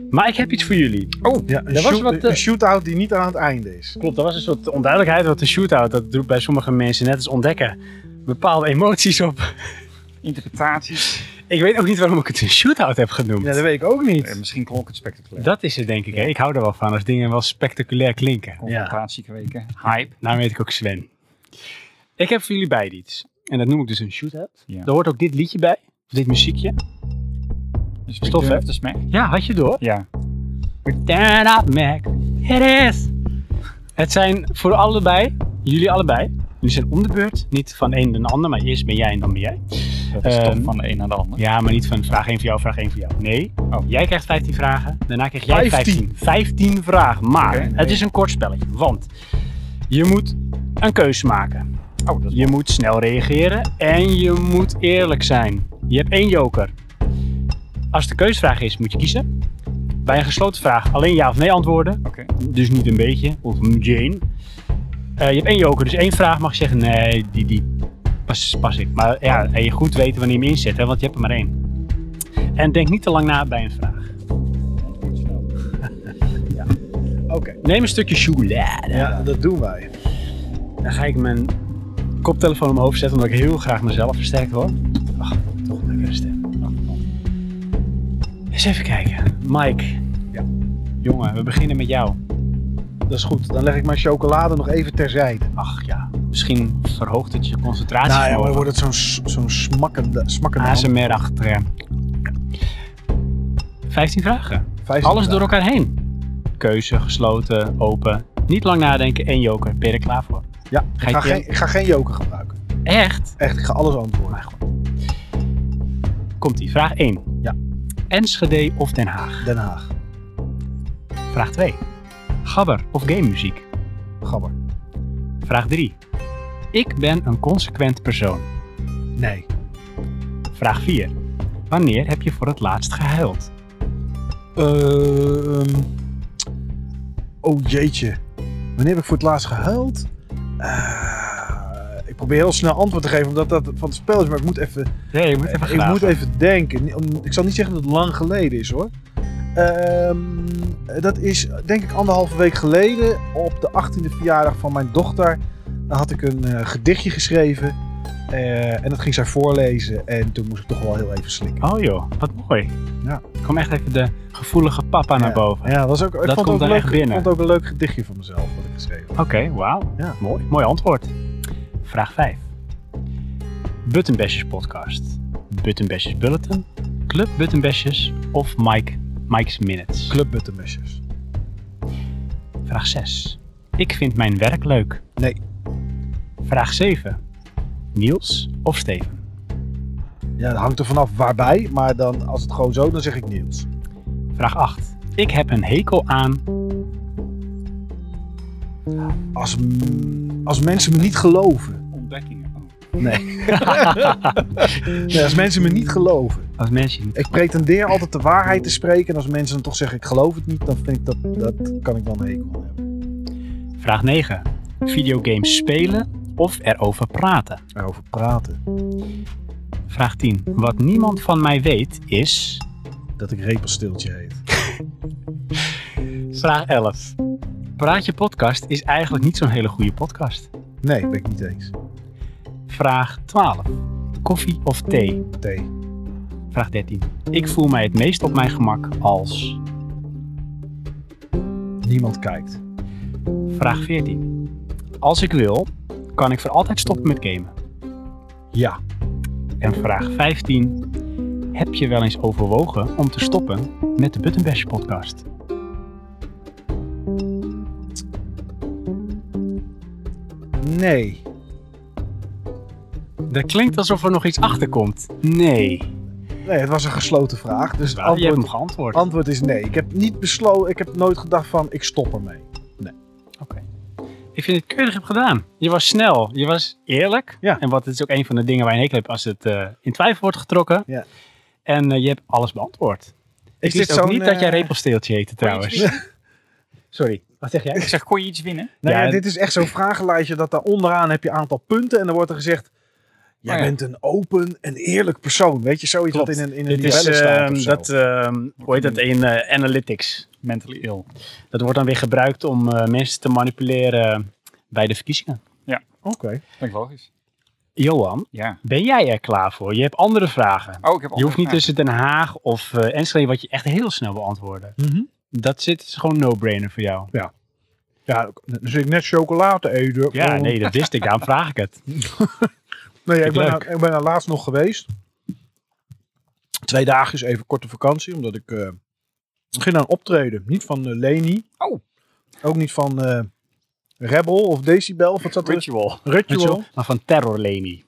A: Maar ik heb iets voor jullie.
C: Oh,
B: Ja, een,
A: Er was
B: shoot-
A: wat, eh,
B: een shootout die niet aan het einde is.
A: Klopt, er was een soort onduidelijkheid wat de shootout. Dat doet bij sommige mensen net als ontdekken bepaalde emoties op.
C: interpretaties.
A: Ik weet ook niet waarom ik het een shootout heb genoemd.
B: Ja, dat weet ik ook
C: Eh,
B: niet.
C: misschien klonk het spectaculair.
A: Dat is het denk ik. Hè? Ik hou er wel van als dingen wel spectaculair klinken.
C: Confrontatie kweken. Hype.
A: Nou weet ik ook Sven. Ik heb voor jullie beiden iets. En dat noem ik dus een shootout.
C: Ja.
A: Daar hoort ook dit liedje bij. Of dit muziekje.
C: Dus
A: Stof, hè?
C: te smack.
A: Ja, had je door?
C: Ja.
A: Turn up, Mac. It is. Het zijn voor allebei, jullie allebei. Jullie zijn om de beurt. Niet van een naar de ander, maar eerst ben jij en dan ben jij.
C: Dat is
A: Ehm,
C: toch van de een naar de ander.
A: Ja, maar niet van vraag 1 voor jou, vraag 1 voor jou. Nee,
C: Oh.
A: jij krijgt 15 vragen, daarna krijg jij
B: 15.
A: 15. 15 vragen, maar
C: Oké,
A: het is een kort spelletje. Want je moet een keuze maken.
C: Oh, dat is
A: Je moet snel reageren en je moet eerlijk zijn. Je hebt één joker. Als het een keusvraag is, moet je kiezen. Bij een gesloten vraag alleen ja of nee antwoorden.
C: Oké.
A: Dus niet een beetje, of een Jane. Eh, je hebt één joker, dus één vraag mag je zeggen, nee, die, die pas, pas ik. Maar ja, en je goed weten wanneer je hem inzet, hè, want je hebt er maar één. En denk niet te lang na bij een
B: [laughs]
A: vraag.
B: Oké,
A: Neem een stukje chocolade.
B: ja, dat doen wij.
A: Dan ga ik mijn koptelefoon omhoog zetten, omdat ik heel graag mezelf versterkt hoor. Ach, toch een lekkere stem. Eens even kijken. Mike.
B: Ja.
A: Jongen, we beginnen met jou.
B: Dat is goed. Dan leg ik mijn chocolade nog even terzijde.
A: Ach ja, misschien verhoogt het je concentratie.
B: Nou ja, maar dan wordt het zo'n s- zo'n smakkende, smakkende hand.
A: ASMR achter. 15 vragen.
B: Vijf
A: Alles door elkaar heen. Keuze, gesloten, open. Niet lang nadenken, één joker. Ben je er klaar voor?
B: Ja, ik ga,
A: Geitje.
B: geen, ik ga geen joker gebruiken.
A: Echt?
B: Echt, ik ga alles antwoorden.
A: Komt ie. Vraag 1.
B: Ja.
A: Enschede of Den Haag?
B: Den Haag.
A: Vraag 2. Gabber of game muziek?
B: Gabber.
A: Vraag 3. Ik ben een consequent persoon.
B: Nee.
A: Vraag 4. Wanneer heb je voor het laatst gehuild?
B: Ehm, oh jeetje. Wanneer heb ik voor het laatst gehuild? Eh, ik probeer heel snel antwoord te geven, omdat dat van het spel is. Maar ik moet even,
A: Nee, je Eh, moet even
B: ik moet even denken. Ni- om- Ik zal niet zeggen dat het lang geleden is hoor. Ehm, dat is denk ik anderhalve week geleden. Op de 18e verjaardag van mijn dochter had ik een eh, gedichtje geschreven. Eh, en dat ging zij voorlezen. En toen moest ik toch wel heel even slikken.
A: Oh joh, wat mooi.
B: Ja.
A: Kom echt even de gevoelige papa naar boven.
B: Ja, dat was ook, ik
A: Dat
B: vond
A: komt
B: ook
A: dan
B: leuk,
A: echt binnen.
B: Ik vond ook een leuk gedichtje van mezelf wat ik geschreven had.
A: Oké, wauw.
B: Ja.
A: Mooi, mooi antwoord. Vraag 5. Buttonbashers podcast. Buttonbashers Bulletin. Club Buttonbashers of Mike, Mike's Minutes.
B: Club Buttermesjes.
A: Vraag 6. Ik vind mijn werk leuk.
B: Nee.
A: Vraag 7. Niels of Steven?
B: Ja, dat hangt er vanaf waarbij, maar dan als het gewoon zo, dan zeg ik Niels.
A: Vraag 8. Ik heb een hekel aan.
B: Als, m- als mensen me niet geloven.
C: Ontdekkingen. Oh,
B: Nee, als mensen me niet geloven.
A: Als mensen niet.
B: Ik pretendeer altijd de waarheid te spreken. En als mensen dan toch zeggen ik geloof het niet, dan vind ik dat, dat kan ik dan een hekel aan hebben.
A: Vraag 9. Videogames spelen of erover praten?
B: Daarover praten.
A: Vraag 10. Wat niemand van mij weet is.
B: Dat ik repelstiltje heet.
A: Vraag 11. Praat je podcast is eigenlijk niet zo'n hele goede podcast.
B: Nee, ben ik niet eens.
A: Vraag 12. Koffie of thee?
B: Thee.
A: Vraag 13. Ik voel mij het meest op mijn gemak als.
B: Niemand kijkt.
A: Vraag 14. Als ik wil, kan ik voor altijd stoppen met gamen.
B: Ja.
A: En vraag 15. Heb je wel eens overwogen om te stoppen met de Buttonbash podcast?
B: Nee.
A: Dat klinkt alsof er nog iets achter komt. Nee.
B: Nee, het was een gesloten vraag. Dus het
A: Wel, je hebt
B: antwoord
A: hem geantwoord.
B: Antwoord is nee. Ik heb niet besloten, ik heb nooit gedacht van ik stop ermee.
A: Ik vind het keurig heb gedaan. Je was snel, je was eerlijk.
B: Ja.
A: En wat het is ook een van de dingen waar je een hekel hebt als het eh, in twijfel wordt getrokken.
B: Ja.
A: En eh, je hebt alles beantwoord. Ik
B: dit
A: wist ook
B: zo'n,
A: niet dat jij
B: eh,
A: repelsteeltje heette trouwens. [laughs] Sorry, wat zeg jij?
C: Ik zeg, kon je iets winnen?
B: Nou ja,
A: Ja,
B: dit is echt zo'n vragenlijstje dat daar onderaan heb je een aantal punten en dan wordt er gezegd, jij
C: Oh ja.
B: bent een open en eerlijk persoon. Weet je, zoiets
A: Klopt.
B: wat in een, in een
A: Dit is
B: libelle staat
A: ehm,
B: of zo.
A: dat, ehm, hoe heet dat in eh, analytics.
C: Mentally ill.
A: Dat wordt dan weer gebruikt om eh, mensen te manipuleren bij de verkiezingen.
B: Oké.
C: Vind ik logisch.
A: Johan,
C: Ja.
A: ben jij er klaar voor? Je hebt andere vragen.
C: Oh, ik heb
A: Je hoeft niet
C: te
A: tussen Den Haag of eh, Enschede, wat je echt heel snel beantwoorden.
B: Mhm.
A: Dat zit is gewoon no-brainer voor jou.
B: Ja, dan zit ik net chocolade eten.
A: Ja,
B: Oh.
A: nee, dat wist ik. Daarom vraag ik
B: [laughs]
A: het.
B: Nee, ik
A: Vind ik leuk.
B: ben, daar- ik ben daar laatst nog geweest. Twee dagjes even korte vakantie, omdat ik eh, ging aan een optreden. Niet van eh, Leni.
C: Oh.
B: Ook niet van eh, Rebel of Decibel of wat zat er?
C: Ritual.
B: Ritual.
A: Maar van Terror Leni.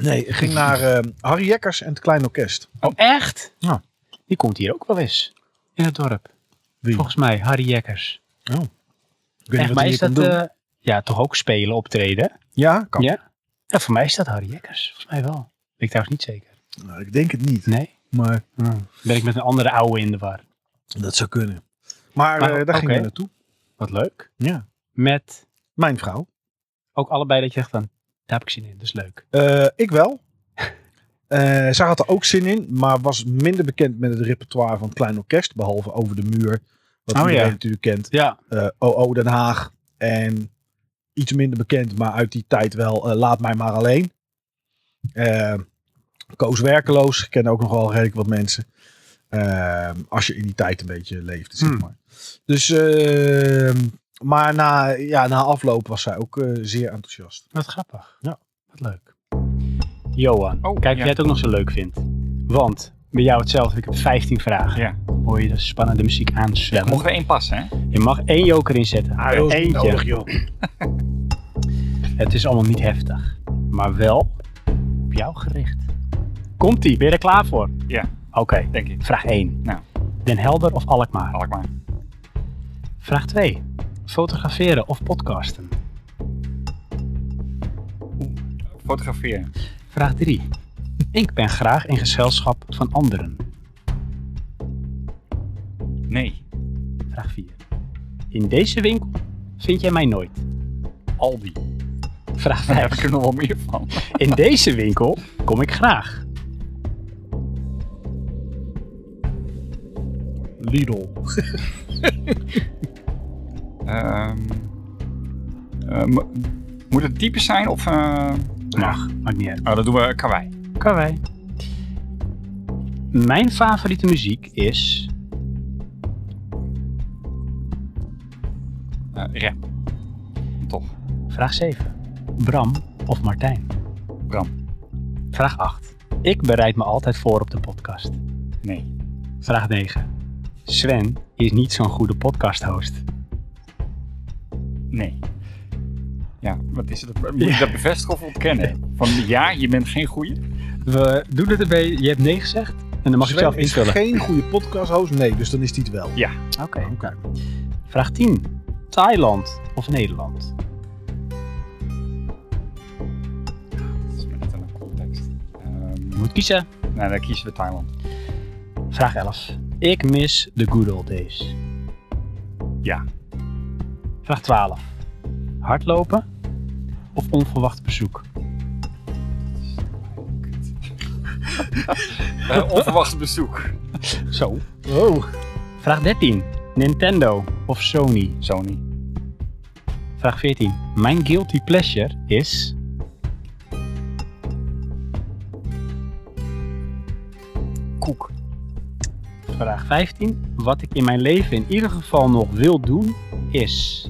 B: Nee, ik ging naar eh, Harry Jekkers en het Klein Orkest.
A: Oh, echt?
B: Ja.
A: Die komt hier ook wel eens. In het dorp.
B: Wie? Oh.
A: Volgens mij, Harry Jekkers.
B: Ik weet niet
A: Echt,
B: wat
A: maar
B: hij
A: is
B: hier
A: dat...
B: kan doen.
A: eh, ja, toch ook spelen, optreden?
B: Ja, kan.
A: Ja. Ja, voor mij is dat Harry Jekkers. Volgens mij wel. Weet ik trouwens niet zeker.
B: Nou, ik denk het niet,
A: Nee?
B: maar
A: Ben ik met een andere ouwe in de war.
B: dat zou kunnen. Maar,
A: Maar,
B: eh, daar
A: oké.
B: gingen we naartoe.
A: Wat leuk.
B: Ja.
A: Met
B: Mijn vrouw.
A: ook allebei dat je echt dan... Daar heb ik zin in, dat is leuk.
B: Eh, ik
A: [laughs]
B: wel. Eh, zij had er ook zin in, maar was minder bekend met het repertoire van het Klein Orkest. Behalve Over de Muur, wat
A: Oh,
B: iedereen
A: ja.
B: natuurlijk kent.
A: Ja.
B: Eh OO Den Haag. En iets minder bekend, maar uit die tijd wel eh, Laat Mij Maar Alleen. Eh, Koos Werkeloos, kennen ook nog wel redelijk wat mensen. Ehm, als je in die tijd een beetje leefde, zeg
A: Hmm.
B: maar. Dus, ehm, maar na, ja, na afloop was zij ook eh, zeer enthousiast.
A: Wat grappig.
B: Ja.
A: Wat leuk. Johan,
C: Oh,
A: kijk of
C: ja.
A: jij het ook nog zo leuk vindt. Want bij jou hetzelfde, ik heb 15 vragen.
C: Ja.
A: hoor je de spannende muziek
C: Er
A: aanzwemmen.
C: mocht er één passen, hè?
A: Je mag één joker inzetten. Eentje.
B: Ah, joh.
A: [laughs] Het is allemaal niet heftig, maar wel op jou gericht. Komt-ie, ben je er klaar voor?
C: Ja,
A: Oké,
C: denk ik.
A: vraag 1.
C: Nou.
A: Den Helder of Alkmaar?
C: Alkmaar.
A: Vraag 2. Fotograferen of podcasten?
C: Fotograferen.
A: Vraag 3. Ik ben graag in gezelschap van anderen.
C: Nee.
A: Vraag 4. In deze winkel vind jij mij nooit.
C: Aldi.
A: Vraag
C: Daar heb ik
A: 5.
C: er nog wel meer van.
A: In deze winkel kom ik graag.
B: Lidl.
C: Ehm, eh, mo- moet het dieper zijn of... eh,
A: Mag, maakt niet uit.
C: Oh, dat doen we karwei.
A: Kan wij. Mijn favoriete muziek is...
C: Eh rap. Toch.
A: Vraag 7. Bram of Martijn?
C: Bram.
A: Vraag 8. Ik bereid me altijd voor op de podcast.
C: Nee.
A: Vraag 9. Sven is niet zo'n goede podcasthost.
C: Nee. Ja, wat is het? Moet je dat bevestigen of ontkennen? Van ja, je bent geen goeie.
A: We doen het erbij. Je hebt nee gezegd. En dan mag je zelf invullen.
B: geen goede podcasthost. Nee, dus dan is die het wel.
A: Oké.
B: Oké.
A: Vraag 10. Thailand of Nederland?
C: Dat is maar net een context. Ehm,
A: Je moet kiezen.
C: nou, dan kiezen we Thailand.
A: Vraag 11. Ik mis de good old days.
C: Ja.
A: Vraag 12. Hardlopen of onverwacht bezoek?
C: Eh, onverwacht bezoek.
A: Zo.
B: Oh.
A: Vraag 13. Nintendo of Sony?
C: Sony.
A: Vraag 14. Mijn guilty pleasure is...
C: Koek.
A: Vraag 15. Wat ik in mijn leven in ieder geval nog wil doen is...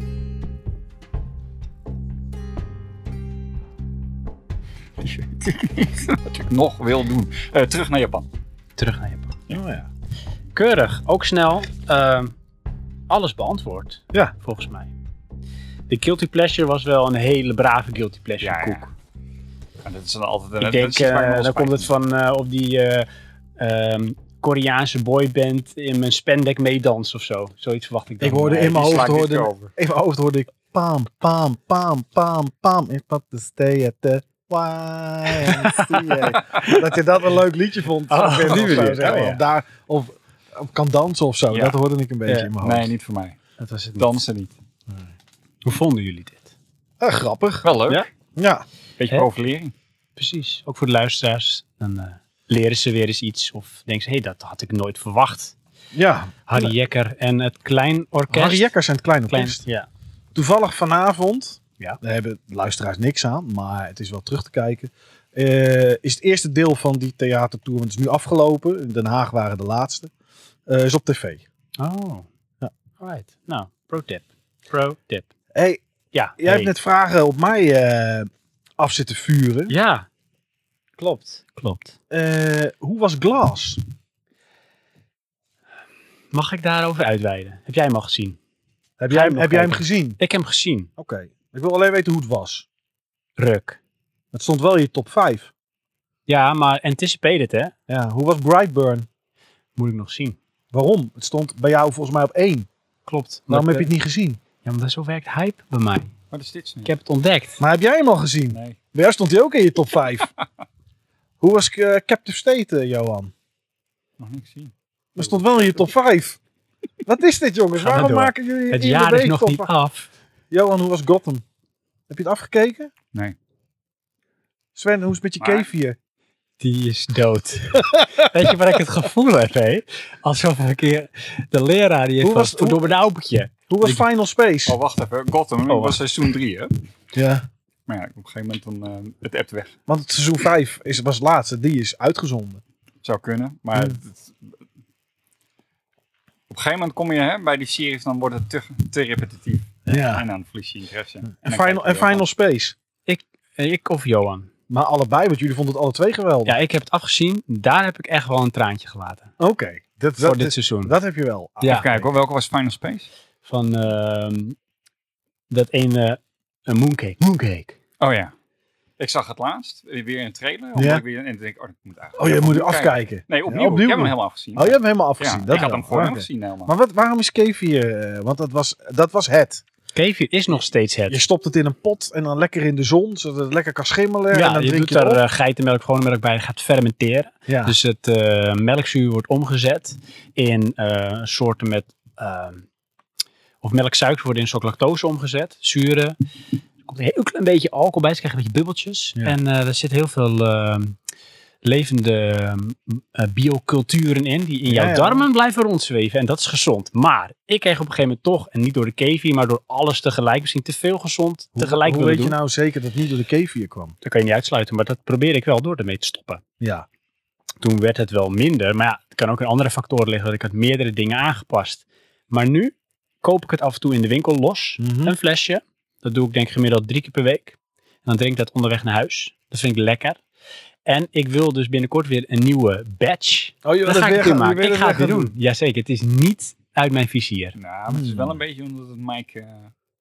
C: Wat ik nog wil doen. Eh, terug naar Japan.
A: Terug naar Japan.
C: Oh,
A: Keurig, ook snel. ehm, alles beantwoord.
B: Ja.
A: Volgens mij. De guilty pleasure was wel een hele brave guilty pleasure
C: Ja, ja.
A: koek.
C: Ja, dat is dan altijd een...
A: Ik denk,
C: dat is waar ik me
A: eh
C: wel
A: dan
C: spijt
A: komt het
C: van.
A: van eh, op die eh, ehm, Koreaanse boyband in mijn spandeck meedans of zo. Zoiets verwacht ik dan.
B: Ik hoorde
A: Nee,
B: in mijn
A: die
B: hoofd
A: sla ik niet
B: hoorde,
A: over.
B: in mijn hoofd hoorde ik paam, paam, paam, paam, paam. Ik had to stay at the
A: [laughs]
B: YMCA. dat je dat een leuk liedje vond.
A: Oh,
B: op die
A: oh,
B: manier,
A: zo,
B: zeg maar.
A: ja.
B: Of daar of of kan dansen of zo.
C: Ja.
B: Dat hoorde ik een beetje
A: Ja.
B: in mijn hoofd.
C: Nee, niet voor mij.
A: Dat was het.
C: Dansen niet.
A: Hoe vonden jullie dit?
B: Eh, grappig.
C: Wel leuk.
A: Ja.
B: Ja.
C: Beetje
A: Hè?
C: profilering.
A: Precies. Ook voor de luisteraars. Dan eh, leren ze weer eens iets. Of denken ze, hé, dat had ik nooit verwacht.
B: Ja.
A: Harry Jekker en het Klein Orkest.
B: Harry Jekkers en het kleine
A: Klein,
B: orkest.
A: ja.
B: Toevallig vanavond,
A: Ja.
B: daar hebben de luisteraars niks aan, maar het is wel terug te kijken. eh, is het eerste deel van die theatertour, want het is nu afgelopen. In Den Haag waren de laatste. eh, is op tv.
A: Oh.
B: Ja.
A: Right. Nou, pro tip. Pro tip.
B: Hey,
A: Ja.
B: jij
A: hey.
B: hebt net vragen op mij eh, af zitten vuren.
A: Ja. Klopt. Klopt.
B: Eh, hoe was Glass?
A: Mag ik daarover uitweiden? Heb jij hem al gezien?
B: Heb
A: Ga
B: jij,
A: je
B: hem-
A: nog
B: heb jij hem
A: kijken?
B: gezien?
A: Ik heb hem gezien.
B: Oké. Ik wil alleen weten hoe het was.
A: Ruk.
B: Het stond wel in je top 5.
A: Ja, maar anticipated hè?
B: Ja, hoe was Brightburn?
A: Moet ik nog zien.
B: Waarom? Het stond bij jou volgens mij op 1.
A: Klopt.
B: Waarom heb je het niet gezien?
A: Ja, want zo werkt hype bij mij.
C: Wat is dit?
A: Ik heb het ontdekt.
B: Maar heb jij hem al gezien?
C: Nee.
B: Bij jou stond hij ook in je top 5.
A: [laughs]
B: Hoe was eh, Captive State, eh, Johan?
C: Nog niks zien.
B: Maar stond wel in je top 5. Wat is dit, jongens?
A: Ga maar
B: Waarom
A: door.
B: maken jullie
A: Het
B: iedere
A: jaar is
B: week
A: nog
B: top
A: niet
B: 5?
A: af.
B: Johan, hoe was Gotham? Heb je het afgekeken?
C: Nee.
B: Sven, hoe is het met je
C: Maar-
B: keefje?
A: Die is dood. [laughs] Weet je waar ik het gevoel heb, hé? Alsof een keer de leraar die heeft
B: Hoe was-
A: van, door mijn oudje.
B: Hoe was
A: Ik-
B: Final Space?
C: Oh, wacht even. Gotham dat was
A: wacht.
C: seizoen 3, hè?
B: Ja.
C: Maar ja, op een gegeven moment dan, eh, het appt weg.
B: Want het seizoen 5 is, was het laatste. Die is uitgezonden.
C: Zou kunnen, maar...
B: Hmm.
C: het- op een gegeven moment kom je hè, bij die series, dan wordt het te, te repetitief.
B: Ja.
C: En dan verlies je interesse.
B: En
C: dan kijk
B: Final,
C: je
B: en
C: wel
B: Final Space.
A: Ik of Johan.
B: Maar allebei, want jullie vonden het alle twee geweldig.
A: Ja, ik heb het afgezien. Daar heb ik echt wel een traantje gelaten.
B: Oké. Dat,
A: voor
B: dat,
A: dit
B: dat,
A: seizoen.
B: dat heb je wel.
A: Ja.
C: Even kijken hoor, welke was Final Space?
A: Van ehm, dat ene een mooncake. Mooncake.
C: Oh ja. Ik zag het laatst, weer een trailer. omdat
B: Ja.
C: Ik weer, en ik denk, oh, ik moet eigenlijk
B: Oh, je moet
C: opnieuw kijken.
B: afkijken.
C: Nee, opnieuw. Ik heb hem helemaal afgezien.
B: Oh, je hebt hem helemaal
C: Ja,
B: afgezien. dat
C: ik had
B: wel.
C: hem gewoon
B: Oké.
C: helemaal gezien helemaal.
B: Maar wat, waarom is kefir? eh, want dat was, dat was het.
A: Kefir is nog steeds het.
B: Je stopt het in een pot en dan lekker in de zon, zodat het lekker kan schimmelen. en
A: Ja,
B: dan
A: je
B: drink
A: doet
B: je het
A: daar
B: op.
A: eh, geitenmelk, gewone melk bij. gaat fermenteren.
B: ja.
A: Dus het eh, melkzuur wordt omgezet in eh, soorten met... ehm, of melksuikers worden in een soort lactose omgezet. Zuren. Er komt een heel klein beetje alcohol bij. Ze krijgen een beetje bubbeltjes.
B: Ja.
A: En eh, er zit heel veel ehm, levende ehm, eh, bioculturen in. Die in
B: Ja,
A: jouw
B: ja.
A: darmen blijven rondzweven. En dat is gezond. Maar ik kreeg op een gegeven moment toch, en niet door de kefir, maar door alles tegelijk. Misschien te veel gezond
B: Hoe-
A: tegelijk
B: Hoe,
A: willen
B: weet
A: doen.
B: je nou zeker dat het niet door de kefir kwam?
A: Dat kan je niet uitsluiten. Maar dat probeer ik wel door ermee te stoppen
B: Ja.
A: toen werd het wel minder. Maar ja, het kan ook in andere factoren liggen. Dat ik had meerdere dingen aangepast. Maar nu koop ik het af en toe in de winkel los.
B: Mhm.
A: Een flesje. Dat doe ik denk ik gemiddeld drie keer per week. En dan drink ik dat onderweg naar huis. Dat vind ik lekker. En ik wil dus binnenkort weer een nieuwe batch.
B: Oh, je
A: Dat, ga ik weer maken. Ik ga het weer doen. Jazeker, het is niet uit mijn vizier.
C: Nou, maar het is
B: Hmm.
C: wel een beetje omdat het Mike eh,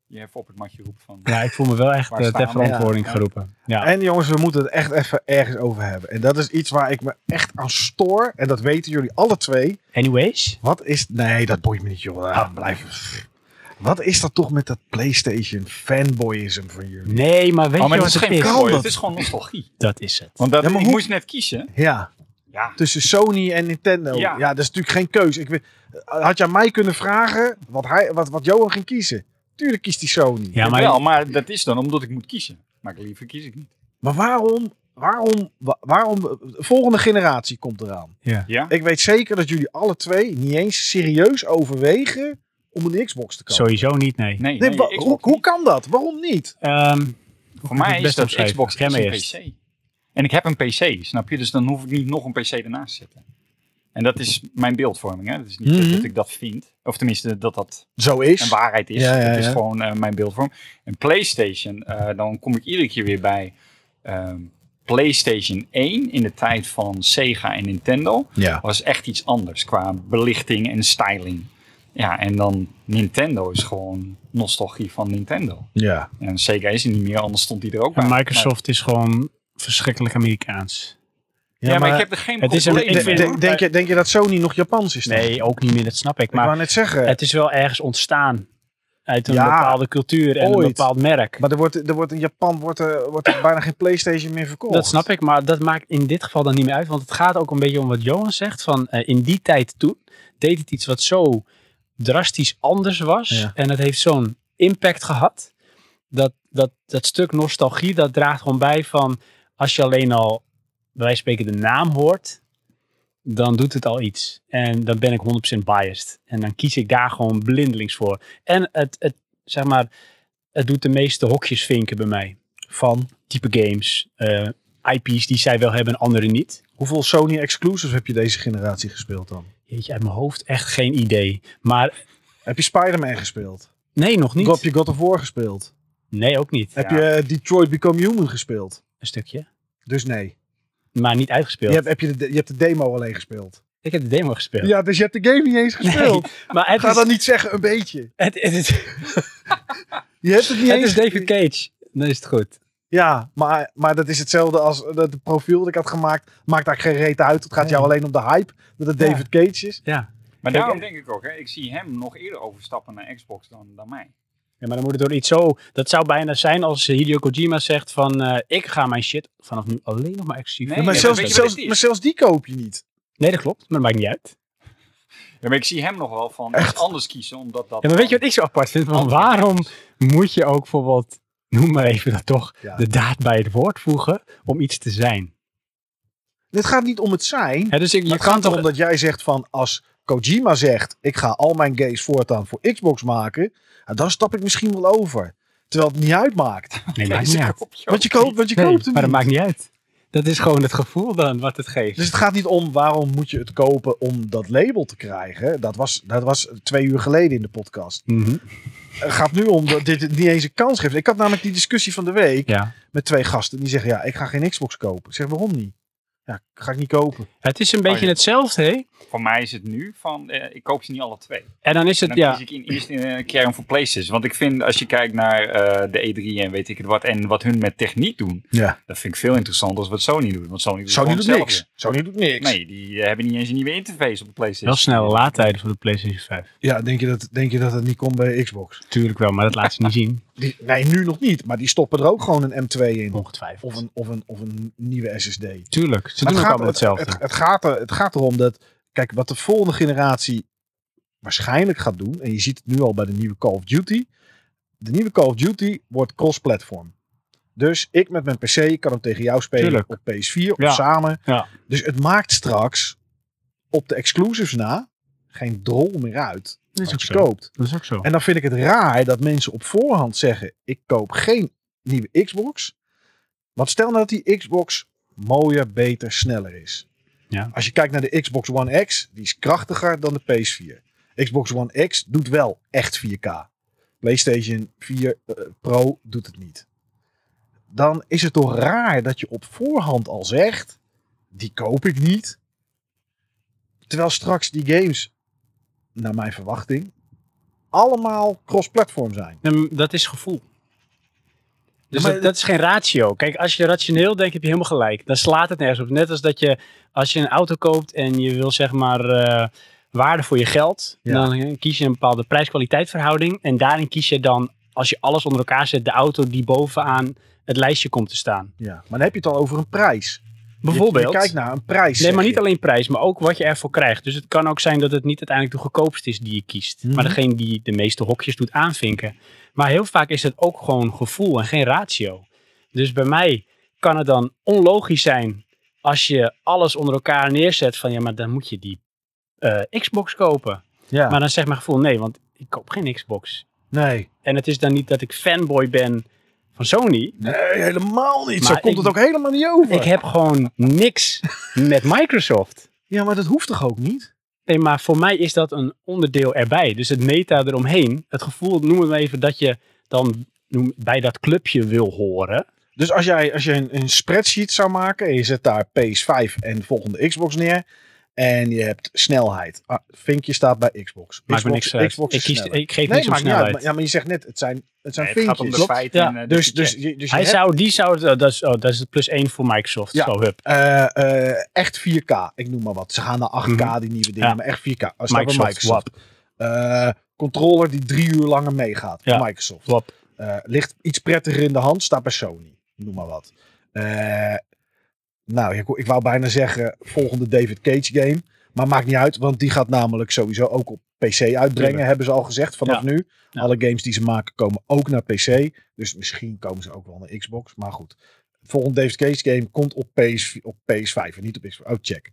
C: je even op het matje roept van...
A: Ja, ik voel me wel echt
C: Waar
A: eh,
C: staan
A: ter
C: we?
A: verantwoording
C: Ja.
A: geroepen. Ja.
B: En jongens, we moeten het echt even ergens over hebben. En dat is iets waar ik me echt aan stoor. En dat weten jullie alle twee.
A: Anyways.
B: Wat is... Nee, dat boeit me niet, joh. Ah, blijf. Wat is dat toch met dat PlayStation fanboyism van jullie?
A: Nee, maar weet
C: Oh, maar
A: je
C: dat
A: wat
C: is
A: het
C: geen
A: is?
B: koude.
C: Oh, cowboy,
B: dat?
C: het is gewoon nostalgie.
A: Dat is het.
C: Want dat,
B: Ja, maar
C: ik
B: hoe-
C: moest net kiezen.
B: Ja.
C: Ja.
B: tussen Sony en Nintendo. Ja,
C: Ja.
B: dat is natuurlijk geen keus. Ik weet, had je aan mij kunnen vragen wat, hij, wat, wat Johan ging kiezen? Tuurlijk kiest hij Sony.
A: Ja,
C: maar...
A: maar
C: Wel, maar dat is dan omdat ik moet kiezen. Maar liever kies ik niet.
B: Maar waarom, waarom, wa- waarom, de volgende generatie komt eraan.
C: Ja?
B: Ik weet zeker dat jullie alle twee niet eens serieus overwegen om een Xbox te kopen.
A: sowieso niet, nee.
C: Nee,
B: Nee,
C: nee,
B: wa-
C: Xbox
B: hoe, hoe
C: niet.
B: kan dat? Waarom niet?
A: Ehm,
C: Voor
A: ik
C: mij
A: het
C: is
A: best
C: dat
A: opschrijven?
C: Xbox
A: Ken
C: is
A: me
C: een
A: eerst.
C: PC. En ik heb een PC, snap je? Dus dan hoef ik niet nog een PC ernaast te zetten. En dat is mijn beeldvorming. Hè? Dat is niet
B: Mhm.
C: dat ik dat vind. Of tenminste, dat dat
B: Zo is.
C: en waarheid is.
B: Ja, ja,
C: dat is
B: ja.
C: gewoon eh, mijn beeldvorm. En PlayStation, eh, dan kom ik iedere keer weer bij ehm, PlayStation 1 in de tijd van Sega en Nintendo.
B: Ja.
C: Was echt iets anders qua belichting en styling. Ja, en dan Nintendo is gewoon nostalgie van Nintendo.
B: Ja.
C: En Sega is er niet meer, anders stond hij er ook bij.
A: En Microsoft is gewoon verschrikkelijk Amerikaans.
C: Maar- ja, maar, ik heb er geen
A: het is een-
C: probleem
A: ik
B: Denk-
A: vind-
C: mee,
B: denk,
C: hoor.
B: denk je, denk je dat Sony nog Japans is? dan? ik
A: Nee, ook niet meer, dat snap ik.
B: wou
A: Maar Eh,
B: net zeggen.
A: het is wel ergens ontstaan uit een
B: Ja,
A: bepaalde cultuur en
B: ooit.
A: een bepaald merk.
B: maar er wordt, er wordt in Japan wordt er, wordt er bijna geen PlayStation meer verkocht.
A: Dat snap ik, maar dat maakt in dit geval dan niet meer uit. Want het gaat ook een beetje om wat Johan zegt. Van eh, in die tijd toen deed het iets wat zo drastisch anders was.
B: Ja.
A: En het heeft zo'n impact gehad. Dat, dat, dat stuk nostalgie, dat draagt gewoon bij van... Als je alleen al, bij wijze van spreken, de naam hoort... Dan doet het al iets. En dan ben ik 100% biased. En dan kies ik daar gewoon blindelings voor. En het, het, zeg maar, het doet de meeste hokjes vinken bij mij. Van type games, eh, IP's die zij wel hebben en anderen niet.
B: Hoeveel Sony exclusives heb je deze generatie gespeeld dan?
A: Jeetje, uit mijn hoofd echt geen idee. Maar
B: Heb je Spider-Man gespeeld?
A: nee, nog niet.
B: Heb je God of War gespeeld?
A: Nee, ook niet.
B: Heb je eh, Detroit Become Human gespeeld?
A: Een stukje.
B: Dus nee.
A: Maar niet
B: Je
A: uitgespeeld.
B: hebt, heb je, de, je hebt de demo alleen gespeeld.
A: Ik heb de demo gespeeld.
B: Ja, dus je hebt de game niet eens gespeeld.
A: [laughs] Maar het
B: Ga
A: is,
B: dan niet zeggen een beetje.
A: het, het,
B: [laughs]
A: is,
B: Je hebt het niet
A: het
B: eens
A: is David
B: gespeeld.
A: Cage. Dan is het goed.
B: Ja, maar, maar dat is hetzelfde als eh, dat het profiel dat ik had gemaakt. Maakt daar geen reet uit. Het gaat jou alleen om de hype dat het
A: Ja.
B: David Cage is.
A: Ja.
C: Maar daarom denk ik ook, hè, ik zie hem nog eerder overstappen naar Xbox dan, dan mij.
A: ja, maar dan moet het door iets zo... Dat zou bijna zijn als eh, Hideo Kojima zegt van... eh, ik ga mijn shit vanaf nu alleen nog maar exclusief.
C: Nee,
A: doen.
B: maar,
C: ja,
B: zelfs,
C: weet je wat
B: zelfs,
C: het is?
B: maar zelfs die koop je niet.
A: nee, dat klopt. Maar dat maakt niet uit.
C: Ja, maar ik zie hem nog wel van iets anders kiezen, omdat dat...
A: Ja, maar weet je wat ik zo apart vind?
B: Oh.
A: Want waarom
C: [laughs]
A: moet je ook bijvoorbeeld, noem maar even dat toch,
B: Ja.
A: de daad bij het woord voegen om iets te zijn?
B: Dit gaat niet om het zijn.
A: Hè, dus ik, je
B: Het gaat
A: kan
B: erom
A: toch...
B: dat jij zegt van als Kojima zegt ik ga al mijn games voortaan voor Xbox maken, nou, dan stap ik misschien wel over. Terwijl het niet uitmaakt.
A: Nee, maakt
C: Deze
A: niet uit.
C: kopje ook
B: Want je koopt, want je
A: Nee,
B: koopt hem
A: maar dat
B: niet.
A: maakt niet uit. Dat is gewoon het gevoel dan wat het geeft.
B: Dus het gaat niet om waarom moet je het kopen om dat label te krijgen. Dat was, dat was twee uur geleden in de podcast.
A: Mhm.
B: Het gaat nu om dat dit het niet eens een kans geeft. Ik had namelijk die discussie van de week
A: Ja.
B: met twee gasten. Die zeggen ja, ik ga geen Xbox kopen. Ik zeg waarom niet? Ja, ga ik niet kopen.
A: Het is een
B: Oh,
A: beetje
C: ja.
A: hetzelfde, hè?
C: Voor mij is het nu van, eh, ik koop ze niet alle twee.
A: En dan is
C: En
A: het,
C: dan
A: ja,
C: kies ik in, eerst in een kern voor Places. Want ik vind, als je kijkt naar eh, de E3 en weet ik het wat, en wat hun met techniek doen,
B: Ja.
C: dat vind ik veel interessanter dan wat Sony doet. Want Sony doet,
B: Sony
C: gewoon
B: doet
C: hetzelfde.
B: niks. Sony doet niks.
C: Nee, die eh, hebben niet eens een nieuwe interface op de PlayStation.
A: wel snelle laadtijden voor de PlayStation 5.
B: Ja, denk je, dat, denk je dat het niet komt bij Xbox?
A: Tuurlijk wel, maar dat laat ze
B: [laughs]
A: niet zien.
B: Die, nee, nu nog niet. Maar die stoppen er ook gewoon een M2 in.
A: Ongetwijfeld.
B: Of een, of een, of een nieuwe SSD.
A: Tuurlijk, ze
B: Maar
A: doen ook allemaal
B: het,
A: hetzelfde.
B: het, het gaat er, het gaat erom dat... Kijk, wat de volgende generatie waarschijnlijk gaat doen... en je ziet het nu al bij de nieuwe Call of Duty... de nieuwe Call of Duty wordt cross-platform. Dus ik met mijn PC kan hem tegen jou spelen
A: Tuurlijk.
B: op PS4 of
A: Ja.
B: samen.
A: Ja.
B: Dus het maakt straks op de exclusives na geen drol meer uit
A: dat, is ook
B: wat je
A: zo.
B: koopt.
A: dat is ook zo.
B: En dan vind ik het raar dat mensen op voorhand zeggen: ik koop geen nieuwe Xbox. Want stel nou dat die Xbox mooier, beter, sneller is.
A: Ja.
B: Als je kijkt naar de Xbox One X, die is krachtiger dan de PS4. Xbox One X doet wel echt 4K. PlayStation 4 eh, Pro doet het niet. Dan is het toch raar dat je op voorhand al zegt: die koop ik niet. Terwijl straks die games, naar mijn verwachting, allemaal cross-platform zijn.
A: Mm, Dat is gevoel. Dus
B: maar
A: dat, dat is geen ratio. Kijk, als je rationeel denkt, heb je helemaal gelijk. Dan slaat het nergens op. Net als dat je, als je een auto koopt en je wil zeg maar eh, waarde voor je geld,
B: Ja.
A: dan eh, kies je een bepaalde prijs-kwaliteit verhouding. En daarin kies je dan, als je alles onder elkaar zet, de auto die bovenaan het lijstje komt te staan.
B: Ja. Maar dan heb je het al over een prijs.
A: Bijvoorbeeld.
B: Je, je kijkt naar een prijs.
A: Nee,
B: zeg
A: maar niet
B: je.
A: alleen prijs, maar ook wat je ervoor krijgt. Dus het kan ook zijn dat het niet uiteindelijk de goedkoopste is die je kiest.
B: Mhm.
A: Maar degene die de meeste hokjes doet aanvinken. Maar heel vaak is het ook gewoon gevoel en geen ratio. Dus bij mij kan het dan onlogisch zijn als je alles onder elkaar neerzet van ja, maar dan moet je die eh, Xbox kopen.
B: Ja.
A: Maar dan zegt mijn gevoel nee, want ik koop geen Xbox.
B: nee.
A: En het is dan niet dat ik fanboy ben van Sony.
B: nee, helemaal niet. Zo
A: Maar
B: komt
A: ik-
B: het ook helemaal niet over.
A: Ik heb gewoon niks met Microsoft.
B: Ja, maar dat hoeft toch ook niet?
A: Nee, maar voor mij is dat een onderdeel erbij. Dus het meta eromheen. Het gevoel, noem het maar even, dat je dan noem, bij dat clubje wil horen.
B: Dus als jij, als je een, een spreadsheet zou maken en je zet daar PS5 en de volgende Xbox neer. En je hebt snelheid. Ah, vinkje staat bij Xbox.
A: Maakt
B: Xbox,
A: me niks uit.
B: Xbox
A: ik,
B: is
A: kies,
B: sneller.
A: ik geef
B: nee,
A: niks om
B: maar,
A: snelheid.
B: ja, maar, ja, maar je zegt net, het zijn, het zijn
C: Nee, het gaat om
B: vinkjes.
C: de feiten.
A: Ja,
C: en, eh,
B: Dus,
C: de
B: dus,
C: budget.
B: je- dus je
A: Hij
B: hebt,
A: zou, die zou, dat is, oh, dat is het plus één voor Microsoft.
B: Ja.
A: Zo, hup.
B: eh, eh, echt 4K. Ik noem maar wat. Ze gaan naar 8K,
A: Mhm.
B: die nieuwe dingen.
A: Ja.
B: Maar echt 4K. Als Microsoft.
A: Microsoft,
B: Microsoft. Eh, controller die drie uur langer meegaat.
A: Ja.
B: Microsoft.
A: wap, wap.
B: Eh, ligt iets prettiger in de hand, staat bij Sony. Noem maar wat. Eh, nou, ik, ik wou bijna zeggen volgende David Cage game. Maar maakt niet uit, want die gaat namelijk sowieso ook op PC uitbrengen.
A: Tuurlijk.
B: Hebben ze al gezegd vanaf
A: Ja.
B: nu.
A: Ja.
B: Alle games die ze maken komen ook naar PC. Dus misschien komen ze ook wel naar Xbox. Maar goed. Volgende David Cage game komt op, PS, op PS5 en niet op Xbox. Oh, check.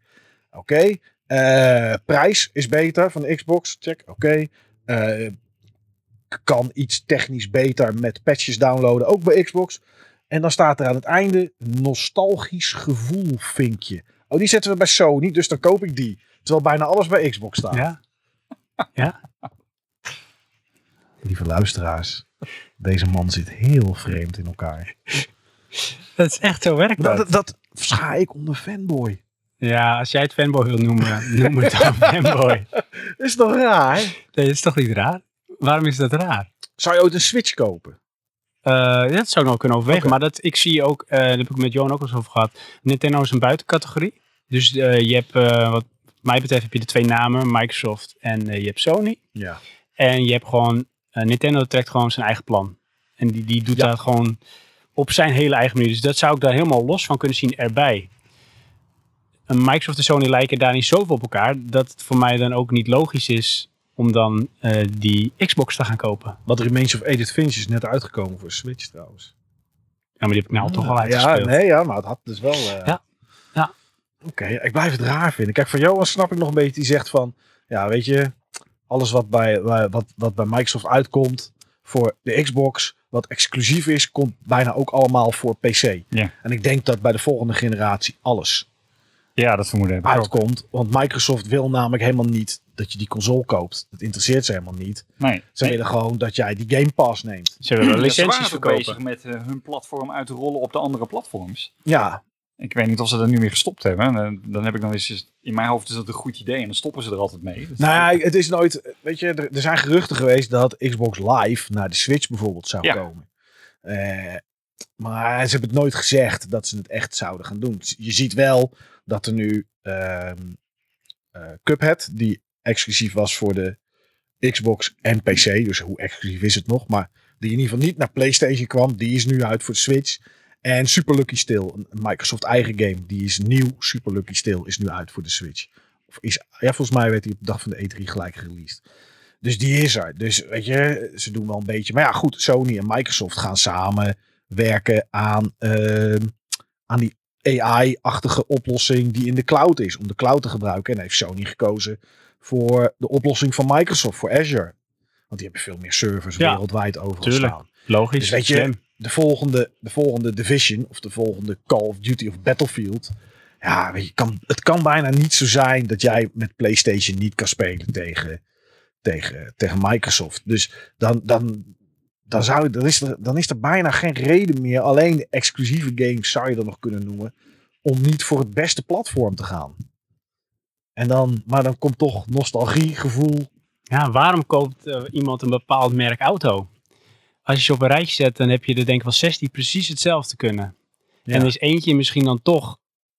B: Oké. Eh, prijs is beter van de Xbox. Check. Oké. Eh, kan iets technisch beter met patches downloaden, ook bij Xbox. En dan staat er aan het einde nostalgisch gevoel vinkje. Oh, die zetten we bij Sony, dus dan koop ik die. Terwijl bijna alles bij Xbox staat.
A: Ja.
B: [laughs] Lieve luisteraars, deze man zit heel vreemd in elkaar.
A: Dat is echt zo werkt
B: Dat,
A: dat.
B: dat, dat schaai ik onder fanboy.
A: Ja, als jij het fanboy wil noemen, noem het dan [laughs] fanboy.
B: Is toch raar?
A: Nee, dat is toch niet raar? Waarom is dat raar?
B: Zou je ooit een Switch kopen?
A: Eh, dat zou ik nog kunnen overwegen. Maar dat, ik zie ook, eh daar heb ik met Johan ook al eens over gehad. Nintendo is een buitencategorie. Dus eh, je hebt, eh, wat mij betreft, heb je de twee namen, Microsoft en eh, je hebt Sony.
B: Ja.
A: En je hebt gewoon, eh, Nintendo trekt gewoon zijn eigen plan. En die, die doet dat gewoon op zijn hele eigen manier. Dus dat zou ik daar helemaal los van kunnen zien erbij. En Microsoft en Sony lijken daarin zoveel op elkaar, dat het voor mij dan ook niet logisch is om dan eh, die Xbox te gaan kopen.
B: Wat Remains of Edith Finch is net uitgekomen voor Switch trouwens.
A: Ja, maar die heb ik nou toch al
B: Ja,
A: uitgespeeld.
B: nee, ja, maar het had dus wel. eh,
A: Ja. Ja.
B: Oké, ik blijf het raar vinden. Kijk, van Johan snap ik nog een beetje. Die zegt van, ja, weet je, alles wat bij, wa- wat, wat bij Microsoft uitkomt voor de Xbox, wat exclusief is, komt bijna ook allemaal voor PC.
C: Ja.
B: En ik denk dat bij de volgende generatie alles dus-
C: Ja, dat vermoeden heb ik ook.
B: uitkomt. Want Microsoft wil namelijk helemaal niet dat je die console koopt. Dat interesseert ze helemaal niet.
C: Nee.
B: Ze willen gewoon dat jij die Game Pass neemt.
A: Ze willen
C: Ja, ze waren
A: licenties
C: toch
A: verkopen.
C: bezig met eh, hun platform uit te rollen op de andere platforms.
B: Ja,
C: Ik weet niet of ze dat nu weer gestopt hebben. Dan- Dan heb ik nog eens, in mijn hoofd is dat een goed idee en dan stoppen ze er altijd mee. Dus-
B: Nou ja, het is nooit. Weet je, er, er zijn geruchten geweest dat Xbox Live naar de Switch bijvoorbeeld zou
C: Ja.
B: komen. Eh, maar ze hebben het nooit gezegd dat ze het echt zouden gaan doen. Je ziet wel dat er nu ehm eh, Cuphead, die exclusief was voor de Xbox en PC, dus hoe exclusief is het nog, maar die in ieder geval niet naar PlayStation kwam, die is nu uit voor de Switch. En Super Lucky Still, een Microsoft eigen game, die is nieuw. Super Lucky Still is nu uit voor de Switch. Of is, ja, volgens mij werd hij op de dag van de E3 gelijk gereleased. Dus die is er. Dus weet je, ze doen wel een beetje. Maar ja, goed, Sony en Microsoft gaan samen werken aan, ehm, aan die AI-achtige oplossing die in de cloud is. Om de cloud te gebruiken. En heeft Sony gekozen voor de oplossing van Microsoft, voor Azure. Want die hebben veel meer servers
A: Ja,
B: wereldwijd overal
A: tuurlijk.
B: staan.
A: Logisch.
B: Dus weet je,
A: slim.
B: de volgende, de volgende Division of de volgende Call of Duty of Battlefield. Ja, weet je, kan, het kan bijna niet zo zijn dat jij met PlayStation niet kan spelen tegen, tegen, tegen Microsoft. Dus dan, dan, dan, zou, dan, is er, dan is er bijna geen reden meer. Alleen de exclusieve games zou je dan nog kunnen noemen. Om niet voor het beste platform te gaan. En dan, maar dan komt toch nostalgiegevoel.
A: Ja, waarom koopt eh, iemand een bepaald merk auto? Als je ze op een rijtje zet, dan heb je er denk ik wel 16 precies hetzelfde kunnen.
B: Ja.
A: En er is eentje misschien dan toch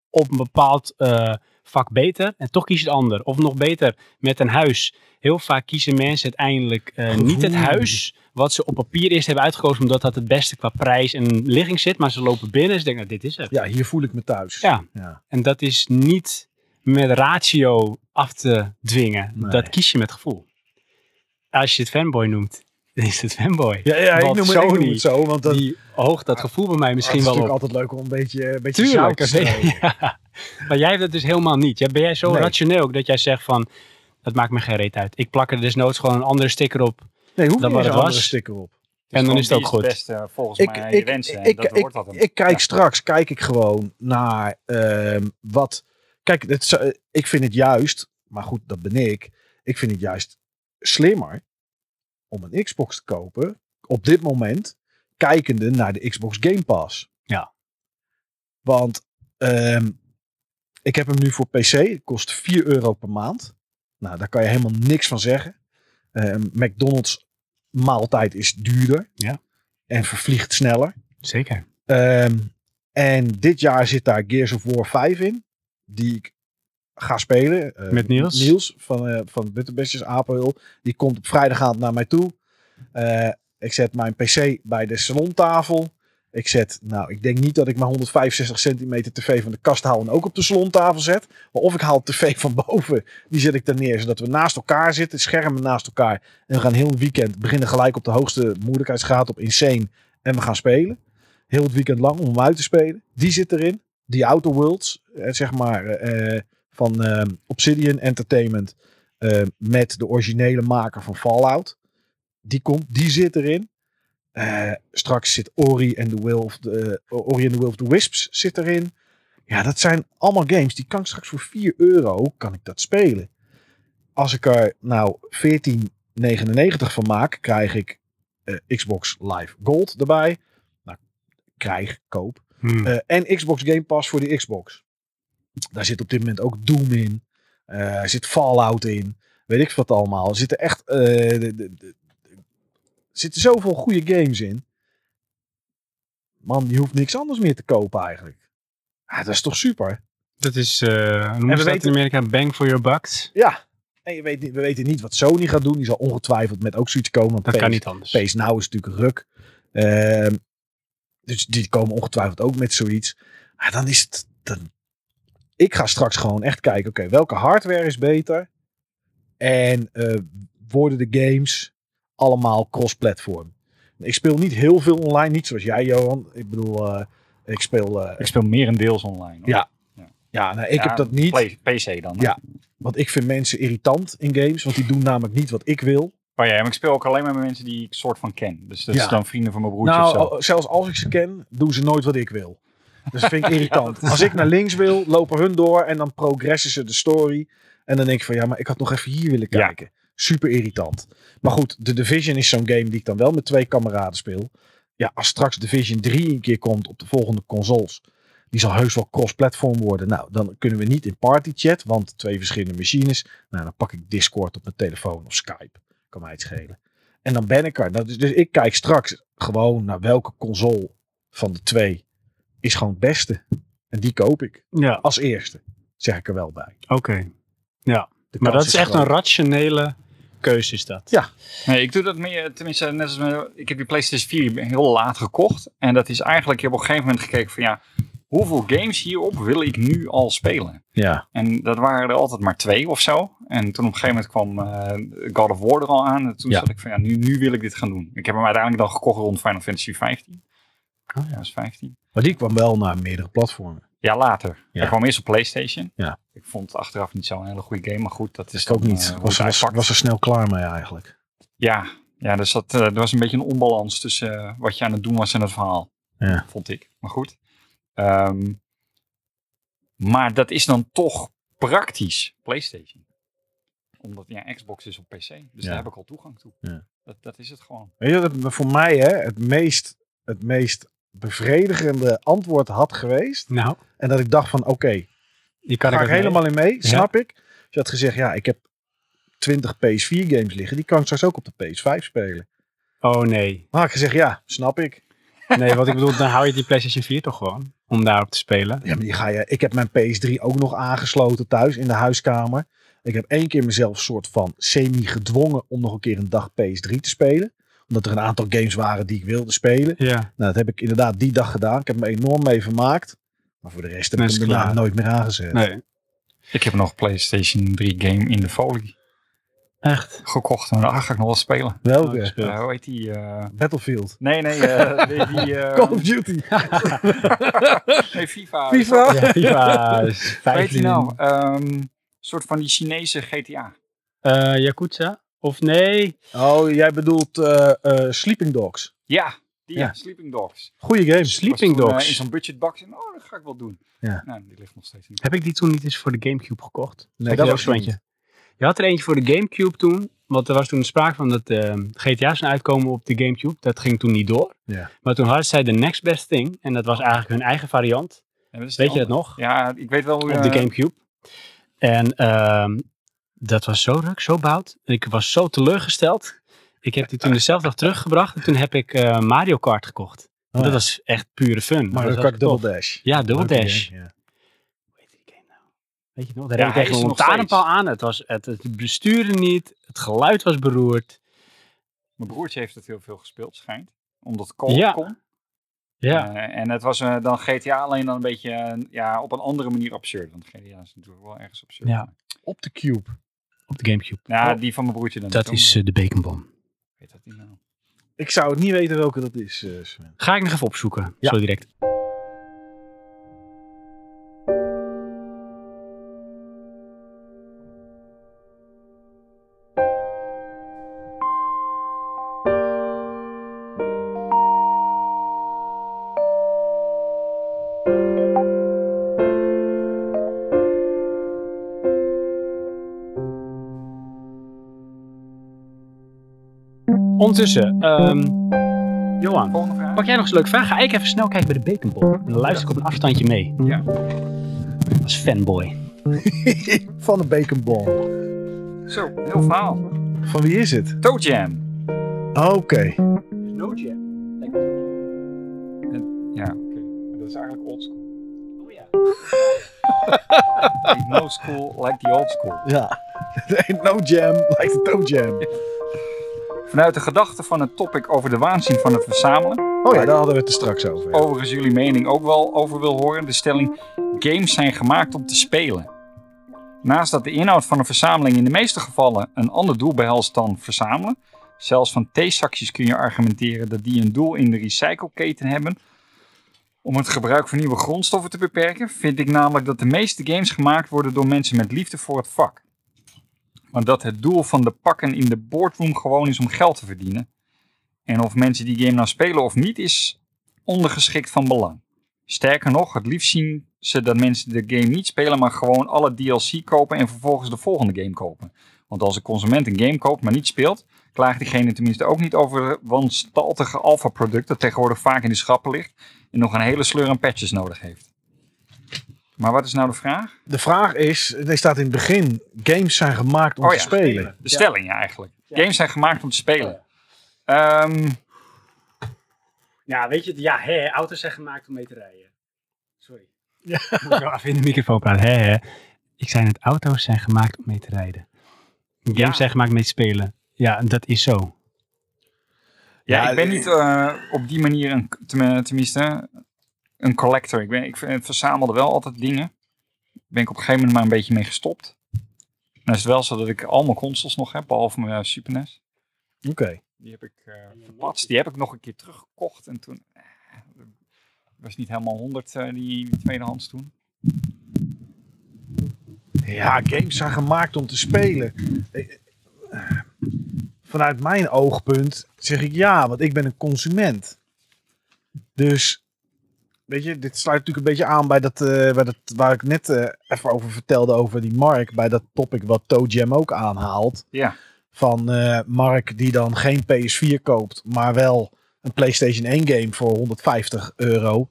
A: op een bepaald eh, vak beter en toch kies je het ander. Of nog beter, met een huis. Heel vaak kiezen mensen uiteindelijk eh, niet het
B: Gevoel.
A: huis wat ze op papier eerst hebben uitgekozen, omdat dat het beste qua prijs en ligging zit. Maar ze lopen binnen en ze denken, nou, dit is het.
B: Ja, hier voel ik me thuis.
A: Ja.
B: ja.
A: En dat is niet met ratio af te dwingen.
B: Nee.
A: Dat kies je met gevoel. Als je het fanboy noemt, [laughs] dan is het fanboy.
B: Ja, ja ik,
A: Want
B: noem het, ik noem
A: Sony,
B: het zo, want dan,
A: Die hoogt dat gevoel bij mij misschien
B: het is
A: wel op.
B: natuurlijk altijd leuk om een beetje, een beetje zout
A: Tuurlijk.
B: [laughs] te strooien.
A: [laughs] Ja. Maar jij hebt dat dus helemaal niet. Jij- Ben jij zo
B: Nee.
A: rationeel ook dat jij zegt van... Dat maakt me geen reet uit. Ik plak er desnoods gewoon een andere sticker op.
B: Nee, hoeft
A: Dat
B: niet
A: wat het
B: eens een andere
A: was.
B: sticker op.
C: dus
A: en dan
C: gewoon
A: is het ook
C: die
A: goed.
C: beste, eh, volgens
B: Ik,
C: mij
B: ik,
C: wensen. En
B: ik,
C: dat
B: ik,
C: wordt dat hem.
B: ik kijk
C: Ja.
B: straks, kijk ik gewoon naar ehm, wat... Kijk, het, zou- ik vind het juist, maar goed, dat ben ik. Ik vind het juist slimmer om een Xbox te kopen op dit moment, kijkende naar de Xbox Game Pass.
A: Ja.
B: Want ehm, ik heb hem nu voor PC. Het kost 4 euro per maand. Nou, daar kan je helemaal niks van zeggen. Ehm, McDonald's maaltijd is duurder.
A: Ja.
B: En vervliegt sneller.
A: Zeker.
B: Ehm, en dit jaar zit daar Gears of War 5 in. Die ik ga spelen. Eh,
A: Met Niels?
B: Niels van, eh van Butterbestjes Apelhul. Die komt op vrijdagavond naar mij toe. Eh, ik zet mijn pc bij de salontafel. Ik zet, nou, ik denk niet dat ik mijn 165 centimeter tv van de kast haal en ook op de salontafel zet. Maar of ik haal de tv van boven, die zet ik dan neer, zodat we naast elkaar zitten, schermen naast elkaar. En we gaan heel het weekend beginnen gelijk op de hoogste moeilijkheidsgraad op Insane. En we gaan spelen. Heel het weekend lang om hem uit te spelen. Die zit erin. Die Outer Worlds, eh, zeg maar, eh, eh, van eh, Obsidian Entertainment. eh, met de originele maker van Fallout. Die komt, die zit erin. Eh, straks zit Ori en the Will of the, eh, Ori and the Will of the Wisps zit erin. Ja, dat zijn allemaal games. Die kan ik straks voor 4 euro kan ik dat spelen. Als ik er nou 14,99 van maak, krijg ik eh, Xbox Live Gold erbij. Nou, krijg, koop.
A: Hmm.
B: Eh, en Xbox Game Pass voor de Xbox. Daar zit op dit moment ook Doom in. Eh, Er zit Fallout in. Weet ik wat allemaal. Er zitten echt. eh, de- de- de- er zitten zoveel goede games in. Man, je hoeft niks anders meer te kopen eigenlijk. Ah, dat is toch super?
A: Dat is, eh hoe
B: we
A: noemen ze dat
B: weten-
A: in Amerika? Bang for your bucks.
B: Ja. En je weet, niet- we weten niet wat Sony gaat doen. Die zal ongetwijfeld met ook zoiets komen. want
A: Dat kan
B: PS
A: niet anders.
B: Space Now is natuurlijk ruk. Ehm, dus die komen ongetwijfeld ook met zoiets. Maar dan is het. Dan, ik ga straks gewoon echt kijken: oké, welke hardware is beter? En eh, worden de games allemaal cross-platform? Ik speel niet heel veel online, niet zoals jij, Johan. Ik bedoel, eh, ik speel. eh,
C: Ik speel merendeels online. hoor.
B: Ja, ja, nou, ik
C: Ja,
B: heb dat niet.
C: Play- PC dan. hè?
B: Ja. Want ik vind mensen irritant in games, want die doen namelijk niet wat ik wil.
C: Maar Oh ja, maar ik speel ook alleen maar met mensen die ik soort van ken. Dus dat
B: Ja.
C: is dan vrienden van mijn broertje
B: Nou,
C: of zo.
B: al- zelfs als ik ze ken, doen ze nooit wat ik wil. Dus dat vind
C: [laughs]
B: ik irritant. Als ik naar links wil, lopen hun door en dan progressen ze de story. En dan denk ik van ja, maar ik had nog even hier willen
C: Ja.
B: kijken. Super irritant. Maar goed, The Division is zo'n game die ik dan wel met twee kameraden speel. Ja, als straks Division 3 een keer komt op de volgende consoles, Die zal heus wel cross-platform worden. Nou, dan kunnen we niet in partychat, want twee verschillende machines. Nou, dan pak ik Discord op mijn telefoon of Skype. Kan mij het schelen. En dan ben ik er. Nou, dus, dus ik kijk straks gewoon naar welke console van de twee is gewoon het beste. En die koop ik
A: Ja,
B: als eerste, zeg ik er wel bij.
A: oké.
B: De
A: Maar
B: kans
A: dat is echt
B: groot.
A: een rationele keuze is dat.
C: Nee, ik doe dat meer, tenminste, net als met- ik heb die PlayStation 4 heel laat gekocht. En dat is eigenlijk, ik heb op een gegeven moment gekeken van ja, hoeveel games hierop wil ik nu al spelen?
B: Ja,
C: En dat waren er altijd maar twee of zo. En toen op een gegeven moment kwam eh, God of War er al aan. En toen
B: Ja.
C: zat ik van ja, nu, nu wil ik dit gaan doen. Ik heb hem uiteindelijk dan gekocht rond Final Fantasy 15. Oh ja, dat is 15.
B: maar die kwam wel naar meerdere platformen.
C: Ja, later.
B: Ja.
C: Hij kwam eerst op PlayStation.
B: Ja.
C: Ik vond het achteraf niet zo'n hele goede game, maar goed, dat is
B: Ik ook
C: dan,
B: niet.
C: eh, hoe
B: was,
C: het
B: was,
C: uitpakt.
B: was er snel klaar mee eigenlijk.
C: Ja, ja dus dat, eh, er was een beetje een onbalans tussen eh, wat je aan het doen was en het verhaal.
B: Ja.
C: Vond ik. Maar goed. Ehm, maar dat is dan toch praktisch PlayStation. Omdat ja, Xbox is op PC. Dus
B: Ja.
C: daar heb ik al toegang toe.
B: Ja.
C: Dat, dat is het gewoon.
B: Weet je, wat het voor mij hè, het, meest, het meest bevredigende antwoord had geweest.
A: Nou,
B: En dat ik dacht van oké,
A: die kan ik
B: ga ik
A: ook mee.
B: helemaal in mee,
A: Ja.
B: snap ik. Dus je had gezegd, ja, ik heb 20 PS4 games liggen. Die kan ik straks ook op de PS5 spelen.
A: Oh nee.
B: Maar had ik gezegd, ja, snap ik.
A: Nee, wat ik bedoel, dan hou je die PlayStation 4 toch gewoon om daarop te spelen.
B: Ja, maar die ga je. Ik heb mijn PS3 ook nog aangesloten thuis in de huiskamer. Ik heb één keer mezelf soort van semi-gedwongen om nog een keer een dag PS3 te spelen. Omdat er een aantal games waren die ik wilde spelen.
A: Ja.
B: Nou, dat heb ik inderdaad die dag gedaan. Ik heb me enorm mee vermaakt. Maar voor de rest heb
A: Nee,
B: ik hem
A: is
B: daarna
A: klaar.
B: nooit meer aangezet.
A: Nee.
C: Ik heb nog PlayStation 3 game in de folie
A: Echt?
C: gekocht. En daar ga ik nog wel spelen.
B: Welke?
A: Ja.
C: Eh, hoe heet die? eh,
B: Oh, Battlefield.
C: Nee, nee. eh, die, die, eh,
B: Call of Duty.
C: nee, FIFA.
B: FIFA.
A: Ja, FIFA is
C: Hoe heet
A: 15.
C: die nou? Ehm, Een soort van die Chinese GTA.
A: Eh, Yakuza? Of nee?
B: Oh, jij bedoelt eh, eh, Sleeping Dogs.
C: Ja, die
B: Ja.
C: ja, Sleeping Dogs.
B: Goeie game.
A: Sleeping
C: Was toen, eh,
A: Dogs.
C: in zo'n budgetbox. En, oh, dat ga ik wel doen.
B: Ja.
C: Nou, die ligt nog steeds in. de-
A: Heb ik die toen niet eens voor de Gamecube gekocht?
B: Nee,
A: dat
B: dat
A: was
B: was
A: eentje. Je had er eentje voor de Gamecube toen. Want er was toen sprake van dat eh, GTA's zijn uitkomen op de Gamecube. Dat ging toen niet door.
B: Ja.
A: Maar toen hadden zij de Next Best Thing. En dat was eigenlijk hun eigen variant.
C: Ja, dat is die
A: Weet je dat
C: andere.
A: nog?
C: Ja, ik weet wel hoe...
A: Op
C: eh,
A: de Gamecube. En ehm, dat was zo ruk, zo bout. En ik was zo teleurgesteld. Ik heb die toen dezelfde dag teruggebracht. En toen heb ik eh, Mario Kart gekocht.
B: Oh,
A: dat
B: ja.
A: was echt pure fun. Dat
B: Mario
A: was
B: Kart
A: echt tof.
B: Double Dash.
A: Ja, Double
B: Leuke
A: Dash.
B: game, ja.
A: Hoe heet die game nou? Weet je nog? Daar
C: Ja,
A: reed ik
C: hij
A: tegen
C: is
A: een
C: er nog
A: lantaarnpaal aan. Het, was, het, het bestuurde niet. Het geluid was beroerd.
C: Mijn broertje heeft het heel veel gespeeld, schijnt. Omdat Call
A: Ja.
C: kon.
A: Ja.
C: Eh, en het was eh, dan GTA alleen dan een beetje eh, ja, op een andere manier absurd. Want GTA is natuurlijk wel ergens absurd.
A: Ja.
B: Op de Cube.
A: Op de Gamecube.
C: Nou, die van mijn broertje dan.
A: dat
C: niet,
A: is
C: hoor.
A: eh, de bekenbom.
C: Weet dat niet nou.
B: Ik zou het niet weten welke dat is, eh, Sven.
A: Ga ik nog even opzoeken.
B: Ja.
A: Zo direct. Ondertussen, ehm, Johan.
C: Volgende vraag.
A: Pak jij nog eens een leuke vraag? Ga ik even snel kijken bij de Baconbol. En dan luister ik op een afstandje mee.
C: Ja.
A: Als fanboy.
B: Van de Bacon Bomb.
C: Zo, heel verhaal.
B: Van wie is het?
C: Toe Jam.
B: Oké.
A: No
C: Ja, oké. Dat is eigenlijk old school. [laughs] Ain't no school like the old school.
B: [laughs] Ja. no jam, [laughs] like the toe jam.
C: Vanuit de gedachte van het topic over de waanzin van het verzamelen.
B: Oh ja, daar hadden we het er straks over.
C: Overigens jullie mening ook wel over wil horen. De stelling, games zijn gemaakt om te spelen. Naast dat de inhoud van een verzameling in de meeste gevallen een ander doel behelst dan verzamelen. Zelfs van theezakjes kun je argumenteren dat die een doel in de recycleketen hebben. Om het gebruik van nieuwe grondstoffen te beperken, vind ik namelijk dat de meeste games gemaakt worden door mensen met liefde voor het vak. Maar dat het doel van de pakken in de boardroom gewoon is om geld te verdienen. En of mensen die game nou spelen of niet, is ondergeschikt van belang. Sterker nog, het liefst zien ze dat mensen de game niet spelen, maar gewoon alle DLC kopen en vervolgens de volgende game kopen. Want als een consument een game koopt, maar niet speelt, klaagt diegene tenminste ook niet over de wanstaltige alfa-product dat tegenwoordig vaak in de schappen ligt en nog een hele sleur aan patches nodig heeft. Maar wat is nou de vraag?
B: De vraag is, er staat in het begin, games zijn gemaakt om
C: Oh
B: te
C: ja,
B: spelen.
C: De stelling ja, Oh eigenlijk. Games zijn gemaakt om te spelen. Ehm,
A: Ja, weet je, ja, hè, auto's zijn gemaakt om mee te rijden. Sorry. Ja. [laughs] Moet ik wel even in de microfoon praten. Hè, hè. Ik zei net, auto's zijn gemaakt om mee te rijden. Games
C: Ja.
A: zijn gemaakt om mee te spelen. Ja, dat is zo.
C: ja,
B: Ja,
C: ik ben
B: eh,
C: niet eh, op die manier, een, tem- tenminste, een collector. Ik, ben, ik ver- verzamelde wel altijd dingen. Ben ik op een gegeven moment maar een beetje mee gestopt. Dan is het wel zo dat ik al mijn consoles nog heb, behalve mijn eh, Super NES.
B: Oké.
C: Die heb ik eh verpatst. Die heb ik nog een keer teruggekocht. En toen eh, was niet helemaal 100 eh, die, die tweedehands toen.
B: Ja, games zijn gemaakt om te spelen. Eh, eh, Vanuit mijn oogpunt zeg ik ja, want ik ben een consument. Dus, weet je, dit sluit natuurlijk een beetje aan bij dat, eh, bij dat waar ik net eh, even over vertelde, over die Mark, bij dat topic wat Toe Jam ook aanhaalt.
C: Ja.
B: Van eh, Mark die dan geen PS4 koopt, maar wel een PlayStation 1 game voor 150 euro.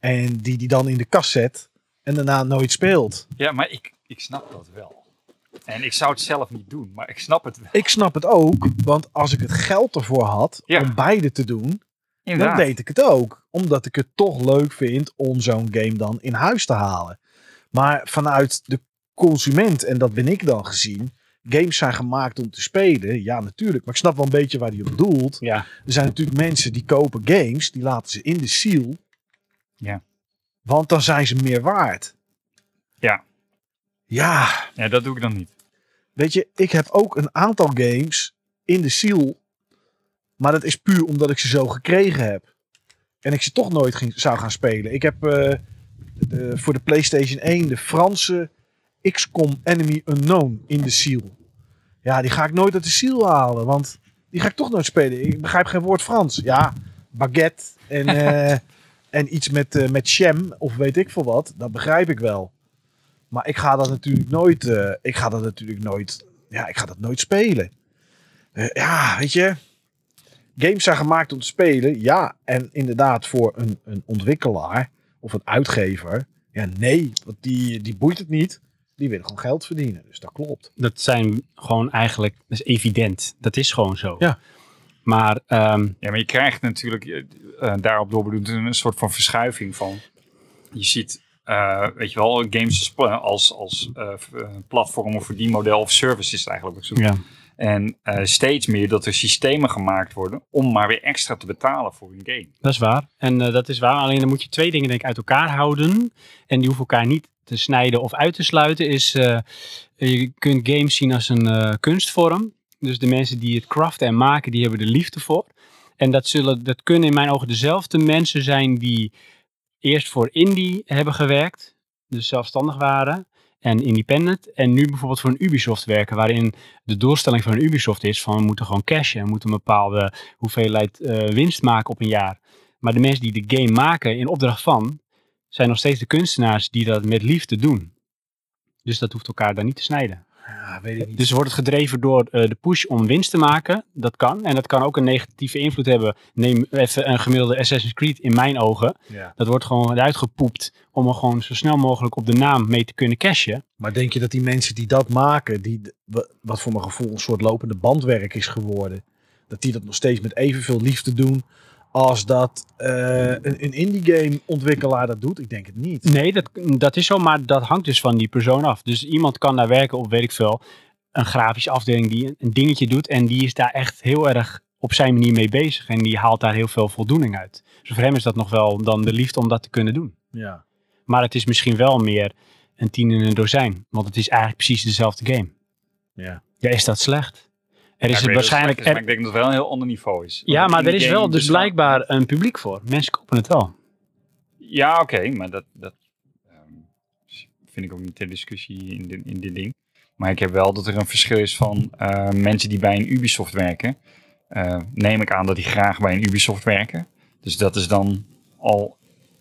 B: En die die dan in de kast zet en daarna nooit speelt.
C: Ja, maar ik, ik snap dat wel. En ik zou het zelf niet doen, maar ik snap het wel.
B: Ik snap het ook, want als ik het geld ervoor had
C: Ja.
B: om beide te doen, dan
C: Inderdaad.
B: deed ik het ook. Omdat ik het toch leuk vind om zo'n game dan in huis te halen. Maar vanuit de consument, en dat ben ik dan gezien, games zijn gemaakt om te spelen. Ja, natuurlijk. Maar ik snap wel een beetje waar die op doelt.
A: Ja.
B: Er zijn natuurlijk mensen die kopen games, die laten ze in de ziel.
C: Ja.
B: Want dan zijn ze meer waard.
C: Ja.
B: Ja,
C: Ja, dat doe ik dan niet.
B: Weet je, ik heb ook een aantal games in de ziel. Maar dat is puur omdat ik ze zo gekregen heb. En ik ze toch nooit ging, zou gaan spelen. Ik heb eh, de- voor de PlayStation 1 de Franse XCOM Enemy Unknown in de ziel. Ja, die ga ik nooit uit de ziel halen. Want die ga ik toch nooit spelen. Ik begrijp geen woord Frans. Ja, baguette en, eh, en iets met, eh met jam of weet ik veel wat. Dat begrijp ik wel. Maar ik ga dat natuurlijk nooit. eh, ik ga dat natuurlijk nooit. Ja, ik ga dat nooit spelen. Eh, ja, weet je. Games zijn gemaakt om te spelen. Ja, en inderdaad voor een, een ontwikkelaar of een uitgever. Ja, nee, want die, die boeit het niet. Die willen gewoon geld verdienen. Dus dat klopt.
A: Dat zijn gewoon eigenlijk, dat is evident. Dat is gewoon zo.
B: Ja.
A: Maar ehm,
C: Ja, maar je krijgt natuurlijk eh, eh, daarop doorbedoeld een soort van verschuiving van. Je ziet, eh, weet je wel, games als, pla- als, als eh, v- eh, platform of verdienmodel of service is het eigenlijk ook zo.
A: ja.
C: En eh, steeds meer dat er systemen gemaakt worden om maar weer extra te betalen voor een game.
A: Dat is waar. En eh, dat is waar. Alleen dan moet je twee dingen denk ik uit elkaar houden. En die hoeven elkaar niet te snijden of uit te sluiten. Is, eh, je kunt games zien als een eh, kunstvorm. Dus de mensen die het craften en maken, die hebben er liefde voor. En dat, zullen, dat kunnen in mijn ogen dezelfde mensen zijn die eerst voor indie hebben gewerkt. Dus zelfstandig waren en independent. En nu bijvoorbeeld voor een Ubisoft werken. Waarin de doelstelling van een Ubisoft is van we moeten gewoon cashen. We moeten een bepaalde hoeveelheid eh, winst maken op een jaar. Maar de mensen die de game maken in opdracht van, zijn nog steeds de kunstenaars die dat met liefde doen. Dus dat hoeft elkaar daar niet te snijden.
B: Ja, weet ik niet.
A: Dus wordt het gedreven door eh, de push om winst te maken. Dat kan. En dat kan ook een negatieve invloed hebben. Neem even een gemiddelde Assassin's Creed in mijn ogen.
B: Ja.
A: Dat wordt gewoon uitgepoept om er gewoon zo snel mogelijk op de naam mee te kunnen cashen.
B: Maar denk je dat die mensen die dat maken, die, wa- wat voor mijn gevoel een soort lopende bandwerk is geworden, dat die dat nog steeds met evenveel liefde doen als dat eh, een, een indie game ontwikkelaar dat doet? Ik denk het niet.
A: Nee, dat, dat is zo, maar dat hangt dus van die persoon af. Dus iemand kan daar werken op, weet ik veel, een grafische afdeling die een- een dingetje doet. En die is daar echt heel erg op zijn manier mee bezig. En die haalt daar heel veel voldoening uit. Dus voor hem is dat nog wel dan de liefde om dat te kunnen doen.
B: Ja.
A: Maar het is misschien wel meer een tien in een dozijn. Want het is eigenlijk precies dezelfde game.
B: Ja.
A: Ja, is dat slecht? Er is
C: Ja, ik weet dat
A: het
C: het
A: waarschijnlijk...
C: slecht is,
A: er-
C: maar ik denk dat het wel een heel ander niveau is.
A: ja,
C: Want
A: maar er
C: indie
A: is
C: game
A: wel dus
C: bestaat-
A: blijkbaar een publiek voor. Mensen kopen het wel.
C: Ja, oké, maar dat, dat ehm, vind ik ook niet ter discussie in, dit- in dit ding. Maar ik heb wel dat er een verschil is van eh, mensen die bij een Ubisoft werken. Eh, neem ik aan dat die graag bij een Ubisoft werken. Dus dat is dan al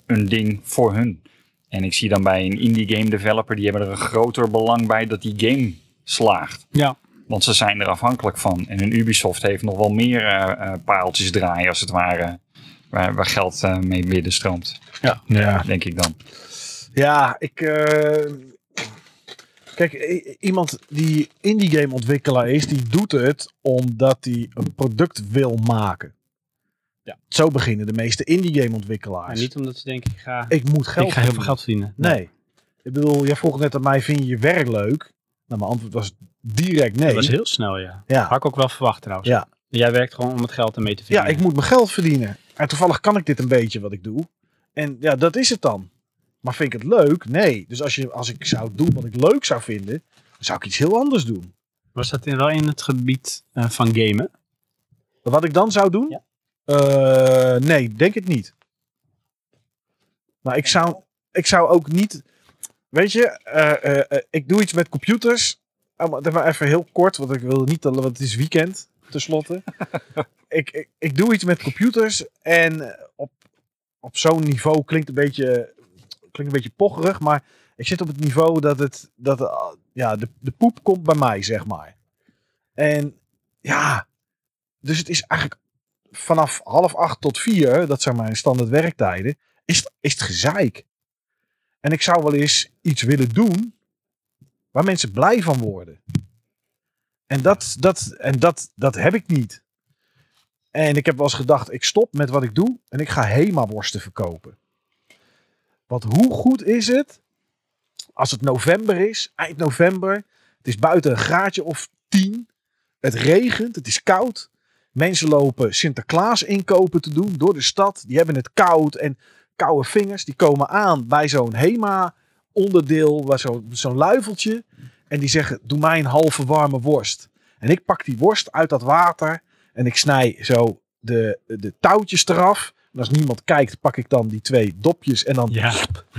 C: een ding voor hun. En ik zie dan bij een indie game developer, die hebben er een groter belang bij dat die game slaagt.
A: Ja.
C: Want ze zijn er afhankelijk van. En een Ubisoft heeft nog wel meer eh, eh, paaltjes draaien, als het ware. Waar, waar geld eh, mee midden stroomt,
B: Ja.
C: denk ik dan.
B: Ja, ik. eh, kijk, eh, i- iemand die indie game ontwikkelaar is, die doet het omdat hij een product wil maken.
A: Ja.
B: Zo beginnen de meeste indie game
A: Maar
B: ontwikkelaars.
A: niet omdat ze denken, ik ga,
B: ik moet geld
A: ik ga heel veel
B: verdienen.
A: geld verdienen.
B: Nee. Ik bedoel, jij vroeg net aan mij, vind je je werk leuk? Nou, mijn antwoord was direct nee.
A: Dat was heel snel, ja.
B: ja.
A: Had ik ook wel verwacht trouwens.
B: Ja.
A: Jij werkt gewoon om het geld ermee te
B: ja,
A: verdienen.
B: ik moet mijn geld verdienen. En toevallig kan ik dit een beetje wat ik doe. En ja, dat is het dan. Maar vind ik het leuk? Nee. Dus als, je, als ik zou doen wat ik leuk zou vinden, dan zou ik iets heel anders doen.
A: Was dat in, wel in het gebied eh, van gamen?
B: Maar wat ik dan zou doen?
A: Ja.
B: Eh, nee, denk het niet. Maar ik zou, ik zou ook niet. Weet je, eh, eh, eh, ik doe iets met computers. Oh, maar dat maar even heel kort, want ik wil niet, want het is weekend tenslotte. ik, ik, ik doe iets met computers en op, op zo'n niveau klinkt een beetje, klinkt een beetje pocherig, maar ik zit op het niveau dat, het, dat eh, ja, de, de poep komt bij mij, zeg maar. En ja, dus het is eigenlijk vanaf half acht tot vier, dat zijn mijn standaard werktijden, is, het- is het gezeik. En ik zou wel eens iets willen doen waar mensen blij van worden. En dat, dat, en dat, dat heb ik niet. En ik heb wel eens gedacht, ik stop met wat ik doe en ik ga Hema-worsten verkopen. Want hoe goed is het als het november is, eind november, het is buiten een graadje of tien, het regent, het is koud. Mensen lopen Sinterklaas inkopen te doen door de stad. Die hebben het koud en koude vingers. Die komen aan bij zo'n Hema onderdeel, waar zo- zo'n luifeltje. En die zeggen, doe mij een halve warme worst. En ik pak die worst uit dat water en ik snij zo de, de touwtjes eraf. En als niemand kijkt, pak ik dan die twee dopjes en dan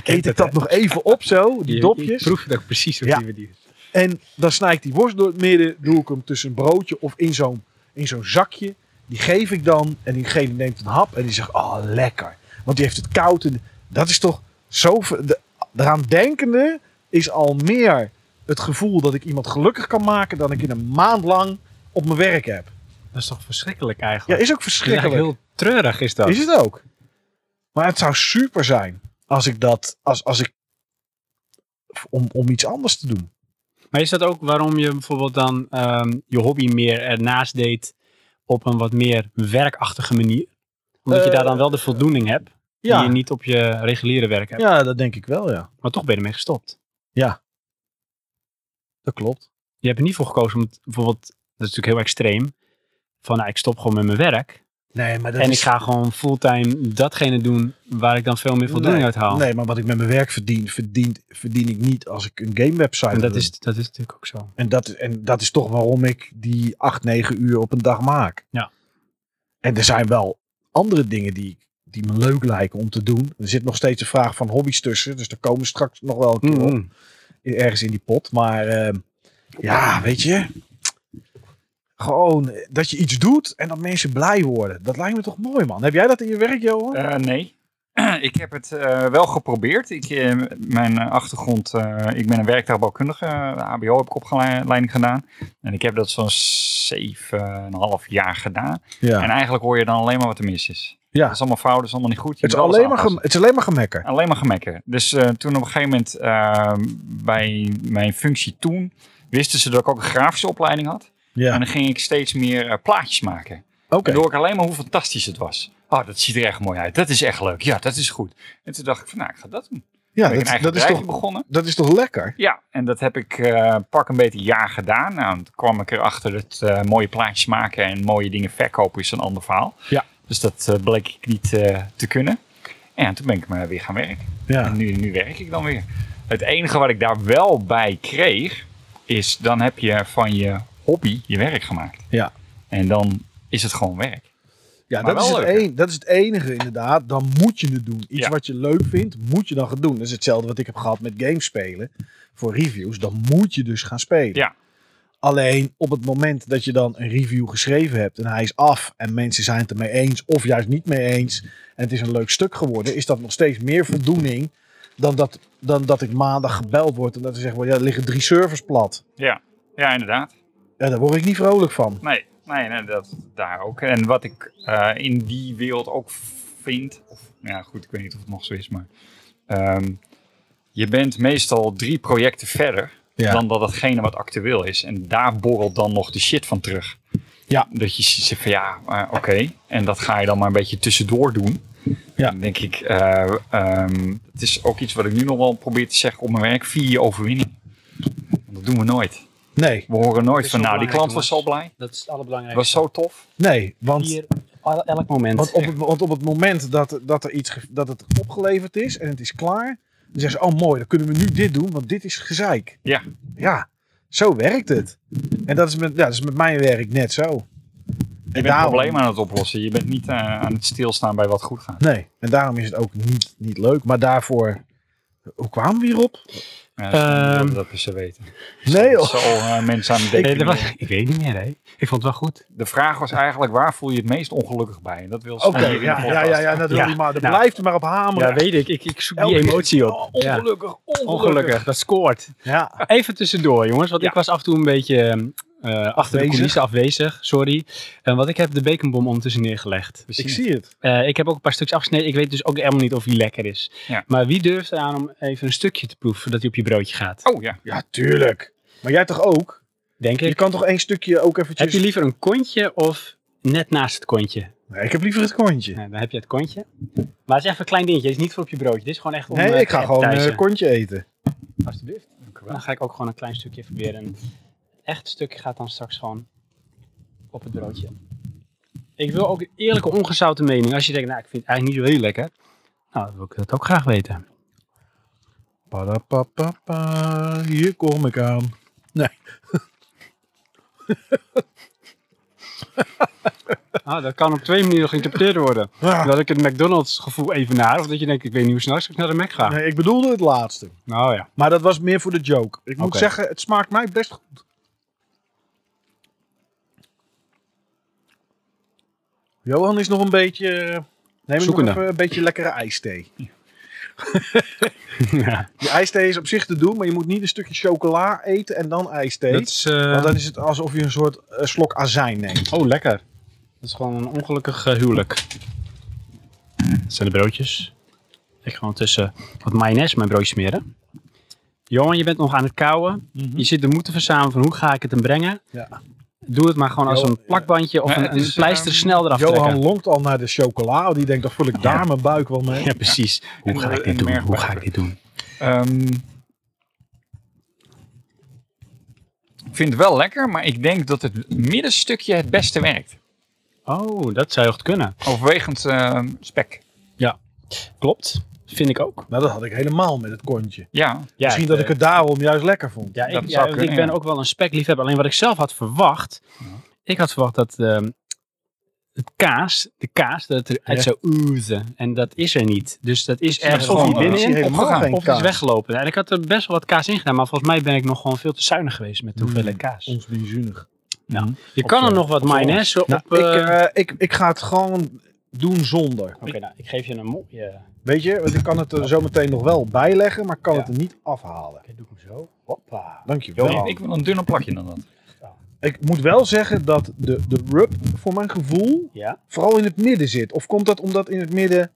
B: eet ik dat nog even op zo, die dopjes.
A: proef het ook precies
B: Ja.
A: die manier.
B: En dan snij ik die worst door het midden, doe ik hem tussen een broodje of in zo'n, in zo'n zakje. Die geef ik dan en diegene neemt een hap en die zegt, oh lekker. Want die heeft het koud en dat is toch zo... ver- de- Daaraan denkende is al meer het gevoel dat ik iemand gelukkig kan maken dan ik in een maand lang op mijn werk heb.
A: Dat is toch verschrikkelijk
B: Ja,
A: eigenlijk?
B: is ook verschrikkelijk.
A: heel treurig is dat.
B: Is het ook. Maar het zou super zijn als ik dat, als, als ik, om, om iets anders te doen.
A: Maar is dat ook waarom je bijvoorbeeld dan ehm, je hobby meer ernaast deed op een wat meer werkachtige manier? Omdat je
B: Eh,
A: daar dan wel de voldoening hebt die je niet op je reguliere werk hebt.
B: ja, dat denk ik wel, ja.
A: Maar toch ben je ermee gestopt.
B: Dat klopt.
A: Je hebt er niet voor gekozen om het- bijvoorbeeld, dat is natuurlijk heel extreem, van nou, ik stop gewoon met mijn werk.
B: Nee, maar dat
A: en
B: is-
A: ik ga gewoon fulltime datgene doen waar ik dan veel meer voldoening
B: nee,
A: uit haal.
B: Nee, maar wat ik met mijn werk verdien, verdien, verdien ik niet als ik een gamewebsite
A: En dat
B: run.
A: is, dat is natuurlijk ook zo.
B: En dat, en dat is toch waarom ik die 8, 9 uur op een dag maak.
A: Ja.
B: En er zijn wel andere dingen die, die me leuk lijken om te doen. Er zit nog steeds de vraag van hobby's tussen. Dus daar komen we straks nog wel een keer op.
A: Mm.
B: ergens in die pot. Maar ehm, ja, weet je. Gewoon eh, dat je iets doet en dat mensen blij worden. Dat lijkt me toch mooi, man. Heb jij dat in je werk, Johan?
C: Eh, nee. [clears throat] ik heb het eh, wel geprobeerd. Ik, eh, mijn eh, achtergrond, eh, ik ben een werktuigbouwkundige. eh, ABO heb ik opgeleiding gedaan. En ik heb dat zo'n 7,5 jaar gedaan. En
B: ja.
C: eigenlijk hoor je dan alleen maar wat er mis is.
B: Ja.
C: Dat is allemaal fout, dat is allemaal niet goed. Je
B: Het is,
C: moet alles
B: alleen maar
C: aanpassen.
B: gem- het is alleen maar gemekker.
C: Alleen maar gemekker. Dus eh, toen op een gegeven moment eh, bij mijn functie toen... wisten ze dat ik ook een grafische opleiding had.
B: Ja,
C: En dan ging ik steeds meer eh, plaatjes maken.
B: oké.
C: Waardoor ik alleen maar hoe fantastisch het was. Oh, dat ziet er echt mooi uit. Dat is echt leuk. Ja, dat is goed. En toen dacht ik van, nou, ik ga dat doen.
B: Ja,
C: ben ik een
B: dat,
C: eigen
B: dat, is
C: bedrijfje
B: toch,
C: begonnen.
B: dat is toch lekker?
C: Ja, en dat heb ik eh, pak een beetje een jaar gedaan. Nou, toen kwam ik erachter dat eh, mooie plaatjes maken en mooie dingen verkopen is een ander verhaal.
A: Ja.
C: Dus dat eh, bleek ik niet eh, te kunnen. En toen ben ik maar weer gaan werken.
B: Ja.
C: En nu, nu werk ik dan weer. Het enige wat ik daar wel bij kreeg, is dan heb je van je hobby je werk gemaakt.
B: Ja.
C: En dan is het gewoon werk.
B: Ja,
C: Maar
B: dat is,
C: wel
B: het
C: leuk, hè?
B: een, dat is het enige inderdaad. Dan moet je het doen. Iets
C: Ja.
B: wat je leuk vindt, moet je dan gaan doen. Dat is hetzelfde wat ik heb gehad met gamespelen. Voor reviews, dan moet je dus gaan spelen.
C: Ja.
B: Alleen op het moment dat je dan een review geschreven hebt en hij is af en mensen zijn het ermee eens of juist niet mee eens en het is een leuk stuk geworden, is dat nog steeds meer voldoening dan dat, dan dat ik maandag gebeld word en dat ze zeggen, well, ja, er liggen drie servers plat.
C: Ja, inderdaad.
B: Ja, daar word ik niet vrolijk van.
C: Nee, nee, nee dat, daar ook. En wat ik eh, in die wereld ook vind. Of, ja, goed, ik weet niet of het nog zo is, maar. ehm, Je bent meestal drie projecten verder
B: Ja.
C: dan dat hetgene wat actueel is. En daar borrelt dan nog de shit van terug.
B: Ja.
C: Dat je zegt van ja, eh, oké. En dat ga je dan maar een beetje tussendoor doen.
B: Ja.
C: Dan denk ik, eh, ehm, het is ook iets wat ik nu nog wel probeer te zeggen op mijn werk. Vier je overwinning. Dat doen we nooit.
B: Nee,
C: We horen nooit
A: is
C: van
A: wel
C: nou, die
A: belangrijk,
C: klant was zo blij.
A: Dat is het
C: Het
A: allerbelangrijkste.
C: was zo tof.
B: nee. Want
A: Hier, el- elk moment.
B: Want op, het, want op het moment dat, dat, er iets, ge- dat het opgeleverd is en het is klaar, dan zeggen ze, oh mooi, dan kunnen we nu dit doen, want dit is gezeik.
C: Ja.
B: Ja, zo werkt het. En dat is met, ja, dat is met mijn werk net zo.
C: Je bent
B: daarom-
C: problemen aan het oplossen. Je bent niet eh, aan het stilstaan bij wat goed gaat.
B: Nee, en daarom is het ook niet, niet leuk. Maar daarvoor, hoe kwamen we hierop?
C: Ja, dat is niet
A: Ehm.
C: nodig dat we ze weten.
B: Nee oh,
C: Dat
B: joh.
C: Zo eh, mensen aan het denken.
A: Nee, dat was- ik weet niet meer, hè. Ik vond het wel goed.
C: De vraag was eigenlijk waar voel je het meest ongelukkig bij? En dat wil ze
B: Oké,
C: hier in de
B: ja, ja,
C: podcast.
B: ja, ja, dat wil
A: Ja,
B: je maar, dat
A: nou.
B: blijft er maar op hameren.
A: Ja, weet ik. Ik, ik zoek
B: Elke
A: die
B: keer-
A: emotie op.
B: Oh,
A: Ja.
B: ongelukkig, ongelukkig.
A: Ongelukkig, dat scoort.
B: Ja,
A: Even tussendoor, jongens, want ik was af en toe een beetje eh, achter de
B: Afwezig.
A: coulissen afwezig. Sorry. En want ik heb de baconbom ondertussen neergelegd.
B: ik zie het.
A: Eh, ik heb ook een paar stukjes afgesneden. Ik weet dus ook helemaal niet of die lekker is.
C: Ja.
A: Maar wie durft eraan om even een stukje te proeven voordat hij op je broodje gaat?
C: Oh ja.
B: Ja, tuurlijk. Maar jij toch ook?
A: Denk
B: Je
A: ik.
B: kan dus- toch één stukje ook eventjes...
A: Heb je liever een kontje of net naast het kontje?
B: Nee, ik heb liever het kontje.
A: Nou, dan heb je het kontje. Maar het is even een klein dingetje. Het is niet voor op je broodje. Dit is gewoon echt om
B: Nee,
A: eh,
B: ik ga
A: te
B: gewoon
A: appetizen.
B: een kontje eten.
A: Alsjeblieft. Dan ga ik ook gewoon een klein stukje proberen. Een echt stukje gaat dan straks gewoon op het broodje. Ik wil ook een eerlijke, ongezouten mening. Als je denkt, nou, ik vind het eigenlijk niet zo heel lekker. Nou, dan wil ik dat ook graag weten.
B: Padapapapa, hier kom ik aan.
A: Ah, dat kan op twee manieren geïnterpreteerd worden.
B: Ah,
A: Dat ik het McDonald's gevoel even naar. Of dat je denkt, ik weet niet hoe snel ik naar de Mac ga.
B: nee, ik bedoelde het laatste.
A: Nou ja.
B: Maar dat was meer voor de joke. Ik moet
A: Oké.
B: zeggen, het smaakt mij best goed. Johan is nog een beetje... eh, Neem ik nog
A: Zoekende.
B: even een beetje lekkere ijsthee.
A: [laughs] ja.
B: Die ijsthee is op zich te doen, maar je moet niet een stukje chocola eten en dan ijsthee.
A: Dat is, eh,
B: Want dan is het alsof je een soort eh, slok azijn neemt.
A: Oh, lekker. Dat is gewoon een ongelukkig eh, huwelijk. Dat zijn de broodjes. Ik ga ondertussen wat mayonaise op mijn broodje smeren. Johan, je bent nog aan het kouwen. Je zit de moed te verzamelen van hoe ga ik het hem brengen.
B: Mhm. Ja.
A: Doe het maar gewoon als
B: Johan,
A: een plakbandje of
C: Maar
A: een,
C: het
A: een
C: is,
A: pleister
C: ehm,
A: snel eraf
B: Johan
A: trekken. [laughs]
B: longt al naar de chocola. Die denkt, dan vul ik daar mijn buik wel mee.
A: Ja, precies. Hoe ga
C: En,
A: ik dit
C: eh, en
A: doen? Hoe
C: merkbaar.
A: ga ik dit doen?
C: Ehm, ik vind het wel lekker, maar ik denk dat het middenstukje het beste werkt.
A: Oh, dat zou heel goed kunnen.
C: Overwegend ehm, spek.
A: Klopt. Vind ik ook.
B: Nou, dat had ik helemaal met het kontje.
C: Ja,
A: Ja, eh,
B: Misschien dat ik het daarom juist lekker vond.
A: Ja, ik,
C: Dat
A: ja,
C: zou
A: want
C: kunnen,
A: ik ben
C: ja.
A: ook wel een spekliefhebber. Alleen wat ik zelf had verwacht. Ik had verwacht dat ehm, het kaas, de kaas, dat het eruit
B: Ja.
A: zou oezen. En dat is er niet. Dus dat is ergens
C: gewoon
A: of niet
C: een
B: Ik zie
A: binnenin
B: eh, helemaal
C: opgegaan.
B: geen
A: of het is
B: kaas.
A: weggelopen. En ik had er best wel wat kaas in gedaan. Maar volgens mij ben ik nog gewoon veel te zuinig geweest met de hoeveelheid kaas.
B: Ons benzunig.
A: Nou, je kan er nog wat mayonaise op...
B: Nou,
A: eh,
B: ik, eh, ik, ik ga het gewoon doen zonder.
A: Oké, nou, ik geef je een mooie... Oké,
B: Weet je, want ik kan het er zometeen nog wel bijleggen, maar kan
A: Ja.
B: het er niet afhalen.
A: doe ik hem zo. Hoppa.
B: Dankjewel.
C: ik- ik wil een dunner plakje dan dat.
B: Ik moet wel zeggen dat de, de rub voor mijn gevoel
A: Ja.
B: vooral in het midden zit. Of komt dat omdat in het midden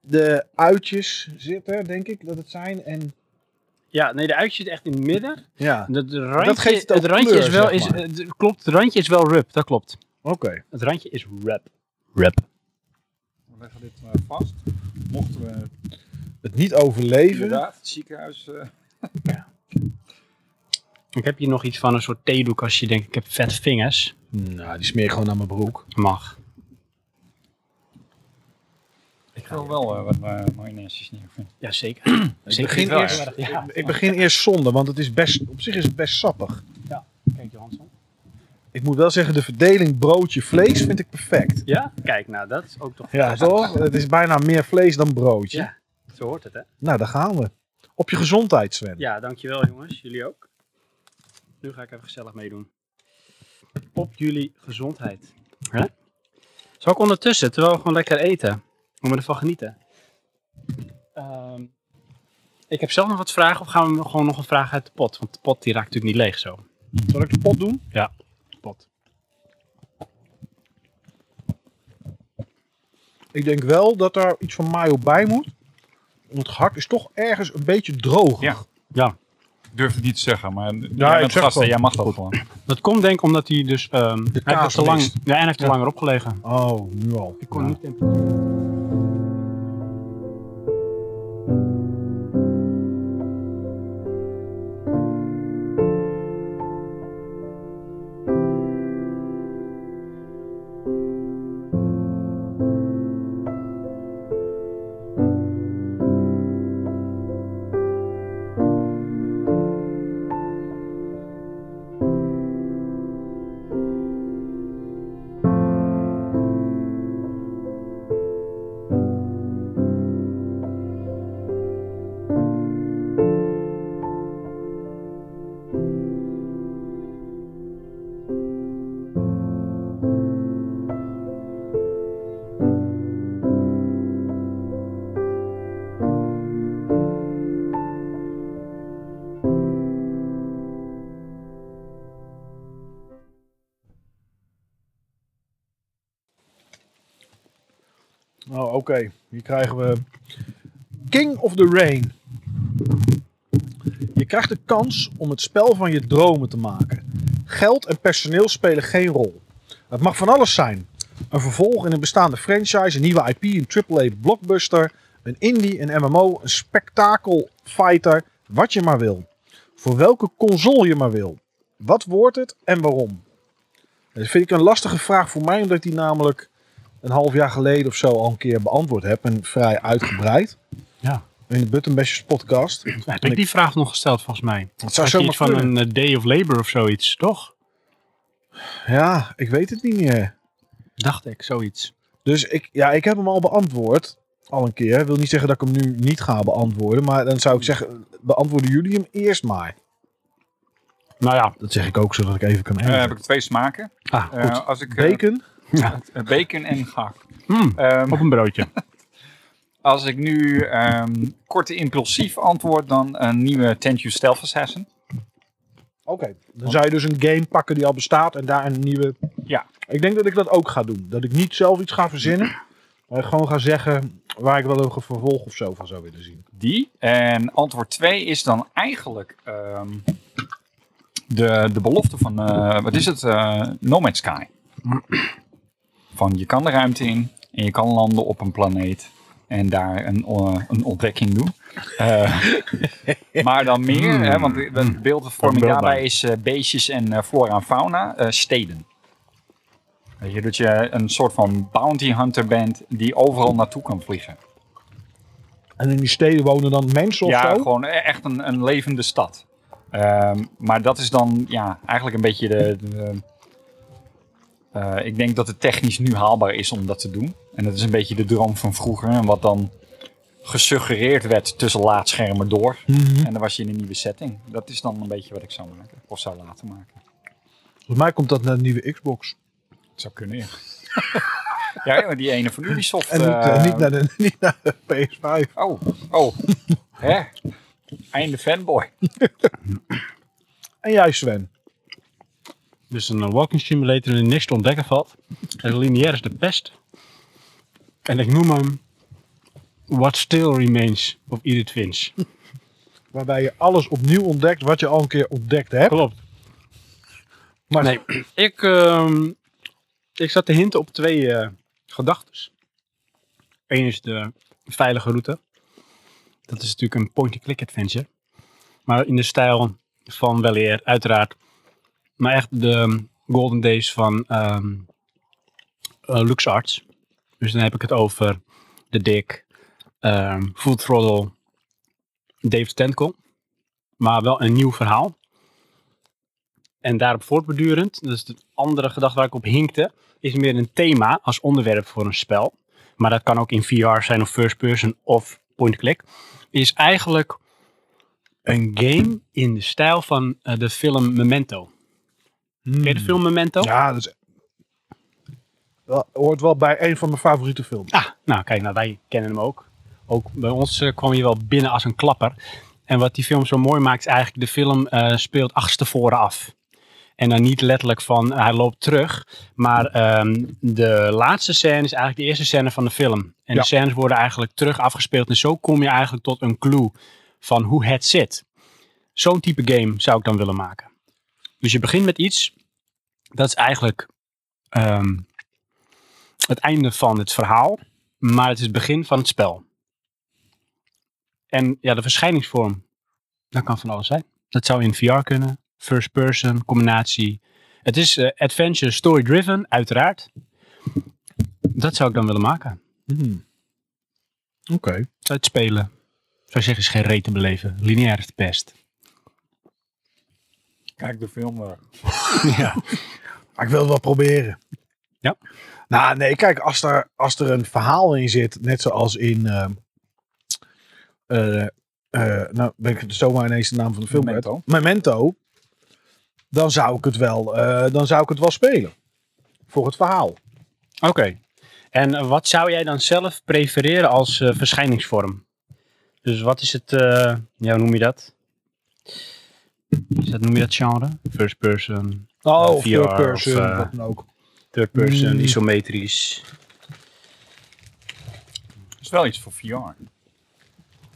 B: de uitjes zitten, denk ik dat het zijn. En
A: Ja, nee, de uitje zit echt in het midden.
B: ja,
A: Dat randje,
B: geeft het ook
A: randje
B: kleur,
A: is wel...
B: zeg
A: is,
B: maar.
A: eh, d- klopt, het randje is wel rub. Dat klopt.
B: oké.
A: Het randje is rap. Rap.
C: We leggen dit vast. Mochten we
B: Het niet overleven.
C: inderdaad het ziekenhuis... eh,
A: Ik heb hier nog iets van een soort theedoek als je denkt ik heb vet vingers.
B: Nou, die smeer ik gewoon aan mijn broek.
A: Mag.
C: ik wil wel eh, wat uh, mayonaise neervinden.
A: Jazeker.
B: Ik begin,
C: wel,
B: eerst,
A: ja. Ja.
B: ik begin eerst zonder, want het is best, op zich is het best sappig.
A: Kijk Johansson.
B: Ik moet wel zeggen, de verdeling broodje-vlees vind ik perfect.
A: Ja? Kijk, nou dat is ook toch...
B: Ja, [laughs] toch? Het is bijna meer vlees dan broodje.
A: Ja. Zo hoort het hè?
B: Nou, daar gaan we. Op je gezondheid, Sven.
A: Ja, dankjewel jongens. Jullie ook. Nu ga ik even gezellig meedoen. Op jullie gezondheid. Hè? Zal ik ondertussen, terwijl we gewoon lekker eten, moet we ervan genieten. Ehm, ik heb zelf nog wat vragen of gaan we gewoon nog een vraag uit de pot? Want de pot die raakt natuurlijk niet leeg zo.
B: Zal ik de pot doen?
A: Ja, pot.
B: Ik denk wel dat er iets van mayo bij moet.
G: want het hart is toch ergens een beetje droog.
C: Ja. Ik durf het niet te zeggen, maar jij
G: ik
C: bent
G: zeg
C: gast en
G: gewoon.
C: jij mag dat gewoon.
A: Dat komt denk ik omdat hij dus... ehm, hij heeft
G: kaas
A: te lang,
G: mist.
A: ja, en hij heeft te langer opgelegen.
G: Oh, nu al.
A: Ik kon niet
G: Oh, oké. Hier krijgen we King of the Rain. Je krijgt de kans om het spel van je dromen te maken. Geld en personeel spelen geen rol. Het mag van alles zijn. Een vervolg in een bestaande franchise, een nieuwe IP, een AAA blockbuster, een indie, een MMO, een spektakelfighter, wat je maar wil. Voor welke console je maar wil. Wat wordt het en waarom? Dat vind ik een lastige vraag voor mij, omdat ik die namelijk een half jaar geleden of zo al een keer beantwoord heb. En vrij uitgebreid.
A: Ja.
G: In de Buttonbashers podcast.
A: Heb ik die vraag nog gesteld volgens mij?
G: Het
A: Had
G: zou
A: je
G: zomaar
A: iets van
G: kunnen.
A: een eh, day of labor of zoiets, toch?
G: Ja, ik weet het niet meer.
A: Dacht ik, zoiets.
G: Dus ik, ja, ik heb hem al beantwoord. Al een keer. wil niet zeggen dat ik hem nu niet ga beantwoorden. Maar dan zou ik zeggen, beantwoorden jullie hem eerst maar.
A: Nou ja,
G: Dat zeg ik ook, zodat ik even kan
C: Eh,
G: herinneren.
C: heb ik twee smaken.
A: ah,
C: Eh,
A: goed.
C: als ik, eh,
G: Bacon.
C: eh, bacon en gehakt.
A: Mm,
C: Ehm,
A: op een broodje.
C: als ik nu ehm kort en impulsief antwoord, dan een nieuwe Tenchu Stealth Assassin.
G: Oké, dan zou je dus een game pakken die al bestaat en daar een nieuwe...
C: Ja.
G: Ik denk dat ik dat ook ga doen. Dat ik niet zelf iets ga verzinnen. Maar gewoon ga zeggen waar ik wel een vervolg of zo van zou willen zien.
C: Die. En antwoord 2 is dan eigenlijk ehm, de, de belofte van, eh, wat is het, eh No Man's Sky. Van je kan de ruimte in en je kan landen op een planeet en daar een, eh, een ontdekking doen. Eh, maar dan meer, hè, want de- de beeldvorming
A: beeld
C: daarbij
A: bij.
C: is eh, beestjes en eh, flora en fauna, eh, steden. Weet je, dat je een soort van bounty hunter bent die overal naartoe kan vliegen.
G: En in die steden wonen dan mensen of
C: Ja,
G: zo?
C: gewoon e- echt een, een levende stad. Ehm, maar dat is dan ja, eigenlijk een beetje de. de, eh, ik denk dat het technisch nu haalbaar is om dat te doen. En dat is een beetje de droom van vroeger. En wat dan gesuggereerd werd tussen laadschermen door.
G: Mhm.
C: En dan was je in een nieuwe setting. Dat is dan een beetje wat ik zou maken. Of zou laten maken.
G: Volgens mij komt dat naar de nieuwe Xbox.
C: Het zou kunnen, ja. [laughs] ja, ja, maar die ene van Ubisoft.
G: En niet,
C: eh,
G: eh, niet, naar de, [laughs] niet naar de PS5.
C: Oh, oh. Hè? Einde fanboy.
G: [laughs] En jij Sven?
A: Dus een eh, walking simulator waarin niks te ontdekken valt. En lineair is de pest. En ik noem hem What Still Remains of Edith Finch.
G: Waarbij je alles opnieuw ontdekt wat je al een keer ontdekt hebt.
A: Klopt.
G: Maar
A: Nee, ik, ehm, ik zat te hinten op twee gedachten. Eén is de veilige route. Dat is natuurlijk een point-and-click adventure. Maar in de stijl van wel eer, uiteraard. Maar echt de ehm, golden days van ehm eh, LuxArts. Dus dan heb ik het over The Dick, ehm Full Throttle, Dave Tentkel. Maar wel een nieuw verhaal. En daarop voortbedurend, dat is de andere gedachte waar ik op hinkte, is meer een thema als onderwerp voor een spel. Maar dat kan ook in VR zijn of first person of point-click. Is eigenlijk een game in de stijl van eh, de film Memento. Ken je de film Memento?
G: ja, dat is, wel- hoort wel bij een van mijn favoriete films.
A: Ah, nou kijk, nou, wij kennen hem ook. Ook bij ons eh, kwam je wel binnen als een klapper. En wat die film zo mooi maakt, is eigenlijk de film eh, speelt achterstevoren af. En dan niet letterlijk van eh, hij loopt terug. Maar ehm, de laatste scène is eigenlijk de eerste scène van de film. En
B: Ja.
A: de scènes worden eigenlijk terug afgespeeld. En zo kom je eigenlijk tot een clue van hoe het zit. Zo'n type game zou ik dan willen maken. Dus je begint met iets. Dat is eigenlijk ehm, het einde van het verhaal. Maar het is het begin van het spel. En ja, de verschijningsvorm. Dat kan van alles zijn. Dat zou in VR kunnen. First person, combinatie. Het is eh, adventure story driven, uiteraard. Dat zou ik dan willen maken.
B: Oké.
A: Het spelen. Zou zeggen, is geen reet te beleven. Lineair is het best.
C: Kijk de film eh, maar.
A: ja.
B: Maar ik wil het wel proberen.
A: Ja.
B: Nou, nee, kijk, als er, als er een verhaal in zit, net zoals in. ehm, eh, eh, nou, ben ik zomaar ineens de naam van de film. kwijt.
C: Memento.
B: Memento. Dan zou ik het wel, eh, dan zou ik het wel spelen. Voor het verhaal.
A: Oké. En eh, wat zou jij dan zelf prefereren als eh, verschijningsvorm? Dus wat is het, eh, ja, hoe noem je dat? Is dat, noem je dat genre? First person,
B: Oh,
A: VR
B: third person,
A: Nou, of, eh,
B: wat dan ook.
A: third person,
B: Mm.
A: isometrisch.
C: Dat is wel iets voor VR.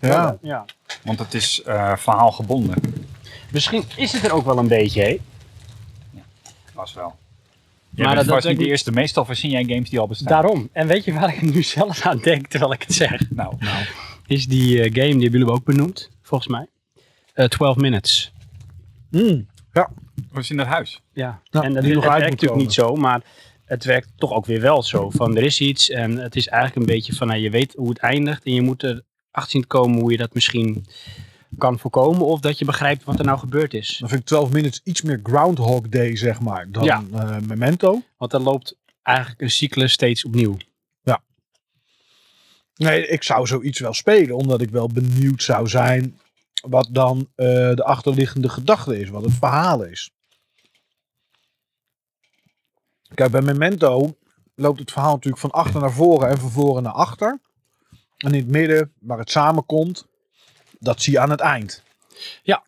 B: Ja.
A: Ja.
C: Want het is eh, verhaalgebonden.
A: Misschien is het er ook wel een beetje, hè?
C: Was wel.
A: Maar
C: maar
A: dat-
C: dat was
A: dat-
C: niet de eerste. Meestal voorzien jij games die al bestaan.
A: Daarom. En weet je waar ik nu [laughs] zelf aan denk terwijl ik het zeg?
C: Nou, nou.
A: Is die eh, game, die hebben jullie ook benoemd, volgens mij. Eh 12 Minutes.
B: Mm.
C: we zien dat huis.
A: Ja,
B: Ja,
A: en dat het
B: die nog
A: werkt
B: uit moet
A: natuurlijk niet zo, maar het werkt toch ook weer wel zo. Van er is iets en het is eigenlijk een beetje van, nou, je weet hoe het eindigt en je moet er achter zien te komen hoe je dat misschien kan voorkomen of dat je begrijpt wat er nou gebeurd is.
B: Dan vind ik 12 minutes iets meer Groundhog Day, zeg maar, dan
A: Ja.
B: eh, Memento.
A: Want dan loopt eigenlijk een cyclus steeds opnieuw.
B: Nee, ik zou zoiets wel spelen, omdat ik wel benieuwd zou zijn wat dan eh, de achterliggende gedachte is, wat het verhaal is. Kijk, bij Memento loopt het verhaal natuurlijk van achter naar voren en van voren naar achter. En in het midden, waar het samenkomt, dat zie je aan het eind.
A: Ja.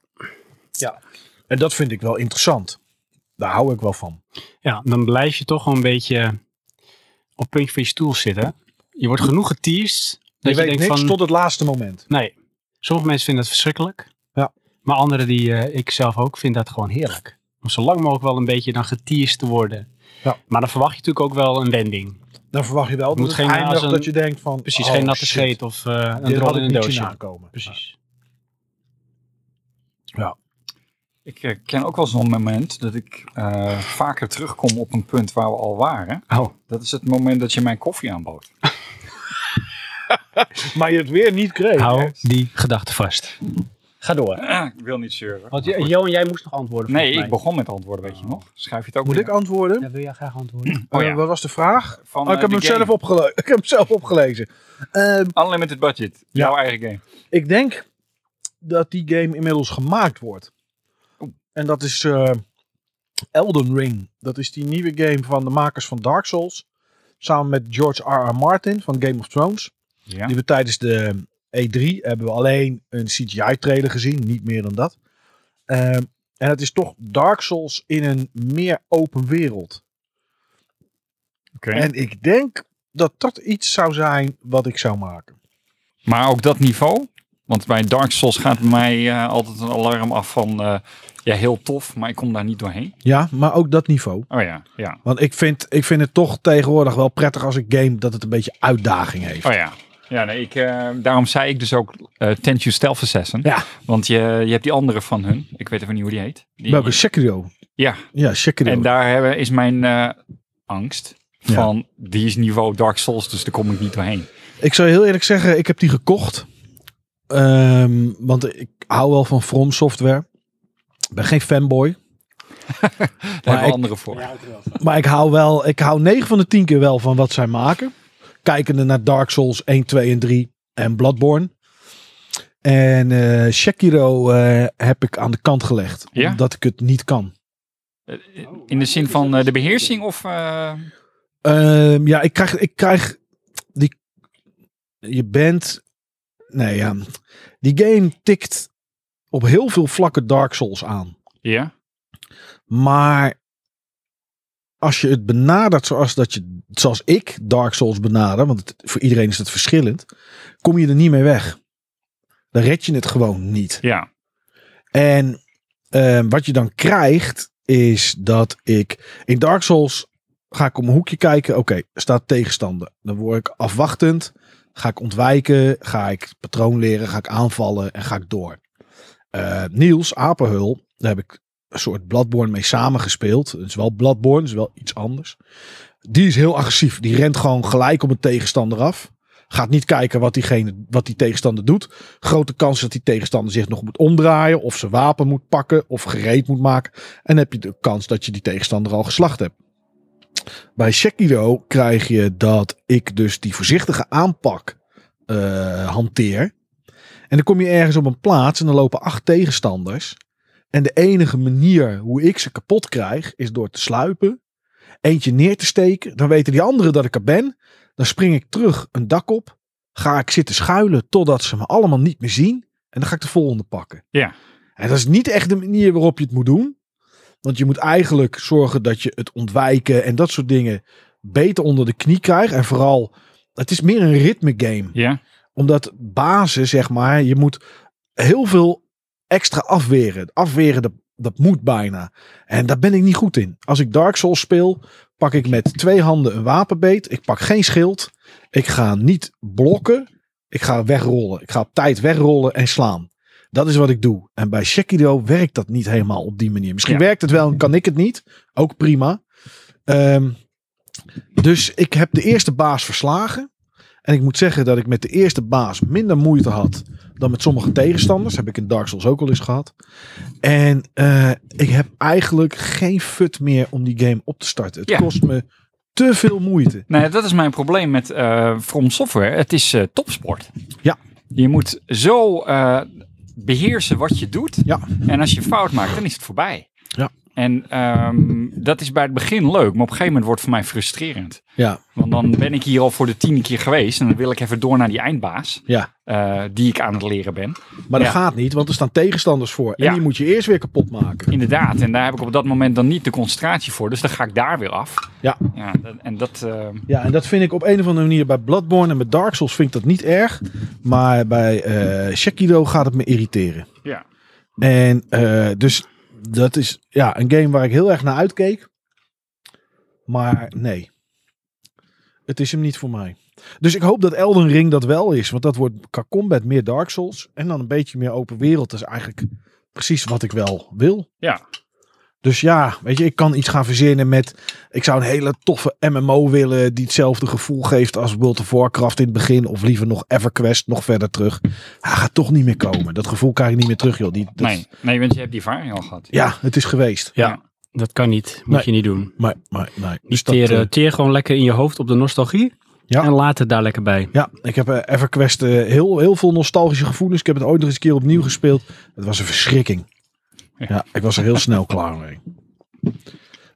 B: ja. En dat vind ik wel interessant. Daar hou ik wel van.
A: Ja, dan blijf je toch wel een beetje op het puntje van je stoel zitten. Je wordt genoeg geteased.
B: Je
A: Dat je,
B: weet
A: denkt
B: niks
A: van,
B: tot het laatste moment.
A: Nee, sommige mensen vinden dat verschrikkelijk.
B: Ja.
A: Maar anderen die eh, ik zelf ook, vind dat gewoon heerlijk. Om zo lang mogelijk wel een beetje dan getierd te worden.
B: Ja.
A: Maar dan verwacht je natuurlijk ook wel een wending.
B: Dan verwacht je wel dat
A: Moet
B: het
A: geen- als
B: eindigt
A: een-
B: dat je denkt van...
A: Precies,
B: oh,
A: geen natte
B: shit.
A: scheet of eh, een
B: Dit
A: rol
B: had
A: in een
B: ik niet zien
A: doosje.
B: aankomen.
A: Precies.
C: Ik eh, ken ook wel zo'n moment dat ik eh, vaker terugkom op een punt waar we al waren.
A: Oh,
C: Dat is het moment dat je mijn koffie aanbood. [clears throat]
B: Maar je het weer niet kreeg.
A: hou die gedachte vast. Ga door.
C: Ah, ik wil niet zeuren.
A: Want Jo- Johan, jij moest nog antwoorden.
C: Nee,
A: volgens
C: ik
A: mij.
C: begon met antwoorden, weet je nog? Schrijf je het ook
B: Oh. Moet
C: weer?
B: ik antwoorden?
A: Ja, wil jij graag antwoorden?
C: Oh
B: Eh,
C: ja.
B: wat was de vraag?
C: Van,
B: Oh, ik,
C: eh,
B: heb
C: de
B: hem zelf
C: game.
B: opgele- [laughs] ik heb hem zelf opgelezen. Ehm,
C: Unlimited Budget, jouw eigen game.
B: ik denk dat die game inmiddels gemaakt wordt. En dat is eh, Elden Ring. Dat is die nieuwe game van de makers van Dark Souls. Samen met George R.R. Martin van Game of Thrones.
C: Ja.
B: Die we tijdens de E3 hebben we alleen een CGI-trailer gezien, niet meer dan dat. Ehm, en het is toch Dark Souls in een meer open wereld.
C: Oké.
B: En ik denk dat dat iets zou zijn wat ik zou maken.
C: Maar ook dat niveau. Want bij Dark Souls gaat bij mij eh, altijd een alarm af van... eh, ja, heel tof, maar ik kom daar niet doorheen.
B: Ja, maar ook dat niveau.
C: Oh ja, ja.
B: Want ik vind, ik vind het toch tegenwoordig wel prettig als ik game dat het een beetje uitdaging heeft.
C: Oh ja. Ja, nee, ik, eh, daarom zei ik dus ook eh Tenchu Stealth Assassin.
B: Ja.
C: Want je, je hebt die andere van hun. Ik weet even niet hoe die heet. Die,
B: Welke Sekiro?
C: Ja,
B: Ja, Sekiro.
C: en daar hebben, is mijn eh, angst van... Die is niveau Dark Souls, dus daar kom ik niet doorheen.
B: Ik zou heel eerlijk zeggen, ik heb die gekocht. Ehm, want ik hou wel van From Software. Ik ben geen fanboy.
C: Daar hebben
B: ik-
C: we anderen voor.
B: Maar ik hou wel, ik hou 9 van de 10 keer wel van wat zij maken. Kijkende naar Dark Souls 1, 2 en 3 en Bloodborne. En eh Sekiro eh, heb ik aan de kant gelegd.
C: Ja?
B: Omdat ik het niet kan.
C: In de zin van eh, de beheersing of... eh,
B: Ehm, ja, ik krijg, ik krijg die. Je bent. Nee, ja. Die game tikt op heel veel vlakken Dark Souls aan.
C: ja?
B: Maar als je het benadert zoals, dat je, zoals ik Dark Souls benader, want het- voor iedereen is het verschillend, kom je er niet mee weg. Dan red je het gewoon niet.
C: Ja,
B: En eh, wat je dan krijgt is dat ik in Dark Souls ga ik om een hoekje kijken. Oké, er staat tegenstander. Dan word ik afwachtend. Ga ik ontwijken. Ga ik het patroon leren. Ga ik aanvallen. En ga ik door. Eh, Niels Apenhul. Daar heb ik een soort Bloodborne mee samengespeeld. Het is wel Bloodborne. Het is wel iets anders. Die is heel agressief. Die rent gewoon gelijk op een tegenstander af. Gaat niet kijken wat, diegene, wat die tegenstander doet grote kans dat die tegenstander zich nog moet omdraaien. Of zijn wapen moet pakken. Of gereed moet maken. En heb je de kans dat je die tegenstander al geslacht hebt. Bij Sekiro krijg je dat ik dus die voorzichtige aanpak eh, hanteer. En dan kom je ergens op een plaats en dan lopen acht tegenstanders. En de enige manier hoe ik ze kapot krijg is door te sluipen. Eentje neer te steken. Dan weten die anderen dat ik er ben. Dan spring ik terug een dak op ga ik zitten schuilen totdat ze me allemaal niet meer zien. En dan ga ik de volgende pakken.
C: Ja.
B: En dat is niet echt de manier waarop je het moet doen. Want je moet eigenlijk zorgen dat je het ontwijken en dat soort dingen beter onder de knie krijgt. En vooral, het is meer een ritme game.
C: ja,
B: Omdat basis, zeg maar, je moet heel veel extra afweren. Afweren, dat, dat moet bijna. En daar ben ik niet goed in. Als ik Dark Souls speel, pak ik met twee handen een wapenbeet. Ik pak geen schild. Ik ga niet blokken. Ik ga wegrollen. Ik ga op tijd wegrollen en slaan. Dat is wat ik doe. En bij Sekiro werkt dat niet helemaal op die manier. Misschien
C: Ja.
B: werkt het wel en kan ik het niet. Ook prima. Ehm, dus ik heb de eerste baas verslagen. En ik moet zeggen dat ik met de eerste baas minder moeite had dan met sommige tegenstanders. Heb ik in Dark Souls ook al eens gehad. En eh, ik heb eigenlijk geen fut meer om die game op te starten. Het
C: Ja.
B: kost me te veel moeite.
C: Nee, dat is mijn probleem met eh, From Software. Het is eh, topsport.
B: Ja.
C: Je moet zo eh, beheersen wat je doet.
B: Ja.
C: En als je fout maakt, dan is het voorbij.
B: Ja.
C: En ehm, dat is bij het begin leuk, maar op een gegeven moment wordt het voor mij frustrerend.
B: Ja,
C: Want dan ben ik hier al voor de tiende keer geweest en dan wil ik even door naar die eindbaas
B: ja.
C: eh, die ik aan het leren ben.
B: maar dat
C: Ja.
B: gaat niet, want er staan tegenstanders voor. En
C: Ja.
B: die moet je eerst weer kapot maken.
C: Inderdaad, en daar heb ik op dat moment dan niet de concentratie voor, dus dan ga ik daar weer af.
B: Ja.
C: ja dat- en dat, eh,
B: Ja, en dat vind ik op een of andere manier bij Bloodborne en bij Dark Souls vind ik dat niet erg. Maar bij eh Sekiro gaat het me irriteren.
C: Ja.
B: En eh, dus dat is ja, een game waar ik heel erg naar uitkeek. Maar nee. Het is hem niet voor mij. Dus ik hoop dat Elden Ring dat wel is. Want dat wordt qua combat meer Dark Souls. En dan een beetje meer open wereld. Dat is eigenlijk precies wat ik wel wil.
C: Ja.
B: Dus ja, weet je, ik kan iets gaan verzinnen met ik zou een hele toffe MMO willen die hetzelfde gevoel geeft als World of Warcraft in het begin. Of liever nog EverQuest, nog verder terug. Hij gaat toch niet meer komen. Dat gevoel krijg ik niet meer terug, joh. Die, dat-
C: nee, nee, want je hebt die ervaring al gehad.
B: Ja, het is geweest.
C: Ja.
A: Ja, dat kan niet. Moet
B: Nee.
A: je niet doen.
B: Maar, maar nee. Dus
A: Dus
B: dat,
A: teer,
B: eh,
A: teer gewoon lekker in je hoofd op de nostalgie.
B: Ja.
A: En laat het daar lekker bij.
B: ja, ik heb eh, EverQuest eh, heel, heel veel nostalgische gevoelens. Ik heb het ooit nog eens een keer opnieuw gespeeld. Het was een verschrikking.
C: Ja.
B: Ja, ik was er heel
A: [laughs]
B: snel klaar mee.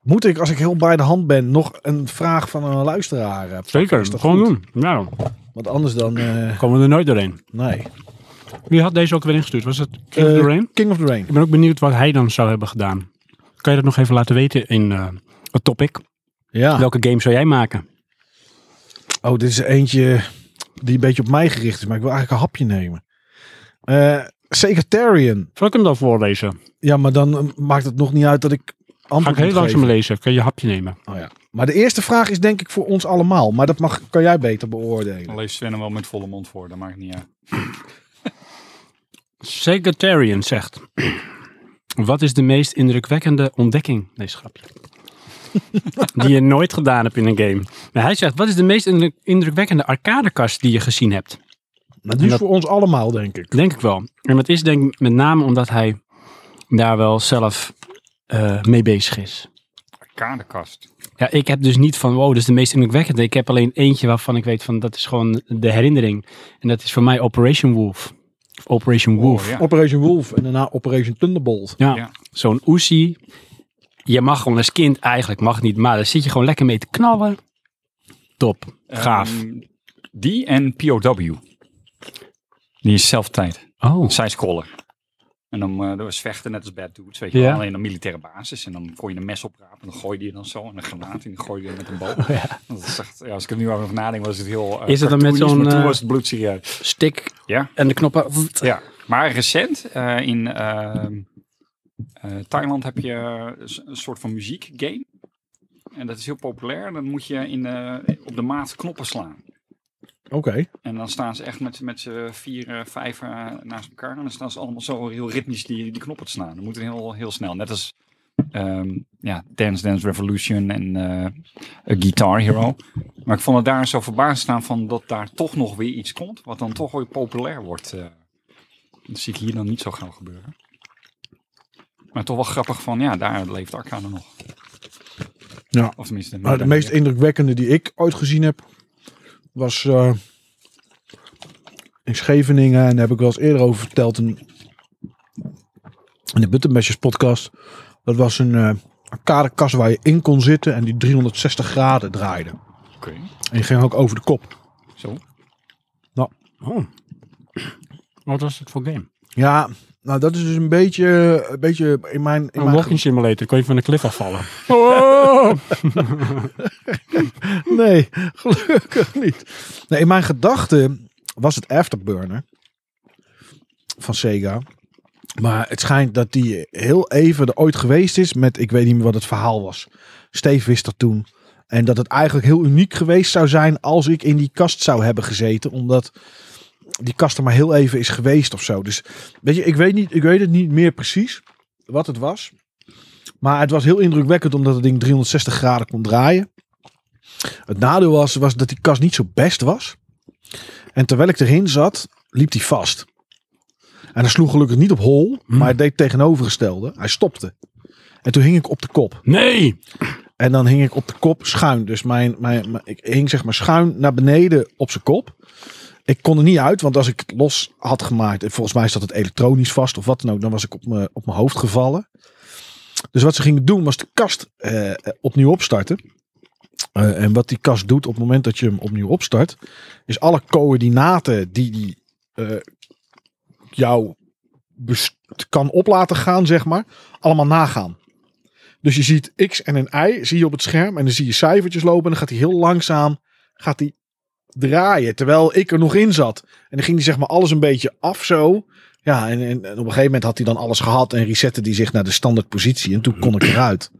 B: Moet ik, als ik heel bij de hand ben, nog een vraag van een luisteraar? eh, pakken? Is dat
A: gewoon
B: goed?
A: doen. Nou,
B: Want anders dan, eh,
A: komen we er nooit doorheen.
B: nee.
A: Wie had deze ook weer ingestuurd? Was het King
B: Eh,
A: of the Rain?
B: King of the Rain.
A: Ik ben ook benieuwd wat hij dan zou hebben gedaan. Kan je dat nog even laten weten in eh, het topic?
B: Ja.
A: Welke game zou jij maken?
B: Oh, dit is eentje die een beetje op mij gericht is, maar ik wil eigenlijk een hapje nemen. Eh Secretarian.
A: Zal ik hem dan voorlezen?
B: Ja, maar dan eh, maakt het nog niet uit dat ik
A: Ga ik
B: antwoord
A: heel
B: moet
A: langzaam
B: geven.
A: lezen. Kun je een hapje nemen?
B: Oh, ja. Maar de eerste vraag is denk ik voor ons allemaal, maar dat mag, kan jij beter beoordelen.
C: Dan leest Sven hem wel met volle mond voor, dat maakt niet uit.
A: Secretarian zegt... [clears throat] Wat is de meest indrukwekkende ontdekking? Nee, schapje. die je nooit gedaan hebt in een game. Nou, hij zegt, wat is de meest indruk- indrukwekkende arcadekast die je gezien hebt?
B: Maar die is
A: En dat-
B: voor ons allemaal, denk ik.
A: Denk ik wel. En dat is denk ik met name omdat hij daar wel zelf eh, mee bezig is.
C: Kaderkast.
A: Ja, ik heb dus niet van, wow, dat is de meest indrukwekkende. Ik heb alleen eentje waarvan ik weet van, dat is gewoon de herinnering. En dat is voor mij Operation Wolf. Of Operation Wolf.
C: Oh, ja.
B: Operation Wolf en daarna Operation Thunderbolt.
A: Ja,
C: Ja.
A: zo'n oesie. Je mag gewoon als kind eigenlijk, mag niet, maar daar zit je gewoon lekker mee te knallen. Top, gaaf.
C: Ehm, die en POW. Die is zelftijd.
A: oh,
C: Zij scroller. En dan eh, dat was vechten net als Bad Dudes, weet je wel.
A: Ja.
C: Alleen een militaire basis. En dan kon je een mes oprapen. En dan gooide je dan zo. En een granaat. En dan gooide je met
A: [laughs]
C: een bal. dat is echt, ja, als ik er nu over nog nadenk, was het heel... eh,
A: Is het dan met
C: cartoonisch,
A: zo'n,
C: Maar toen
A: eh,
C: was het bloedserieus.
A: Stik
C: Ja.
A: en de knoppen. Ja.
C: Ja, maar recent eh, in ehm, eh, Thailand heb je s- een soort van muziekgame. En dat is heel populair. Dan moet je in, eh, op de maat knoppen slaan.
B: Oké. Nou,
C: En dan staan ze echt met, met z'n vier, eh, vijf eh, naast elkaar. En dan staan ze allemaal zo heel ritmisch die, die knoppen te slaan. Dat moet heel, heel snel. Net als ehm, ja, Dance Dance Revolution en eh, A Guitar Hero. Maar ik vond het daar zo verbaasd staan van dat daar toch nog weer iets komt. Wat dan toch weer populair wordt. eh. dat zie ik hier dan niet zo gauw gebeuren. Maar toch wel grappig van, ja, daar leeft Arcane nog.
B: Ja.
C: Of tenminste...
B: Nou, de meest indrukwekkende die ik ooit gezien heb, was eh, in Scheveningen. En daar heb ik wel eens eerder over verteld in, in de Buttermesjes podcast. Dat was een eh arcadekast waar je in kon zitten en die 360 graden draaide.
C: Oké,
B: En je ging ook over de kop.
C: zo.
A: Oh. Wat was het voor game?
B: Ja, nou dat is dus een beetje, een beetje in mijn... In
A: Een
B: mijn
A: walking simulator. Kon je van de cliff afvallen.
B: [laughs] Nee, gelukkig niet. Nee, in mijn gedachten was het Afterburner van Sega. Maar het schijnt dat die heel even er ooit geweest is met, ik weet niet meer wat het verhaal was. Steve wist dat toen. En dat het eigenlijk heel uniek geweest zou zijn als ik in die kast zou hebben gezeten. Omdat die kast er maar heel even is geweest of zo. Dus weet je, ik weet, niet, ik weet het niet meer precies wat het was. Maar het was heel indrukwekkend omdat het ding 360 graden kon draaien. Het nadeel was, was dat die kast niet zo best was. En terwijl ik erin zat, liep die vast. En hij sloeg gelukkig niet op hol, maar hij deed het tegenovergestelde. Hij stopte. En toen hing ik op de kop.
A: Nee!
B: En dan hing ik op de kop schuin. Dus mijn, mijn, mijn- ik hing zeg maar schuin naar beneden op zijn kop. Ik kon er niet uit, want als ik het los had gemaakt... en volgens mij zat het elektronisch vast of wat dan ook... dan was ik op mijn op mijn hoofd gevallen. Dus wat ze gingen doen was de kast eh, eh, opnieuw opstarten. Eh, en wat die kast doet op het moment dat je hem opnieuw opstart... is alle coördinaten die die eh, jou best- kan op laten gaan, zeg maar... allemaal nagaan. Dus je ziet X en een Y zie je op het scherm. En dan zie je cijfertjes lopen. En dan gaat hij heel langzaam gaat hij draaien. Terwijl ik er nog in zat. En dan ging hij zeg maar alles een beetje af zo. Ja, en, en, en op een gegeven moment had hij dan alles gehad. En resette hij zich naar de standaard positie. En toen
A: [clears throat]
B: kon ik eruit.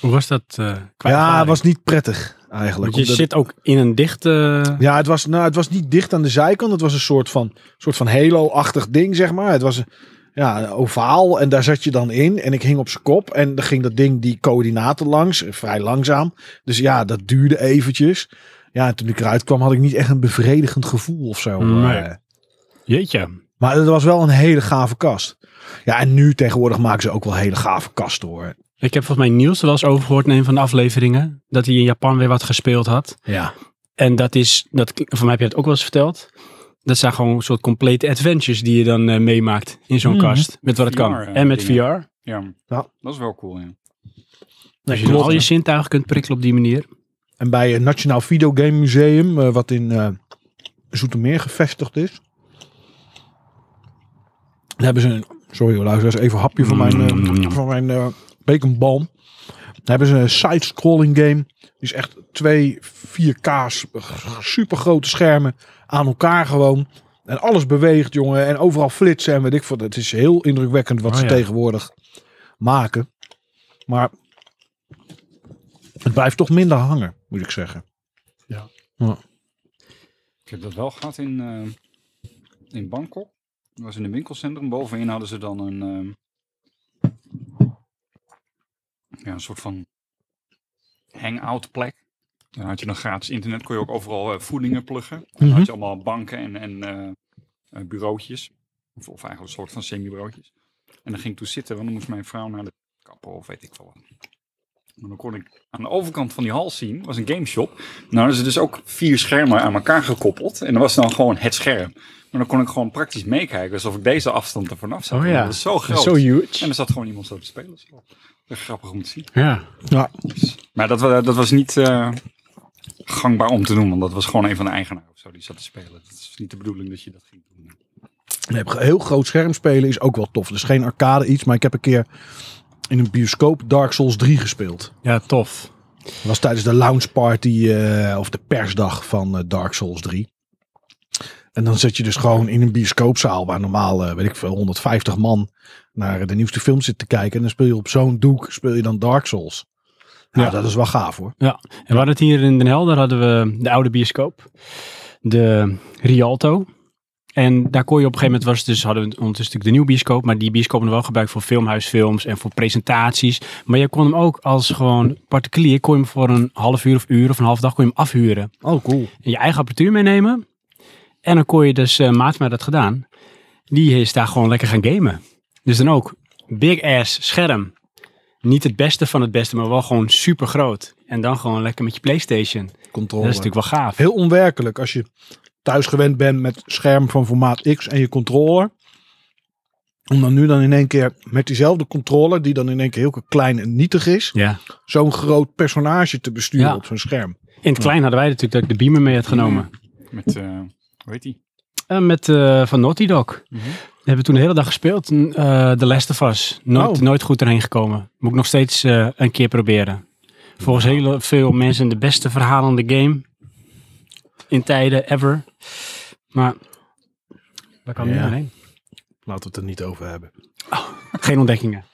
A: Hoe was dat eh qua
B: ja, het
A: ervaring?
B: was niet prettig eigenlijk.
A: Want je
B: Omdat-
A: zit ook in een dichte...
B: Ja, het was, nou, het was niet dicht aan de zijkant. Het was een soort van, soort van halo-achtig ding, zeg maar. Het was een, ja, een ovaal en daar zat je dan in. En ik hing op zijn kop en dan ging dat ding die coördinaten langs. eh, Vrij langzaam. Dus ja, dat duurde eventjes. Ja, en toen ik eruit kwam had ik niet echt een bevredigend gevoel of zo.
A: Nee.
B: Eh,
A: Jeetje.
B: maar het was wel een hele gave kast. Ja, en nu tegenwoordig maken ze ook wel hele gave kasten hoor.
A: Ik heb volgens mij Niels er wel eens over gehoord in een van de afleveringen. Dat hij in Japan weer wat gespeeld had.
B: Ja.
A: En dat is, dat, voor mij heb je het ook wel eens verteld. Dat zijn gewoon een soort complete adventures die je dan eh, meemaakt in zo'n
B: Mhm.
A: kast. Met wat het kan.
C: VR, eh,
A: en met VR.
C: dingen. Ja,
B: Ja.
C: dat is wel cool, ja.
A: Als je dan al je zintuigen kunt prikkelen op die manier.
B: En bij het Nationaal Videogame Museum, eh, wat in eh, Zoetermeer gevestigd is. Daar hebben ze een. Sorry hoor, luisteraars, even een hapje van mijn, eh, van mijn eh, baconbalm. Daar hebben ze een side-scrolling game. Die is echt twee 4K's, super grote schermen aan elkaar gewoon. En alles beweegt, jongen. En overal flitsen en weet ik veel. Het is heel indrukwekkend wat
A: Oh,
B: ze
A: ja.
B: tegenwoordig maken. Maar het blijft toch minder hangen, moet ik zeggen.
C: Ik heb dat wel gehad in, eh, in Bangkok. Dat was in een winkelcentrum. Bovenin hadden ze dan een, ehm, ja, een soort van hangout plek. Dan had je dan gratis internet, kon je ook overal eh, voedingen pluggen. Dan had je allemaal banken en, en eh, eh, bureautjes. Of, of eigenlijk een soort van semi-bureautjes. En dan ging ik toen zitten, want dan moest mijn vrouw naar de kapper of weet ik veel wat. En dan kon ik aan de overkant van die hal zien, was een gameshop. Nou, er zijn dus ook vier schermen aan elkaar gekoppeld. En dat was dan gewoon het scherm. Maar dan kon ik gewoon praktisch meekijken, alsof ik deze afstand er vanaf zat.
A: Oh ja.
C: Dat is zo groot.
A: huge.
C: En er zat gewoon iemand zo te spelen. Zo. Dat is grappig om te zien.
A: Ja.
C: Maar dat, wa- dat was niet eh, gangbaar om te doen, want dat was gewoon een van de eigenaren of zo die zat te spelen. Dat is niet de bedoeling dat je dat ging doen.
B: Je hebt Heel groot scherm spelen is ook wel tof. Dus geen arcade iets, maar ik heb een keer in een bioscoop Dark Souls 3 gespeeld.
A: Ja, tof.
B: Dat was tijdens de lounge party eh, of de persdag van eh, Dark Souls 3. En dan zit je dus gewoon in een bioscoopzaal waar normaal, eh, weet ik veel, 150 man naar eh, de nieuwste film zit te kijken. En dan speel je op zo'n doek, speel je dan Dark Souls. Ja,
A: Ja.
B: dat is wel gaaf hoor.
A: En we hadden het hier in Den Helder, hadden we de oude bioscoop. De Rialto. En daar kon je op een gegeven moment, was het dus, hadden we ondertussen natuurlijk de nieuwe bioscoop. Maar die bioscoop hadden we wel gebruikt voor filmhuisfilms en voor presentaties. Maar je kon hem ook als gewoon particulier, kon je hem voor een half uur of uur of een half dag kon je hem afhuren.
B: Oh, cool.
A: en je eigen apparatuur meenemen. En dan kon je dus, eh maat mij dat gedaan, die is daar gewoon lekker gaan gamen. Dus dan ook, big ass scherm. Niet het beste van het beste, maar wel gewoon super groot. En dan gewoon lekker met je Playstation. Dat
B: Controle.
A: is natuurlijk wel gaaf.
B: Heel onwerkelijk als je thuis gewend bent met scherm van formaat X en je controller. Om dan nu dan in één keer met diezelfde controller, die dan in één keer heel klein en nietig is,
A: Ja.
B: zo'n groot personage te besturen
A: Ja.
B: op zo'n scherm.
A: In het klein hadden wij natuurlijk dat ik de Beamer mee had genomen.
C: Met, eh hoe heet die?
A: En met eh, van Naughty Dog.
C: Mhm.
A: Die hebben we toen de hele dag gespeeld. eh The Last of Us. Nooit,
B: Oh.
A: nooit goed erheen gekomen. Moet ik nog steeds eh, een keer proberen. Volgens heel veel mensen de beste verhalende game. In tijden, ever. Maar daar kan
B: Ja.
A: niemand heen.
B: Laten we het er niet over hebben.
A: Geen ontdekkingen.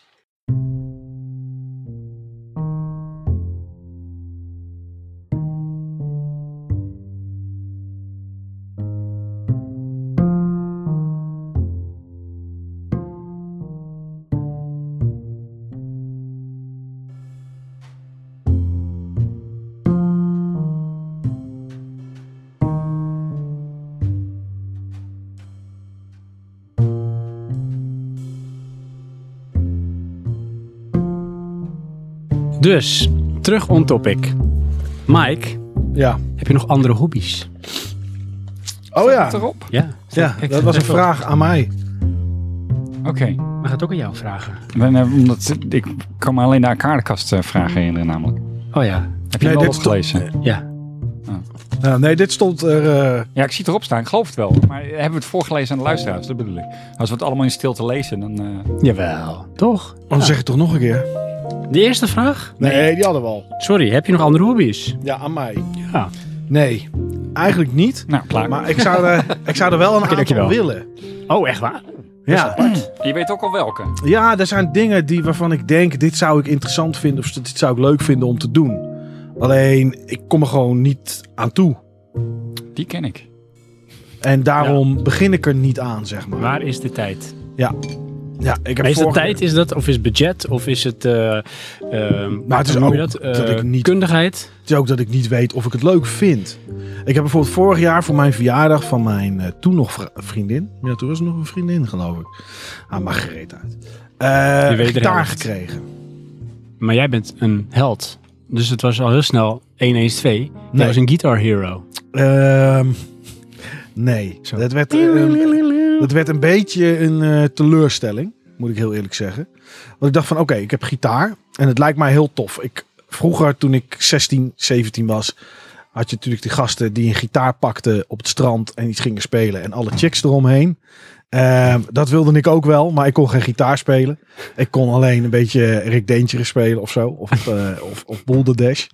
A: Dus, terug on topic. Mike,
B: Ja.
A: heb je nog andere hobby's?
B: Oh
C: Staat
B: ja.
C: erop?
A: Ja.
B: Ja,
A: Kijk,
B: dat was een
A: even op.
B: vraag aan mij.
C: Oké.
A: We gaan het ook aan jou vragen.
C: Ben, eh, omdat Ik kan me alleen de kaartenkast eh, vragen herinneren namelijk.
A: Oh ja.
C: Heb je
B: Nee,
C: hem al
B: dit stond-
C: opgelezen?
A: Ja.
B: Nou, nee, dit stond er. eh,
C: Ja, ik zie het erop staan. Ik geloof het wel. Maar hebben we het voorgelezen aan de luisteraars? Dat bedoel ik. Als we het allemaal in stilte lezen, dan... eh,
A: Jawel. Toch?
B: dan oh, zeg het toch nog een keer.
A: De eerste vraag?
B: Nee, die hadden we al.
A: Sorry, heb je nog andere hobby's?
B: Ja, aan mij.
A: Ja.
B: Nee, eigenlijk niet.
C: nou, klaar.
B: Maar ik zou, eh, ik zou er wel een aantal
A: dankjewel.
B: willen.
A: Oh, echt waar?
B: Ja.
C: Je weet ook al welke.
B: Ja, er zijn dingen die, waarvan ik denk, dit zou ik interessant vinden of dit zou ik leuk vinden om te doen. Alleen, ik kom er gewoon niet aan toe.
C: Die ken ik.
B: En daarom begin ik er niet aan, zeg maar.
A: Waar is de tijd?
B: ja, ik heb
A: is dat
B: vorige-
A: tijd, is dat, of is het budget, of is het, eh nou,
B: het is ook
A: dat? Eh,
B: dat ik niet-
A: kundigheid?
B: Het is ook dat ik niet weet of ik het leuk vind. Ik heb bijvoorbeeld vorig jaar voor mijn verjaardag van mijn eh, toen nog vri- vriendin. Ja, toen was het nog een vriendin, geloof ik. Ah, maar gereed uit.
A: Je
B: Eh
A: weet er
B: gitaar
A: helft.
B: gekregen.
A: Maar jij bent een held. Dus het was al heel snel 1 1 2. Jij
B: Nee.
A: was een guitar hero.
B: Ehm, nee,
A: Zo.
B: dat werd, ehm, dat werd een beetje een eh, teleurstelling, moet ik heel eerlijk zeggen. Want ik dacht van, oké, ik heb gitaar en het lijkt mij heel tof. Ik, vroeger, toen ik 16, 17 was, had je natuurlijk die gasten die een gitaar pakten op het strand en iets gingen spelen en alle chicks eromheen. Ehm, dat wilde ik ook wel, maar ik kon geen gitaar spelen. Ik kon alleen een beetje Rick Dangerous spelen of zo, of, eh of, of Boulder Dash.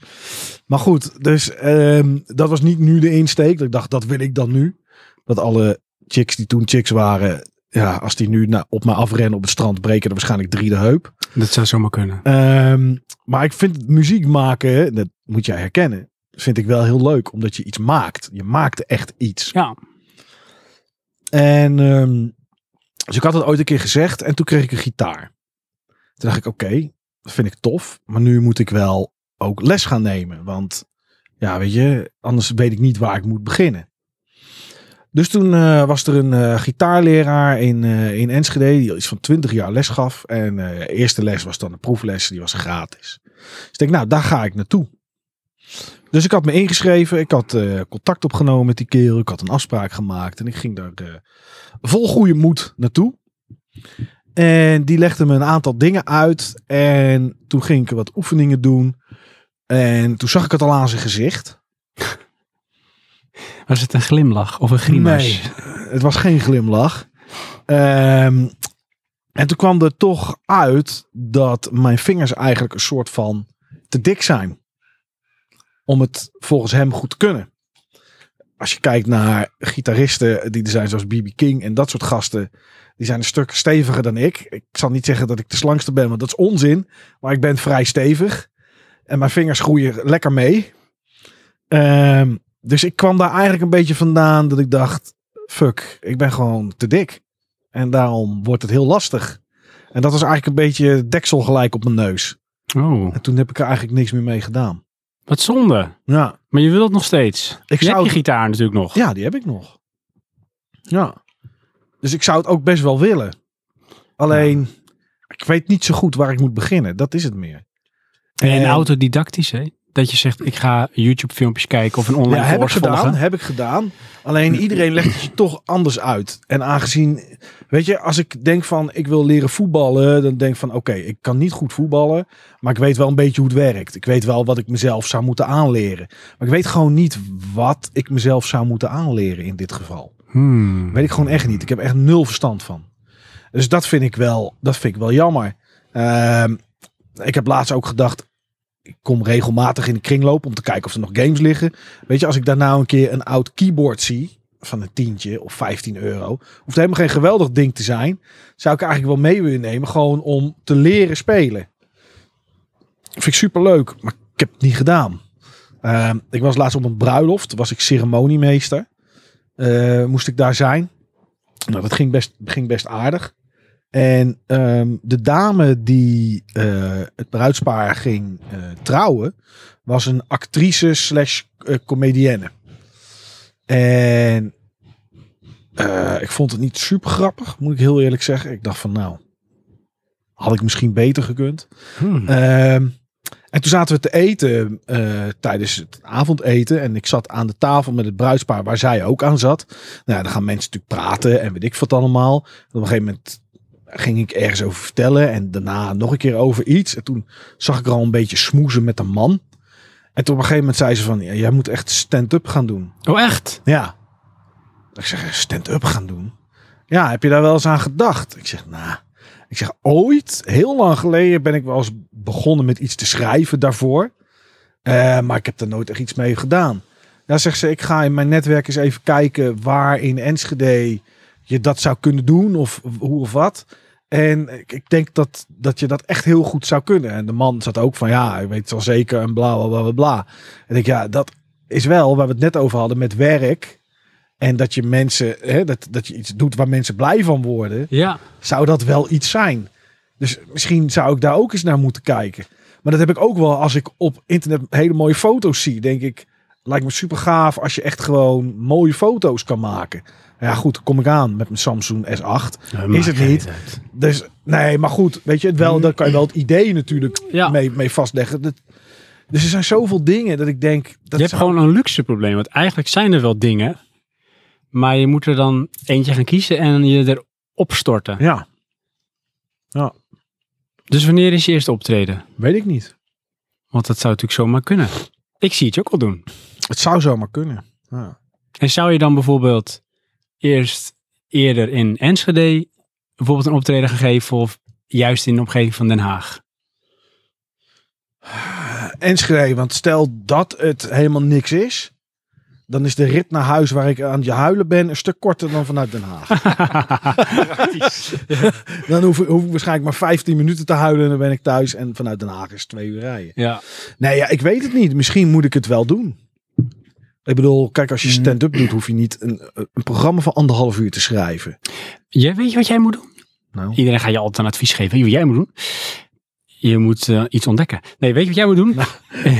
B: Maar goed, dus ehm, dat was niet nu de insteek. Dat ik dacht, dat wil ik dan nu. Dat alle chicks die toen chicks waren, ja, als die nu nou, op me afrennen op het strand, breken er waarschijnlijk drie de heup.
A: Dat zou zomaar kunnen.
B: Ehm, maar ik vind muziek maken, dat moet jij herkennen, vind ik wel heel leuk. Omdat je iets maakt. Je maakt echt iets.
A: Ja.
B: En ehm, dus ik had dat ooit een keer gezegd en toen kreeg ik een gitaar. Toen dacht ik, oké, dat vind ik tof. Maar nu moet ik wel ook les gaan nemen. Want ja, weet je, anders weet ik niet waar ik moet beginnen. Dus toen eh, was er een eh, gitaarleraar in, eh, in Enschede die al iets van 20 jaar les gaf. En eh, eerste les was dan een proefles, die was gratis. Dus ik denk, nou, daar ga ik naartoe. Dus ik had me ingeschreven, ik had eh, contact opgenomen met die kerel, ik had een afspraak gemaakt en ik ging daar eh, vol goede moed naartoe. En die legde me een aantal dingen uit en toen ging ik wat oefeningen doen. En toen zag ik het al aan zijn gezicht.
A: Was het een glimlach of een grimas?
B: Nee, het was geen glimlach. Ehm, en toen kwam er toch uit dat mijn vingers eigenlijk een soort van te dik zijn. Om het volgens hem goed te kunnen. Als je kijkt naar gitaristen die er zijn zoals B.B. King en dat soort gasten. Die zijn een stuk steviger dan ik. Ik zal niet zeggen dat ik de slangste ben, want dat is onzin. Maar ik ben vrij stevig. En mijn vingers groeien lekker mee. Ehm, dus ik kwam daar eigenlijk een beetje vandaan dat ik dacht... Fuck, ik ben gewoon te dik. En daarom wordt het heel lastig. En dat was eigenlijk een beetje deksel gelijk op mijn neus.
A: Oh,
B: En toen heb ik er eigenlijk niks meer mee gedaan.
A: wat zonde.
B: Ja,
A: Maar je wil het nog steeds. Ik je
B: zou
A: hebt je
B: het-
A: gitaar natuurlijk nog.
B: ja die heb ik nog. Ja. Dus ik zou het ook best wel willen. Alleen, ik weet niet zo goed waar ik moet beginnen. Dat is het meer.
A: En
B: En-
A: autodidactisch, hè? Dat je zegt, ik ga YouTube-filmpjes kijken of een online
B: Ja, heb ik
A: course
B: gedaan,
A: volgen.
B: heb ik gedaan. Alleen iedereen legt het je toch anders uit. En aangezien, weet je, als ik denk van ik wil leren voetballen, dan denk ik van oké, ik kan niet goed voetballen, maar ik weet wel een beetje hoe het werkt. Ik weet wel wat ik mezelf zou moeten aanleren. Maar ik weet gewoon niet wat ik mezelf zou moeten aanleren in dit geval.
A: Hmm.
B: Weet ik gewoon echt niet. Ik heb echt nul verstand van. Dus dat vind ik wel, dat vind ik wel jammer. Ehm, ik heb laatst ook gedacht, ik kom regelmatig in de kringloop om te kijken of er nog games liggen. Weet je, als ik daar nou een keer een oud keyboard zie van een tientje of 15 euro, hoeft helemaal geen geweldig ding te zijn. Zou ik eigenlijk wel mee willen nemen, gewoon om te leren spelen. Vind ik super leuk, maar ik heb het niet gedaan. Ehm, ik was laatst op een bruiloft, was ik ceremoniemeester. Eh, moest ik daar zijn. Nou, dat ging best, ging best aardig. En ehm, de dame die eh, het bruidspaar ging eh, trouwen, was een actrice slash eh, comedienne. En eh, ik vond het niet super grappig, moet ik heel eerlijk zeggen. Ik dacht van nou, had ik misschien beter gekund.
A: Hmm.
B: Ehm, en toen zaten we te eten eh, tijdens het avondeten. En ik zat aan de tafel met het bruidspaar waar zij ook aan zat. Nou, ja, dan gaan mensen natuurlijk praten en weet ik wat allemaal. En op een gegeven moment ging ik ergens over vertellen. En daarna nog een keer over iets. En toen zag ik er al een beetje smoezen met een man. En toen op een gegeven moment zei ze van... Ja, jij moet echt stand-up gaan doen.
A: Oh, echt?
B: Ja. Ik zeg, stand-up gaan doen? Ja, heb je daar wel eens aan gedacht? Ik zeg, nou... ik zeg, ooit, heel lang geleden ben ik wel eens begonnen met iets te schrijven daarvoor. Eh, maar ik heb daar nooit echt iets mee gedaan. Ja, zegt ze, ik ga in mijn netwerk eens even kijken waar in Enschede je dat zou kunnen doen of hoe of wat. En ik, ik denk dat, dat je dat echt heel goed zou kunnen. En de man zat ook van, ja, ik weet het wel zeker en bla, bla, bla, bla, bla. En ik, ja, dat is wel waar we het net over hadden met werk. En dat je mensen, hè, dat, dat je iets doet waar mensen blij van worden
A: Ja.
B: zou dat wel iets zijn. Dus misschien zou ik daar ook eens naar moeten kijken. Maar dat heb ik ook wel als ik op internet hele mooie foto's zie. Denk ik, lijkt me super gaaf als je echt gewoon mooie foto's kan maken. Ja goed, kom ik aan met mijn Samsung S8. Is het niet? Dus nee, maar goed, weet je, het wel, dan kan je wel het idee natuurlijk
A: Mm. Ja.
B: mee, mee vastleggen. Dat, dus er zijn zoveel dingen dat ik denk... Dat
A: je hebt
B: zou-
A: gewoon een luxe probleem. Want eigenlijk zijn er wel dingen. Maar je moet er dan eentje gaan kiezen en je erop storten.
B: Ja,
A: Dus wanneer is je eerste optreden?
B: weet ik niet.
A: Want dat zou natuurlijk zomaar kunnen. Ik zie het je ook al doen.
B: Het zou zomaar kunnen. Ja.
A: En zou je dan bijvoorbeeld eerst eerder in Enschede bijvoorbeeld een optreden gegeven of juist in de omgeving van Den Haag?
B: Enschede. Want stel dat het helemaal niks is. Dan is de rit naar huis waar ik aan het huilen ben een stuk korter dan vanuit Den Haag. Dan hoef ik, hoef ik waarschijnlijk maar 15 minuten te huilen en dan ben ik thuis. En vanuit Den Haag is twee uur rijden.
A: Ja.
B: Nee, ja, ik weet het niet. Misschien moet ik het wel doen. Ik bedoel, kijk, als je stand-up doet, hoef je niet een, een programma van anderhalf uur te schrijven.
A: Jij weet je wat jij moet doen?
B: Nou.
A: Iedereen gaat je altijd een advies geven. Weet je wat jij moet doen? Je moet eh, iets ontdekken. Nee, weet je wat jij moet
B: Nou,
A: doen?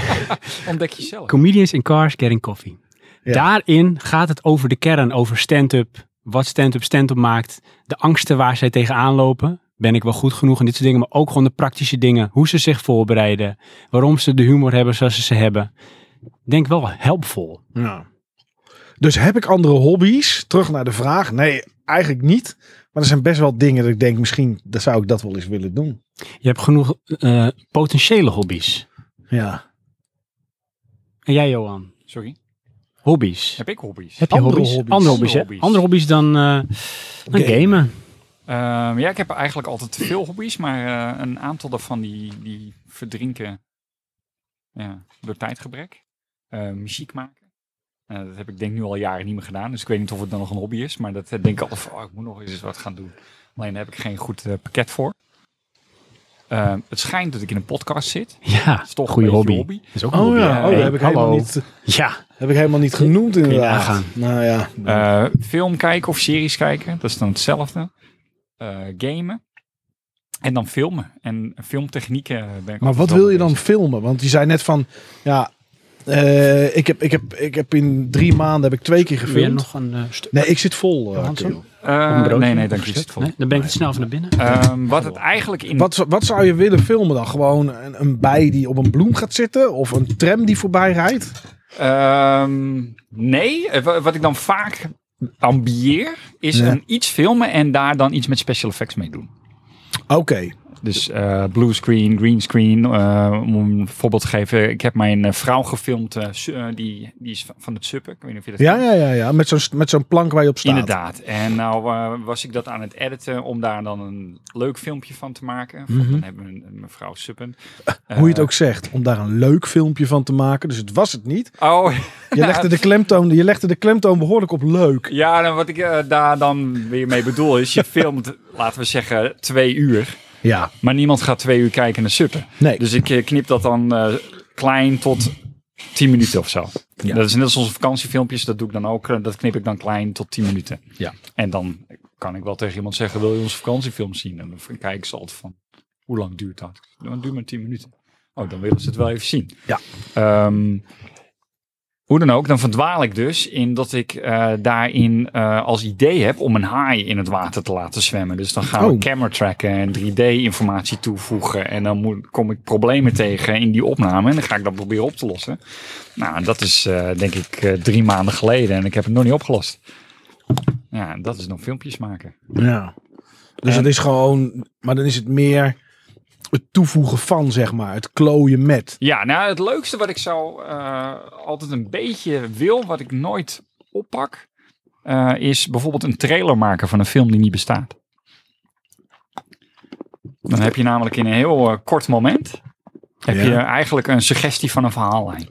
C: Ontdek jezelf.
A: Comedians in Cars Getting Coffee.
B: Ja.
A: Daarin gaat het over de kern, over stand-up. Wat stand-up stand-up maakt. De angsten waar zij tegenaan lopen. Ben ik wel goed genoeg en dit soort dingen. Maar ook gewoon de praktische dingen. Hoe ze zich voorbereiden. Waarom ze de humor hebben zoals ze ze hebben. Ik Denk wel helpvol.
B: Ja. Dus heb ik andere hobby's? Terug naar de vraag. Nee, eigenlijk niet. Maar er zijn best wel dingen dat ik denk, misschien dat zou ik dat wel eens willen doen.
A: Je hebt genoeg eh, potentiële hobby's.
B: Ja.
A: En jij Johan?
C: Sorry.
A: Hobby's.
C: Heb ik hobby's?
A: Heb je
B: Andere
A: hobby's?
B: hobby's.
A: Andere hobby's, hè?
C: Hobby's.
A: Andere hobby's dan, eh, dan gamen.
C: Ehm, ja, ik heb eigenlijk altijd te veel hobby's, maar eh, een aantal daarvan die, die verdrinken ja, door tijdgebrek. Eh, muziek maken. Eh, dat heb ik denk nu al jaren niet meer gedaan, dus ik weet niet of het dan nog een hobby is. Maar dat eh, denk ik altijd van, oh, ik moet nog eens wat gaan doen. Alleen daar heb ik geen goed eh, pakket voor. Ehm, het schijnt dat ik in een podcast zit.
A: Ja,
C: Dat is toch
A: goeie
C: een beetje
A: hobby.
C: een
A: hobby.
C: hobby.
A: Dat is ook een
B: Oh
A: hobby.
B: ja, oh, dat
C: hey,
B: heb ik,
A: hallo.
B: helemaal niet,
A: Ja,
B: heb ik helemaal niet genoemd inderdaad.
A: nagaan.
B: nou ja,
C: Eh, film kijken of series kijken, dat is dan hetzelfde. Eh, gamen. En dan filmen. En filmtechnieken eh, ben ik
B: Maar
C: altijd
B: wat
C: wel
B: wil je
C: mee
B: dan filmen? Want je zei net van, ja, eh, ik, heb, ik, heb, ik heb in drie maanden heb ik twee keer
A: wil je
B: gefilmd.
A: nog een eh, stuk?
B: Nee, ik zit vol. eh,
A: Johansson?
B: kerel.
C: Eh,
A: Of een broodje?
C: nee, nee, dank
A: Een
C: je.
A: stuk?
C: Is het vol.
A: Nee, dan ben ik te snel van naar binnen.
C: Ehm, wat het eigenlijk in.
B: wat, wat zou je willen filmen dan? Gewoon een, een bij die op een bloem gaat zitten? Of een tram die voorbij rijdt?
C: Ehm, nee, eh, wa- wat ik dan vaak ambieer, is
B: Ja.
C: een iets filmen en daar dan iets met special effects mee doen.
B: Oké.
C: Dus eh, blue screen, green screen. eh, om een voorbeeld te geven, ik heb mijn eh, vrouw gefilmd, eh, su- eh, die, die is van- van het suppen. Ik weet niet of je dat
B: Ja,
C: kent.
B: ja, ja, ja. Met zo'n met zo'n plank waar je op staat.
C: Inderdaad. En nou eh, was ik dat aan het editen om daar dan een leuk filmpje van te maken. Van, Dan hebben we een, een mevrouw Suppen.
B: Mhm. Eh, Hoe je het ook zegt. Om daar een leuk filmpje van te maken. Dus het was het niet.
C: Oh,
B: Je legde de klemtoon, je legde de klemtoon behoorlijk op leuk.
C: Ja, dan wat ik eh, daar dan weer mee
B: [laughs]
C: bedoel is, je filmt, laten we zeggen, twee uur.
B: Ja.
C: Maar niemand gaat twee uur kijken naar suppen.
B: Nee.
C: Dus ik eh, knip dat dan eh, klein tot tien minuten of zo.
B: Ja.
C: Dat is net als onze vakantiefilmpjes, dat doe ik dan ook. eh, Dat knip ik dan klein tot tien minuten.
B: Ja.
C: En dan kan ik wel tegen iemand zeggen, wil je onze vakantiefilm zien? En dan kijken ze altijd van, hoe lang duurt dat? Nou, het duurt maar tien minuten. Oh, dan willen ze het wel even zien.
B: Ja.
C: Ehm, hoe dan ook, dan verdwaal ik dus in dat ik eh, daarin eh, als idee heb om een haai in het water te laten zwemmen. Dus dan gaan
B: Oh.
C: we camera tracken en 3D-informatie toevoegen. En dan moet, kom ik problemen tegen in die opname en dan ga ik dat proberen op te lossen. Nou, en dat is eh, denk ik eh, drie maanden geleden en ik heb het nog niet opgelost. Ja, en dat is dan filmpjes maken.
B: Ja. Dus
C: En-
B: het is gewoon, maar dan is het meer het toevoegen van, zeg maar. Het klooien met.
C: Ja, nou het leukste wat ik zou eh, altijd een beetje wil, wat ik nooit oppak, eh, is bijvoorbeeld een trailer maken van een film die niet bestaat. Dan heb je namelijk in een heel eh, kort moment heb
B: Ja.
C: je eigenlijk een suggestie van een verhaallijn.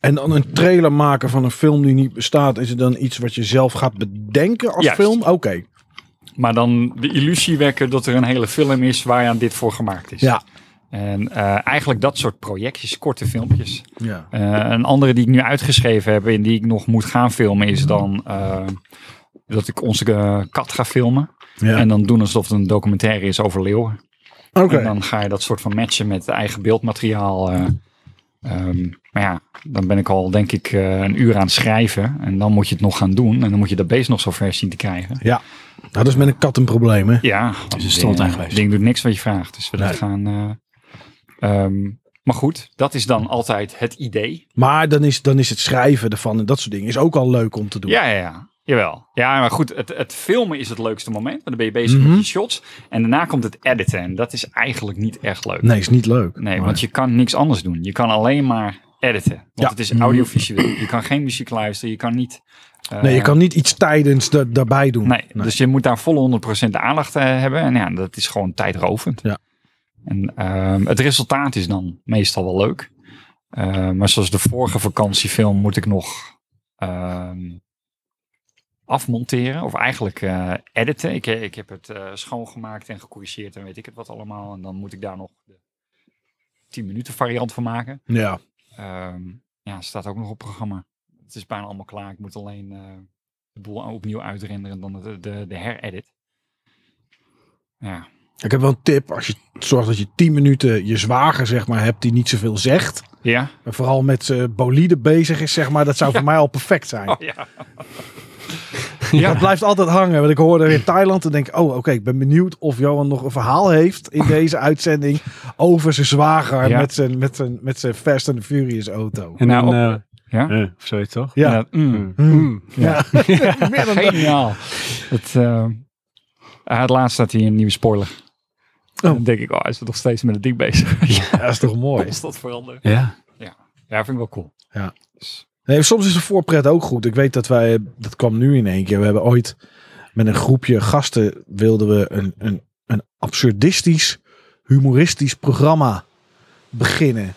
B: En dan een trailer maken van een film die niet bestaat. Is het dan iets wat je zelf gaat bedenken als
C: Juist.
B: film? Oké.
C: Maar dan de illusie wekken dat er een hele film is waar aan dit voor gemaakt is.
B: Ja.
C: En eh, eigenlijk dat soort projectjes, korte filmpjes.
B: Ja.
C: Eh, een andere die ik nu uitgeschreven heb en die ik nog moet gaan filmen is dan eh, dat ik onze eh, kat ga filmen.
B: ja.
C: En dan doen alsof het een documentaire is over leeuwen.
B: Oké.
C: En dan ga je dat soort van matchen met eigen beeldmateriaal. eh. Ehm, maar ja, dan ben ik al denk ik eh, een uur aan het schrijven. En dan moet je het nog gaan doen. En dan moet je dat beest nog zo ver zien te krijgen.
B: Nou, dat is met een kat een probleem, hè?
C: Ja,
A: is een stront
C: ding-
A: aangewezen.
C: ding doet niks wat je vraagt. Dus we dat
B: Nee.
C: gaan... eh, ehm, maar goed, dat is dan altijd het idee.
B: Maar dan is, dan is het schrijven ervan en dat soort dingen is ook al leuk om te doen.
C: Ja, ja, ja. Jawel. Ja, maar goed, het, het filmen is het leukste moment. Want dan ben je bezig
B: Mhm.
C: met je shots. En daarna komt het editen. En dat is eigenlijk niet echt leuk.
B: Nee, is niet leuk.
C: Nee,
B: Maar-
C: want je kan niks anders doen. Je kan alleen maar editen. Want
B: Ja.
C: het is audiovisueel. Je kan geen muziek luisteren. Je kan niet... eh,
B: Nee, je kan niet iets tijdens da- daarbij doen.
C: Nee, dus je moet daar volle 100% aandacht eh, hebben. En ja, dat is gewoon tijdrovend.
B: Ja.
C: En ehm, het resultaat is dan meestal wel leuk. Eh, maar zoals de vorige vakantiefilm moet ik nog ehm, afmonteren. Of eigenlijk eh, editen. Ik, ik heb het eh, schoongemaakt en gecorrigeerd en weet ik het wat allemaal. En dan moet ik daar nog de 10 minuten variant van maken.
B: Ja.
C: Ehm, ja, staat ook nog op programma. Het is bijna allemaal klaar. Ik moet alleen eh de boel opnieuw uitrenderen en dan de, de, de heredit. Ja.
B: Ik heb wel een tip. Als je zorgt dat je 10 minuten je zwager, zeg maar, hebt die niet zoveel zegt.
C: Ja?
B: En vooral met eh, bolide bezig is, zeg maar. Dat zou voor mij al perfect zijn.
A: Oh. [laughs]
C: ja.
B: Ja. Dat blijft altijd hangen. Want ik hoorde in Thailand en denk, ik, oh oké, ik ben benieuwd of Johan nog een verhaal heeft
C: [laughs]
B: in deze uitzending over zijn zwager
C: Ja.
B: met, zijn, met, zijn, met zijn Fast and the Furious auto.
A: En
C: Nou,
A: dan,
C: op-
A: eh,
C: ja?
A: eh, of zoiets toch?
B: Ja,
C: Dat- mm. [laughs]
B: meer dan dat.
C: Geniaal. Het, eh, eh, het laatst staat hier een nieuwe spoiler.
B: Oh.
C: Dan denk ik, oh, hij is er nog steeds met het ding bezig. ja,
B: Ja, is toch mooi.
C: is dat veranderen?
A: Ja.
C: Ja, vind ik wel cool. [laughs]
B: Nee, soms is de voorpret ook goed. Ik weet dat wij, dat kwam nu in één keer. We hebben ooit Met een groepje gasten wilden we een, een, een absurdistisch, humoristisch programma beginnen.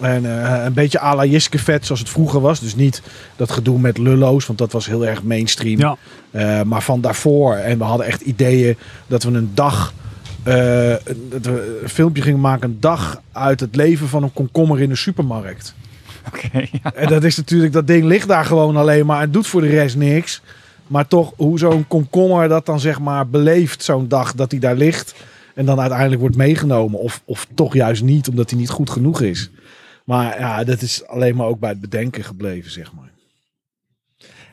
B: En eh, een beetje à la Jiske vet zoals het vroeger was. Dus niet dat gedoe met lullo's, want dat was heel erg mainstream.
A: Ja.
B: Eh, maar van daarvoor. En we hadden echt ideeën dat we een dag. eh, dat we een filmpje gingen maken. Een dag uit het leven van een komkommer in een supermarkt.
C: Oké, ja.
B: En dat is natuurlijk. Dat ding ligt daar gewoon alleen maar. En doet voor de rest niks. Maar toch, hoe zo'n komkommer dat dan zeg maar beleeft. Zo'n dag dat hij daar ligt. En dan uiteindelijk wordt meegenomen. Of, of toch juist niet, omdat hij niet goed genoeg is. Maar ja, dat is alleen maar ook bij het bedenken gebleven, zeg maar.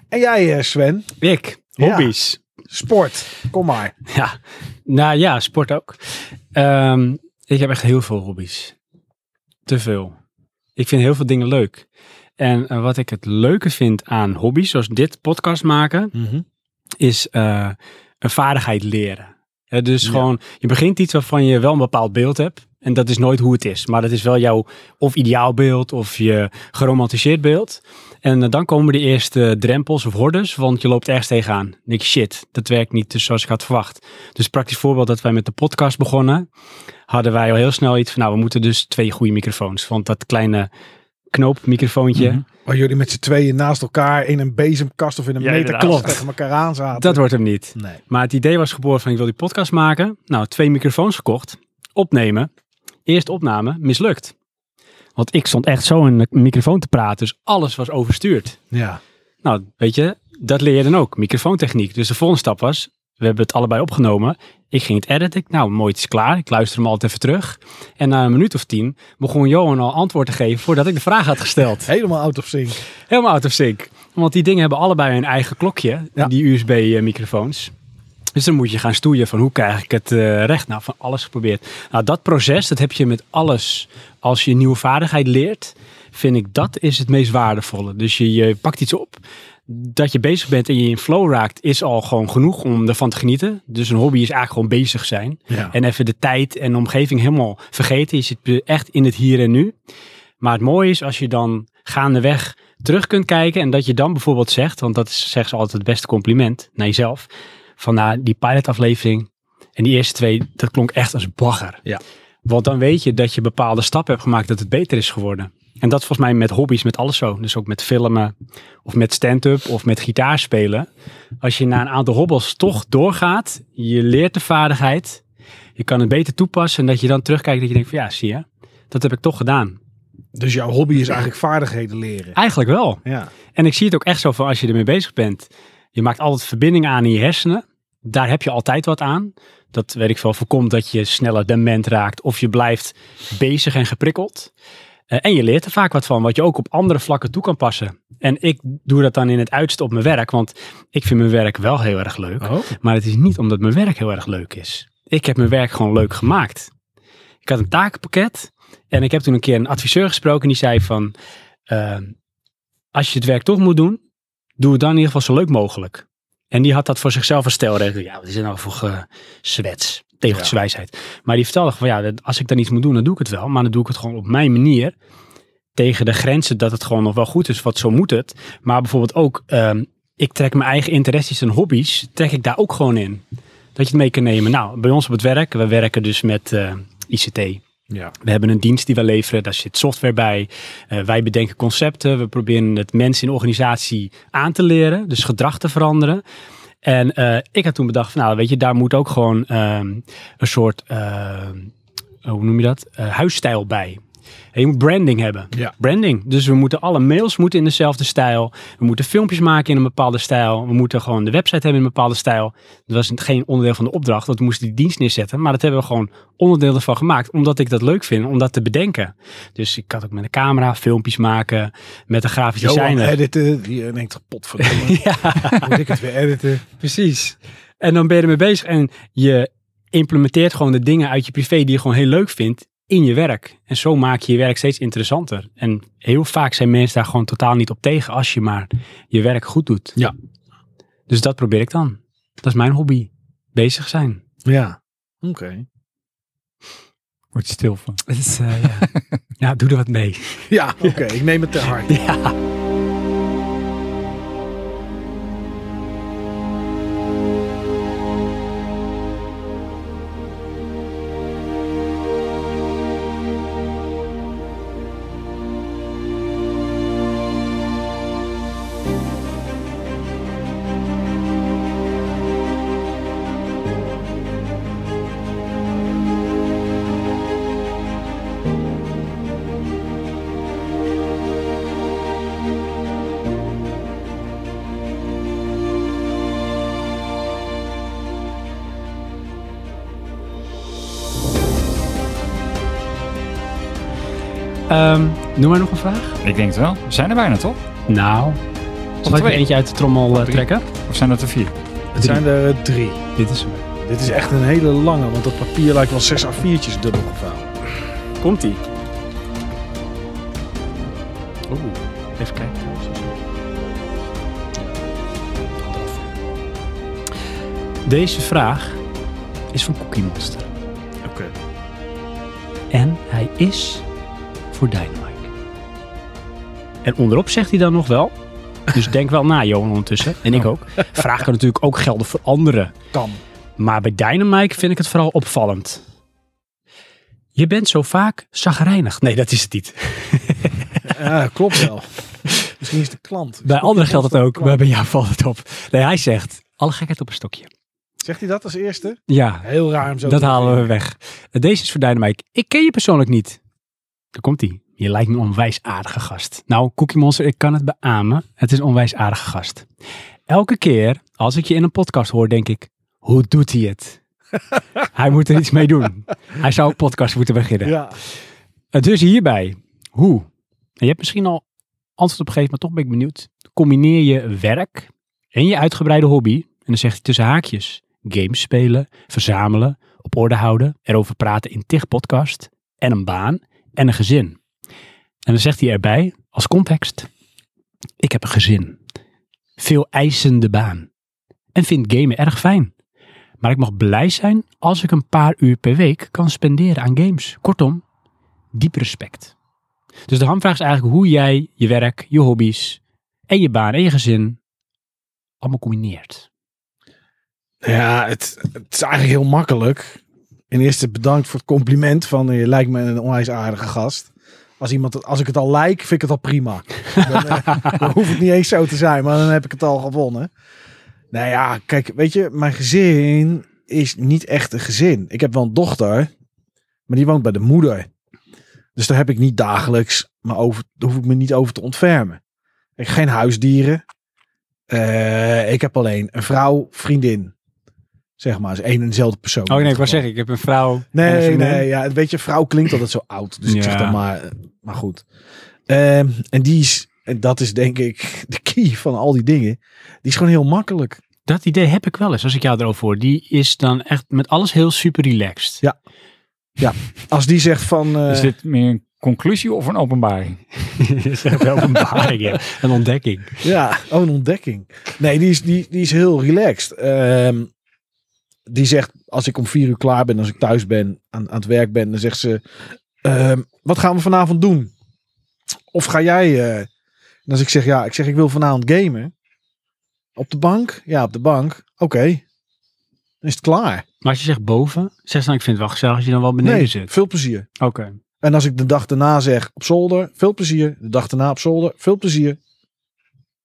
B: En jij, eh, Sven?
A: Ik.
B: Ja.
A: Hobby's.
B: Sport, kom maar.
A: Ja. Nou ja, sport ook. Ehm, ik heb echt heel veel hobby's. Te veel. Ik vind heel veel dingen leuk. En eh, wat ik het leuke vind aan hobby's, zoals dit podcast maken, is eh, een vaardigheid leren. Hè, dus gewoon, je begint iets waarvan je wel een bepaald beeld hebt. En dat is nooit hoe het is. Maar dat is wel jouw of ideaalbeeld of je geromantiseerd beeld. En eh, dan komen de eerste drempels of hordes, want je loopt ergens tegenaan. Niks shit, dat werkt niet dus zoals ik had verwacht. Dus praktisch voorbeeld dat wij met de podcast begonnen, hadden wij al heel snel iets van, nou we moeten dus twee goede microfoons. Want dat kleine knoopmicrofoontje,
C: Mhm.
B: Waar Oh, jullie met z'n tweeën naast elkaar in een bezemkast of in een
C: Ja,
B: meterkast
C: inderdaad.
B: tegen elkaar aan zaten.
A: dat wordt hem niet.
B: Nee.
A: Maar het idee was geboren van ik wil die podcast maken. Nou, twee microfoons gekocht. Opnemen. Eerst opname, mislukt. Want ik stond echt zo in de microfoon te praten. Dus alles was overstuurd.
B: Ja.
A: Nou, weet je, dat leer je dan ook. Microfoontechniek. Dus de volgende stap was, we hebben het allebei opgenomen. Ik ging het editen. Ik, Nou, mooi, het is klaar. Ik luister hem altijd even terug. En na een minuut of tien begon Johan al antwoord te geven voordat ik de vraag had gesteld.
B: Helemaal out of sync.
A: Helemaal out of sync. Want die dingen hebben allebei een eigen klokje,
B: Ja.
A: die USB-microfoons. Dus dan moet je gaan stoeien van hoe krijg ik het eh, recht? Nou, van alles geprobeerd. Nou, dat proces, dat heb je met alles. Als je een nieuwe vaardigheid leert, vind ik dat is het meest waardevolle. Dus je, je pakt iets op. Dat je bezig bent en je in flow raakt, is al gewoon genoeg om ervan te genieten. Dus een hobby is eigenlijk gewoon bezig zijn.
B: Ja.
A: En even de tijd en de omgeving helemaal vergeten. Je zit echt in het hier en nu. Maar het mooie is als je dan gaandeweg terug kunt kijken en dat je dan bijvoorbeeld zegt, want dat is zeggen ze altijd het beste compliment naar jezelf, van nou, die pilotaflevering en die eerste twee, dat klonk echt als bagger.
B: Ja.
A: Want dan weet je dat je bepaalde stappen hebt gemaakt dat het beter is geworden. En dat is volgens mij met hobby's, met alles zo. Dus ook met filmen of met stand-up of met gitaarspelen. Als je na een aantal hobbels toch doorgaat, je leert de vaardigheid, je kan het beter toepassen en dat je dan terugkijkt dat je denkt van ja, zie je, dat heb ik toch gedaan.
B: Dus jouw hobby is eigenlijk vaardigheden leren.
A: Eigenlijk wel.
B: Ja.
A: En ik zie het ook echt zo van als je ermee bezig bent. Je maakt altijd verbindingen aan in je hersenen. Daar heb je altijd wat aan. Dat weet ik veel, voorkomt dat je sneller dement raakt. Of je blijft bezig en geprikkeld. Eh, en je leert er vaak wat van, wat je ook op andere vlakken toe kan passen. En ik doe dat dan in het uiterste op mijn werk. Want ik vind mijn werk wel heel erg leuk. Maar het is niet omdat mijn werk heel erg leuk is. Ik heb mijn werk gewoon leuk gemaakt. Ik had een takenpakket. En ik heb toen een keer een adviseur gesproken. Die zei van, eh, als je het werk toch moet doen, doe het dan in ieder geval zo leuk mogelijk. En die had dat voor zichzelf als stelregel. Ja, wat is er nou voor ge- zwets? Tegeltjeswijsheid. Maar die vertelde van ja, dat als ik dan iets moet doen, dan doe ik het wel. Maar dan doe ik het gewoon op mijn manier. Tegen de grenzen dat het gewoon nog wel goed is, wat zo moet het. Maar bijvoorbeeld ook, ehm, ik trek mijn eigen interesses en hobby's, trek ik daar ook gewoon in. Dat je het mee kan nemen. Nou, bij ons op het werk, we werken dus met eh, ICT.
B: Ja.
A: We hebben een dienst die we leveren, daar zit software bij. Eh, wij bedenken concepten, we proberen het mensen in de organisatie aan te leren, dus gedrag te veranderen. En eh, ik had toen bedacht, van, nou weet je, daar moet ook gewoon ehm, een soort, ehm, hoe noem je dat, Eh, huisstijl bij. En je moet branding hebben.
B: Ja.
A: Branding. Dus we moeten alle mails moeten in dezelfde stijl. We moeten filmpjes maken in een bepaalde stijl. We moeten gewoon de website hebben in een bepaalde stijl. Dat was geen onderdeel van de opdracht. Dat we moesten die dienst neerzetten. Maar dat hebben we gewoon onderdeel ervan gemaakt. Omdat ik dat leuk vind. Om dat te bedenken. Dus ik had ook met een camera filmpjes maken. Met een grafisch
B: Johan
A: designer.
B: editen, die eh, denkt, potverdomme,
A: [laughs] Ja.
B: moet ik het weer editen?
A: Precies. En dan ben je ermee bezig en je implementeert gewoon de dingen uit je privé die je gewoon heel leuk vindt in je werk. En zo maak je je werk steeds interessanter. En heel vaak zijn mensen daar gewoon totaal niet op tegen als je maar je werk goed doet.
B: Ja.
A: Dus dat probeer ik dan. Dat is mijn hobby. Bezig zijn.
B: Ja. Oké.
C: Wordt stil van.
A: ja. doe er wat mee.
B: Ja, oké, ik neem het ter harte.
A: Ehm, noem maar nog een vraag.
C: Ik denk het wel. We zijn er bijna, toch?
A: Nou, zal ik er
C: twee.
A: eentje uit de trommel eh, trekken?
C: Of zijn dat er vier?
B: Het zijn er eh, drie.
A: Dit is hem.
B: Dit is echt een hele lange, want dat papier lijkt wel 6 A4'tjes dubbel gevouwen.
A: Komt-ie. Oeh, even kijken. Deze vraag is van Cookie Monster.
B: Oké.
A: En hij is voor Dynamite. En onderop zegt hij dan nog wel. Dus denk wel na, Johan, ondertussen. En ik ook. Vraag kan natuurlijk ook gelden voor anderen.
B: Oh. Kan.
A: Maar bij Dynamite vind ik het vooral opvallend. Je bent zo vaak zagrijnig. Nee, dat is het niet.
B: Ja, klopt wel. Misschien is de klant.
A: Bij anderen geldt het ook, maar
B: Klant.
A: bij jou valt het op. Nee, hij zegt, alle gekheid op een stokje.
B: Zegt hij dat als eerste?
A: Ja,
B: Heel raar om zo
A: dat
B: te
A: halen we
B: beginnen.
A: weg. Deze is voor Dynamite. Ik ken je persoonlijk niet. Daar komt hij. Je lijkt me een onwijs aardige gast. Nou, Cookie Monster, ik kan het beamen. Het is een onwijs aardige gast. Elke keer als ik je in een podcast hoor, denk ik, hoe doet hij het?
B: [laughs]
A: hij moet er iets mee doen. Hij zou een podcast moeten beginnen.
B: Ja.
A: Eh, Dus hierbij, hoe? En je hebt misschien al antwoord op gegeven, maar toch ben ik benieuwd. Combineer je werk en je uitgebreide hobby. En dan zegt hij tussen haakjes. Games spelen, verzamelen, op orde houden, erover praten in TIG podcast. En een baan en een gezin. En dan zegt hij erbij, als context. Ik heb een gezin. Veel eisende baan. En vind gamen erg fijn. Maar ik mag blij zijn als ik een paar uur per week kan spenderen aan games. Kortom, diep respect. Dus de hamvraag is eigenlijk hoe jij je werk, je hobby's en je baan en je gezin allemaal combineert.
B: Ja, het, het is eigenlijk heel makkelijk. In eerste bedankt voor het compliment van eh, je lijkt me een onwijs aardige gast. Als, iemand, het- als ik het al lijk, vind ik het al prima.
A: [laughs]
B: Dan, eh, dan hoeft het niet eens zo te zijn, maar dan heb ik het al gewonnen. Nou ja, kijk, weet je, mijn gezin is niet echt een gezin. Ik heb wel een dochter, maar die woont bij de moeder. Dus daar heb ik niet dagelijks, maar over, daar hoef ik me niet over te ontfermen. Ik heb geen huisdieren. Eh, ik heb alleen een vrouw, vriendin. Zeg maar, is één en dezelfde persoon.
A: Oh nee, ik wou
B: was
A: zeggen, ik heb een vrouw.
B: Nee, nee, ja, weet je, vrouw klinkt altijd zo oud. Dus ik zeg
A: Ja.
B: dan maar, eh, maar goed. Ehm, en die is, en dat is denk ik de key van al die dingen. Die is gewoon heel makkelijk.
A: Dat idee heb ik wel eens als ik jou erover hoor. Die is dan echt met alles heel super [laughs] relaxed.
B: Ja. Als die zegt van, eh,
C: Is dit meer een conclusie of een openbaring?
A: dat is echt wel een openbaring, ja. een ontdekking.
B: ja, oh, een ontdekking. Nee, die is, die, die is heel relaxed. Ehm, die zegt, als ik om vier uur klaar ben, als ik thuis ben, aan, aan het werk ben, dan zegt ze, ehm, wat gaan we vanavond doen? Of ga jij, eh, en als ik zeg, ja, ik zeg, ik wil vanavond gamen. Op de bank? Ja, op de bank. Oké. Dan is het klaar.
A: Maar als je zegt boven, zeg dan ik vind het wel gezellig als je dan wel beneden
B: Nee,
A: zit.
B: veel plezier.
A: Oké.
B: En als ik de dag daarna zeg op zolder, veel plezier. De dag daarna op zolder, veel plezier.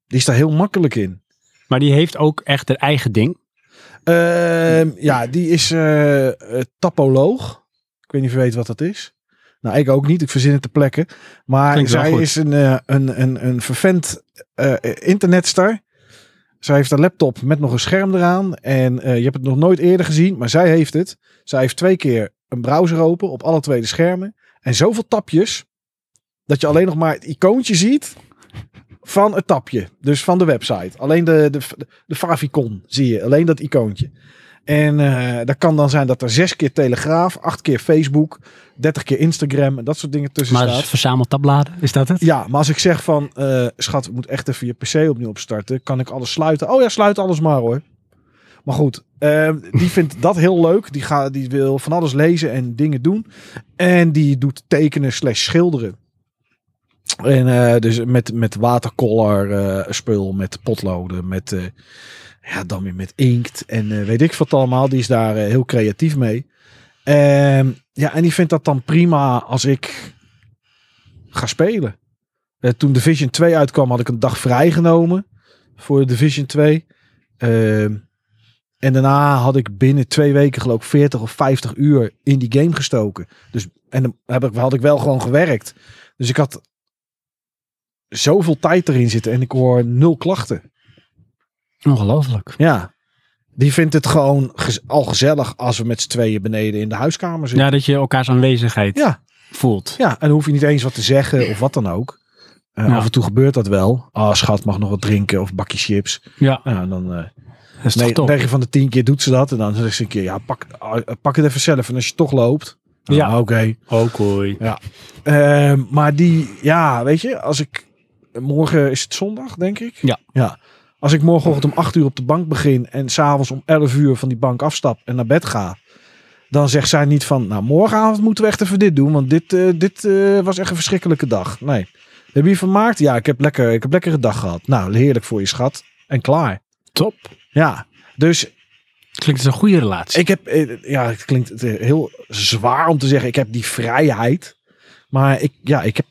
B: Die is daar heel makkelijk in.
A: Maar die heeft ook echt haar eigen ding.
B: Ehm, ja, die is eh, eh, tapoloog. Ik weet niet of je weet wat dat is. Nou, ik ook niet. Ik verzin het te plekken. Maar
A: Klinkt wel
B: zij
A: goed.
B: is een, eh, een, een, een vervent eh, internetster. Zij heeft een laptop met nog een scherm eraan. En eh, je hebt het nog nooit eerder gezien, maar zij heeft het. Zij heeft twee keer een browser open op alle twee de schermen. En zoveel tapjes, dat je alleen nog maar het icoontje ziet van het tapje. Dus van de website. Alleen de, de, de favicon zie je. Alleen dat icoontje. En eh, dat kan dan zijn dat er zes keer Telegraaf, acht keer Facebook, dertig keer Instagram en dat soort dingen tussen
A: Maar
B: staat.
A: het verzamelt tabbladen, Dus is dat het?
B: Ja, maar als ik zeg van, eh, schat, ik moet echt even je PC opnieuw opstarten. Kan ik alles sluiten? Oh ja, sluit alles maar hoor. Maar goed, eh, die vindt dat heel leuk. Die, ga, die wil van alles lezen en dingen doen. En die doet tekenen slash schilderen. En eh, dus met, met watercolor eh, spul, met potloden, met eh, ja, dan weer met inkt en eh, weet ik wat allemaal. Die is daar eh, heel creatief mee. Ehm, ja, en die vindt dat dan prima als ik ga spelen. Eh, toen Division 2 uitkwam, had ik een dag vrijgenomen voor Division 2. Ehm, en daarna had ik binnen twee weken geloof ik 40 of 50 uur in die game gestoken. Dus, en dan heb ik, had ik wel gewoon gewerkt. Dus ik had zoveel tijd erin zitten en ik hoor nul klachten.
A: Ongelooflijk.
B: Ja. Die vindt het gewoon gez- al gezellig als we met z'n tweeën beneden in de huiskamer zitten.
A: Ja, dat je elkaars aanwezigheid
B: Ja.
A: voelt.
B: Ja, en dan hoef je niet eens wat te zeggen of wat dan ook. Eh,
A: Ja.
B: Af en toe gebeurt dat wel. Ah, schat mag nog wat drinken of een bakje chips.
A: Ja,
B: Nou, dan eh
A: dat is toch
B: ne-
A: top.
B: 9 van de 10 keer doet ze dat. En dan zegt ze een keer, ja, pak, ah, eh, pak het even zelf. En als je toch loopt, dan,
A: Ja.
B: ah, oké.
A: Ook hoi.
B: Eh, maar die, ja, weet je, als ik... Morgen is het zondag, denk ik.
A: Ja.
B: ja. Als ik morgenochtend om 8 uur op de bank begin en s'avonds om 11 uur van die bank afstap en naar bed ga, dan zegt zij niet van, nou morgenavond moeten we echt even dit doen, want dit, eh, dit eh, was echt een verschrikkelijke dag. Nee. Heb je je vermaakt? Ja, ik heb lekker, ik heb lekkere dag gehad. Nou, heerlijk voor je schat. En klaar.
A: Top.
B: Ja. Dus
A: Klinkt als een goede relatie.
B: ik heb, eh, ja, het klinkt eh, heel zwaar om te zeggen, ik heb die vrijheid. Maar ik, ja, ik, heb,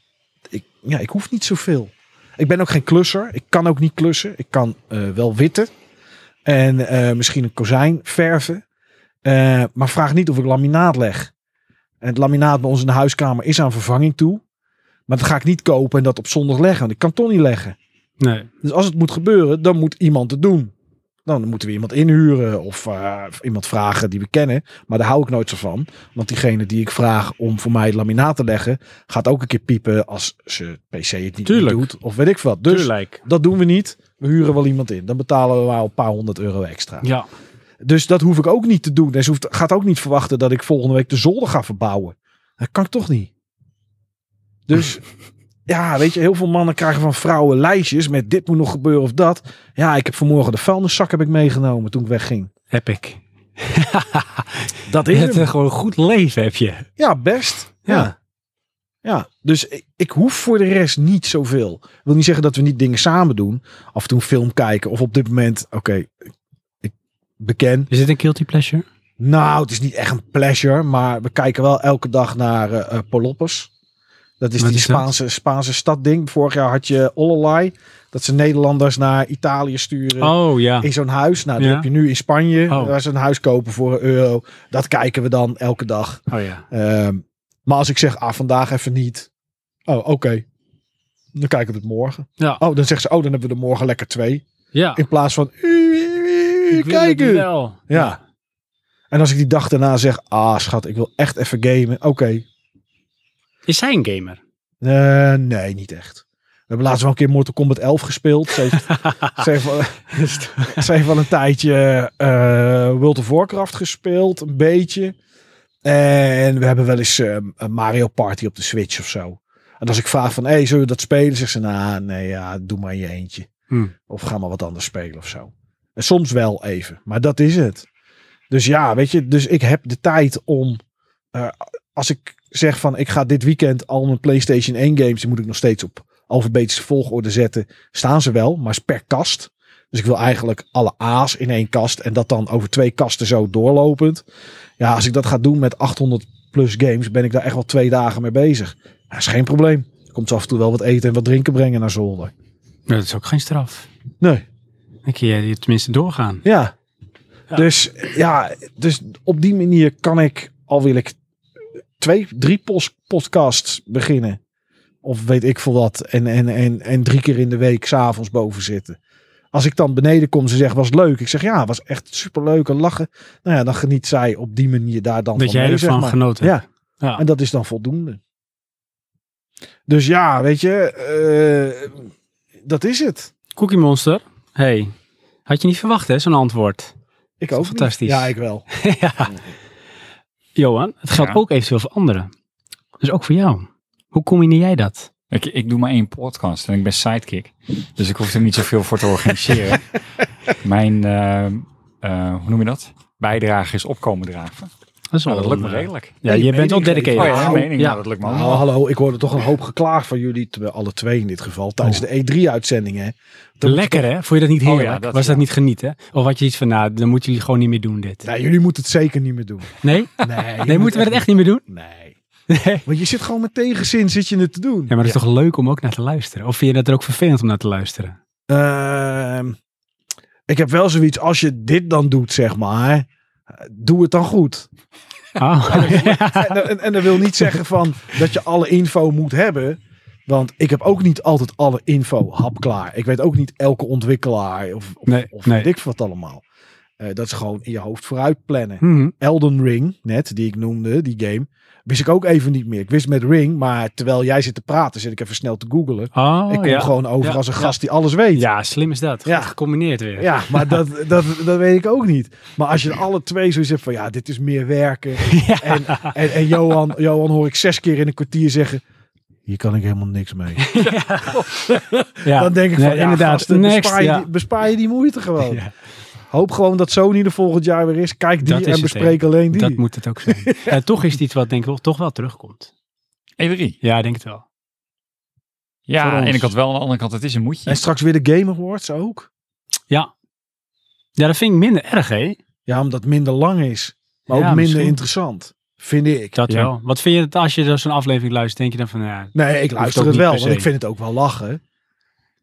B: ik, ja, ik hoef niet zoveel. Ik ben ook geen klusser. Ik kan ook niet klussen. Ik kan eh, wel witten. En eh, misschien een kozijn verven. Eh, maar vraag niet of ik laminaat leg. En het laminaat bij ons in de huiskamer is aan vervanging toe. Maar dat ga ik niet kopen en dat op zondag leggen. Want ik kan het toch niet leggen.
A: nee.
B: Dus als het moet gebeuren, dan moet iemand het doen. Nou, Dan moeten we iemand inhuren of eh, iemand vragen die we kennen. Maar daar hou ik nooit zo van. Want diegene die ik vraag om voor mij het laminaat te leggen, gaat ook een keer piepen als ze het PC het niet, niet
A: Tuurlijk.
B: doet. Of weet ik wat. Dus
A: Tuurlijk.
B: dat doen we niet. We huren wel iemand in. Dan betalen we wel een paar honderd euro extra.
A: Ja.
B: Dus dat hoef ik ook niet te doen. En ze hoeft, gaat ook niet verwachten dat ik volgende week de zolder ga verbouwen. Dat kan ik toch niet. Dus ja, weet je, heel veel mannen krijgen van vrouwen lijstjes met dit moet nog gebeuren of dat. Ja, ik heb vanmorgen de vuilniszak heb ik meegenomen toen ik wegging.
A: Heb ik. [laughs]
B: Dat
A: Je
B: is
A: hebt
B: hem.
A: eh, gewoon een goed leven, heb je.
B: Ja, best. Ja.
A: Ja.
B: ja. dus ik, ik hoef voor de rest niet zoveel. Ik wil niet zeggen dat we niet dingen samen doen. Af en toe een film kijken of op dit moment, oké, ik- ik beken,
A: Is dit een guilty pleasure?
B: Nou, het is niet echt een pleasure, maar we kijken wel elke dag naar eh eh, Polopos. Dat is
A: Wat
B: die
A: is dat?
B: Spaanse, Spaanse stadding. Vorig jaar had je Ollolai, dat ze Nederlanders naar Italië sturen.
A: Oh ja.
B: In zo'n huis. Nou, dat
A: Ja.
B: heb je nu in Spanje.
A: Oh.
B: Daar ze een huis kopen voor een euro. Dat kijken we dan elke dag.
A: Oh ja.
B: Ehm, maar als ik zeg, ah, vandaag even niet. Oh, oké. Dan kijken we het morgen.
A: Ja.
B: Oh, dan zegt ze, oh, dan hebben we er morgen lekker twee.
A: Ja.
B: In plaats van, kijken.
A: wel.
B: Ja. En als ik die dag daarna zeg, ah schat, ik wil echt even gamen. Oké.
A: Is zij een gamer?
B: Eh, nee, niet echt. We hebben laatst wel een keer Mortal Kombat 11 gespeeld. Ze heeft, ze heeft, wel, ze heeft wel een tijdje eh, World of Warcraft gespeeld, een beetje. En we hebben wel eens eh, een Mario Party op de Switch of zo. En als ik vraag van, hey, zullen we dat spelen? Zegt ze, nou, nee, ja, doe maar in je eentje.
A: Hmm.
B: Of ga maar wat anders spelen of zo. En soms wel even, maar dat is het. Dus ja, weet je, dus ik heb de tijd om... eh, als ik zeg van, ik ga dit weekend al mijn PlayStation 1 games... die moet ik nog steeds op alfabetische volgorde zetten. Staan ze wel, maar is per kast. Dus ik wil eigenlijk alle A's in één kast... en dat dan over twee kasten zo doorlopend. Ja, als ik dat ga doen met 800 plus games... ben ik daar echt wel twee dagen mee bezig. Dat is geen probleem. Er komt af en toe wel wat eten en wat drinken brengen naar zolder.
A: Nou, dat is ook geen straf.
B: Nee,
A: Dan kun je je tenminste doorgaan.
B: Ja. Dus ja, dus op die manier kan ik, al wil ik twee, drie pos- podcasts beginnen. Of weet ik veel wat. En, en, en, en drie keer in de week s'avonds boven zitten. Als ik dan beneden kom, ze zegt, was het leuk. Ik zeg, ja, was echt superleuk en lachen. Nou ja, dan geniet zij op die manier daar dan
A: Dat
B: van
A: jij
B: mee, zeg
A: ervan
B: maar.
A: genoten
B: Ja,
A: Ja.
B: en dat is dan voldoende. Dus ja, weet je, eh, dat is het.
A: Cookie Monster. Hey. Had je niet verwacht, hè, zo'n antwoord. Dat
B: Ik
A: is
B: ook. niet.
A: fantastisch.
B: Ja, ik wel.
A: ja. Johan, het geldt
C: Ja.
A: ook eventueel voor anderen. Dus ook voor jou. Hoe combineer jij dat?
C: Ik, ik doe maar één podcast en ik ben sidekick. Dus ik hoef er niet zoveel voor te organiseren. Mijn, eh, eh, hoe noem je dat? Bijdrage is opkomen dragen.
A: Dat is
C: Nou,
A: wel
C: dat lukt
A: een,
C: me
A: eh,
C: redelijk.
A: Ja,
B: Nee,
A: je bent wel
B: mening geven.
A: dedicated.
C: Oh ja,
B: nou,
C: mening.
A: ja. Oh.
C: Ja, dat lukt me
B: Nou,
C: allemaal.
B: hallo, ik hoorde toch een hoop geklaagd van jullie, terwijl alle twee in dit geval, tijdens de E E3-uitzendingen.
A: Lekker hè? Vond je dat niet
C: ja,
A: heerlijk?
C: dat-
A: Was dat
C: ja.
A: niet genieten? Of had je iets van, nou, dan moeten jullie gewoon niet meer doen dit.
B: Nee, jullie moeten het zeker niet meer doen.
A: Nee?
B: [laughs] Nee, je
A: Nee,
B: moet
A: moeten we dat echt niet meer doen?
B: Nee.
A: Nee.
B: Want je zit gewoon met tegenzin, zit je het te doen.
A: Ja, maar het is toch leuk om ook naar te luisteren? Of vind je dat er ook vervelend om naar te luisteren?
B: Ehm, ik heb wel zoiets, als je dit dan doet, zeg maar, eh, doe het dan goed.
A: Ah,
B: en, en, en dat wil niet zeggen van dat je alle info moet hebben. Want ik heb ook niet altijd alle info hapklaar. Ik weet ook niet elke ontwikkelaar of, of,
A: Nee,
B: of
A: nee.
B: weet ik wat allemaal. Eh, dat is gewoon in je hoofd vooruit plannen.
A: Mhm.
B: Elden Ring, net, die ik noemde, die game, wist ik ook even niet meer. Ik wist met Ring, maar terwijl jij zit te praten, zit ik even snel te googlen.
A: Oh,
B: ik kom
A: ja.
B: gewoon over
A: Ja,
B: als een
A: ja.
B: gast die alles weet.
A: Ja, slim is dat. Goed
B: Ja.
A: gecombineerd weer. [laughs]
B: Ja, maar dat, dat, dat weet ik ook niet. Maar als je alle twee zoiets hebt van, ja, dit is meer werken. En, en, en Johan, Johan hoor ik zes keer in een kwartier zeggen, hier kan ik helemaal niks mee.
A: Ja.
B: Dan denk ik van,
A: Nee,
B: ja,
A: inderdaad.
B: gasten,
A: Next,
B: bespaar, je
A: ja.
B: die, bespaar je die moeite gewoon.
A: Ja.
B: Hoop gewoon dat Sony er volgend jaar weer is. Kijk die
A: Dat is
B: en
A: het,
B: bespreek alleen die.
A: Dat moet het ook zijn. Ja, toch is het iets wat denk ik wel, toch wel terugkomt.
C: E3.
A: Ja, ik denk het wel.
C: Ja,
A: Voor
C: aan
A: ons.
C: de ene kant wel, aan de andere kant, het is een moedje.
B: En straks weer de Game Awards ook.
A: Ja, dat vind ik minder erg, hè?
B: Ja, omdat het minder lang is. Maar ook
A: Ja,
B: minder
A: misschien.
B: interessant. Vind ik.
A: Dat
C: Ja.
A: wel. Wat vind je dat als je zo'n aflevering luistert, denk je dan van, ja...
B: nee, ik
A: Hoeft
B: luister
A: ook
B: het
A: niet
B: wel.
A: per se.
B: Want ik vind het ook wel lachen.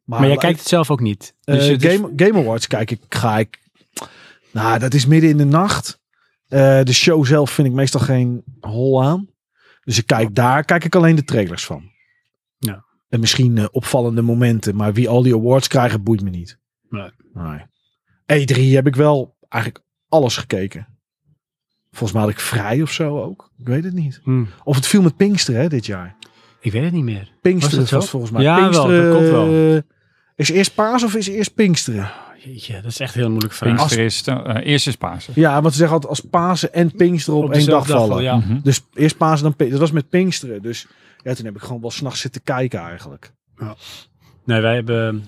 A: Maar, jij kijkt het zelf ook niet.
B: eh,
A: Dus het is-
B: Game, Game Awards kijk ik, ga ik... Nou, dat is midden in de nacht. Eh, de show zelf vind ik meestal geen hol aan. Dus ik kijk daar, kijk ik alleen de trailers van.
A: Ja.
B: En misschien eh, opvallende momenten. Maar wie al die awards krijgen, boeit me niet.
A: Nee.
B: Nee. E3 heb ik wel eigenlijk alles gekeken. Volgens mij had ik vrij of zo ook. Ik weet het niet.
A: Hm,
B: Of het viel met Pinksteren hè, dit jaar.
A: ik weet het niet meer.
B: Pinksteren
A: Was
B: was,
A: dat zo?
B: volgens mij.
A: Ja, wel, dat
B: Pinksteren,
A: komt wel.
B: eh, Is eerst Paas of is eerst Pinksteren?
A: Jeetje, dat is echt een heel moeilijk vraag.
C: Pinkster is, eh, eh, eerst is Pasen.
B: Ja, want ze zeggen altijd als Pasen en Pinksteren op, één
A: dezelfde
B: dag vallen.
A: Ja.
C: Mhm.
B: Dus eerst Pasen dan Pinksteren. Dat was met Pinksteren. Dus ja, toen heb ik gewoon wel s'nachts zitten kijken eigenlijk.
A: Nee, wij hebben...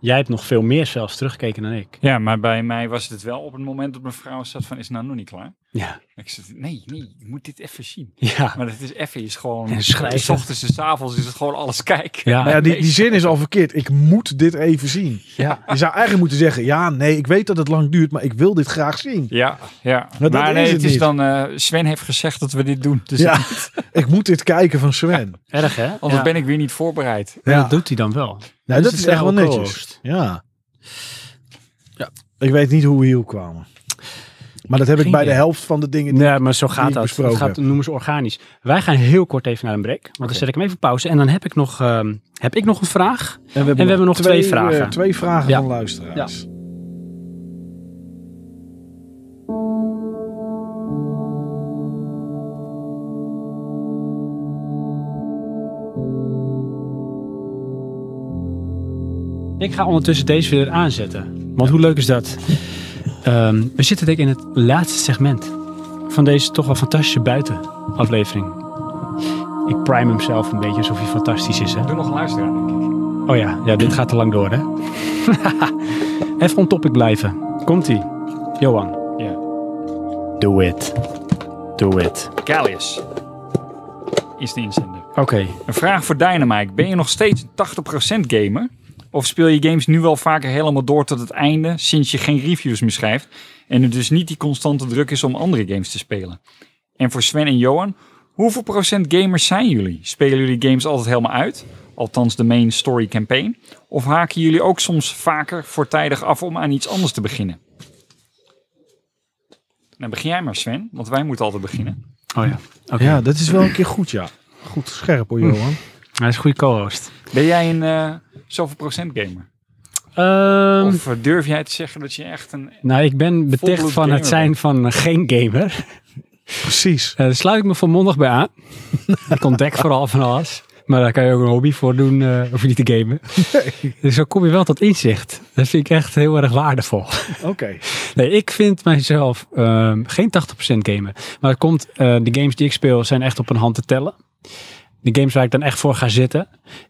A: Jij hebt nog veel meer zelfs teruggekeken dan ik.
C: Ja, maar bij mij was het wel op het moment dat mijn vrouw zat van, is het nou nog niet klaar?
A: Ja.
C: Ik zei, nee, nee, ik moet dit even zien.
A: Ja.
C: Maar dat is even, is gewoon,
A: En schrijven.
C: s ochtends en s avonds is het gewoon alles kijken.
A: Ja.
B: Maar Nou ja, die, die zin is al verkeerd. Ik moet dit even zien.
C: Ja.
B: Je zou eigenlijk moeten zeggen, ja, nee, ik weet dat het lang duurt, maar ik wil dit graag zien.
C: Ja, ja.
B: dat
C: maar
B: is
C: nee,
B: het
C: het, is
B: niet.
C: dan, eh, Sven heeft gezegd dat we dit doen. Dus
B: Ja, ik moet dit kijken van Sven.
A: Erg, hè?
C: anders
A: Ja.
C: ben ik weer niet voorbereid.
A: Maar
B: Ja.
A: Dat doet hij dan wel. Dus
B: Nou, dat
A: het
B: is
A: zijn
B: echt wel
A: allemaal
B: netjes.
A: co-host.
B: Ja.
A: Ja.
B: Ik weet niet hoe we hier kwamen. Maar dat heb ik
A: Geen
B: bij de
A: idee.
B: helft van de dingen. Die...
A: Nee, maar zo
B: die
A: gaat
B: ik
A: dat.
B: besproken
A: Het gaat,
B: heb.
A: noemen ze organisch. Wij gaan heel kort even naar een break. Want dan zet ik hem even op pauze. En dan heb ik nog, ehm, heb ik nog een vraag.
B: En we hebben,
A: hebben nog twee
B: eh,
A: vragen.
B: twee vragen
A: Ja.
B: van luisteraars.
A: Ik ga ondertussen deze weer aanzetten. Want hoe leuk is dat? Ehm, we zitten denk ik in het laatste segment. Van deze toch wel fantastische buitenaflevering. Ik prime hem zelf een beetje alsof hij fantastisch is. Hè?
C: Doe nog luisteren, denk ik.
A: Oh ja, ja, dit gaat te lang door, hè? [laughs] Even on topic blijven. Komt-ie. Johan.
C: Ja.
A: Do it. Do it.
C: Gallius is de inzender.
A: Oké.
C: Een vraag voor Dynamite. Ben je nog steeds een 80% gamer? Of speel je games nu wel vaker helemaal door tot het einde, sinds je geen reviews meer schrijft en er dus niet die constante druk is om andere games te spelen? En voor Sven en Johan, hoeveel procent gamers zijn jullie? Spelen jullie games altijd helemaal uit? Althans de main story campaign? Of haken jullie ook soms vaker voortijdig af om aan iets anders te beginnen? Nou, begin jij maar Sven, want wij moeten altijd beginnen.
A: Oh ja. Oké.
B: Ja, dat is wel een keer goed, ja. Goed scherp hoor, Johan.
A: Hij is een goede co-host.
C: Ben jij een eh, zoveel procent gamer?
A: Ehm,
C: Of eh, durf jij te zeggen dat je echt een...
A: nou, ik ben beticht
C: Volbloed
A: van het
C: gamer
A: zijn
C: bent.
A: van eh, geen gamer.
B: [laughs] Precies.
A: Eh, daar sluit ik me volmondig bij
C: [laughs]
A: aan. ik ontdek vooral van alles. Maar daar kan je ook een hobby voor doen, eh of niet te gamen. Dus zo kom je wel tot inzicht. Dat vind ik echt heel erg waardevol.
B: Oké.
A: Nee, ik vind mijzelf ehm, geen 80% gamer. Maar het komt, eh, de games die ik speel zijn echt op een hand te tellen. De games waar ik dan echt voor ga zitten.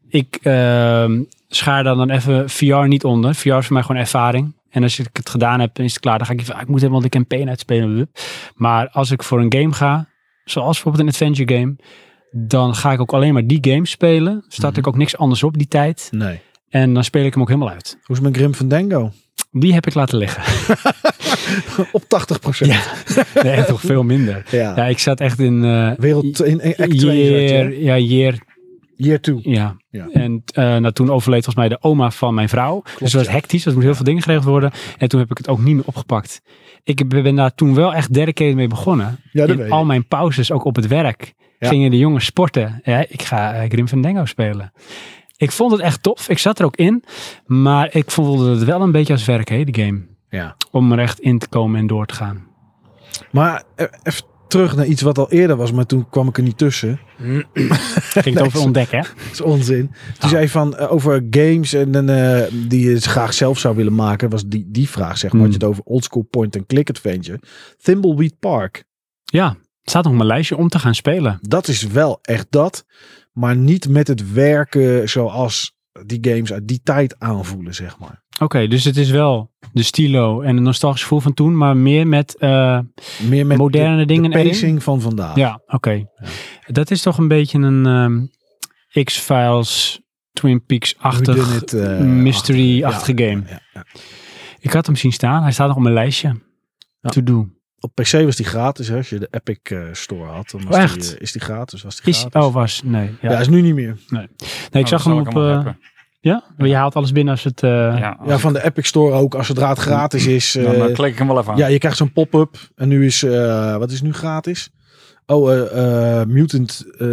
A: Ik ehm, schaar dan, dan even VR niet onder. VR is voor mij gewoon ervaring. En als ik het gedaan heb, dan is het klaar. Dan ga ik even, ah, ik moet helemaal de campaign uitspelen. Maar als ik voor een game ga, zoals bijvoorbeeld een adventure game, dan ga ik ook alleen maar die game spelen. Start ik ook niks anders op die tijd.
B: Nee.
A: En dan speel ik hem ook helemaal uit.
B: Hoe is mijn Grim Fandango?
A: Die heb ik laten liggen.
B: [laughs] Op 80%. Ja.
A: Ja. [laughs] Nee, toch veel minder. Ja, ik zat echt in... eh
B: Wereld in, in act 2. zat
A: year,
B: je, hè?
A: ja, year,
B: Year 2.
A: ja.
B: Ja.
A: En eh, nou, toen overleed volgens mij de oma van mijn vrouw. dus dat was
B: ja.
A: hectisch. Dat moest heel veel dingen geregeld worden. En toen heb ik het ook niet meer opgepakt. Ik ben daar toen wel echt dedicated mee begonnen.
B: Ja, dat
A: in
B: weet
A: al
B: ik.
A: mijn pauzes, ook op het werk,
B: Ja.
A: gingen de jongens sporten. Ja, ik ga eh, Grim Fandango spelen. Ik vond het echt tof. Ik zat er ook in. Maar ik voelde het wel een beetje als werk, hè, die game.
B: Ja.
A: om er echt in te komen en door te gaan.
B: Maar eh, even terug naar iets wat al eerder was, maar toen kwam ik er niet tussen. [laughs]
A: Ging het over ontdekken, hè?
B: Dat is onzin. Toen zei je van eh, over games en, dan, eh, die je graag zelf zou willen maken, was die, die vraag zeg maar.
A: Hmm.
B: Had je het over oldschool point-and-click adventure. Thimbleweed Park.
A: Ja, het staat nog op mijn lijstje om te gaan spelen.
B: Dat is wel echt dat. Maar niet met het werken zoals die games uit die tijd aanvoelen, zeg maar.
A: Oké, dus het is wel de stilo en het nostalgisch gevoel van toen, maar meer met... eh,
B: Meer met
A: Moderne
B: de, de
A: dingen erin?
B: pacing van vandaag.
A: ja, oké. Dat is toch een beetje een ehm, X-Files, Twin
B: Hoe
A: Peaks-achtig,
B: dit, eh,
A: mystery-achtige
B: ja,
A: game.
B: ja, ja.
A: Ik had hem zien staan. Hij staat nog op mijn lijstje.
B: Ja.
A: To do.
B: Op PC was die gratis. Hè. Als je de Epic eh, Store had, dan was
A: Oh, echt?
B: Die, eh, is die gratis. Was die
A: Is,
B: gratis.
A: oh, was. Nee. Ja.
B: ja. is nu niet meer.
A: nee
C: Oh,
A: ik zag hem op. eh, ja? Maar Je haalt alles binnen als het. eh,
C: ja,
B: Ja, van de Epic Store ook. Als zodra het gratis is.
C: dan,
B: eh,
C: eh, klik ik hem wel even aan.
B: ja, je krijgt zo'n pop-up. En nu is, eh, wat is nu gratis? Oh, eh, eh, Mutant, eh,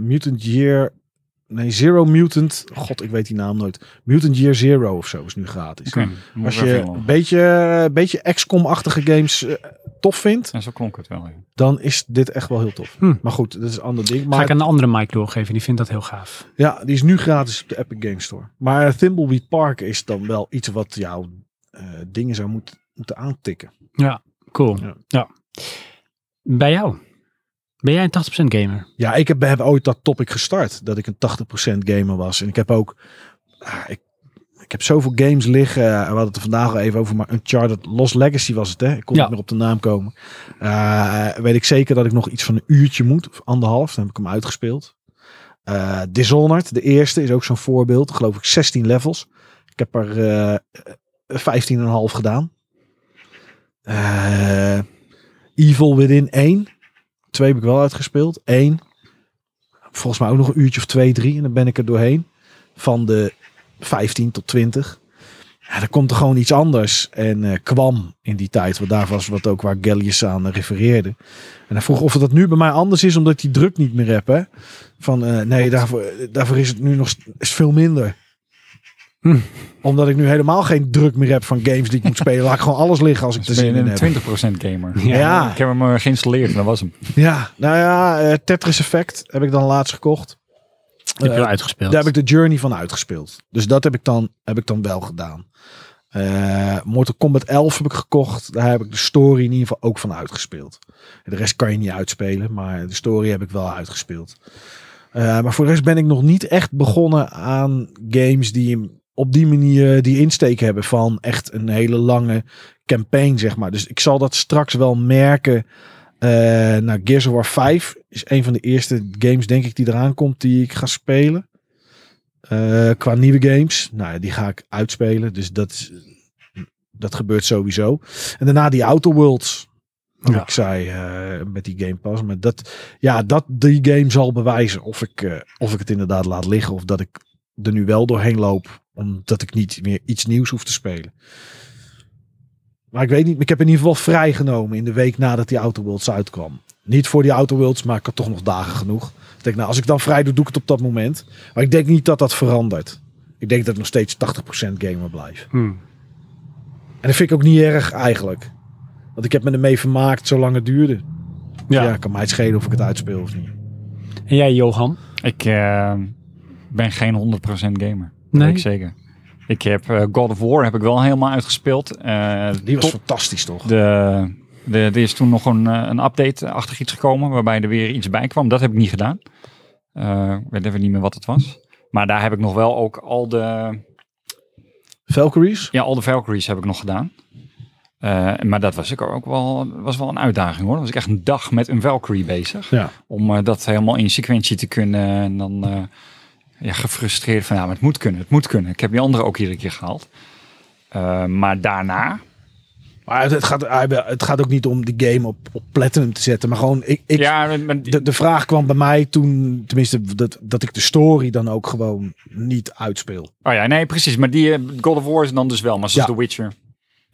B: Mutant Year... Nee, Zero Mutant. God, ik weet die naam nooit. Mutant Year Zero of zo is nu gratis.
C: Oké, moet ik
B: Als
C: even
B: je
C: inloggen.
B: een beetje, een beetje XCOM-achtige games eh, tof vindt,
C: En zo klonk het wel. ja.
B: dan is dit echt wel heel tof.
A: Hm.
B: Maar goed, dat is een ander ding.
A: Ga
B: Maar
A: ik aan een andere Mike doorgeven. Die vindt dat heel gaaf.
B: ja, die is nu gratis op de Epic Game Store. Maar Thimbleweed Park is dan wel iets wat jouw eh, dingen zou moeten moeten aantikken.
A: Cool.
B: Ja.
A: Ja. Bij jou. Ben jij een 80% gamer?
B: Ja, ik heb, heb ooit dat topic gestart. Dat ik een 80% gamer was. En ik heb ook... ah, ik, ik heb zoveel games liggen. eh, We hadden het er vandaag al even over. Maar Uncharted Lost Legacy was het, hè? Ik kon
A: Ja.
B: niet meer op de naam komen. Eh, weet ik zeker dat ik nog iets van een uurtje moet. Of anderhalf. Dan heb ik hem uitgespeeld. Eh, Dishonored, de eerste, is ook zo'n voorbeeld. Geloof ik 16 levels. Ik heb er eh, 15,5 gedaan. Eh, Evil Within 1. Twee heb ik wel uitgespeeld. Eén. Volgens mij ook nog een uurtje of twee, drie. En dan ben ik er doorheen. Van de 15 tot 20. Ja, dan komt er gewoon iets anders. En eh, kwam in die tijd. Want daar was wat ook waar Gellius aan eh, refereerde. En hij vroeg of dat nu bij mij anders is. Omdat ik die druk niet meer heb. Hè? Van eh, nee, daarvoor, daarvoor is het nu nog st- is veel minder.
A: Hm.
B: Omdat ik nu helemaal geen druk meer heb van games die ik moet spelen. Laat ik gewoon alles liggen als ik er
C: Dus ben
B: zin in
C: je
B: heb.
C: een 20% gamer.
B: Ja.
C: Ik heb hem eh, geïnstalleerd en dat was hem.
B: Ja, nou ja, eh, Tetris Effect heb ik dan laatst gekocht.
A: heb je wel
B: Eh,
A: uitgespeeld?
B: daar heb ik de journey van uitgespeeld. Dus dat heb ik dan, heb ik dan wel gedaan. Eh, Mortal Kombat 11 heb ik gekocht. Daar heb ik de story in ieder geval ook van uitgespeeld. De rest kan je niet uitspelen, maar de story heb ik wel uitgespeeld. Eh, maar voor de rest ben ik nog niet echt begonnen aan games die hem op die manier die insteek hebben van echt een hele lange campaign, zeg maar. Dus ik zal dat straks wel merken. Eh nou, Gears of War 5 is een van de eerste games, denk ik, die eraan komt die ik ga spelen. Eh, qua nieuwe games, nou, ja, die ga ik uitspelen. Dus dat, is- dat gebeurt sowieso. En daarna die Outer Worlds. Wat
A: Ja.
B: ik zei eh, met die Game Pass. Maar dat, ja, dat die game zal bewijzen of ik, eh, of ik het inderdaad laat liggen. Of dat ik er nu wel doorheen loop. Omdat ik niet meer iets nieuws hoef te spelen. Maar ik weet niet. Ik heb in ieder geval vrijgenomen in de week nadat die Outer Worlds uitkwam. Niet voor die Outer Worlds, maar ik had toch nog dagen genoeg. Ik denk, nou, als ik dan vrij doe, doe ik het op dat moment. Maar ik denk niet dat dat verandert. Ik denk dat ik nog steeds 80% gamer blijf.
A: Hm.
B: En dat vind ik ook niet erg eigenlijk. Want ik heb me ermee vermaakt zolang het duurde. Ja,
A: Ja.
B: kan mij het schelen of ik het uitspeel of niet.
A: En jij, Johan?
C: Ik eh, ben geen 100% gamer.
A: Nee.
C: Nee. Ik zeker. Ik heb eh, God of War heb ik wel helemaal uitgespeeld. Eh,
B: Die was
C: tot-
B: fantastisch toch?
C: de, de, er is toen nog een, eh, een update achter iets gekomen waarbij er weer iets bij kwam. Dat heb ik niet gedaan. Eh, Ik weet even niet meer wat het was. Maar daar heb ik nog wel ook al de,
B: Valkyries?
C: ja, al de Valkyries heb ik nog gedaan. Eh, maar dat was ik ook wel, was wel een uitdaging hoor. Dan was ik echt een dag met een Valkyrie bezig.
B: Ja.
C: Om eh, dat helemaal in sequentie te kunnen. En dan eh, ja, gefrustreerd van ja, maar het moet kunnen, het moet kunnen. Ik heb die andere ook iedere keer gehaald. Eh, maar daarna,
B: Maar het- het gaat, het gaat ook niet om die game op, op platinum te zetten. Maar gewoon, ik, ik,
C: ja, maar-
B: de, de vraag kwam bij mij toen, tenminste, dat, dat ik de story dan ook gewoon niet uitspeel.
C: Oh ja, nee, precies. Maar die eh, God of War is dan dus wel, maar zoals
B: Ja.
C: The Witcher.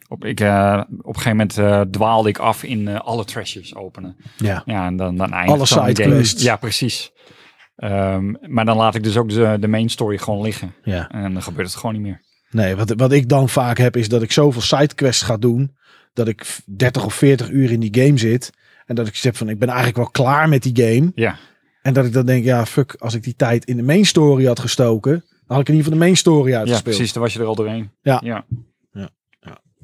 C: Op, ik, eh, op een gegeven moment eh, dwaalde ik af in eh, alle trashers openen.
B: Ja.
C: Ja, en dan, dan eindigt
B: Alle
C: zo'n game.
B: sidequests.
C: Ja, precies. Ehm, maar dan laat ik dus ook de, de main story gewoon liggen.
B: Ja.
C: En dan gebeurt het gewoon niet meer.
B: Nee, wat, wat ik dan vaak heb is dat ik zoveel sidequests ga doen. Dat ik v- 30 of 40 uur in die game zit. En dat ik zeg van, ik ben eigenlijk wel klaar met die game.
C: Ja.
B: En dat ik dan denk, ja fuck, als ik die tijd in de main story had gestoken. Dan had ik in ieder geval de main story
C: Ja,
B: uitgespeeld.
C: precies. Dan was je er al doorheen.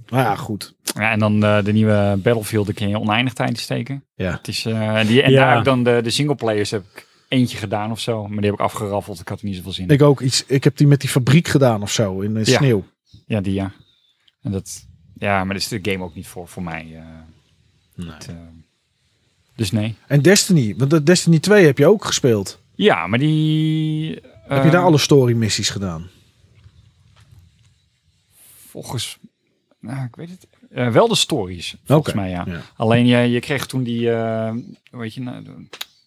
B: Maar ja, goed.
C: Ja, en dan eh, de nieuwe Battlefield, daar kun je oneindig tijd in steken.
B: Ja.
C: Het is, eh, die, en
A: Ja.
C: daar ook dan de, de singleplayers heb ik eentje gedaan of zo. Maar die heb ik afgeraffeld. Ik had er niet zoveel zin in.
B: Ik ook iets, ik heb die met die fabriek gedaan of zo. In de
C: Ja.
B: sneeuw.
C: Ja, die ja. En dat, ja, maar dat is de game ook niet voor, voor mij. eh, het, eh, dus nee.
B: En Destiny. Want de Destiny 2 heb je ook gespeeld.
C: Ja, maar die... eh,
B: heb je
C: Ehm,
B: daar alle story missies gedaan?
C: Volgens... Nou, ik weet het. eh, wel de stories, volgens
B: Oké,
C: mij, ja.
B: ja.
C: Alleen je, je kreeg toen die... eh weet je, nou,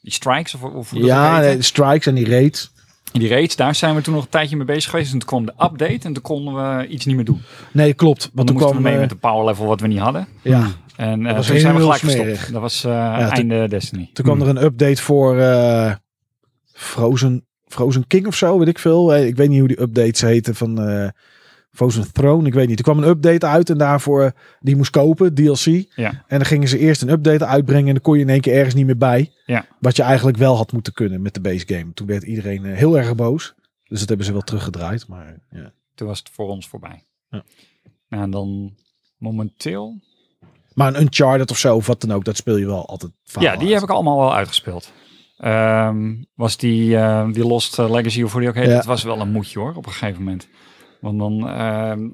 C: die strikes of, of hoe dat ook
B: Ja, dus-
C: heette.
B: de strikes en die raids.
C: Die raids, daar zijn we toen nog een tijdje mee bezig geweest. En toen kwam de update en toen konden we iets niet meer doen.
B: Nee, klopt. Want
C: Want
B: toen
C: toen moesten
B: kwam...
C: we mee
B: eh,
C: met de power level wat we niet hadden.
B: ja,
C: En eh,
B: was
C: toen zijn we
B: heel
C: gelijk
B: smerig.
C: gestopt. Dat was eh
B: toen-
C: einde Destiny.
B: Toen kwam er een update voor eh, Frozen, Frozen King of zo, weet ik veel. Eh, Ik weet niet hoe die updates heten van eh, Frozen Throne, ik weet niet. Er kwam een update uit en daarvoor eh, die je moest kopen, DLC.
C: Ja.
B: En dan gingen ze eerst een update uitbrengen en dan kon je in één keer ergens niet meer bij.
C: Ja.
B: Wat je eigenlijk wel had moeten kunnen met de base game. Toen werd iedereen eh, heel erg boos. Dus dat hebben ze wel teruggedraaid. Maar, ja.
C: Toen was het voor ons voorbij.
B: Ja.
C: Nou, en dan momenteel...
B: maar een Uncharted of zo, of wat dan ook, dat speel je wel altijd vaak.
C: ja, die heb ik allemaal wel uitgespeeld. Ehm, was die, eh, die Lost Legacy of hoe die ook heet.
B: Ja.
C: Dat was wel een moedje hoor, op een gegeven moment. Want dan ehm,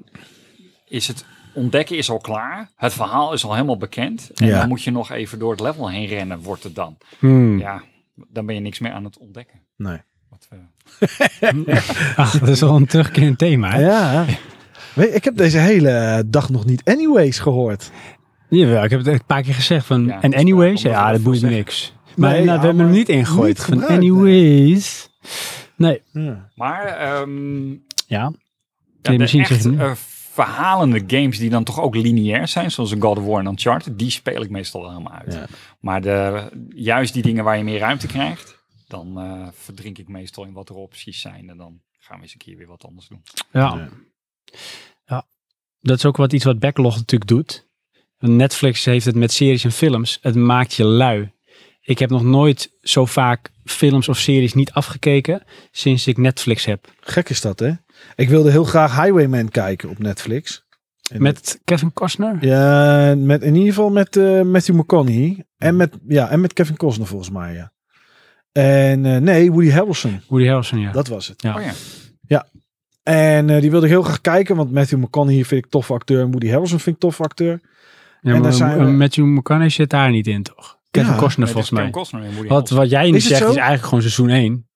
C: is het ontdekken is al klaar. Het verhaal is al helemaal bekend. En
B: Ja.
C: dan moet je nog even door het level heen rennen, wordt het dan.
A: Hmm.
C: Ja, dan ben je niks meer aan het ontdekken.
B: Nee.
C: Wat, eh,
A: Ah, [laughs] dat is al een terugkerend thema. Hè?
C: [laughs]
B: Ja. Weet- Ik heb deze hele dag nog niet anyways gehoord.
A: Jawel, ik heb het een paar keer gezegd. Van,
C: Ja,
A: en
C: dat is waar,
A: anyways,
C: omdat we
A: ja,
C: dat
A: dat boeit
C: veel
A: niks. Maar
B: Nee,
A: nou,
B: ja,
A: we hebben hem
B: maar
A: niet ingegooid.
B: niet
A: van
B: gebruikt, nee.
A: anyways. Nee,
B: Ja.
C: maar ehm,
A: ja.
C: ja,
A: Nee,
C: de
A: misschien hm?
C: echt
A: zeg je nu.
C: eh, verhalende games die dan toch ook lineair zijn, zoals een God of War en Uncharted, die speel ik meestal wel helemaal uit.
B: Ja.
C: Maar de, juist die dingen waar je meer ruimte krijgt, dan eh, verdrink ik meestal in wat er opties zijn en dan gaan we eens een keer weer wat anders doen.
A: Ja.
B: Ja.
A: ja. Dat is ook wat iets wat Backlog natuurlijk doet. Netflix heeft het met series en films. Het maakt je lui. Ik heb nog nooit zo vaak films of series niet afgekeken sinds ik Netflix heb.
B: Gek is dat, hè? Ik wilde heel graag Highwayman kijken op Netflix. En
A: Met Kevin Costner?
B: Ja, met, in ieder geval met eh, Matthew McConaughey. En met, ja, en met Kevin Costner volgens mij, ja. En eh, nee, Woody Harrelson.
A: Woody Harrelson, ja.
B: Dat was het.
A: Ja.
C: Oh ja,
B: En eh, die wilde ik heel graag kijken, want Matthew McConaughey vind ik tof acteur. En Woody Harrelson vind ik tof acteur.
A: ja
B: en
A: maar
B: daar zijn we-
A: Matthew McConaughey zit daar niet in, toch? Kevin
B: Ja.
A: Costner
C: Nee, dit is
A: volgens mij.
C: Kevin Costner en Woody
A: Wat,
C: Harrelson.
A: wat jij nu
B: Is het
A: zegt
B: zo?
A: is eigenlijk gewoon seizoen 1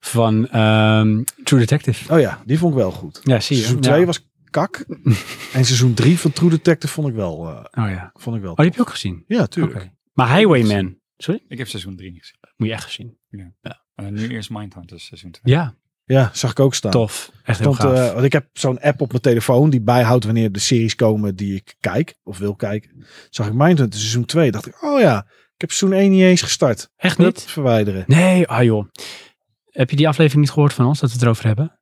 A: van ehm, True Detective.
B: Oh ja, die vond ik wel goed.
A: Ja, zie je.
B: Seizoen
A: Ja.
B: 2 was kak. en seizoen 3 van True Detective vond ik wel... eh,
A: Oh ja.
B: vond ik wel
A: Oh, die heb
B: tof.
A: je ook gezien?
B: Ja, tuurlijk.
A: Oké. Maar Highwayman, sorry?
C: Ik heb seizoen 3 niet gezien.
A: Moet je echt gezien.
C: Eh, nu eerst Mindhunters seizoen 2.
A: Ja,
B: Ja, zag ik ook staan.
A: tof. Echt heel
B: Want,
A: gaaf.
B: eh, want ik heb zo'n app op mijn telefoon die bijhoudt wanneer de series komen die ik kijk of wil kijken. Zag ik Mindhunter seizoen 2, dacht ik, oh ja, ik heb seizoen 1 niet eens gestart.
A: echt
B: Hup,
A: niet?
B: verwijderen.
A: Nee, ah joh. Heb je die aflevering niet gehoord van ons, dat we het erover hebben?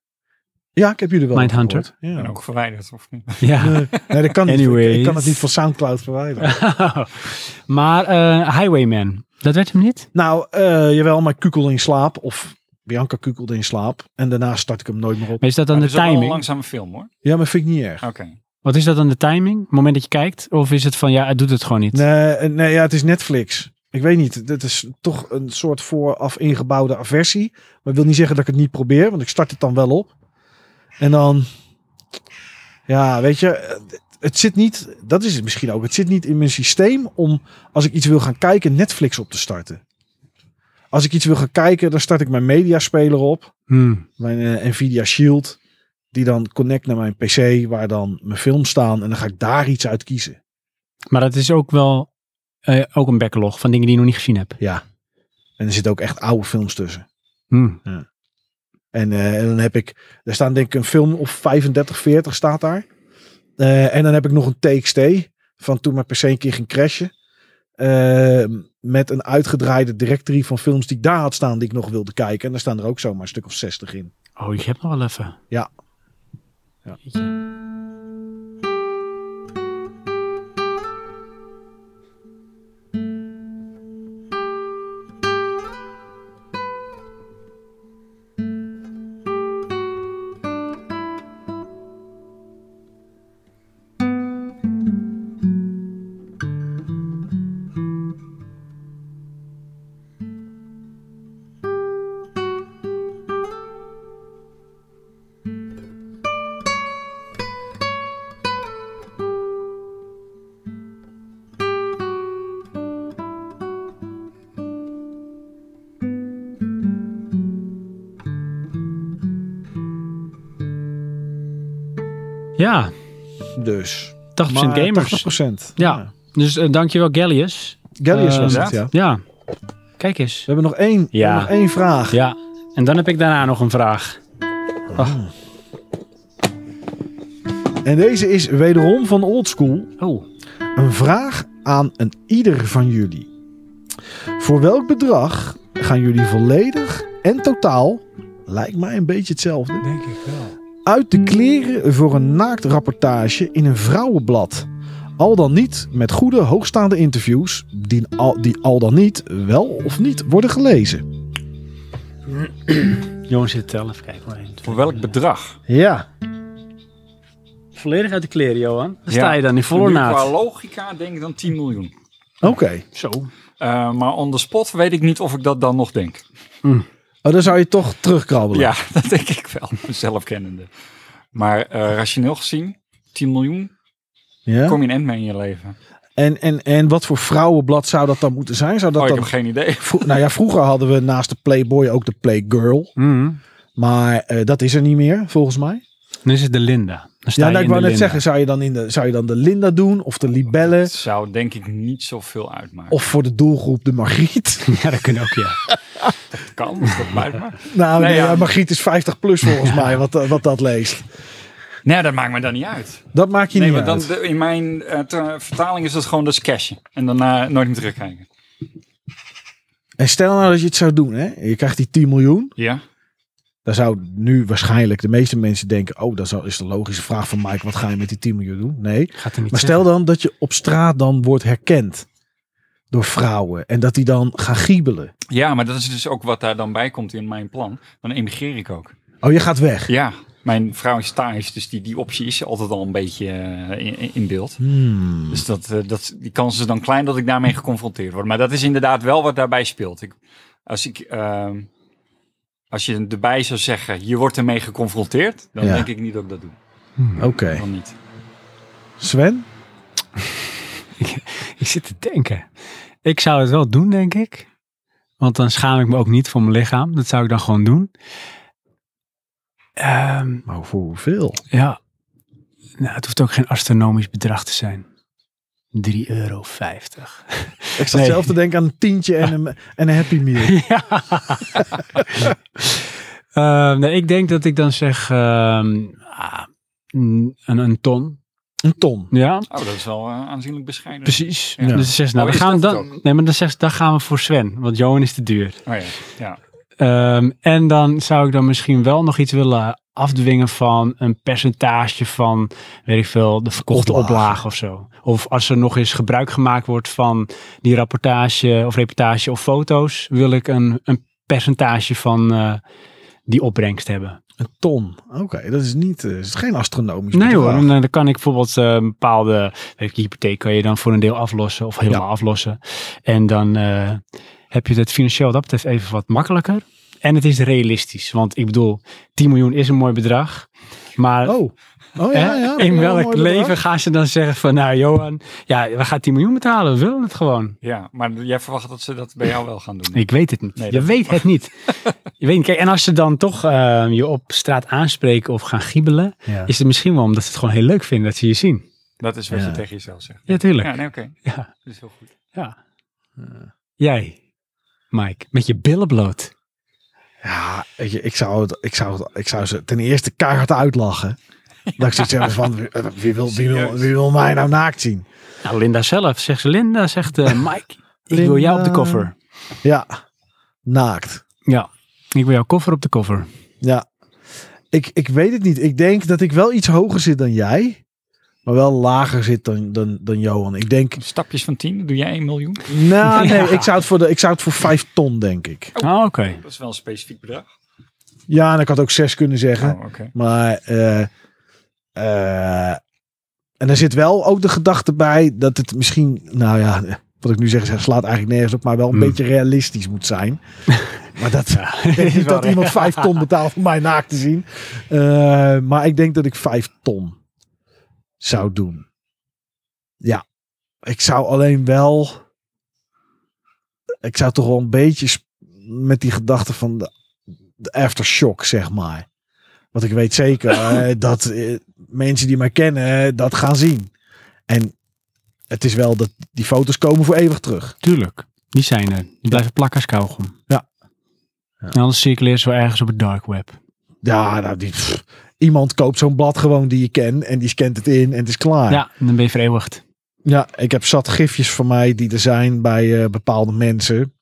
B: Ja, ik heb jullie wel
A: Mindhunter.
B: gehoord. Ja.
C: En ook verwijderd of niet?
A: [laughs] Ja.
B: Nee, nee, dat kan niet. Ik,
A: Anyways.
B: ik kan het niet van Soundcloud verwijderen.
A: [laughs] maar eh, Highwayman, dat werd hem niet?
B: Nou, eh, jawel, maar ik kukelde in slaap of Bianca kukelde in slaap en daarna start ik hem nooit meer op.
A: Maar is dat dan
C: [laughs] Het
A: de
C: is ook wel een
A: timing?
C: langzame film hoor.
B: Ja, maar vind ik niet erg.
C: Oké.
A: Wat is dat dan de timing? Het moment dat je kijkt? Of is het van, ja, het doet het gewoon niet?
B: Nee, eh, nee ja, het is Netflix. Ik weet niet, dit is toch een soort vooraf ingebouwde aversie. Maar ik wil niet zeggen dat ik het niet probeer, want ik start het dan wel op. En dan, ja, weet je, eh, het zit niet, dat is het misschien ook, het zit niet in mijn systeem om als ik iets wil gaan kijken, Netflix op te starten. Als ik iets wil gaan kijken, dan start ik mijn mediaspeler op,
A: Hmm.
B: mijn eh, Nvidia Shield, die dan connect naar mijn PC, waar dan mijn films staan en dan ga ik daar iets uit kiezen.
A: Maar dat is ook wel eh, ook een backlog van dingen die je nog niet gezien hebt.
B: Ja. En er zitten ook echt oude films tussen.
A: Hmm.
B: En, eh, en dan heb ik, daar staan denk ik een film of 35, 40 staat daar. Eh, en dan heb ik nog een TXT van toen mijn PC een keer ging crashen. Eh, met een uitgedraaide directory van films die ik daar had staan die ik nog wilde kijken. En daar staan er ook zomaar een stuk of 60 in.
A: Oh, je hebt nog wel even.
B: Ja. Ja.
A: Jeetje. Ja, 80%
B: Dus.
A: gamers.
B: 80%.
A: eh, Ja. Dus eh, dankjewel Gallius.
B: Gallius
A: Eh,
B: was het,
C: ja.
B: ja.
A: Ja, kijk eens.
B: We hebben nog één, we
A: Ja.
B: hebben nog één vraag.
A: Ja, en dan heb ik daarna nog een vraag.
B: En deze is wederom van oldschool.
A: Oh,
B: Een vraag aan een ieder van jullie. Voor welk bedrag gaan jullie volledig en totaal, lijkt mij een beetje hetzelfde,
H: Denk ik wel.
B: uit de kleren voor een naaktrapportage in een vrouwenblad. Al dan niet met goede, hoogstaande interviews, die al, die al dan niet wel of niet worden gelezen.
A: jongens zit tellen. Even kijken. hoor. Eén, twee,
C: Voor welk
A: drie.
C: bedrag?
B: Ja,
A: Volledig uit de kleren, Johan. Daar
C: Ja.
A: sta je dan in volle
C: Nu
A: naad.
C: Qua logica denk ik dan 10 miljoen.
B: oké.
A: Zo.
C: Eh, maar on the spot weet ik niet of ik dat dan nog denk.
B: Oh, dan zou je toch terugkrabbelen.
C: Ja, [laughs] dat denk ik wel, mezelf kennende. Maar eh, rationeel gezien, 10 miljoen,
B: Ja?
C: kom je een end mee in je leven.
B: En, en, en wat voor vrouwenblad zou dat dan moeten zijn? Zou dat
C: oh, ik
B: dan...
C: heb geen idee.
B: Vro- nou ja, vroeger hadden we naast de Playboy ook de Playgirl.
A: Mm.
B: Maar eh, dat is er niet meer, volgens mij.
A: Dan is het de Linda. Dan sta
B: Ja,
A: je
B: nou, ik
A: in de
B: wou net
A: Linda. Oh,
B: zeggen, zou je, dan in de, zou je dan de Linda doen of de Libelle?
C: Het zou denk ik niet zoveel uitmaken.
B: Of voor de doelgroep de Margriet?
A: [laughs] Ja, dat kan ook, ja.
C: Of kan, dat maakt maar.
B: [laughs] nou, nee,
C: ja.
B: ja, Margriet is 50 plus volgens mij, wat, eh, wat dat leest.
C: Nee, dat maakt me dan niet uit.
B: Dat maak je
C: Nee,
B: niet
C: want dan,
B: uit.
C: de- in mijn eh, ter- vertaling is dat gewoon dus cashen. En daarna nooit meer terugkijken.
B: En stel nou dat je het zou doen, hè? je krijgt die 10 miljoen.
C: Ja.
B: Dan zou nu waarschijnlijk de meeste mensen denken... oh, dat zou- is de logische vraag van Mike, wat ga je met die 10 miljoen doen? Nee,
A: Gaat er niet
B: Maar
A: zeggen.
B: stel dan dat je op straat dan wordt herkend door vrouwen en dat die dan gaan giebelen.
C: ja, maar dat is dus ook wat daar dan bij komt in mijn plan. Dan emigreer ik ook.
B: Oh, je gaat weg.
C: Ja, mijn vrouw is thuis, dus die, die optie is altijd al een beetje eh, in, in beeld.
B: Hmm.
C: Dus dat, eh, dat, die kans is dan klein dat ik daarmee geconfronteerd word. Maar dat is inderdaad wel wat daarbij speelt. Ik, als, ik, ehm, als je erbij zou zeggen, je wordt ermee geconfronteerd, dan
B: Ja.
C: denk ik niet dat ik dat doe.
A: Mm. Oh,
B: Oké.
C: Dan niet.
B: Sven?
A: Ik zit te denken. Ik zou het wel doen, denk ik. Want dan schaam ik me ook niet voor mijn lichaam. Dat zou ik dan gewoon doen. Ehm,
B: Maar Oh, voor hoeveel?
A: ja. Nou, het hoeft ook geen astronomisch bedrag te zijn. 3,50 euro.
C: [laughs]
B: Ik zat
A: Nee.
B: zelf te denken aan een tientje en een, en een Happy Meal.
A: Ja. Ehm, nee, ik denk dat ik dan zeg ehm, ah, een, een ton.
B: Een ton.
A: Ja,
C: Oh, dat is wel eh, aanzienlijk bescheiden.
A: precies.
C: Ja.
A: Dus zes, nou,
C: Oh,
A: we
C: is
A: gaan
C: dat
A: dan,
C: het ook?
A: nee, maar dan, zes, dan gaan we voor Sven, want Johan is te duur.
C: Oh ja, ja.
A: Ehm, en dan zou ik dan misschien wel nog iets willen afdwingen van een percentage van, weet ik veel, de verkochte
B: Oplage.
A: oplage, of zo. Of als er nog eens gebruik gemaakt wordt van die rapportage of reportage of foto's, wil ik een, een percentage van eh, die opbrengst hebben.
B: Een ton. Oké, dat is niet. eh, is het geen astronomisch.
A: Nee hoor,
B: bedrag.
A: dan, dan kan ik bijvoorbeeld eh, een bepaalde weet ik, hypotheek kan je dan voor een deel aflossen of helemaal aflossen. En dan eh, heb je het financieel wat dat betreft even wat makkelijker. En het is realistisch, want ik bedoel, 10 miljoen is een mooi bedrag. Maar
B: Oh. Oh
A: hè,
B: ja, ja.
A: in
B: Wel een
A: welk
B: mooi
A: leven
B: bedrag.
A: gaan ze dan zeggen van, nou Johan, ja, we gaan 10 miljoen betalen, we willen het gewoon.
C: ja, maar jij verwacht dat ze dat bij jou wel gaan doen.
A: Ik weet het niet.
C: Nee,
A: je
C: dat-
A: weet het
B: [laughs]
A: niet. je weet niet. Kijk, en als ze dan toch eh, je op straat aanspreken of gaan giebelen,
B: Ja.
A: is het misschien wel omdat ze het gewoon heel leuk vinden dat ze je zien.
C: Dat is wat
B: Ja.
C: je tegen jezelf zegt.
A: Ja, tuurlijk.
C: Ja, nee, oké.
A: Ja.
C: Dat is heel goed.
A: Ja. Jij, Mike, met je billen bloot.
B: Ja, weet je, ik zou, het, ik, zou het, ik zou ze ten eerste keihard uitlachen. Dat ik zoiets heb van, wie- eh, wie wil, wie, wil, wie wil mij nou naakt zien?
A: Nou, Linda zelf, zegt ze. Linda zegt, eh, [laughs] Mike, ik wil jou op de
B: Linda.
A: cover.
B: Ja, naakt.
A: Ja, ik wil jouw cover op de cover.
B: Ja. Ik, ik weet het niet. Ik denk dat ik wel iets hoger zit dan jij. Maar wel lager zit dan, dan, dan Johan. Ik denk.
C: Stapjes van 10, doe jij 1 miljoen?
B: Nou, nee, ik zou het voor, de, ik zou het voor vijf ton, denk ik.
A: Ah, oké.
C: Dat is wel een specifiek bedrag.
B: Ja, en ik had ook zes kunnen zeggen.
C: Oh, oké.
B: Maar. eh, eh, en er zit wel ook de gedachte bij dat het misschien. Nou ja, wat ik nu zeg is, slaat eigenlijk nergens op. Maar wel een
A: Hmm.
B: beetje realistisch moet zijn.
A: [laughs]
B: maar dat. [laughs] Ik
A: Is
B: denk niet
A: wel
B: dat
A: raar.
B: iemand vijf ton betaalt om mij naakt te zien. Eh, maar ik denk dat ik vijf ton zou doen. Ja. Ik zou alleen wel... Ik zou toch wel een beetje sp- met die gedachte van de, de aftershock, zeg maar. Want ik weet zeker eh, dat eh, mensen die mij kennen eh, dat gaan zien. En het is wel dat die foto's komen voor eeuwig terug.
A: Tuurlijk. Die zijn er. Die blijven plakken als kauwgom.
B: Ja.
A: En anders circuleren ze wel ergens op het dark web.
B: Ja, nou, die, pff, iemand koopt zo'n blad gewoon die je kent en die scant het in en het is klaar.
A: Ja, en dan ben je vereeuwigd.
B: Ja, ik heb zat gifjes van mij die er zijn bij eh, bepaalde mensen.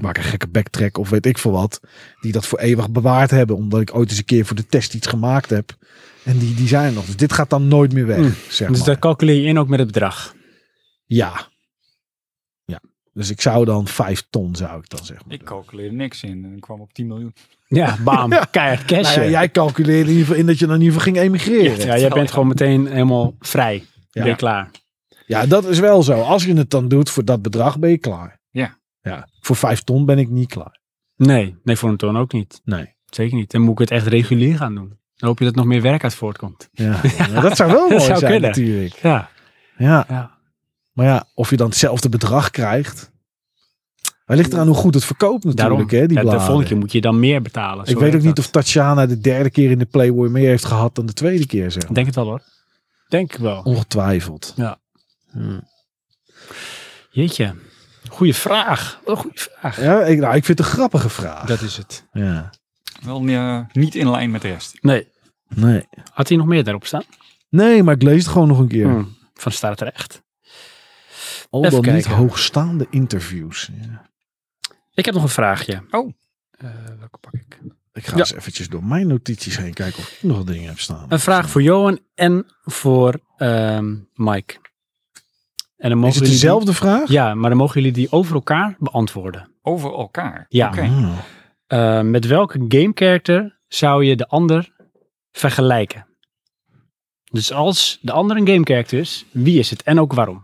B: Waar ik een gekke backtrack of weet ik veel wat. Die dat voor eeuwig bewaard hebben. Omdat ik ooit eens een keer voor de test iets gemaakt heb. En die, die zijn er nog. Dus dit gaat dan nooit meer weg.
A: Mm.
B: Zeg
A: Dus
B: maar.
A: daar calculeer je in ook met het bedrag.
B: Ja. ja. Dus ik zou dan vijf ton, zou ik dan zeggen.
C: Ik calculeerde niks in en ik kwam op 10 miljoen.
A: [laughs] Ja, bam. Keihard cash.
B: Nou ja, jij calculeerde in ieder geval in dat je dan in ieder geval ging emigreren.
A: ja, jij bent gewoon meteen helemaal vrij. Ben
B: Ja.
A: je klaar.
B: Ja, dat is wel zo. Als je het dan doet voor dat bedrag ben je klaar.
C: Ja.
B: ja. Voor vijf ton ben ik niet klaar.
A: Nee, nee, voor een ton ook niet.
B: Nee.
A: Zeker niet. Dan moet ik het echt regulier gaan doen. Dan hoop je dat nog meer werk uit voortkomt. [laughs]
B: Ja. Ja, dat zou wel mooi
A: zou
B: zijn
A: kunnen.
B: natuurlijk.
A: Ja.
B: Ja.
A: Ja.
B: Maar ja, of je dan hetzelfde bedrag krijgt. Hij ligt eraan hoe goed het verkoopt
A: Daarom.
B: natuurlijk, hè, die
A: Ja, de
B: bladen.
A: volgende keer moet je dan meer betalen.
B: Ik
A: Zo
B: weet ook
A: werkt
B: niet
A: dat.
B: of Tatjana de derde keer in de Playboy meer heeft gehad dan de tweede keer, zeg
A: Ik
B: maar.
A: Denk het wel hoor. Denk ik wel.
B: Ongetwijfeld.
A: Jeetje. Goeie vraag. Wat een goede vraag.
B: Ja, ik, nou, ik vind het een grappige vraag.
A: Dat is het.
B: Ja.
C: Wel eh, niet in lijn met de rest.
A: Nee.
B: Nee.
A: Had hij nog meer daarop staan?
B: nee, maar ik lees het gewoon nog een keer.
A: Hmm. Van staat terecht.
B: Al
A: Even
B: dan niet
A: kijken.
B: hoogstaande interviews. Ja.
A: Ik heb nog een vraagje.
C: Oh.
A: Eh, welke pak ik?
B: Ik ga
A: Ja.
B: eens eventjes door mijn notities heen kijken of ik nog wat dingen heb staan.
A: Een vraag voor Johan en voor ehm, Mike. En dan mogen
B: Is het
A: jullie
B: dezelfde vraag?
A: Die, ja, maar dan mogen jullie die over elkaar beantwoorden.
C: Over elkaar.
A: Ja.
C: Oké.
B: Oh.
A: Eh, met welke gamecharacter zou je de ander vergelijken? Dus als de ander een gamecharacter is, wie is het en ook waarom?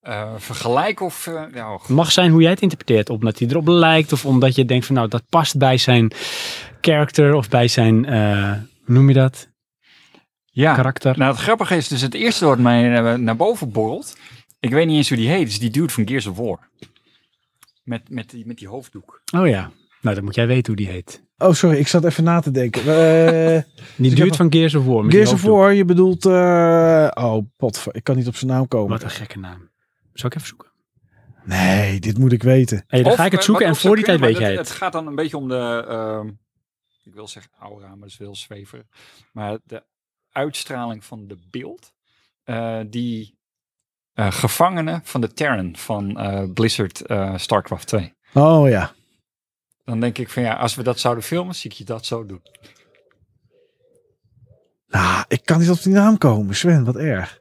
C: Eh, vergelijk of... eh, nou,
A: Het mag zijn hoe jij het interpreteert. Omdat hij erop lijkt of omdat je denkt van nou dat past bij zijn character of bij zijn, eh, hoe noem je dat,
C: ja,
A: karakter.
C: Nou, het grappige is dus het eerste wat mij eh, naar boven borrelt. Ik weet niet eens hoe die heet. Is die dude van Gears of War. Met, met, die, met die hoofddoek.
A: Oh ja, nou dan moet jij weten hoe die heet.
B: Oh, sorry, ik zat even na te denken. Eh,
A: Die duurt
B: heb nog-
A: van Gears of War. met die
B: Gears of
A: hoofddoek.
B: War, je bedoelt... eh, oh, pot, ik kan niet op zijn naam komen.
A: Wat een gekke naam. Zal ik even zoeken?
B: Nee, dit moet ik weten.
A: Hey, dan
C: Of,
A: ga ik het
C: eh,
A: zoeken
C: wat
A: en
C: ook
A: voor die
C: zou
A: tijd weet
C: kunnen, maar
A: jij
C: dat-
A: het.
C: Het gaat dan een beetje om de... ehm, ik wil zeggen aura, maar dat is wel zwever. Maar de uitstraling van de beeld. eh, die eh, gevangene van de Terran van eh, Blizzard eh, Starcraft 2.
B: Oh ja.
C: Dan denk ik van ja, als we dat zouden filmen, zie ik je dat zo doen.
B: Nou, ik kan niet op die naam komen. Sven, wat erg.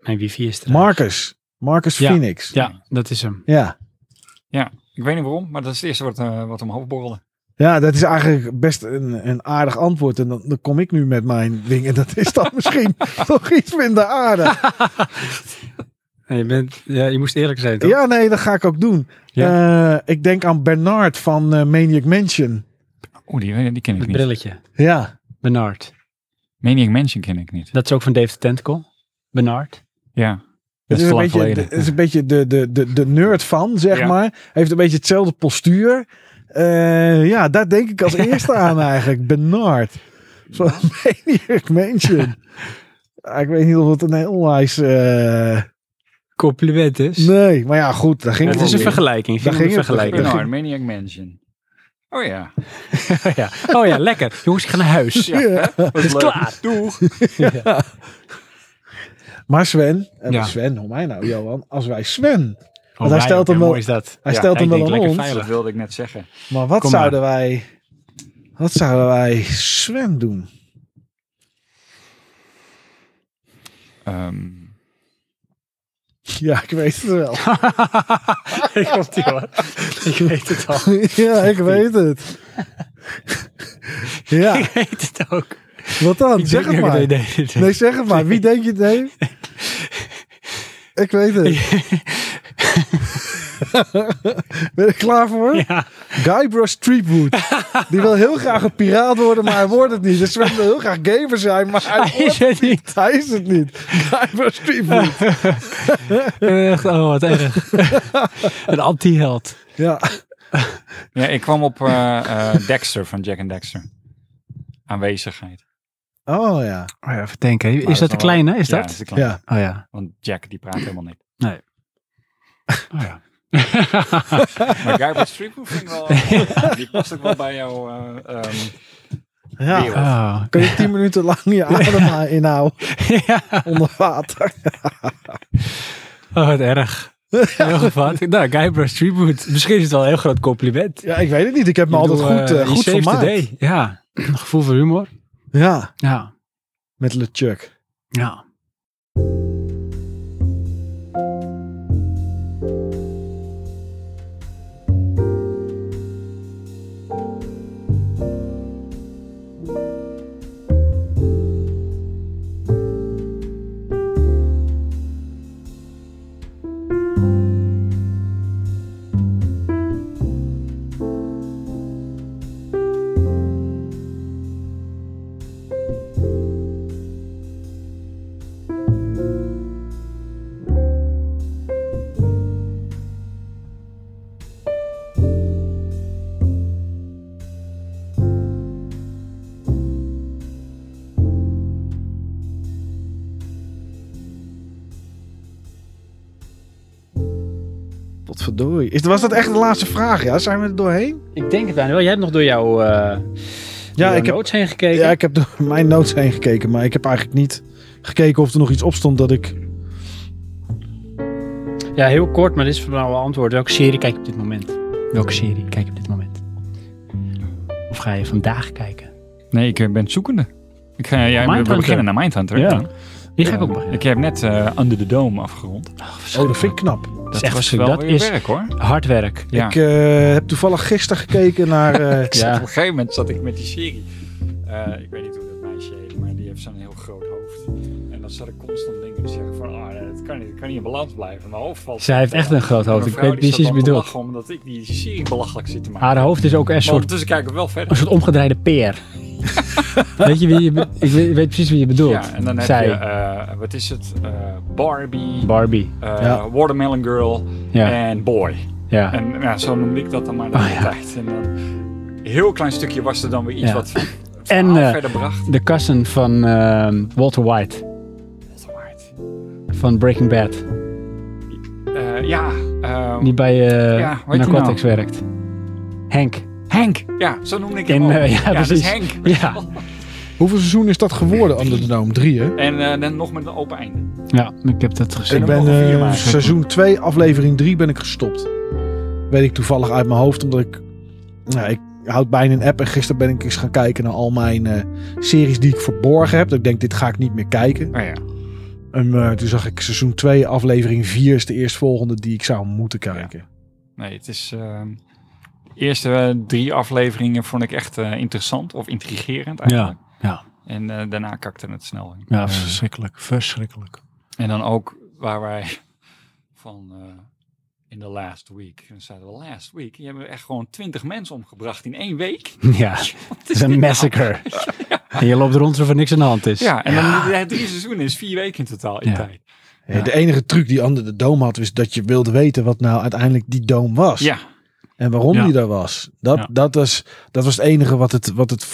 A: Mijn wifi is er.
B: Marcus. Marcus
A: Ja.
B: Phoenix. Ja.
A: Ja, dat is hem.
B: ja.
C: Ja, ik weet niet waarom, maar dat is het eerste wat, eh, wat omhoog borrelde.
B: dat is eigenlijk best een, een aardig antwoord. En dan, dan kom ik nu met mijn ding. En dat is dan [laughs] misschien nog iets minder aardig.
A: Nee, je, bent, ja, je moest eerlijk zijn toch?
B: Ja, nee, dat ga ik ook doen. Eh, ik denk aan Bernard van eh, Maniac Mansion.
C: Oeh, die, die ken ik
A: Het
C: niet.
A: brilletje.
B: Ja.
A: Bernard.
C: Maniac Mansion ken ik niet.
A: Dat is ook van Dave the Tentacle. Bernard.
C: Ja.
B: Het
C: Dat
B: is,
C: is te
B: een
C: lang
B: beetje,
C: geleden.
B: de, is een beetje de, de, de, de nerd van, zeg
C: Ja.
B: maar. Heeft een beetje hetzelfde postuur. Eh, ja, daar denk ik als eerste aan eigenlijk. Bernard. Zo'n maniac mansion. Ah, ik weet niet of het een heel nice... eh,
A: Compliment is.
B: nee, maar ja, goed. Daar ging
A: Het
B: het
A: is een
B: om.
A: vergelijking.
B: Daar
A: Daar ging
B: ging het.
A: vergelijking.
B: Daar
C: Bernard, Maniac Mansion. Oh ja.
A: ja. Oh ja, lekker. Jongens, ik ga naar huis.
C: Ja, hè? Was
A: is
C: leuk.
A: klaar.
C: Doeg.
B: Maar Sven, eh,
A: Ja.
B: Swen, hoor mij nou, Johan. Als wij Sven,
A: Oh,
B: hij
A: wij,
B: stelt hem
A: ja,
B: wel-
A: [laughs] mooi is dat.
B: hij
C: Ja,
B: stelt
A: ik
B: hem
A: denk
B: wel aan
A: lekker
B: ons.
A: veilig.
C: Dat wilde ik net zeggen.
B: Maar wat
A: Kom maar.
B: zouden wij... Wat zouden wij Sven doen? [laughs]
C: Ehm,
B: [laughs] Ja, ik weet het wel.
A: Ik komt die hoor. Ik weet het al.
B: ja, ik weet het. ja,
A: [laughs]
B: [laughs]
A: Ik weet het ook.
B: wat dan?
A: Ik
B: Zeg
A: denk-
B: het maar.
A: Nee, nee, nee, nee.
B: Nee, zeg het maar. Wie denk je?
A: [laughs]
B: Nee. Ik weet het. ben je er klaar voor?
A: Ja.
B: Guybrush Threepwood. Die wil heel graag een piraat worden, maar hij wordt het niet. Dus Sven wil heel graag gamer zijn, maar hij,
A: Hij is
B: wordt,
A: het niet.
B: hij is het niet. Guybrush
A: [laughs]
B: Threepwood.
A: Echt, oh, wat [laughs] erg. Een anti-held.
B: Ja.
C: ja, ik kwam op eh,
A: [laughs]
C: eh, Dexter van Jack en Dexter. Aanwezigheid.
B: Oh ja.
A: Oh ja, even denken. Is
C: Maar
A: dat de
C: is dan wel-
A: kleine? Is
C: Ja,
A: dat?
C: is de kleine.
B: Ja.
A: Oh ja.
C: Want Jack die praat helemaal niet.
A: Oh ja.
C: Maar Guybrush Threepwood vind ik wel...
A: [laughs]
C: eh, die past ook wel bij jouw eh, ehm,
B: ja.
C: wereld.
A: Oh.
B: Kun je tien minuten lang [laughs] je adem inhouden
A: [laughs] ja.
B: onder water?
A: Oh, wat [laughs] erg. Heel gevaarlijk. Nou, Guybrush Tribute. Misschien is het wel een heel groot compliment.
B: Ja, ik weet het niet. Ik heb me altijd goed, eh, goed vermaakt.
A: day. Ja. Gevoel voor humor.
B: Ja,
A: Ja.
B: met LeChuck.
A: Ja.
B: Potverdorie. Is, was dat echt de laatste vraag? Ja, zijn we er doorheen?
A: Ik denk het bijna wel. Jij hebt nog door jouw eh
B: Ja, ik heb,
A: notes heen gekeken.
B: ja, ik heb door mijn notes heen gekeken, maar ik heb eigenlijk niet gekeken of er nog iets op stond dat ik...
A: Ja, heel kort, maar dit is voor mij wel antwoord. Welke serie kijk je op dit moment? Welke serie kijk je op dit moment? Of ga je vandaag kijken?
C: Nee, ik eh, ben zoekende. Ik ga, ja, we- we
A: Mindhunter.
C: beginnen naar Mindhunter.
A: Ja.
C: Ja.
A: Die ga ik ook
C: Eh,
A: beginnen.
C: Ik heb net eh, Under the Dome afgerond.
B: Oh, dat vind ik knap.
C: Dat
A: echt
C: was wel
A: verschrikkelijk.
C: weer
A: Dat is-
C: werk hoor.
A: Hard werk.
C: Ja.
B: Ik eh, heb toevallig gisteren gekeken naar...
C: [laughs]
B: eh,
C: Ik zat
A: Ja.
C: Op een gegeven moment zat ik met die serie. Eh, ik weet niet hoe dat meisje heet, maar die heeft zo'n heel groot hoofd. En dan zat ik constant dingen te zeggen van, ah, nee, dat kan niet, dat kan niet in balans blijven. Mijn hoofd valt.
A: Zij heeft echt een groot hoofd.
C: Mijn
A: Ik
C: vrouw
A: weet
C: die zat
A: precies wat
C: dan te
A: bedoel.
C: lachen omdat ik die serie belachelijk zit te maken.
A: Haar hoofd is ook een
C: maar
A: soort,
C: ondertussen kijken we wel verder.
A: een soort omgedraaide peer. weet je wie je... be- Ik weet, ik weet precies wie je bedoelt.
C: Ja, en dan heb
A: Zij.
C: je, eh, wat is het? Eh, Barbie,
A: Barbie.
C: eh,
B: Ja.
C: Watermelon Girl
A: Ja,
C: en Boy.
A: ja.
C: En nou, zo noemde ik dat dan maar de
A: Oh,
C: hele
A: ja.
C: tijd. En dan, een heel klein stukje was er dan weer iets
A: Ja.
C: wat het
A: [laughs] En,
C: verhaal
A: eh,
C: verder bracht.
A: De kassen van ehm, Walter White. Van Breaking Bad.
C: Eh, ja, ehm,
A: Die bij eh
C: Ja, hoe heet die nou?
A: Narcotics werkt. Henk. Henk.
C: ja, zo noemde ik
A: In,
C: hem ook.
A: eh, ja,
C: dat is
A: precies.
C: Henk.
A: [laughs] Ja.
B: hoeveel seizoen is dat geworden, Under the Dome? Drie, hè?
C: En eh, dan nog met een open einde.
A: Ja, ik heb dat gezien.
B: Ik
C: nog
B: ben
C: wel vier
B: eh,
C: maken.
B: seizoen 2, aflevering 3 ben ik gestopt. Weet ik toevallig uit mijn hoofd, omdat ik... Nou, ik houd bijna een app en gisteren ben ik eens gaan kijken naar al mijn eh, series die ik verborgen heb. Dat ik denk, dit ga ik niet meer kijken.
C: Oh, ja.
B: En eh, toen zag ik seizoen 2, aflevering 4 is de eerstvolgende die ik zou moeten kijken.
C: Nee, het is... ehm, de eerste eh, drie afleveringen vond ik echt eh, interessant of intrigerend eigenlijk.
A: ja.
C: En eh, daarna kakte het snel in.
A: Ja, verschrikkelijk. Verschrikkelijk.
C: En dan ook waar wij [laughs] van eh, in de last week. En dan zeiden we last week. Je hebben echt gewoon twintig mensen omgebracht in één week. [laughs]
A: Ja, het is
C: nou?
A: een massacre. En je loopt rond alsof er niks aan de hand is.
C: Ja, en dan [laughs] ja, drie seizoenen is vier weken in totaal in
A: Dus Ja.
C: tijd.
B: Eh, De enige truc die Under de Dome had, was dat je wilde weten wat nou uiteindelijk die dome was.
C: Ja,
B: En waarom
A: Ja.
B: die daar was. Dat,
A: Ja.
B: dat, was, dat was het enige wat het, wat het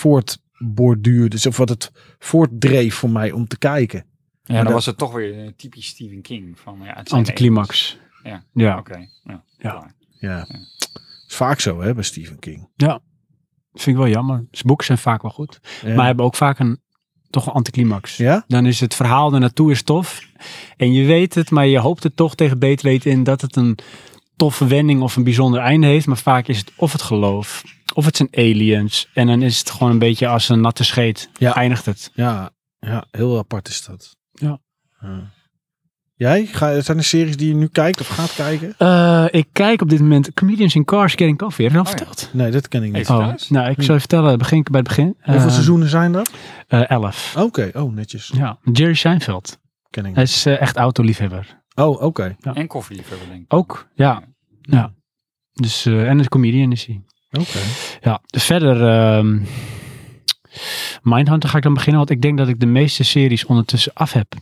B: voortborduurde. Dus of wat het voortdreef voor mij om te kijken.
C: ja
B: Maar
C: dan
B: dat-
C: was het toch weer eh, typisch Stephen King. Van, ja, het zijn
A: Anticlimax.
C: Ja.
A: Ja.
C: Oké. nou, ja.
A: Ja.
B: Ja. Is vaak zo hè, bij Stephen King.
A: Vind ik wel jammer. Zijn boeken zijn vaak wel goed.
B: Ja.
A: Maar hebben ook vaak een, toch een anticlimax.
B: ja?
A: Dan is het verhaal ernaartoe is tof. En je weet het, maar je hoopt er toch tegen beter weten in dat het een toffe wending of een bijzonder einde heeft. Maar vaak is het of het geloof, Of het zijn aliens. En dan is het gewoon een beetje als een natte scheet.
B: Ja.
A: Eindigt het.
B: Ja, ja, heel apart is dat.
A: Ja.
B: Ja. Jij? Ga, zijn er series die je nu kijkt of gaat kijken?
A: Eh, ik kijk op dit moment Comedians in Cars Getting Coffee. Heb je dat
C: Oh
A: al
C: ja.
A: verteld?
B: Nee, dat ken ik niet.
C: Even thuis.
A: nou, ik zal je vertellen. Begin ik bij het begin.
B: Hoeveel
A: Eh,
B: seizoenen zijn er?
A: eh, elf.
B: Oké, oh netjes.
A: Ja, Jerry Seinfeld.
B: Ken ik
A: Hij
B: niet.
A: is eh, echt autoliefhebber.
B: Oh, oké.
C: En koffieliefhebber, denk ik.
A: Ook, ja. ja. Dus, eh, en een comedian is hij.
B: Oké.
A: Ja, dus verder... ehm Mindhunter ga ik dan beginnen, want ik denk dat ik de meeste series ondertussen af heb.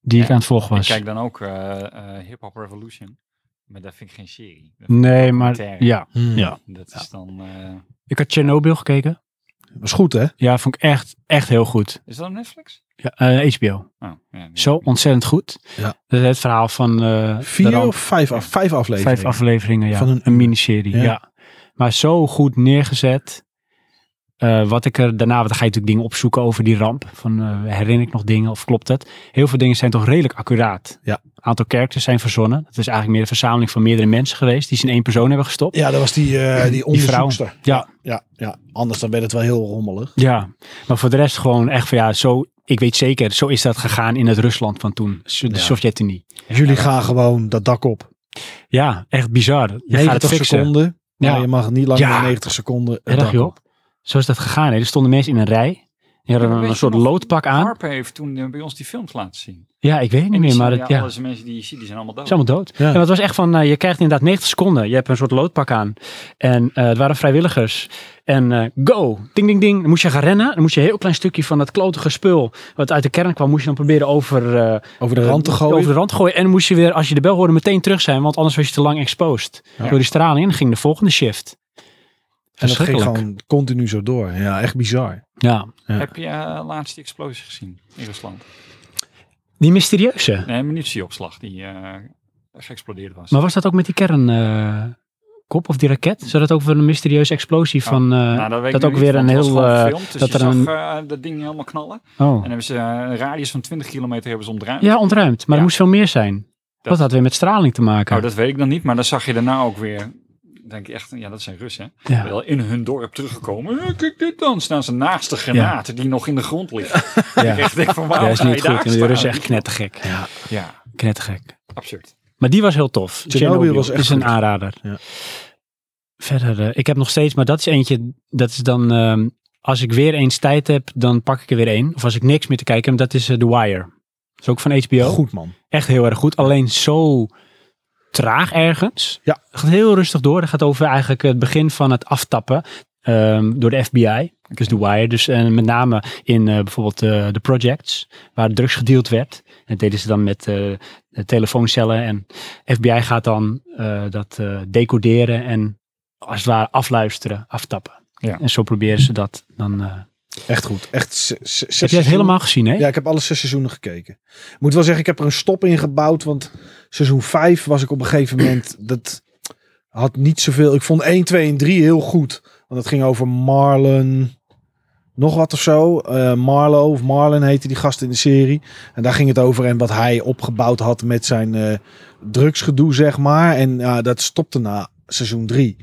A: Die ik
C: Ja,
A: aan het volgen
C: Ik
A: was.
C: kijk dan ook eh, eh, Hip Hop Revolution. Maar dat vind ik geen serie. Dat vind ik
A: Nee,
C: een
A: maar
C: documentaire.
A: ja.
B: Hmm.
A: Ja.
C: Dat is dan... eh,
A: Ik had Chernobyl gekeken.
B: Hmm. Was goed, hè?
A: Ja, vond ik echt, echt heel goed.
C: is dat op Netflix?
A: Ja, eh, HBO.
C: Oh, ja, die
A: Zo
C: heb ik niet.
A: ontzettend goed.
B: Ja.
A: Dat is het verhaal van eh, de
B: Vier
A: ramp.
B: of vijf, af, vijf afleveringen?
A: vijf afleveringen ja.
B: Van
A: van
B: een
A: een,
B: uur.
A: miniserie.
B: Ja.
A: Ja. Maar zo goed neergezet. Eh, wat ik er daarna, want dan ga je natuurlijk dingen opzoeken over die ramp. Van eh, herinner ik nog dingen of klopt dat? Heel veel dingen zijn toch redelijk accuraat.
B: Ja.
A: Aantal characters zijn verzonnen. Het is eigenlijk meer een verzameling van meerdere mensen geweest die ze in één persoon hebben gestopt.
B: Ja, dat was die, eh die onderzoekster.
A: Ja.
B: ja, ja. Anders dan werd het wel heel rommelig.
A: Ja, maar voor de rest gewoon echt van ja, zo, ik weet zeker, zo is dat gegaan in het Rusland van toen, de
B: Ja.
A: Sovjet-Unie.
B: Jullie gaan gewoon dat dak op.
A: Ja, echt bizar. Je gaat het
B: 90
A: fixen.
B: seconden. Maar
A: Ja.
B: je mag niet langer
A: Ja.
B: dan 90 seconden het
A: Erg
B: dak
A: joh.
B: op.
A: Zo is dat gegaan. Hè. Er stonden mensen in een rij. Die
C: Ja,
A: hadden
C: weet
A: een
C: je
A: soort
C: nog,
A: loodpak aan.
C: Harper heeft toen eh, bij ons die films laten zien.
A: Ja, ik weet het niet
C: En die
A: meer, maar
C: zie-
A: het,
C: ja,
A: ja,
C: alle mensen die je ziet, die zijn allemaal dood.
A: het is allemaal dood.
B: Ja.
A: En het was echt van, eh, je krijgt inderdaad 90 seconden. Je hebt een soort loodpak aan. En eh, het waren vrijwilligers. En eh, go, ding, ding, ding. Dan moest je gaan rennen. Dan moest je een heel klein stukje van dat klotige spul, wat uit de kern kwam, moest je dan proberen over... eh,
B: Over de rand te gooien.
A: Over de rand te gooien. En dan moest je weer, als je de bel hoorde, meteen terug zijn. Want anders was je te lang exposed.
B: Ja.
A: Door die straling. En dan ging de volgende shift.
B: en dat ging
A: Verschrikkelijk.
B: gewoon continu zo door. Ja, echt bizar.
A: Ja.
B: Ja.
C: Heb je eh, laatst die explosie gezien in Rusland?
A: Die mysterieuze.
C: Nee, een munitieopslag die eh geëxplodeerd was.
A: Maar was dat ook met die kernkop of die raket? Zou dat ook weer een mysterieuze explosie van... eh,
C: Nou, weet
A: dat
C: ik nu
A: ook
C: niet,
A: weer
C: want
A: een
C: het
A: heel...
C: was gewoon
A: eh,
C: gefilmd, dus
A: dat
C: je
A: er een-
C: zag, eh, dat ding helemaal knallen.
A: oh.
C: En dan hebben ze eh, een radius van 20 kilometer hebben ze ontruimd.
A: Ja, ontruimd. Maar
C: Ja.
A: er moest veel meer zijn. Dat,
C: Dat-
A: had weer met straling te maken.
C: Nou, dat weet ik dan niet, maar dan zag je daarna ook weer. Denk ik echt, ja, dat zijn Russen. hè?
A: Ja.
C: Wel in hun dorp teruggekomen. Eh, kijk dit dan. Staan ze naast de granaten die nog in de grond liggen.
A: ja.
C: Ik denk van waarom
A: Ja, dat is
C: ga je
A: niet goed.
C: daar
A: En die
C: staan?
A: Russen echt knettergek. Ja.
C: Ja,
A: Knettergek.
C: absurd.
A: Maar die was heel tof. Chernobyl
B: was echt
A: is een
B: goed.
A: aanrader.
B: Ja.
A: Verder, eh, ik heb nog steeds, maar dat is eentje, dat is dan, ehm, als ik weer eens tijd heb, dan pak ik er weer één. Of als ik niks meer te kijken heb, dat is eh, The Wire. Dat is ook van HBO.
B: Goed man.
A: Echt heel erg goed. Alleen zo traag ergens.
B: Ja.
A: Het gaat heel rustig door. Het gaat over eigenlijk het begin van het aftappen ehm, door de FBI. Dus The Wire. Dus eh, met name in eh, bijvoorbeeld eh, de projects waar drugs gedeeld werd. En dat deden ze dan met eh, de telefooncellen. En FBI gaat dan eh, dat eh, decoderen en als het ware afluisteren, aftappen.
C: Ja.
A: En zo proberen ze dat dan. eh
B: Echt goed. Echt z- z- zes
A: heb jij het
B: seizoenen.
A: helemaal gezien, hè?
B: Ja, ik heb alle zes seizoenen gekeken. Ik moet wel zeggen, ik heb er een stop in gebouwd. Want seizoen 5 was ik op een
A: [clears throat]
B: gegeven moment. Dat had niet zoveel. Ik vond 1, 2 en 3 heel goed. Want het ging over Marlon. Nog wat of zo. Eh Marlo of Marlon heette die gast in de serie. En daar ging het over. En wat hij opgebouwd had met zijn eh, drugsgedoe, zeg maar. En ja, dat stopte na seizoen 3.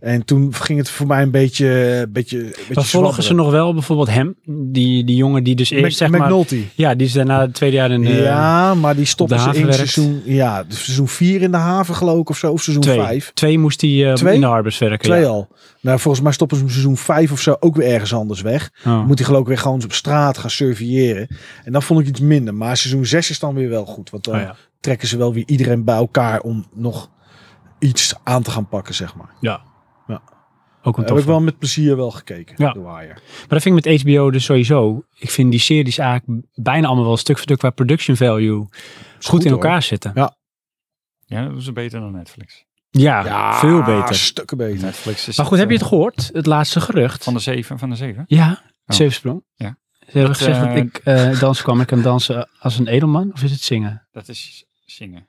B: En toen ging het voor mij een beetje. Een beetje, een beetje
A: Maar volgen ze
B: zwabberen.
A: nog wel bijvoorbeeld hem? Die, die jongen die dus eerst
B: Mac-
A: zeg maar...
B: McNulty.
A: Ja, die is daarna het tweede jaar in eh, de
B: ja, maar die
A: op
B: stoppen
A: de
B: ze
A: haven
B: in
A: werkt.
B: seizoen, ja, dus seizoen 4 in de haven geloof ik of zo. Of seizoen
A: twee.
B: 5.
A: Twee moest hij eh,
B: Twee?
A: in de harbors werken.
B: Twee
A: ja.
B: al. Nou, volgens mij stoppen ze hem seizoen 5 of zo ook weer ergens anders weg.
A: Oh.
B: Moet hij geloof ik weer gewoon op straat gaan surveilleren. En dan vond ik iets minder. Maar seizoen 6 is dan weer wel goed. Want dan
A: Oh, ja.
B: trekken ze wel weer iedereen bij elkaar om nog iets aan te gaan pakken, zeg maar.
A: Ook een
B: Heb ik
A: tof.
B: wel met plezier wel gekeken.
A: Ja.
B: The Wire.
A: Maar dat vind ik met HBO dus sowieso. Ik vind die series eigenlijk bijna allemaal wel stuk voor stuk qua production value goed,
B: goed,
A: in
B: hoor.
A: elkaar zitten.
B: Ja.
C: Ja, dat is beter dan Netflix.
A: Ja, veel
B: Ah,
A: beter.
B: stukken beter.
C: Netflix is
A: Maar goed, heb je het
C: eh,
A: gehoord? Het laatste gerucht?
C: Van de zeven, van de zeven.
A: Ja,
C: Oh.
A: zeepsprong.
C: Ja.
A: Ze hebben
C: Dat,
A: gezegd
C: eh,
A: dat ik eh dansen kwam. Ik kan dansen als een edelman. Of is het zingen?
C: Dat is zingen.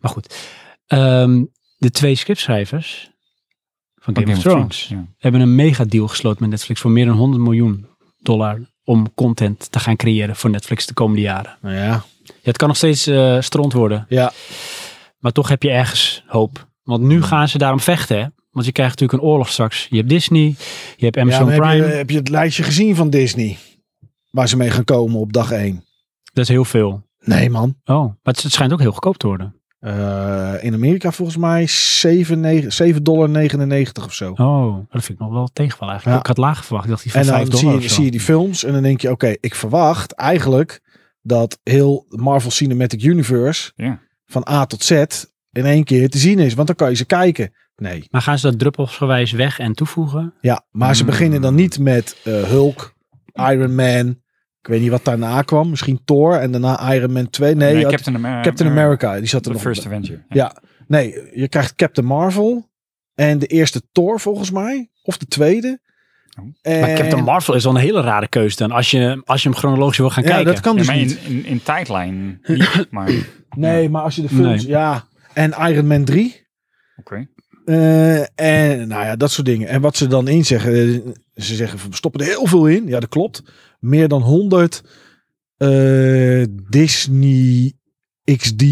A: Maar goed. Ehm, de twee scriptschrijvers van Game, of Thrones. hebben een mega deal gesloten met Netflix voor meer dan 100 miljoen dollar om content te gaan creëren voor Netflix de komende jaren.
B: Nou ja.
A: Ja, het kan nog steeds eh stront worden,
B: Ja.
A: maar toch heb je ergens hoop. Want nu gaan ze daarom vechten, hè? Want je krijgt natuurlijk een oorlog straks. Je hebt Disney, je hebt Amazon
B: maar
A: Prime.
B: Heb je, heb je het lijstje gezien van Disney? Waar ze mee gaan komen op dag 1?
A: Dat is heel veel.
B: Nee, man.
A: Oh, maar het, het schijnt ook heel goedkoop te worden.
B: Eh, in Amerika volgens mij 7, negen- 7,99 dollar of zo.
A: Oh, dat vind ik nog wel tegenval eigenlijk.
B: Ja.
A: Ik had laag verwacht. Ik dacht die van
B: En
A: 5
B: dan zie
A: dollar of
B: je,
A: zo.
B: zie je die films en dan denk je, oké, ik verwacht eigenlijk dat heel Marvel Cinematic Universe
C: Ja.
B: van A tot Z in één keer te zien is. Want dan kan je ze kijken. Nee.
A: Maar gaan ze dat druppelsgewijs weg en toevoegen?
B: Ja, maar ze
C: Hmm.
B: beginnen dan niet met eh, Hulk, Iron Man. Ik weet niet wat daarna kwam. Misschien Thor en daarna Iron Man 2. Nee, ja,
C: Captain America.
B: Captain America. Die zat er
C: The
B: nog
C: First
B: bij.
C: Avenger.
B: Ja. Nee, je krijgt Captain Marvel en de eerste Thor volgens mij. Of de tweede.
C: Oh.
B: En-
A: Maar Captain Marvel is wel een hele rare keuze dan. Als je, als je hem chronologisch wil gaan
B: Ja,
A: kijken.
B: dat kan
C: Ja,
B: dus
C: maar
B: niet.
C: in, in, in
B: [laughs]
C: tijdlijn niet, maar oké.
B: Nee, maar als je de films...
A: Nee.
B: Ja, en Iron Man 3. Eh, en nou ja, dat soort dingen. En wat ze dan in zeggen, eh, ze zeggen we stoppen er heel veel in. Ja, dat klopt. Meer dan 100 eh, Disney XD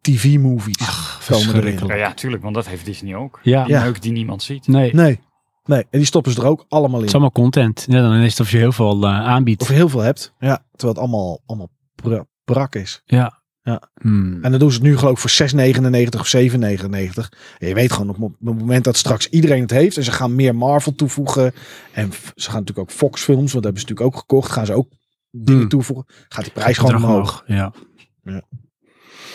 B: TV movies komen erin.
A: verschrikkelijk.
C: Ja, ja, tuurlijk, want dat heeft Disney ook.
A: Ja,
C: Die
B: Ja.
C: neuk die niemand ziet.
A: nee. Het
B: Nee, nee. En die stoppen ze er ook allemaal
A: is
B: in.
A: allemaal content. Ja, dan is het of je heel veel eh, aanbiedt.
B: Of je heel veel hebt. Ja, terwijl het allemaal, allemaal pra- brak is.
A: Ja.
B: Ja.
A: Hmm.
B: En dan doen ze het nu geloof ik voor 6,99 of 7,99. En je weet gewoon op mo- op het moment dat straks iedereen het heeft. En ze gaan meer Marvel toevoegen. En f- ze gaan natuurlijk ook Fox films. Want dat hebben ze natuurlijk ook gekocht. Gaan ze ook dingen
A: Hmm.
B: toevoegen. Gaat die prijs gewoon
A: Bedrag
B: omhoog.
A: Ja.
B: Ja.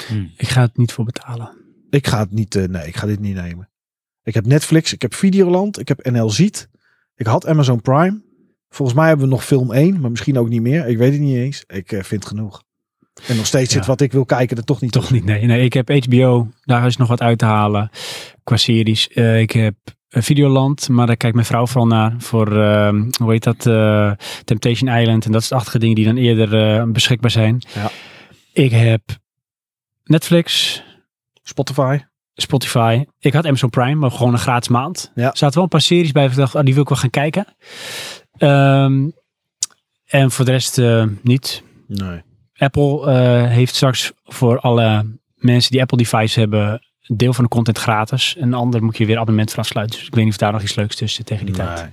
C: Hmm.
A: Ik ga het niet voor betalen.
B: Ik ga het niet, eh, nee, ik ga dit niet nemen. Ik heb Netflix, ik heb Videoland, ik heb NL Ziet. Ik had Amazon Prime. Volgens mij hebben we nog film 1, maar misschien ook niet meer. Ik weet het niet eens. Ik eh, vind genoeg. En nog steeds
A: Ja.
B: zit wat ik wil kijken er toch niet
A: Toch niet, nee. nee. Ik heb HBO, daar is nog wat uit te halen qua series. Eh, ik heb eh, Videoland, maar daar kijkt mijn vrouw vooral naar. Voor, ehm, hoe heet dat, eh, Temptation Island. En dat is de achtige dingen die dan eerder eh, beschikbaar zijn.
B: Ja.
A: Ik heb Netflix,
B: Spotify.
A: Spotify. Ik had Amazon Prime, maar gewoon een gratis maand.
B: Ja.
A: Er zaten wel een paar series bij. waarvan Ik dacht, oh, die wil ik wel gaan kijken. Ehm, en voor de rest eh, niet.
B: Nee.
A: Apple eh, heeft straks voor alle mensen die Apple device hebben een deel van de content gratis. Een ander moet je weer abonnement voor afsluiten. Dus ik weet niet of daar nog iets leuks tussen zit tegen die tijd.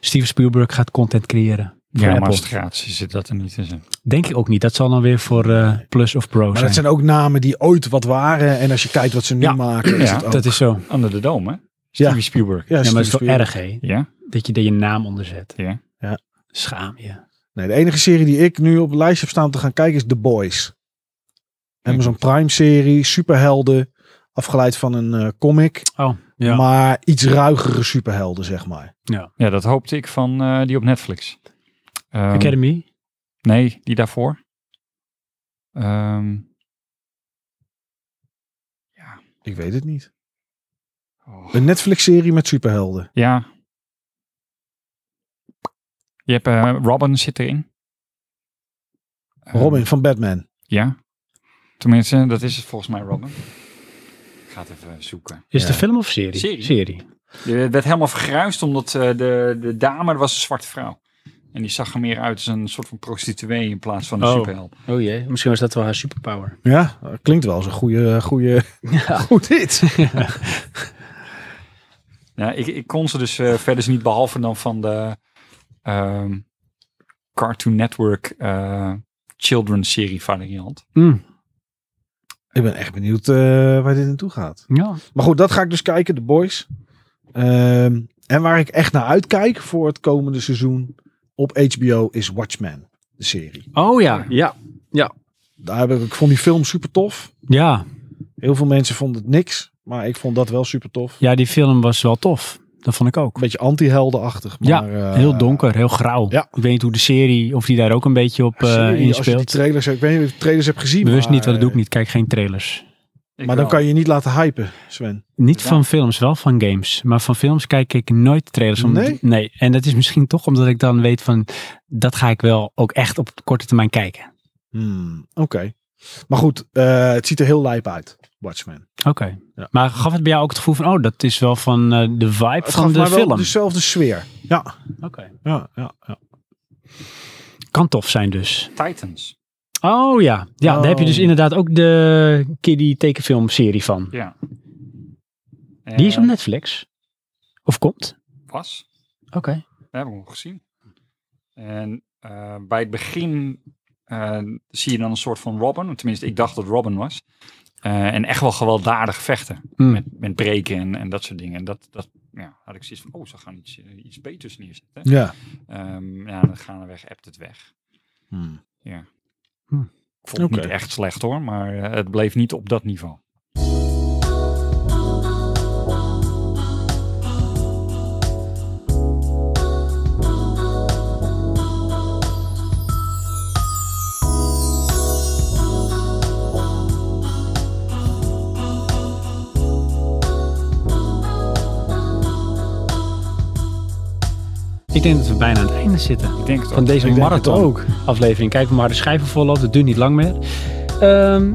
A: Steven Spielberg gaat content creëren. Voor
C: Ja, maar
A: Apple.
C: als het gratis is, zit dat er niet tussen.
A: Denk ik ook niet. Dat zal dan weer voor eh, Plus of Pro
B: Maar
A: zijn.
B: dat zijn ook namen die ooit wat waren. En als je kijkt wat ze nu
A: Ja.
B: maken, is
C: Ja,
B: het ook...
A: Dat is zo.
C: Under the Dome, hè?
B: Ja.
C: Steven Spielberg.
B: Ja,
A: Ja, maar het is
B: Steven
A: wel erg, hè?
C: Ja?
A: Dat je er je naam onder zet.
C: Ja.
B: Ja.
A: Schaam je.
B: Nee, de enige serie die ik nu op het lijstje heb staan om te gaan kijken is The Boys. Amazon Prime serie, superhelden, afgeleid van een eh, comic,
A: Oh, ja.
B: maar iets ruigere superhelden zeg maar.
C: Ja, dat hoopte ik van eh, die op Netflix. Ehm,
A: Academy?
C: Nee, die daarvoor. Ehm,
B: Ik weet het niet.
C: oh,
B: Een Netflix serie met superhelden.
C: Ja. Je hebt eh, Robin zit erin. Ehm,
B: Robin van Batman.
C: Ja. Tenminste, dat is het volgens mij, Robin. Ik ga het even zoeken.
A: Is het
B: Ja.
A: een film of serie?
C: Serie.
A: serie.
C: Je werd helemaal vergruist omdat eh, de, de dame dat was een zwarte vrouw. En die zag er meer uit als een soort van prostituee in plaats van een
A: Oh.
C: superheld.
A: Oh jee, misschien was dat wel haar superpower.
B: Ja, eh, klinkt wel als een goede, goede, [laughs]
A: [laughs]
B: goed dit.
C: Nou, ik, ik kon ze dus eh, verder niet behalve dan van de ehm, Cartoon Network eh Children serie variant.
A: Mm,
B: Ik ben echt benieuwd eh, waar dit naartoe gaat.
A: Ja.
B: Maar goed, dat ga ik dus kijken, The Boys. Ehm, en waar ik echt naar uitkijk voor het komende seizoen op HBO is Watchmen, de serie.
A: Oh ja, ja.
B: Daar heb ik, ik vond die film super tof.
A: Ja,
B: Heel veel mensen vonden het niks. Maar ik vond dat wel super tof.
A: Ja, die film was wel tof. Dat vond ik ook.
B: Een beetje anti-heldenachtig.
A: Ja,
B: Maar, eh,
A: Heel donker, heel grauw.
B: ja.
A: Ik weet niet hoe de serie, of die daar ook een beetje op eh,
B: serie, als je die
A: inspeelt.
B: trailers, ik weet niet of je de trailers hebt gezien.
A: Bewust
B: maar,
A: niet, want dat doe ik
B: eh,
A: niet. Kijk geen trailers.
B: Maar
C: Ik wel.
B: dan kan je niet laten hypen, Sven.
A: Niet
C: Ja.
A: van films, wel van games. Maar van films kijk ik nooit trailers. om-
B: Nee?
A: nee. En dat is misschien toch omdat ik dan weet van... dat ga ik wel ook echt op korte termijn kijken.
B: Hmm, Oké. Maar goed, eh, het ziet er heel lijp uit. Watchmen.
A: Oké.
B: Ja.
A: Maar gaf het bij jou ook het gevoel van... oh, dat is wel van eh, de vibe
B: Het
A: van
B: gaf
A: de
B: mij wel dus-
A: film?
B: dezelfde sfeer. Ja.
A: Oké.
B: Ja, ja, ja.
A: Kan tof zijn dus.
C: Titans.
A: Oh ja. Ja, daar heb je dus
B: Oh.
A: inderdaad ook de kiddie tekenfilmserie van.
C: Ja.
A: [laughs] Die is op
C: Eh,
A: Netflix. Of komt?
C: was.
A: Oké.
C: Dat hebben we nog gezien. En eh, bij het begin eh, zie je dan een soort van Robin. Tenminste, ik dacht dat Robin was. Eh, en echt wel gewelddadig vechten.
A: Hmm.
C: Met, met breken en, en dat soort dingen. En dat, dat ja, had ik zoiets van, oh, ze gaan iets, eh, iets beters neerzetten.
B: Ja.
C: Ehm, ja, dan gaan we weg, appt het weg.
B: Hmm.
C: Ja.
A: Hmm.
C: Ik vond het
B: Oké.
C: niet echt slecht hoor, maar eh, het bleef niet op dat niveau.
A: Ik denk dat we bijna aan het einde zitten.
C: Ik denk het
A: van
C: ook.
A: deze
B: Ik denk het
A: marathon aflevering. Kijk maar de schijven vol loopt. Het duurt niet lang meer. Ehm,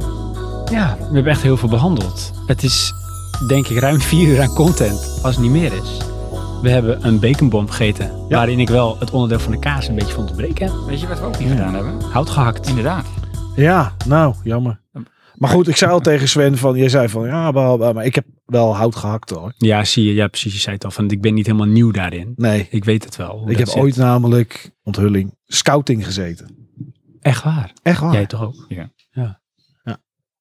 A: ja, we hebben echt heel veel behandeld. Het is denk ik ruim vier uur aan content, als het niet meer is. We hebben een baconbom gegeten, waarin ik wel het onderdeel van de kaas een beetje vond te breken.
C: Weet je wat we ook niet gedaan hebben?
A: Hout gehakt.
C: Inderdaad.
B: ja, nou, jammer. Maar goed, ik zei al tegen Sven van, jij zei van, ja, bla, bla, maar ik heb wel hout gehakt hoor.
A: Ja, zie je. Ja, precies. Je zei het al. Van, ik ben niet helemaal nieuw daarin.
B: Nee,
A: Ik weet het wel. hoe
B: ik
A: Oh, dat
B: heb
A: zit.
B: ooit namelijk, onthulling, scouting gezeten.
A: Echt waar.
B: Echt waar?
A: Jij toch ook?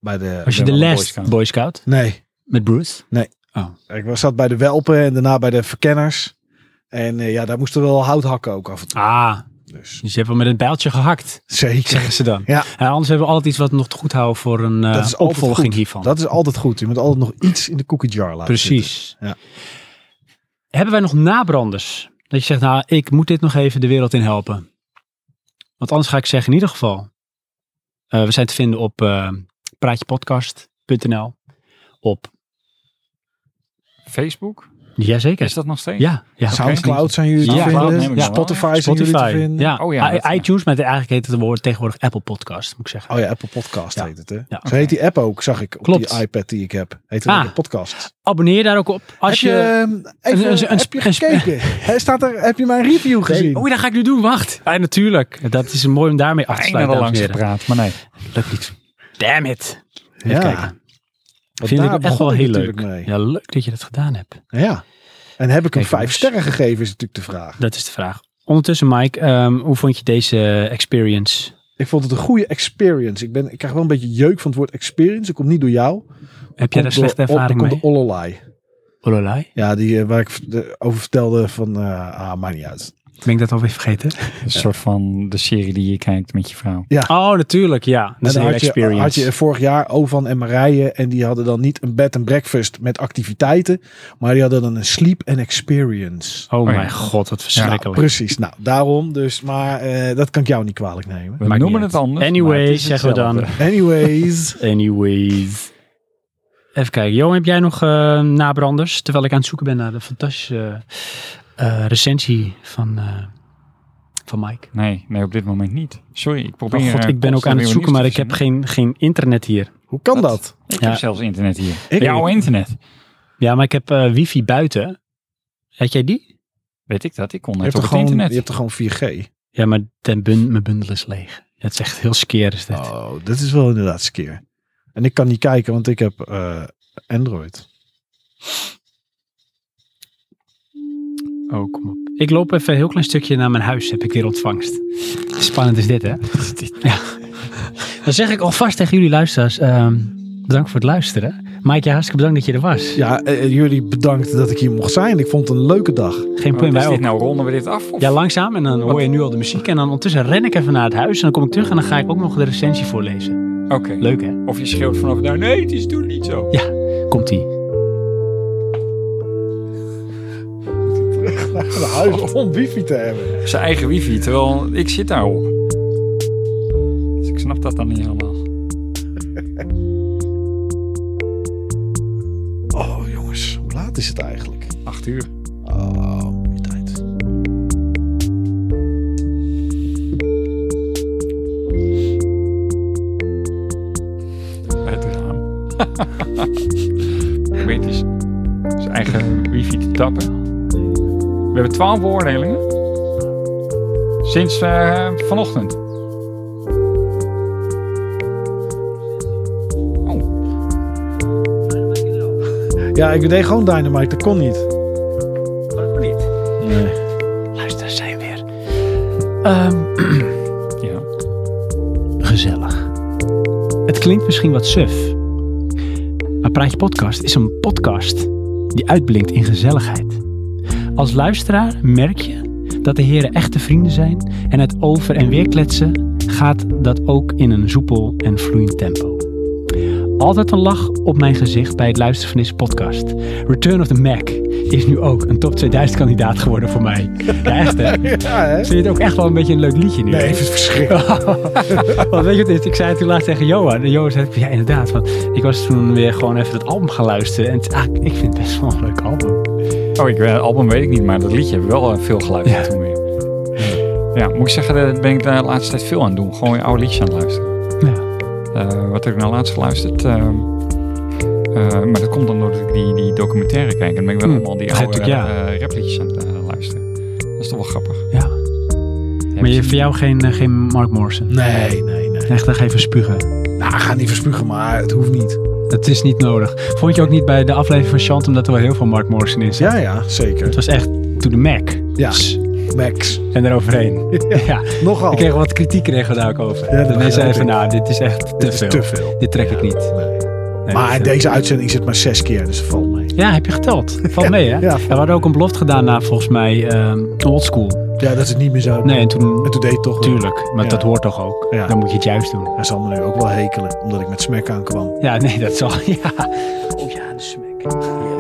B: Bij de,
A: Was je
C: ben
A: de
C: wel een
A: last
C: Boy
A: Boy
C: Scout.
A: Scout.
B: nee,
A: met Bruce?
B: Ik was, zat bij de Welpen en daarna bij de Verkenners. En eh, ja, daar moesten we wel hout hakken ook af en toe.
A: Ah,
B: Dus
A: dus je hebt wel met een bijltje gehakt.
B: zeker.
A: zeggen ze dan.
B: Ja.
A: En anders hebben we altijd iets wat we nog te goed houden voor een eh,
B: Dat is altijd
A: opvolging
B: goed.
A: hiervan.
B: Dat is altijd goed. Je moet altijd nog iets in de cookie jar laten zitten.
A: Precies.
B: Ja.
A: Hebben wij nog nabranders? Dat je zegt, nou, ik moet dit nog even de wereld in helpen. Want anders ga ik zeggen, in ieder geval, eh, we zijn te vinden op eh, praatjepodcast.nl. Op,
C: Facebook?
A: jazeker.
C: Is dat nog steeds?
A: Ja, ja.
B: Soundcloud zijn jullie te
A: Ja, Soundcloud
B: vinden.
C: neem ik wel.
B: Spotify, zijn jullie te
A: Spotify.
B: vinden.
A: Ja.
C: Oh ja,
A: I-
C: dat, ja.
A: iTunes, maar eigenlijk heet het woord tegenwoordig Apple Podcast, moet ik zeggen.
B: Oh ja, Apple Podcast
A: Ja.
B: heet het hè.
A: Ja.
B: Zo heet die app ook, zag ik op
A: Klopt.
B: die iPad die ik heb. Heet het
A: Ah.
B: ook podcast.
A: Abonneer daar ook op. Als
B: heb je,
A: je...
B: eh, even,
A: een- een- een-
B: heb je
A: een- [laughs]
B: gekeken? Hè, staat er, heb je mijn review gezien?
A: Oei, oh dat ga ik nu doen, wacht. Ja, natuurlijk. Dat is mooi om daarmee af te
C: Bijna
A: sluiten,
C: al
A: dames en
C: langs
A: heren.
C: gepraat, maar nee.
A: Lukt niet. Damn it. Even
B: Ja.
A: kijken.
B: Want
A: Vind
B: daar
A: ik echt
B: begon
A: wel heel leuk.
B: natuurlijk mee.
A: Ja, leuk dat je dat gedaan hebt.
B: Ja. En heb ik hem
A: Kijk,
B: vijf
A: jongens.
B: sterren gegeven is natuurlijk de vraag.
A: Dat is de vraag. Ondertussen, Mike, ehm, hoe vond je deze experience?
B: Ik vond het een goede experience. Ik, ben, ik krijg wel een beetje jeuk van het woord experience. Ik kom niet door jou.
A: Heb jij daar slechte ervaring
B: komt
A: mee? Oh,
B: de Ollolai.
A: Olalai?
B: Ja, die, eh, waar ik v- de- over vertelde van... eh, ah, maakt niet uit.
A: Ben ik dat alweer vergeten?
C: Een soort van de serie die je kijkt met je vrouw.
A: Oh, natuurlijk, ja. Dat is
B: En
A: een
B: dan
A: hele
B: had je,
A: experience.
B: had je vorig jaar Ovan en Marije. En die hadden dan niet een bed en breakfast met activiteiten. Maar die hadden dan een sleep en experience.
A: Oh,
C: ja.
A: mijn god, wat
B: Nou,
A: verschrikkelijk.
B: precies. Nou, daarom dus. Maar eh, dat kan ik jou niet kwalijk nemen.
C: We
A: Maakt
C: noemen
A: niet
C: het anders. maar het
A: anyway,
C: is
A: zeggen we dan.
C: hetzelfde.
B: Anyways.
A: Anyways. Even kijken. Johan, heb jij nog eh, nabranders? Terwijl ik aan het zoeken ben naar de fantastische eh, recensie van, eh, van Mike.
C: Nee, nee, op dit moment niet. Sorry, ik probeer...
A: Oh god,
C: eh,
A: ik ben ook
C: constant
A: aan het
C: weer
A: zoeken,
C: nieuws
A: maar
C: te
A: ik heb
C: verzinnen.
A: geen, geen internet hier.
B: Hoe kan
C: Wat?
B: dat?
C: Ik
A: Ja.
C: heb zelfs internet hier.
B: Ik-
C: Jouw internet.
A: Ja, maar ik heb eh, wifi buiten. Had jij die?
C: Weet ik dat? Ik kon
B: Je
C: net
B: hebt, toch
C: op het
B: gewoon,
C: internet.
B: je hebt toch gewoon 4G?
A: Ja, maar ten bun, mijn bundel is leeg. Het is echt heel skeer is dit.
B: Oh, dat is wel inderdaad skeer. En ik kan niet kijken, want ik heb eh, Android.
A: Oh, kom op. Ik loop even een heel klein stukje naar mijn huis, heb ik weer ontvangst. Spannend is dit, hè? Ja. Dan zeg ik alvast tegen jullie luisteraars, ehm, bedankt voor het luisteren. Maaike, hartstikke bedankt dat je er was.
B: Ja, eh, jullie bedankt dat ik hier mocht zijn. Ik vond het een leuke dag.
A: Geen
C: Wat
A: punt
C: is
A: bij
C: dit
A: ook.
C: nou? Ronden we dit af? Of?
A: Ja, langzaam. En dan hoor je nu al de muziek. En dan ondertussen ren ik even naar het huis. En dan kom ik terug en dan ga ik ook nog de recensie voorlezen.
C: Oké.
A: Leuk, hè?
C: Of je schreeuwt vanaf daar. Nee, het is toen niet zo.
A: Komt-ie.
B: Een huis om wifi te hebben.
C: Zijn eigen wifi, terwijl ik zit daarop. Dus ik snap dat dan niet helemaal.
B: Oh, jongens, hoe laat is het eigenlijk?
C: Acht uur.
B: Oh, mooie tijd.
C: Bij het [laughs] raam. Probeert hij zijn eigen wifi te tappen. We hebben twaalf beoordelingen. Sinds eh, vanochtend. Oh,
B: Ja, ik deed gewoon Dynamite, dat kon niet.
A: Ehm,
C: Ja.
A: gezellig. Het klinkt misschien wat suf. Maar Praatje Podcast is een podcast die uitblinkt in gezelligheid. Als luisteraar merk je dat de heren echte vrienden zijn en het over- en weerkletsen gaat dat ook in een soepel en vloeiend tempo. Altijd een lach op mijn gezicht bij het luisteren van deze podcast. Return of the Mac is nu ook een top 2000 kandidaat geworden voor mij. Ja, echt hè?
B: [laughs] Ja, hè?
A: Vind je het ook echt wel een beetje een leuk liedje nu? hè?
B: Nee, het is verschrikkelijk.
A: [laughs] Want weet je wat het is? Ik zei het toen laatst tegen Johan. En Johan zei, ja inderdaad. Want ik was toen weer gewoon even het album gaan luisteren. En het is eigenlijk- ik vind het best wel een leuk album.
C: Oh, ik, eh, album weet ik niet, maar dat liedje heb ik wel eh, veel geluisterd
A: Ja.
C: toen weer. Ja, moet ik zeggen, daar ben ik de laatste tijd veel aan het doen. Gewoon oude liedjes aan het luisteren.
A: Ja.
C: Eh, wat heb ik nou laatst geluisterd? Ehm, eh, maar dat komt dan doordat ik die, die documentaire kijk. En dan ben ik wel
A: Hm,
C: allemaal die
A: begrijp
C: oude
A: ik, ja.
C: eh, rapliedjes aan het eh, luisteren. Dat is toch wel grappig.
A: ja. Maar je, voor jou geen, eh, geen Mark Morrison?
B: Nee, nee, nee.
A: Echt, daar ga je van spugen.
B: Nou, ga niet verspugen, maar het hoeft niet.
A: Dat is niet nodig. Vond je ook niet bij de aflevering van Chantum dat er wel heel veel Mark Morrison in zat?
B: Ja, ja,
A: Het
B: zeker.
A: was echt to the mac.
B: Ja.
A: Pss,
B: Max.
A: En eroverheen.
B: [laughs]
A: Ja.
B: Nogal.
A: Ik kreeg wat kritiek kregen we daar ook over.
B: Ja, dat
A: de mensen
B: begrijp
A: zeiden van,
B: ik.
A: nou, dit is echt te
B: Dit is
A: veel.
B: te veel.
A: Dit trek ik niet.
B: Nee.
A: Nee,
B: Maar
A: dit,
B: in
A: eh,
B: deze uitzending zit maar zes keer, dus dat valt mee.
A: Ja, heb je geteld. Valt mee, hè?
B: ja,
A: Ja,
B: valt
A: we hadden ook een belofte gedaan na, volgens mij, old oldschool.
B: Ja, dat is niet meer zo.
A: Nee, en toen...
B: En toen deed je het toch weer.
A: Tuurlijk, maar
B: Ja.
A: dat hoort toch ook?
B: Ja.
A: Dan moet je het juist doen.
B: Hij zal me nu ook wel hekelen, omdat ik met smek aankwam.
A: [laughs] Ja, nee, dat zal... Ja. Oh ja, de smek.